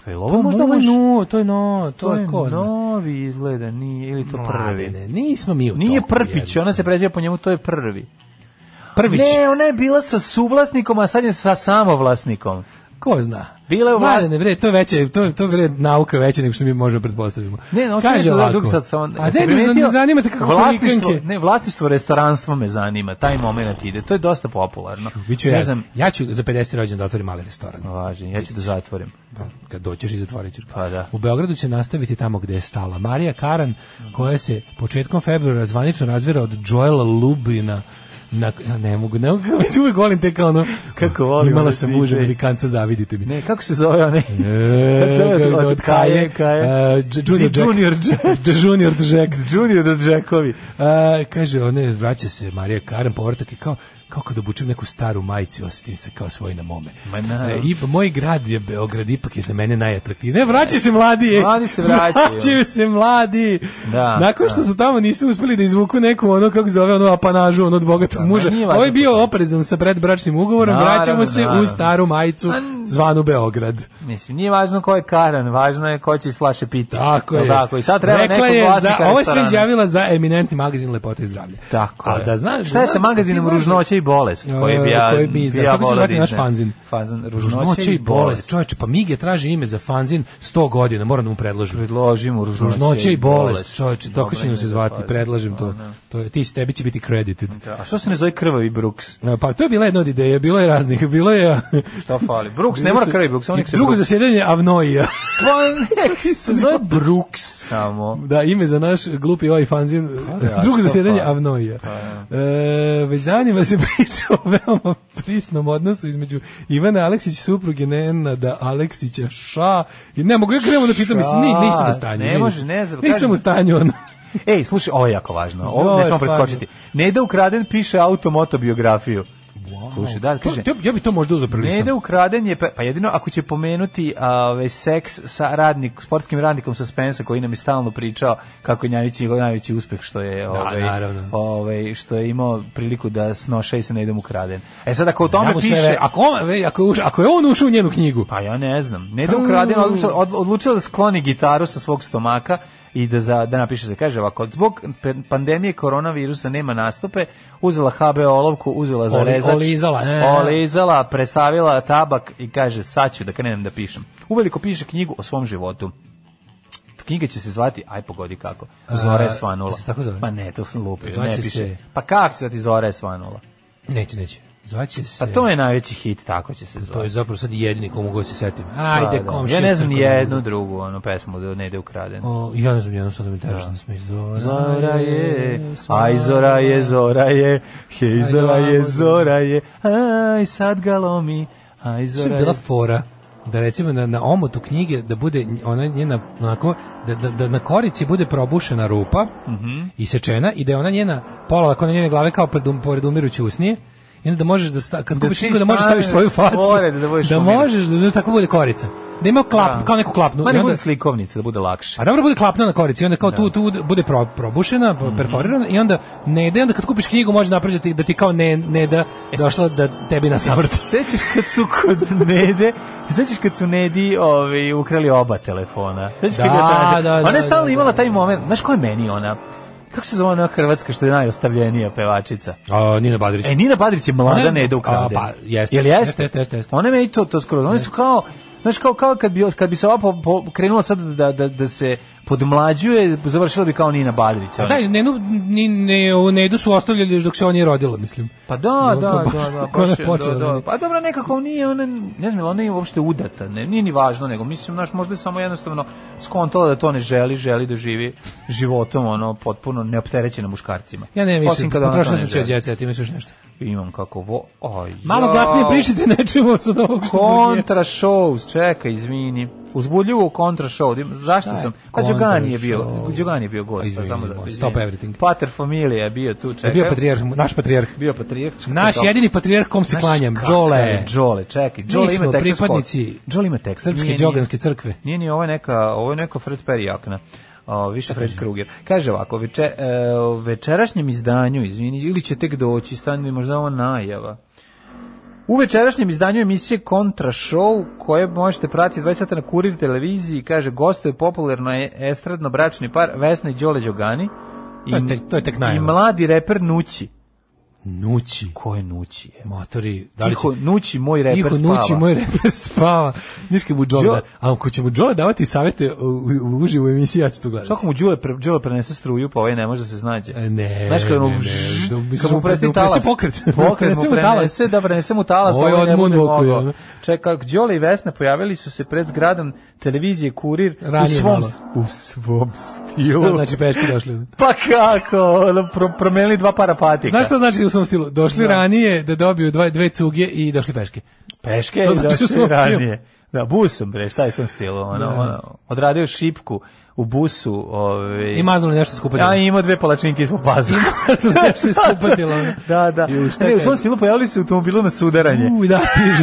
[SPEAKER 8] Pa je li ovo možda
[SPEAKER 9] Ovo je
[SPEAKER 8] može-
[SPEAKER 9] no, to je no, to, je ko zna.
[SPEAKER 8] novi izgleda, nije, ili to prvi.
[SPEAKER 9] Mladene, nismo mi u
[SPEAKER 8] Nije
[SPEAKER 9] toku,
[SPEAKER 8] Prpić,
[SPEAKER 9] jednostavno.
[SPEAKER 8] ona se preziva po njemu, to je prvi.
[SPEAKER 9] Prvić.
[SPEAKER 8] Ne, ona je bila sa suvlasnikom, a sad je sa samovlasnikom.
[SPEAKER 9] Ko zna?
[SPEAKER 8] Bila je u vlasti-
[SPEAKER 9] Mladene, bre, to je veće, to to je bre nauka veće nego što mi možemo pretpostavimo.
[SPEAKER 8] Ne, no,
[SPEAKER 9] Kaže
[SPEAKER 8] kaže
[SPEAKER 9] ovako.
[SPEAKER 8] Dok sad sam,
[SPEAKER 9] A ne, ne, zan- zanima te kako
[SPEAKER 8] vlasništvo,
[SPEAKER 9] hurikanke.
[SPEAKER 8] ne, vlasništvo restoranstva me zanima, taj momenat ide. To je dosta popularno.
[SPEAKER 9] Biću
[SPEAKER 8] ne
[SPEAKER 9] ja,
[SPEAKER 8] znam,
[SPEAKER 9] ja ću za 50 rođendan da otvorim mali restoran.
[SPEAKER 8] važno, ja ću da zatvorim.
[SPEAKER 9] Kad dođeš i zatvorit ćeš. ga.
[SPEAKER 8] Pa da.
[SPEAKER 9] U Beogradu će nastaviti tamo gde je stala. Marija Karan, koja se početkom februara zvanično razvira od Joela Lubina, na, ja ne mogu, ne mogu, ja uvijek volim te kao ono,
[SPEAKER 8] Kako volim ono
[SPEAKER 9] imala
[SPEAKER 8] ove
[SPEAKER 9] sam
[SPEAKER 8] priče.
[SPEAKER 9] muža Amerikanca, zavidite mi.
[SPEAKER 8] Ne, kako se zove onaj?
[SPEAKER 9] E,
[SPEAKER 8] Kako se zove
[SPEAKER 9] kako se
[SPEAKER 8] od-
[SPEAKER 9] zove,
[SPEAKER 8] od Kaje, Kaje?
[SPEAKER 9] E, Dž- Junior Jack.
[SPEAKER 8] Junior Jack.
[SPEAKER 9] Junior Jack.
[SPEAKER 8] Junior Jackovi.
[SPEAKER 9] A, kaže, ona je, vraća se Marija Karen, povratak je kao, kao kad obučem neku staru majicu, osjetim se kao svoj na mome.
[SPEAKER 8] Ma na.
[SPEAKER 9] E, i, moj grad je Beograd, ipak je za mene najatraktivniji. Ne, vraćaju se mladi.
[SPEAKER 8] Mladi se vraćaju.
[SPEAKER 9] Vraćaju se mladi.
[SPEAKER 8] Da,
[SPEAKER 9] Nakon što
[SPEAKER 8] da.
[SPEAKER 9] su tamo nisu uspeli da izvuku neku ono, kako zove, ono apanažu, ono od bogatog muža.
[SPEAKER 8] nije važno
[SPEAKER 9] Ovo je bio oprezan sa predbračnim ugovorom,
[SPEAKER 8] Naravno,
[SPEAKER 9] vraćamo se u
[SPEAKER 8] naravno.
[SPEAKER 9] staru majicu
[SPEAKER 8] Ma,
[SPEAKER 9] zvanu Beograd.
[SPEAKER 8] Mislim, nije važno ko je Karan, važno je ko će slaše piti.
[SPEAKER 9] Tako
[SPEAKER 8] Jel
[SPEAKER 9] je.
[SPEAKER 8] Tako, I sad treba
[SPEAKER 9] Rekla
[SPEAKER 8] nekog
[SPEAKER 9] je za,
[SPEAKER 8] vlasnika
[SPEAKER 9] ovo je sve
[SPEAKER 8] restorana.
[SPEAKER 9] izjavila za eminentni magazin Lepote i zdravlje.
[SPEAKER 8] Tako
[SPEAKER 9] A
[SPEAKER 8] je.
[SPEAKER 9] da znaš...
[SPEAKER 8] Šta je
[SPEAKER 9] znaš
[SPEAKER 8] sa
[SPEAKER 9] da ti
[SPEAKER 8] magazinom
[SPEAKER 9] znaš da-
[SPEAKER 8] Ružnoća i bolest, koji bi ja,
[SPEAKER 9] E, koji bi izdao.
[SPEAKER 8] bi ja
[SPEAKER 9] Kako se
[SPEAKER 8] volao
[SPEAKER 9] zvati
[SPEAKER 8] da
[SPEAKER 9] naš
[SPEAKER 8] iznem.
[SPEAKER 9] fanzin?
[SPEAKER 8] Fazan
[SPEAKER 9] Ružnoća i bolest. Čovječe, pa Mige traži ime za fanzin 100 godina, moram da mu predložim.
[SPEAKER 8] Predložimo ružnoće,
[SPEAKER 9] Ružnoća i bolest, čovječe, tako
[SPEAKER 8] Dobro
[SPEAKER 9] će nam se
[SPEAKER 8] ime za
[SPEAKER 9] zvati,
[SPEAKER 8] fazan.
[SPEAKER 9] predlažem to.
[SPEAKER 8] Ono.
[SPEAKER 9] To je, ti s tebi će biti credited.
[SPEAKER 8] A što se ne zove krvavi Brooks?
[SPEAKER 9] E, Pa to je bila jedna od ideja, bilo je raznih, bilo je...
[SPEAKER 8] Šta fali? Brooks, ne mora krvavi Brooks, on nek se
[SPEAKER 9] Drugo
[SPEAKER 8] Brooks.
[SPEAKER 9] zasjedanje Avnoija.
[SPEAKER 8] Pa nek se zove Brooks samo.
[SPEAKER 9] Da, ime za naš glupi ovaj fanzin,
[SPEAKER 8] da,
[SPEAKER 9] drugo
[SPEAKER 8] što
[SPEAKER 9] zasjedanje
[SPEAKER 8] pa.
[SPEAKER 9] Avnoija.
[SPEAKER 8] Pa,
[SPEAKER 9] E, već danima se priča o veoma prisnom odnosu između Ivana Aleksića, supruge Nenada Aleksića, ša, i ne mogu, ja krenemo da čitam, mislim, ni- nisam u stanju.
[SPEAKER 8] Ne
[SPEAKER 9] izvini.
[SPEAKER 8] može, ne znam,
[SPEAKER 9] Nisam
[SPEAKER 8] kažem.
[SPEAKER 9] u stanju, ono.
[SPEAKER 8] Ej, slušaj, ovo je jako važno. Ovo
[SPEAKER 9] Ovo je
[SPEAKER 8] ne smemo
[SPEAKER 9] stvarno.
[SPEAKER 8] preskočiti. Neda Ukraden piše automotobiografiju. Slušaj, da,
[SPEAKER 9] To-
[SPEAKER 8] kaže,
[SPEAKER 9] ja, ja bi to možda uzeo
[SPEAKER 8] Ne da
[SPEAKER 9] prelistam.
[SPEAKER 8] ukraden je, pa pa jedino ako će pomenuti a, ove, seks sa radnik, sportskim radnikom sa Spensa koji nam je stalno pričao kako je Njavić njegov najveći uspeh što je, ovaj,
[SPEAKER 9] naravno.
[SPEAKER 8] ovaj, što je imao priliku da snoša i se ne idem ukraden. E sad ako o
[SPEAKER 9] Ja
[SPEAKER 8] tome
[SPEAKER 9] mu sve
[SPEAKER 8] piše,
[SPEAKER 9] ver- ako, on, ve- ako, je uš- ako je on ušao u njenu knjigu,
[SPEAKER 8] pa ja ne znam, ne da ukraden, odlučio, od- odlučio da skloni gitaru sa svog stomaka i da, za, da napiše se, kaže ovako, zbog pe- pandemije koronavirusa nema nastupe, uzela HB olovku, uzela za rezač,
[SPEAKER 9] olizala, e.
[SPEAKER 8] olizala, presavila tabak i kaže, sad ću da krenem da pišem. Uveliko piše knjigu o svom životu. Knjiga će se zvati, aj pogodi kako, Zora je
[SPEAKER 9] A,
[SPEAKER 8] svanula.
[SPEAKER 9] da se tako zove?
[SPEAKER 8] Pa ne, to sam lupio, ne
[SPEAKER 9] Zvaće
[SPEAKER 8] piše.
[SPEAKER 9] se-
[SPEAKER 8] Pa kako se zvati Zora je svanula?
[SPEAKER 9] neće, neće. Zvaće se...
[SPEAKER 8] Pa to je najveći hit, tako će se zvati.
[SPEAKER 9] To je zapravo sad jedini ko mogu da se setim. Ajde,
[SPEAKER 8] Pa, da.
[SPEAKER 9] komšija.
[SPEAKER 8] Ja ne znam
[SPEAKER 9] crkva
[SPEAKER 8] ni
[SPEAKER 9] moja.
[SPEAKER 8] jednu drugu ono pesmu da ne ide ukraden.
[SPEAKER 9] O, ja ne znam, jednom sad da mi tešno da. smisli. Zora,
[SPEAKER 8] Zora je, aj zora je, zora je, hej
[SPEAKER 9] Aj,
[SPEAKER 8] zora je,
[SPEAKER 9] dolamo.
[SPEAKER 8] zora je, aj sad ga lomi, aj
[SPEAKER 9] Što
[SPEAKER 8] zora
[SPEAKER 9] je
[SPEAKER 8] je.
[SPEAKER 9] Znači, bila fora? da recimo na, na omotu knjige da bude ona njena onako da, da, da na korici bude probušena rupa
[SPEAKER 8] Mhm.
[SPEAKER 9] isečena i da je ona njena pola ako na njene glave kao pred, um- pored umiruće usnije i onda da možeš da sta, kad
[SPEAKER 8] Da
[SPEAKER 9] kupiš
[SPEAKER 8] ti
[SPEAKER 9] knjigu da možeš
[SPEAKER 8] staviš
[SPEAKER 9] staviš svoju facu
[SPEAKER 8] pored da budeš umiruć.
[SPEAKER 9] možeš da znaš tako bude korica da ima klap, kao neku klapnu
[SPEAKER 8] Ma
[SPEAKER 9] i
[SPEAKER 8] ne
[SPEAKER 9] onda-
[SPEAKER 8] bude slikovnica, da bude lakše.
[SPEAKER 9] A dobro bude klapna na korici, onda kao tu, tu bude pro, probušena,
[SPEAKER 8] Mhm.
[SPEAKER 9] perforirana i onda ne ide, onda kad kupiš knjigu može napraviti da ti kao ne, ne da došla da tebi na savrt.
[SPEAKER 8] Sećaš kad su kod Nede, sećaš kad su Nedi ovi, ukrali oba telefona. Sećaš kad
[SPEAKER 9] Da,
[SPEAKER 8] je tražila?
[SPEAKER 9] da, da,
[SPEAKER 8] Ona je
[SPEAKER 9] da,
[SPEAKER 8] stalno
[SPEAKER 9] da,
[SPEAKER 8] imala
[SPEAKER 9] da.
[SPEAKER 8] taj moment, znaš ko je meni ona? Kako se zove ona hrvatska što je najostavljenija pevačica?
[SPEAKER 9] A, Nina Badrić.
[SPEAKER 8] E, Nina Badrić je mlada
[SPEAKER 9] Ona je-
[SPEAKER 8] ne, Neda ukrade.
[SPEAKER 9] A, pa, jeste.
[SPEAKER 8] Jel jeste?
[SPEAKER 9] Jeste, jeste, jeste, jeste.
[SPEAKER 8] One meni to, to skroz. One su kao, znaš, kao, kao kad, bi, kad bi se ova po, po, krenula sad da, da, da se podmlađuje, završila bi kao Nina Badrić. ono.
[SPEAKER 9] A
[SPEAKER 8] ona.
[SPEAKER 9] Pa daj, ne, ne, ne, ne idu su ostavljali još dok se on nije rodila, mislim.
[SPEAKER 8] Pa da, da,
[SPEAKER 9] Onako
[SPEAKER 8] da,
[SPEAKER 9] baš-
[SPEAKER 8] da,
[SPEAKER 9] kako ona
[SPEAKER 8] baš je,
[SPEAKER 9] počela
[SPEAKER 8] da, da.
[SPEAKER 9] meni.
[SPEAKER 8] Pa dobro, nekako nije ona, ne znam, jel ona je uopšte udata, ne, nije ni važno, nego mislim, znaš, možda je samo jednostavno skontala da to ne želi, želi da živi životom, ono, potpuno neopterećena muškarcima.
[SPEAKER 9] Ja ne
[SPEAKER 8] Osim
[SPEAKER 9] mislim,
[SPEAKER 8] kada ona to
[SPEAKER 9] potrošila
[SPEAKER 8] ne
[SPEAKER 9] sam
[SPEAKER 8] želi.
[SPEAKER 9] čez djeca, ti misliš nešto.
[SPEAKER 8] Imam kako, vo, aj,
[SPEAKER 9] Malo
[SPEAKER 8] jao.
[SPEAKER 9] glasnije pričajte, ne čujemo sad ovog što burgije.
[SPEAKER 8] Kontra shows, čekaj, izvini. Uzbudljivo kontra show. Dim- Zašto
[SPEAKER 9] Šta je
[SPEAKER 8] sam? Pa
[SPEAKER 9] kontra
[SPEAKER 8] Đogani je bio,
[SPEAKER 9] show?
[SPEAKER 8] Đogani je bio gost, pa
[SPEAKER 9] Izvini,
[SPEAKER 8] samo
[SPEAKER 9] moj,
[SPEAKER 8] da.
[SPEAKER 9] stop
[SPEAKER 8] izvini.
[SPEAKER 9] everything.
[SPEAKER 8] Pater familija je bio tu,
[SPEAKER 9] Da je
[SPEAKER 8] čekaj.
[SPEAKER 9] bio patrijarh, naš patrijarh.
[SPEAKER 8] Bio patrijarh. E.
[SPEAKER 9] Naš
[SPEAKER 8] Dobro.
[SPEAKER 9] jedini patrijarh kom se
[SPEAKER 8] Znaš
[SPEAKER 9] klanjam,
[SPEAKER 8] kakav
[SPEAKER 9] Đole.
[SPEAKER 8] je Đole, čekaj, Đole
[SPEAKER 9] Mi
[SPEAKER 8] ima
[SPEAKER 9] smo
[SPEAKER 8] Texas
[SPEAKER 9] pripadnici
[SPEAKER 8] Hot. Đole ima Texas.
[SPEAKER 9] Srpske
[SPEAKER 8] Nije, nije.
[SPEAKER 9] džoganske crkve.
[SPEAKER 8] Nije ni ovo je neka, ovo je neka Fred Perry jakna. O, više Fred Kruger. Kaže ovako, veče, e, u večerašnjem izdanju, izvini, ili će tek doći, stani možda ovo najava. U večerašnjem izdanju emisije Kontra Show, koje možete pratiti 20 sata na Kurir televiziji, kaže, gostuje popularno je estradno bračni par Vesna i Đole Đogani.
[SPEAKER 9] To je tek- to je tek najava.
[SPEAKER 8] I mladi reper Nući.
[SPEAKER 9] Nući.
[SPEAKER 8] Ko je Nući? Je?
[SPEAKER 9] Matori, da li će...
[SPEAKER 8] Tiho Nući, moj reper
[SPEAKER 9] Tiho
[SPEAKER 8] spava.
[SPEAKER 9] nući moj reper spava. Niški mu Đole, a ako će mu Đole davati savete u, u, uživo u emisiji, ja ću to gledati.
[SPEAKER 8] Što ako mu Đole, pre, Đole prenese struju, pa ovaj ne može da se snađe?
[SPEAKER 9] E, Ne,
[SPEAKER 8] Znaš kada mu,
[SPEAKER 9] ne, ne,
[SPEAKER 8] žš,
[SPEAKER 9] da mu-
[SPEAKER 8] kad mu
[SPEAKER 9] da mu prenese
[SPEAKER 8] presti talas.
[SPEAKER 9] pokret. Da mu
[SPEAKER 8] Pokret
[SPEAKER 9] prenese
[SPEAKER 8] mu
[SPEAKER 9] mu talas.
[SPEAKER 8] prenese, da prenese mu talas,
[SPEAKER 9] Ovo je ono.
[SPEAKER 8] ovaj ne
[SPEAKER 9] od
[SPEAKER 8] bude
[SPEAKER 9] Moonwalku,
[SPEAKER 8] mogao.
[SPEAKER 9] ja.
[SPEAKER 8] Čeka, Đole i Vesna pojavili su se pred zgradom televizije Kurir u
[SPEAKER 9] Ranije
[SPEAKER 8] svom,
[SPEAKER 9] malo.
[SPEAKER 8] u svom stilu.
[SPEAKER 9] Šta znači peške došli?
[SPEAKER 8] Pa kako, ono, pro, promenili dva para patika.
[SPEAKER 9] Znaš šta znači u svom stilu? Došli ranije da dobiju dva, dve cuge i došli peške.
[SPEAKER 8] Peške
[SPEAKER 9] To
[SPEAKER 8] i
[SPEAKER 9] znači u
[SPEAKER 8] došli
[SPEAKER 9] svom
[SPEAKER 8] ranije. Da, busom, bre, šta je sam stilo, ono,
[SPEAKER 9] Da.
[SPEAKER 8] ono, odradio šipku u busu, ovaj.
[SPEAKER 9] I maznuli nešto iz kupatila.
[SPEAKER 8] Ja, ima dve palačinke ispod pazuha.
[SPEAKER 9] stilu. nešto iskupatilo.
[SPEAKER 8] da, da. Ne, u svom stilu pojavili su automobilu na sudaranje.
[SPEAKER 9] Uj, da, stižu.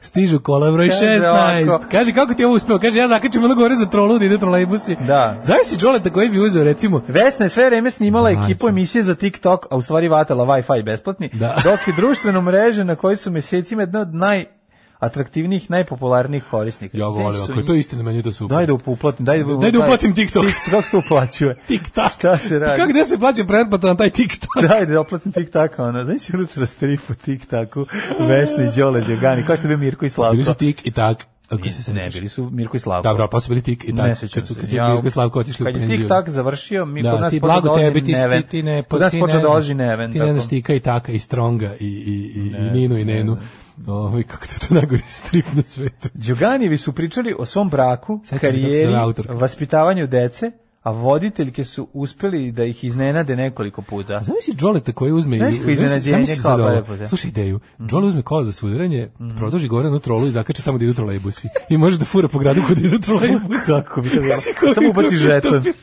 [SPEAKER 9] Stižu kola broj
[SPEAKER 8] Kaže
[SPEAKER 9] 16.
[SPEAKER 8] ovako.
[SPEAKER 9] Kaže, kako ti je ovo uspeo? Kaže, ja zakačem ono gore za trolu da ide trolejbusi.
[SPEAKER 8] Da.
[SPEAKER 9] Zavisi Đoleta koji bi uzeo, recimo,
[SPEAKER 8] Vesna je sve vreme snimala
[SPEAKER 9] Mlađo.
[SPEAKER 8] ekipu emisije za TikTok, a u stvari vatala Wi-Fi besplatni,
[SPEAKER 9] Da.
[SPEAKER 8] dok je društvenu mrežu na kojoj su mesecima jedna od najatraktivnijih, najpopularnijih korisnika.
[SPEAKER 9] Ja
[SPEAKER 8] Gde
[SPEAKER 9] volim,
[SPEAKER 8] su
[SPEAKER 9] ako je to
[SPEAKER 8] im-
[SPEAKER 9] istina, meni je to super.
[SPEAKER 8] Daj da uplatim, daj da,
[SPEAKER 9] Daj da uplatim TikTok.
[SPEAKER 8] TikTok se uplaćuje.
[SPEAKER 9] TikTok.
[SPEAKER 8] Šta se radi?
[SPEAKER 9] Kako gde se plaća pretplata na taj TikTok?
[SPEAKER 8] Daj da oplatim TikToka, ona, znaš je unutra stripu TikToku, Vesni, Đole, Đogani, kao što bi Mirko i Slavko.
[SPEAKER 9] Bili su tik i tak. Ako se
[SPEAKER 8] Ni- Ne,
[SPEAKER 9] sećaš.
[SPEAKER 8] bili su Mirko i Slavko.
[SPEAKER 9] Dobro, pa su bili tik i tak.
[SPEAKER 8] Ne sećam
[SPEAKER 9] kad su,
[SPEAKER 8] se.
[SPEAKER 9] kad su
[SPEAKER 8] Ja-
[SPEAKER 9] Mirko i Slavko otišli u
[SPEAKER 8] kad je
[SPEAKER 9] penziju.
[SPEAKER 8] TikTok završio, mi kod
[SPEAKER 9] da,
[SPEAKER 8] nas
[SPEAKER 9] ti
[SPEAKER 8] počeo da
[SPEAKER 9] blago
[SPEAKER 8] dolazi
[SPEAKER 9] tebi, ti,
[SPEAKER 8] Neven.
[SPEAKER 9] ti, ti ne,
[SPEAKER 8] Kod nas
[SPEAKER 9] ti
[SPEAKER 8] počeo
[SPEAKER 9] ne
[SPEAKER 8] da
[SPEAKER 9] znaš.
[SPEAKER 8] dolazi Neven,
[SPEAKER 9] Ti ne
[SPEAKER 8] tako.
[SPEAKER 9] znaš tika i taka i stronga i, i, i, i Ninu i Nenu. Ovo, kako to je to najgori strip na svetu.
[SPEAKER 8] Đuganijevi su pričali o svom braku,
[SPEAKER 9] Sećam se kako se
[SPEAKER 8] karijeri,
[SPEAKER 9] zove autorka.
[SPEAKER 8] vaspitavanju dece, a voditeljke su uspeli da ih iznenade nekoliko puta.
[SPEAKER 9] A zamisli Đoleta koji uzme i
[SPEAKER 8] Pa Znaš koje iznenađenje, kao
[SPEAKER 9] sad ovo.
[SPEAKER 8] lepo, da. Mm.
[SPEAKER 9] Slušaj ideju. Đole uzme kola za sudaranje, produži gore na trolu i zakače tamo gde idu trolejbusi. I može da fura po gradu kod idu trolejbusi.
[SPEAKER 8] Kako bi to bilo?
[SPEAKER 9] Mislim, koliko
[SPEAKER 8] Samo ubaci
[SPEAKER 9] bi to
[SPEAKER 8] žeton.
[SPEAKER 9] bilo?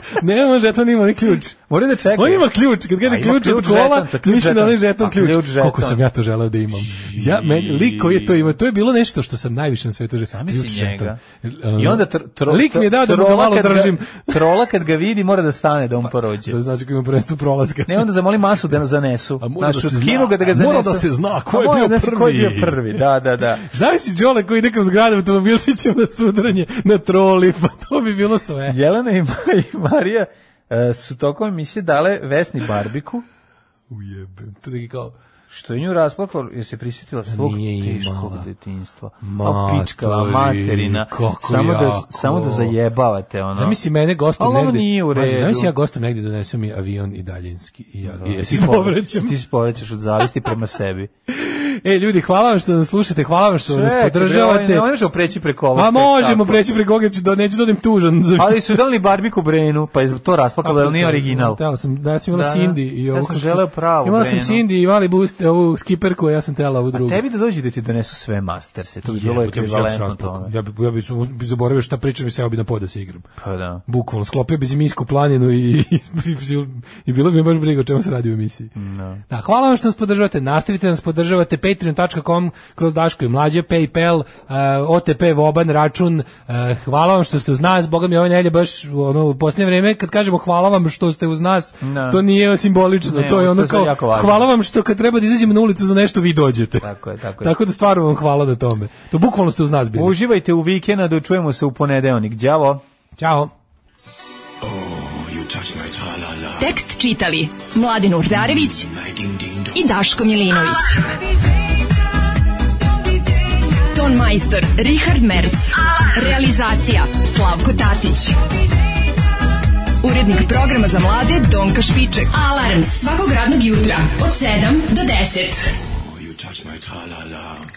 [SPEAKER 9] ne, on žeton ima onaj ključ.
[SPEAKER 8] Moraju da čekaju.
[SPEAKER 9] On ima ključ, kad
[SPEAKER 8] A,
[SPEAKER 9] kaže
[SPEAKER 8] ima
[SPEAKER 9] ključ,
[SPEAKER 8] ključ
[SPEAKER 9] od kola,
[SPEAKER 8] žeton, to ključ
[SPEAKER 9] mislim da
[SPEAKER 8] žeton.
[SPEAKER 9] onaj žeton
[SPEAKER 8] A,
[SPEAKER 9] ključ.
[SPEAKER 8] ključ žeton.
[SPEAKER 9] Koliko sam ja to želeo da imam. Ja, men, lik koji je to imao, to je bilo nešto što sam najviše na svetu želeo.
[SPEAKER 8] Zamisli
[SPEAKER 9] Ključ
[SPEAKER 8] njega.
[SPEAKER 9] žeton.
[SPEAKER 8] I onda tr, tro,
[SPEAKER 9] Lik mi je dao da mu ga
[SPEAKER 8] trola
[SPEAKER 9] malo
[SPEAKER 8] kad
[SPEAKER 9] držim.
[SPEAKER 8] trola kad ga vidi mora da stane da on porođe.
[SPEAKER 9] Sad znači kako ima prvenstvo prolaska.
[SPEAKER 8] Ne, onda zamoli masu da nas zanesu.
[SPEAKER 9] A mora
[SPEAKER 8] Znaš,
[SPEAKER 9] da se
[SPEAKER 8] skinu ga
[SPEAKER 9] zna.
[SPEAKER 8] da ga
[SPEAKER 9] A mora
[SPEAKER 8] zanesu.
[SPEAKER 9] da se zna ko
[SPEAKER 8] A
[SPEAKER 9] je
[SPEAKER 8] mora
[SPEAKER 9] bio
[SPEAKER 8] da se Ko je bio
[SPEAKER 9] prvi.
[SPEAKER 8] prvi, da, da, da.
[SPEAKER 9] Zavisi Đole koji ide kroz grad automobilčićem na sudaranje, na troli, pa to bi bilo sve.
[SPEAKER 8] Jelena i, Ma- i Marija e, su tokom emisije dale Vesni barbiku,
[SPEAKER 9] Ujebem, to neki kao...
[SPEAKER 8] što je nju rasplakalo, jer se prisjetila svog
[SPEAKER 9] nije
[SPEAKER 8] teškog
[SPEAKER 9] imala.
[SPEAKER 8] detinjstva.
[SPEAKER 9] Ma,
[SPEAKER 8] Ma, pičkava,
[SPEAKER 9] to je,
[SPEAKER 8] materina,
[SPEAKER 9] kako
[SPEAKER 8] samo da,
[SPEAKER 9] jako.
[SPEAKER 8] samo da zajebavate, ono.
[SPEAKER 9] Zamisli mene gostom
[SPEAKER 8] Ali ovo
[SPEAKER 9] negde.
[SPEAKER 8] nije u
[SPEAKER 9] Mađo,
[SPEAKER 8] redu.
[SPEAKER 9] Zamisli ja gostom negde donesu mi avion i daljinski. I ja, i ja se
[SPEAKER 8] Ti povre-
[SPEAKER 9] povraćam.
[SPEAKER 8] Ti se povraćaš od zavisti prema sebi.
[SPEAKER 9] E, ljudi, hvala vam što nas slušate, hvala vam što
[SPEAKER 8] Čekaj,
[SPEAKER 9] nas
[SPEAKER 8] bre, ovaj,
[SPEAKER 9] podržavate.
[SPEAKER 8] Ne možemo preći preko ovog.
[SPEAKER 9] Pa
[SPEAKER 8] to je
[SPEAKER 9] možemo
[SPEAKER 8] tako.
[SPEAKER 9] preći preko ovoga, ću da, neću da odem tužan. za-
[SPEAKER 8] Ali su doneli barbiku Brenu, pa je to rasplakalo, ali nije original.
[SPEAKER 9] Tela sam, da, ja sam imala
[SPEAKER 8] Da, da.
[SPEAKER 9] Cindy. I
[SPEAKER 8] Ja
[SPEAKER 9] ovo
[SPEAKER 8] sam
[SPEAKER 9] kako se-
[SPEAKER 8] želeo pravu
[SPEAKER 9] Imala sam
[SPEAKER 8] Brenu.
[SPEAKER 9] Cindy i mali boost, ovu skiperku, a ja sam tela ovu drugu.
[SPEAKER 8] A tebi da dođe da ti donesu sve masterse, to bi bilo
[SPEAKER 9] Jebote, ja bi se
[SPEAKER 8] ekvivalentno
[SPEAKER 9] rasplakao.
[SPEAKER 8] tome.
[SPEAKER 9] Ja bi, ja bi, su- bi zaboravio šta pričam i seo bi na pod da se igram.
[SPEAKER 8] Pa da.
[SPEAKER 9] Bukvalno, sklopio bi ziminsku planinu i, i, i, i bilo bi mi baš briga o čemu se radi u emisiji. Da, hvala vam što nas podržavate, nastavite da nas podržavate, patreon.com kroz Daško i Mlađe, Paypal, eh, OTP, Voban, račun, eh, hvala vam što ste uz nas, boga mi ove nelje baš ono, u posljednje vreme, kad kažemo hvala vam što ste uz nas,
[SPEAKER 8] Da.
[SPEAKER 9] to nije simbolično,
[SPEAKER 8] Ne,
[SPEAKER 9] to je
[SPEAKER 8] ovo
[SPEAKER 9] ono
[SPEAKER 8] je sve
[SPEAKER 9] kao,
[SPEAKER 8] jako važno.
[SPEAKER 9] hvala vam što kad treba da izađemo na ulicu za nešto, vi dođete.
[SPEAKER 8] Tako je, tako je.
[SPEAKER 9] Tako da stvarno vam hvala na tome. To bukvalno ste uz nas bili.
[SPEAKER 8] Uživajte u vikendu, čujemo se u ponedeonik. Đavo.
[SPEAKER 9] Ćao.
[SPEAKER 6] Tekst čitali Mladin Urdarević i Daško Milinović. Ton majstor Richard Merc. Realizacija Slavko Tatić. Urednik programa za mlade Donka Špiček. Alarms svakog radnog jutra od 7 do 10.
[SPEAKER 13] You touch my tra-la-la.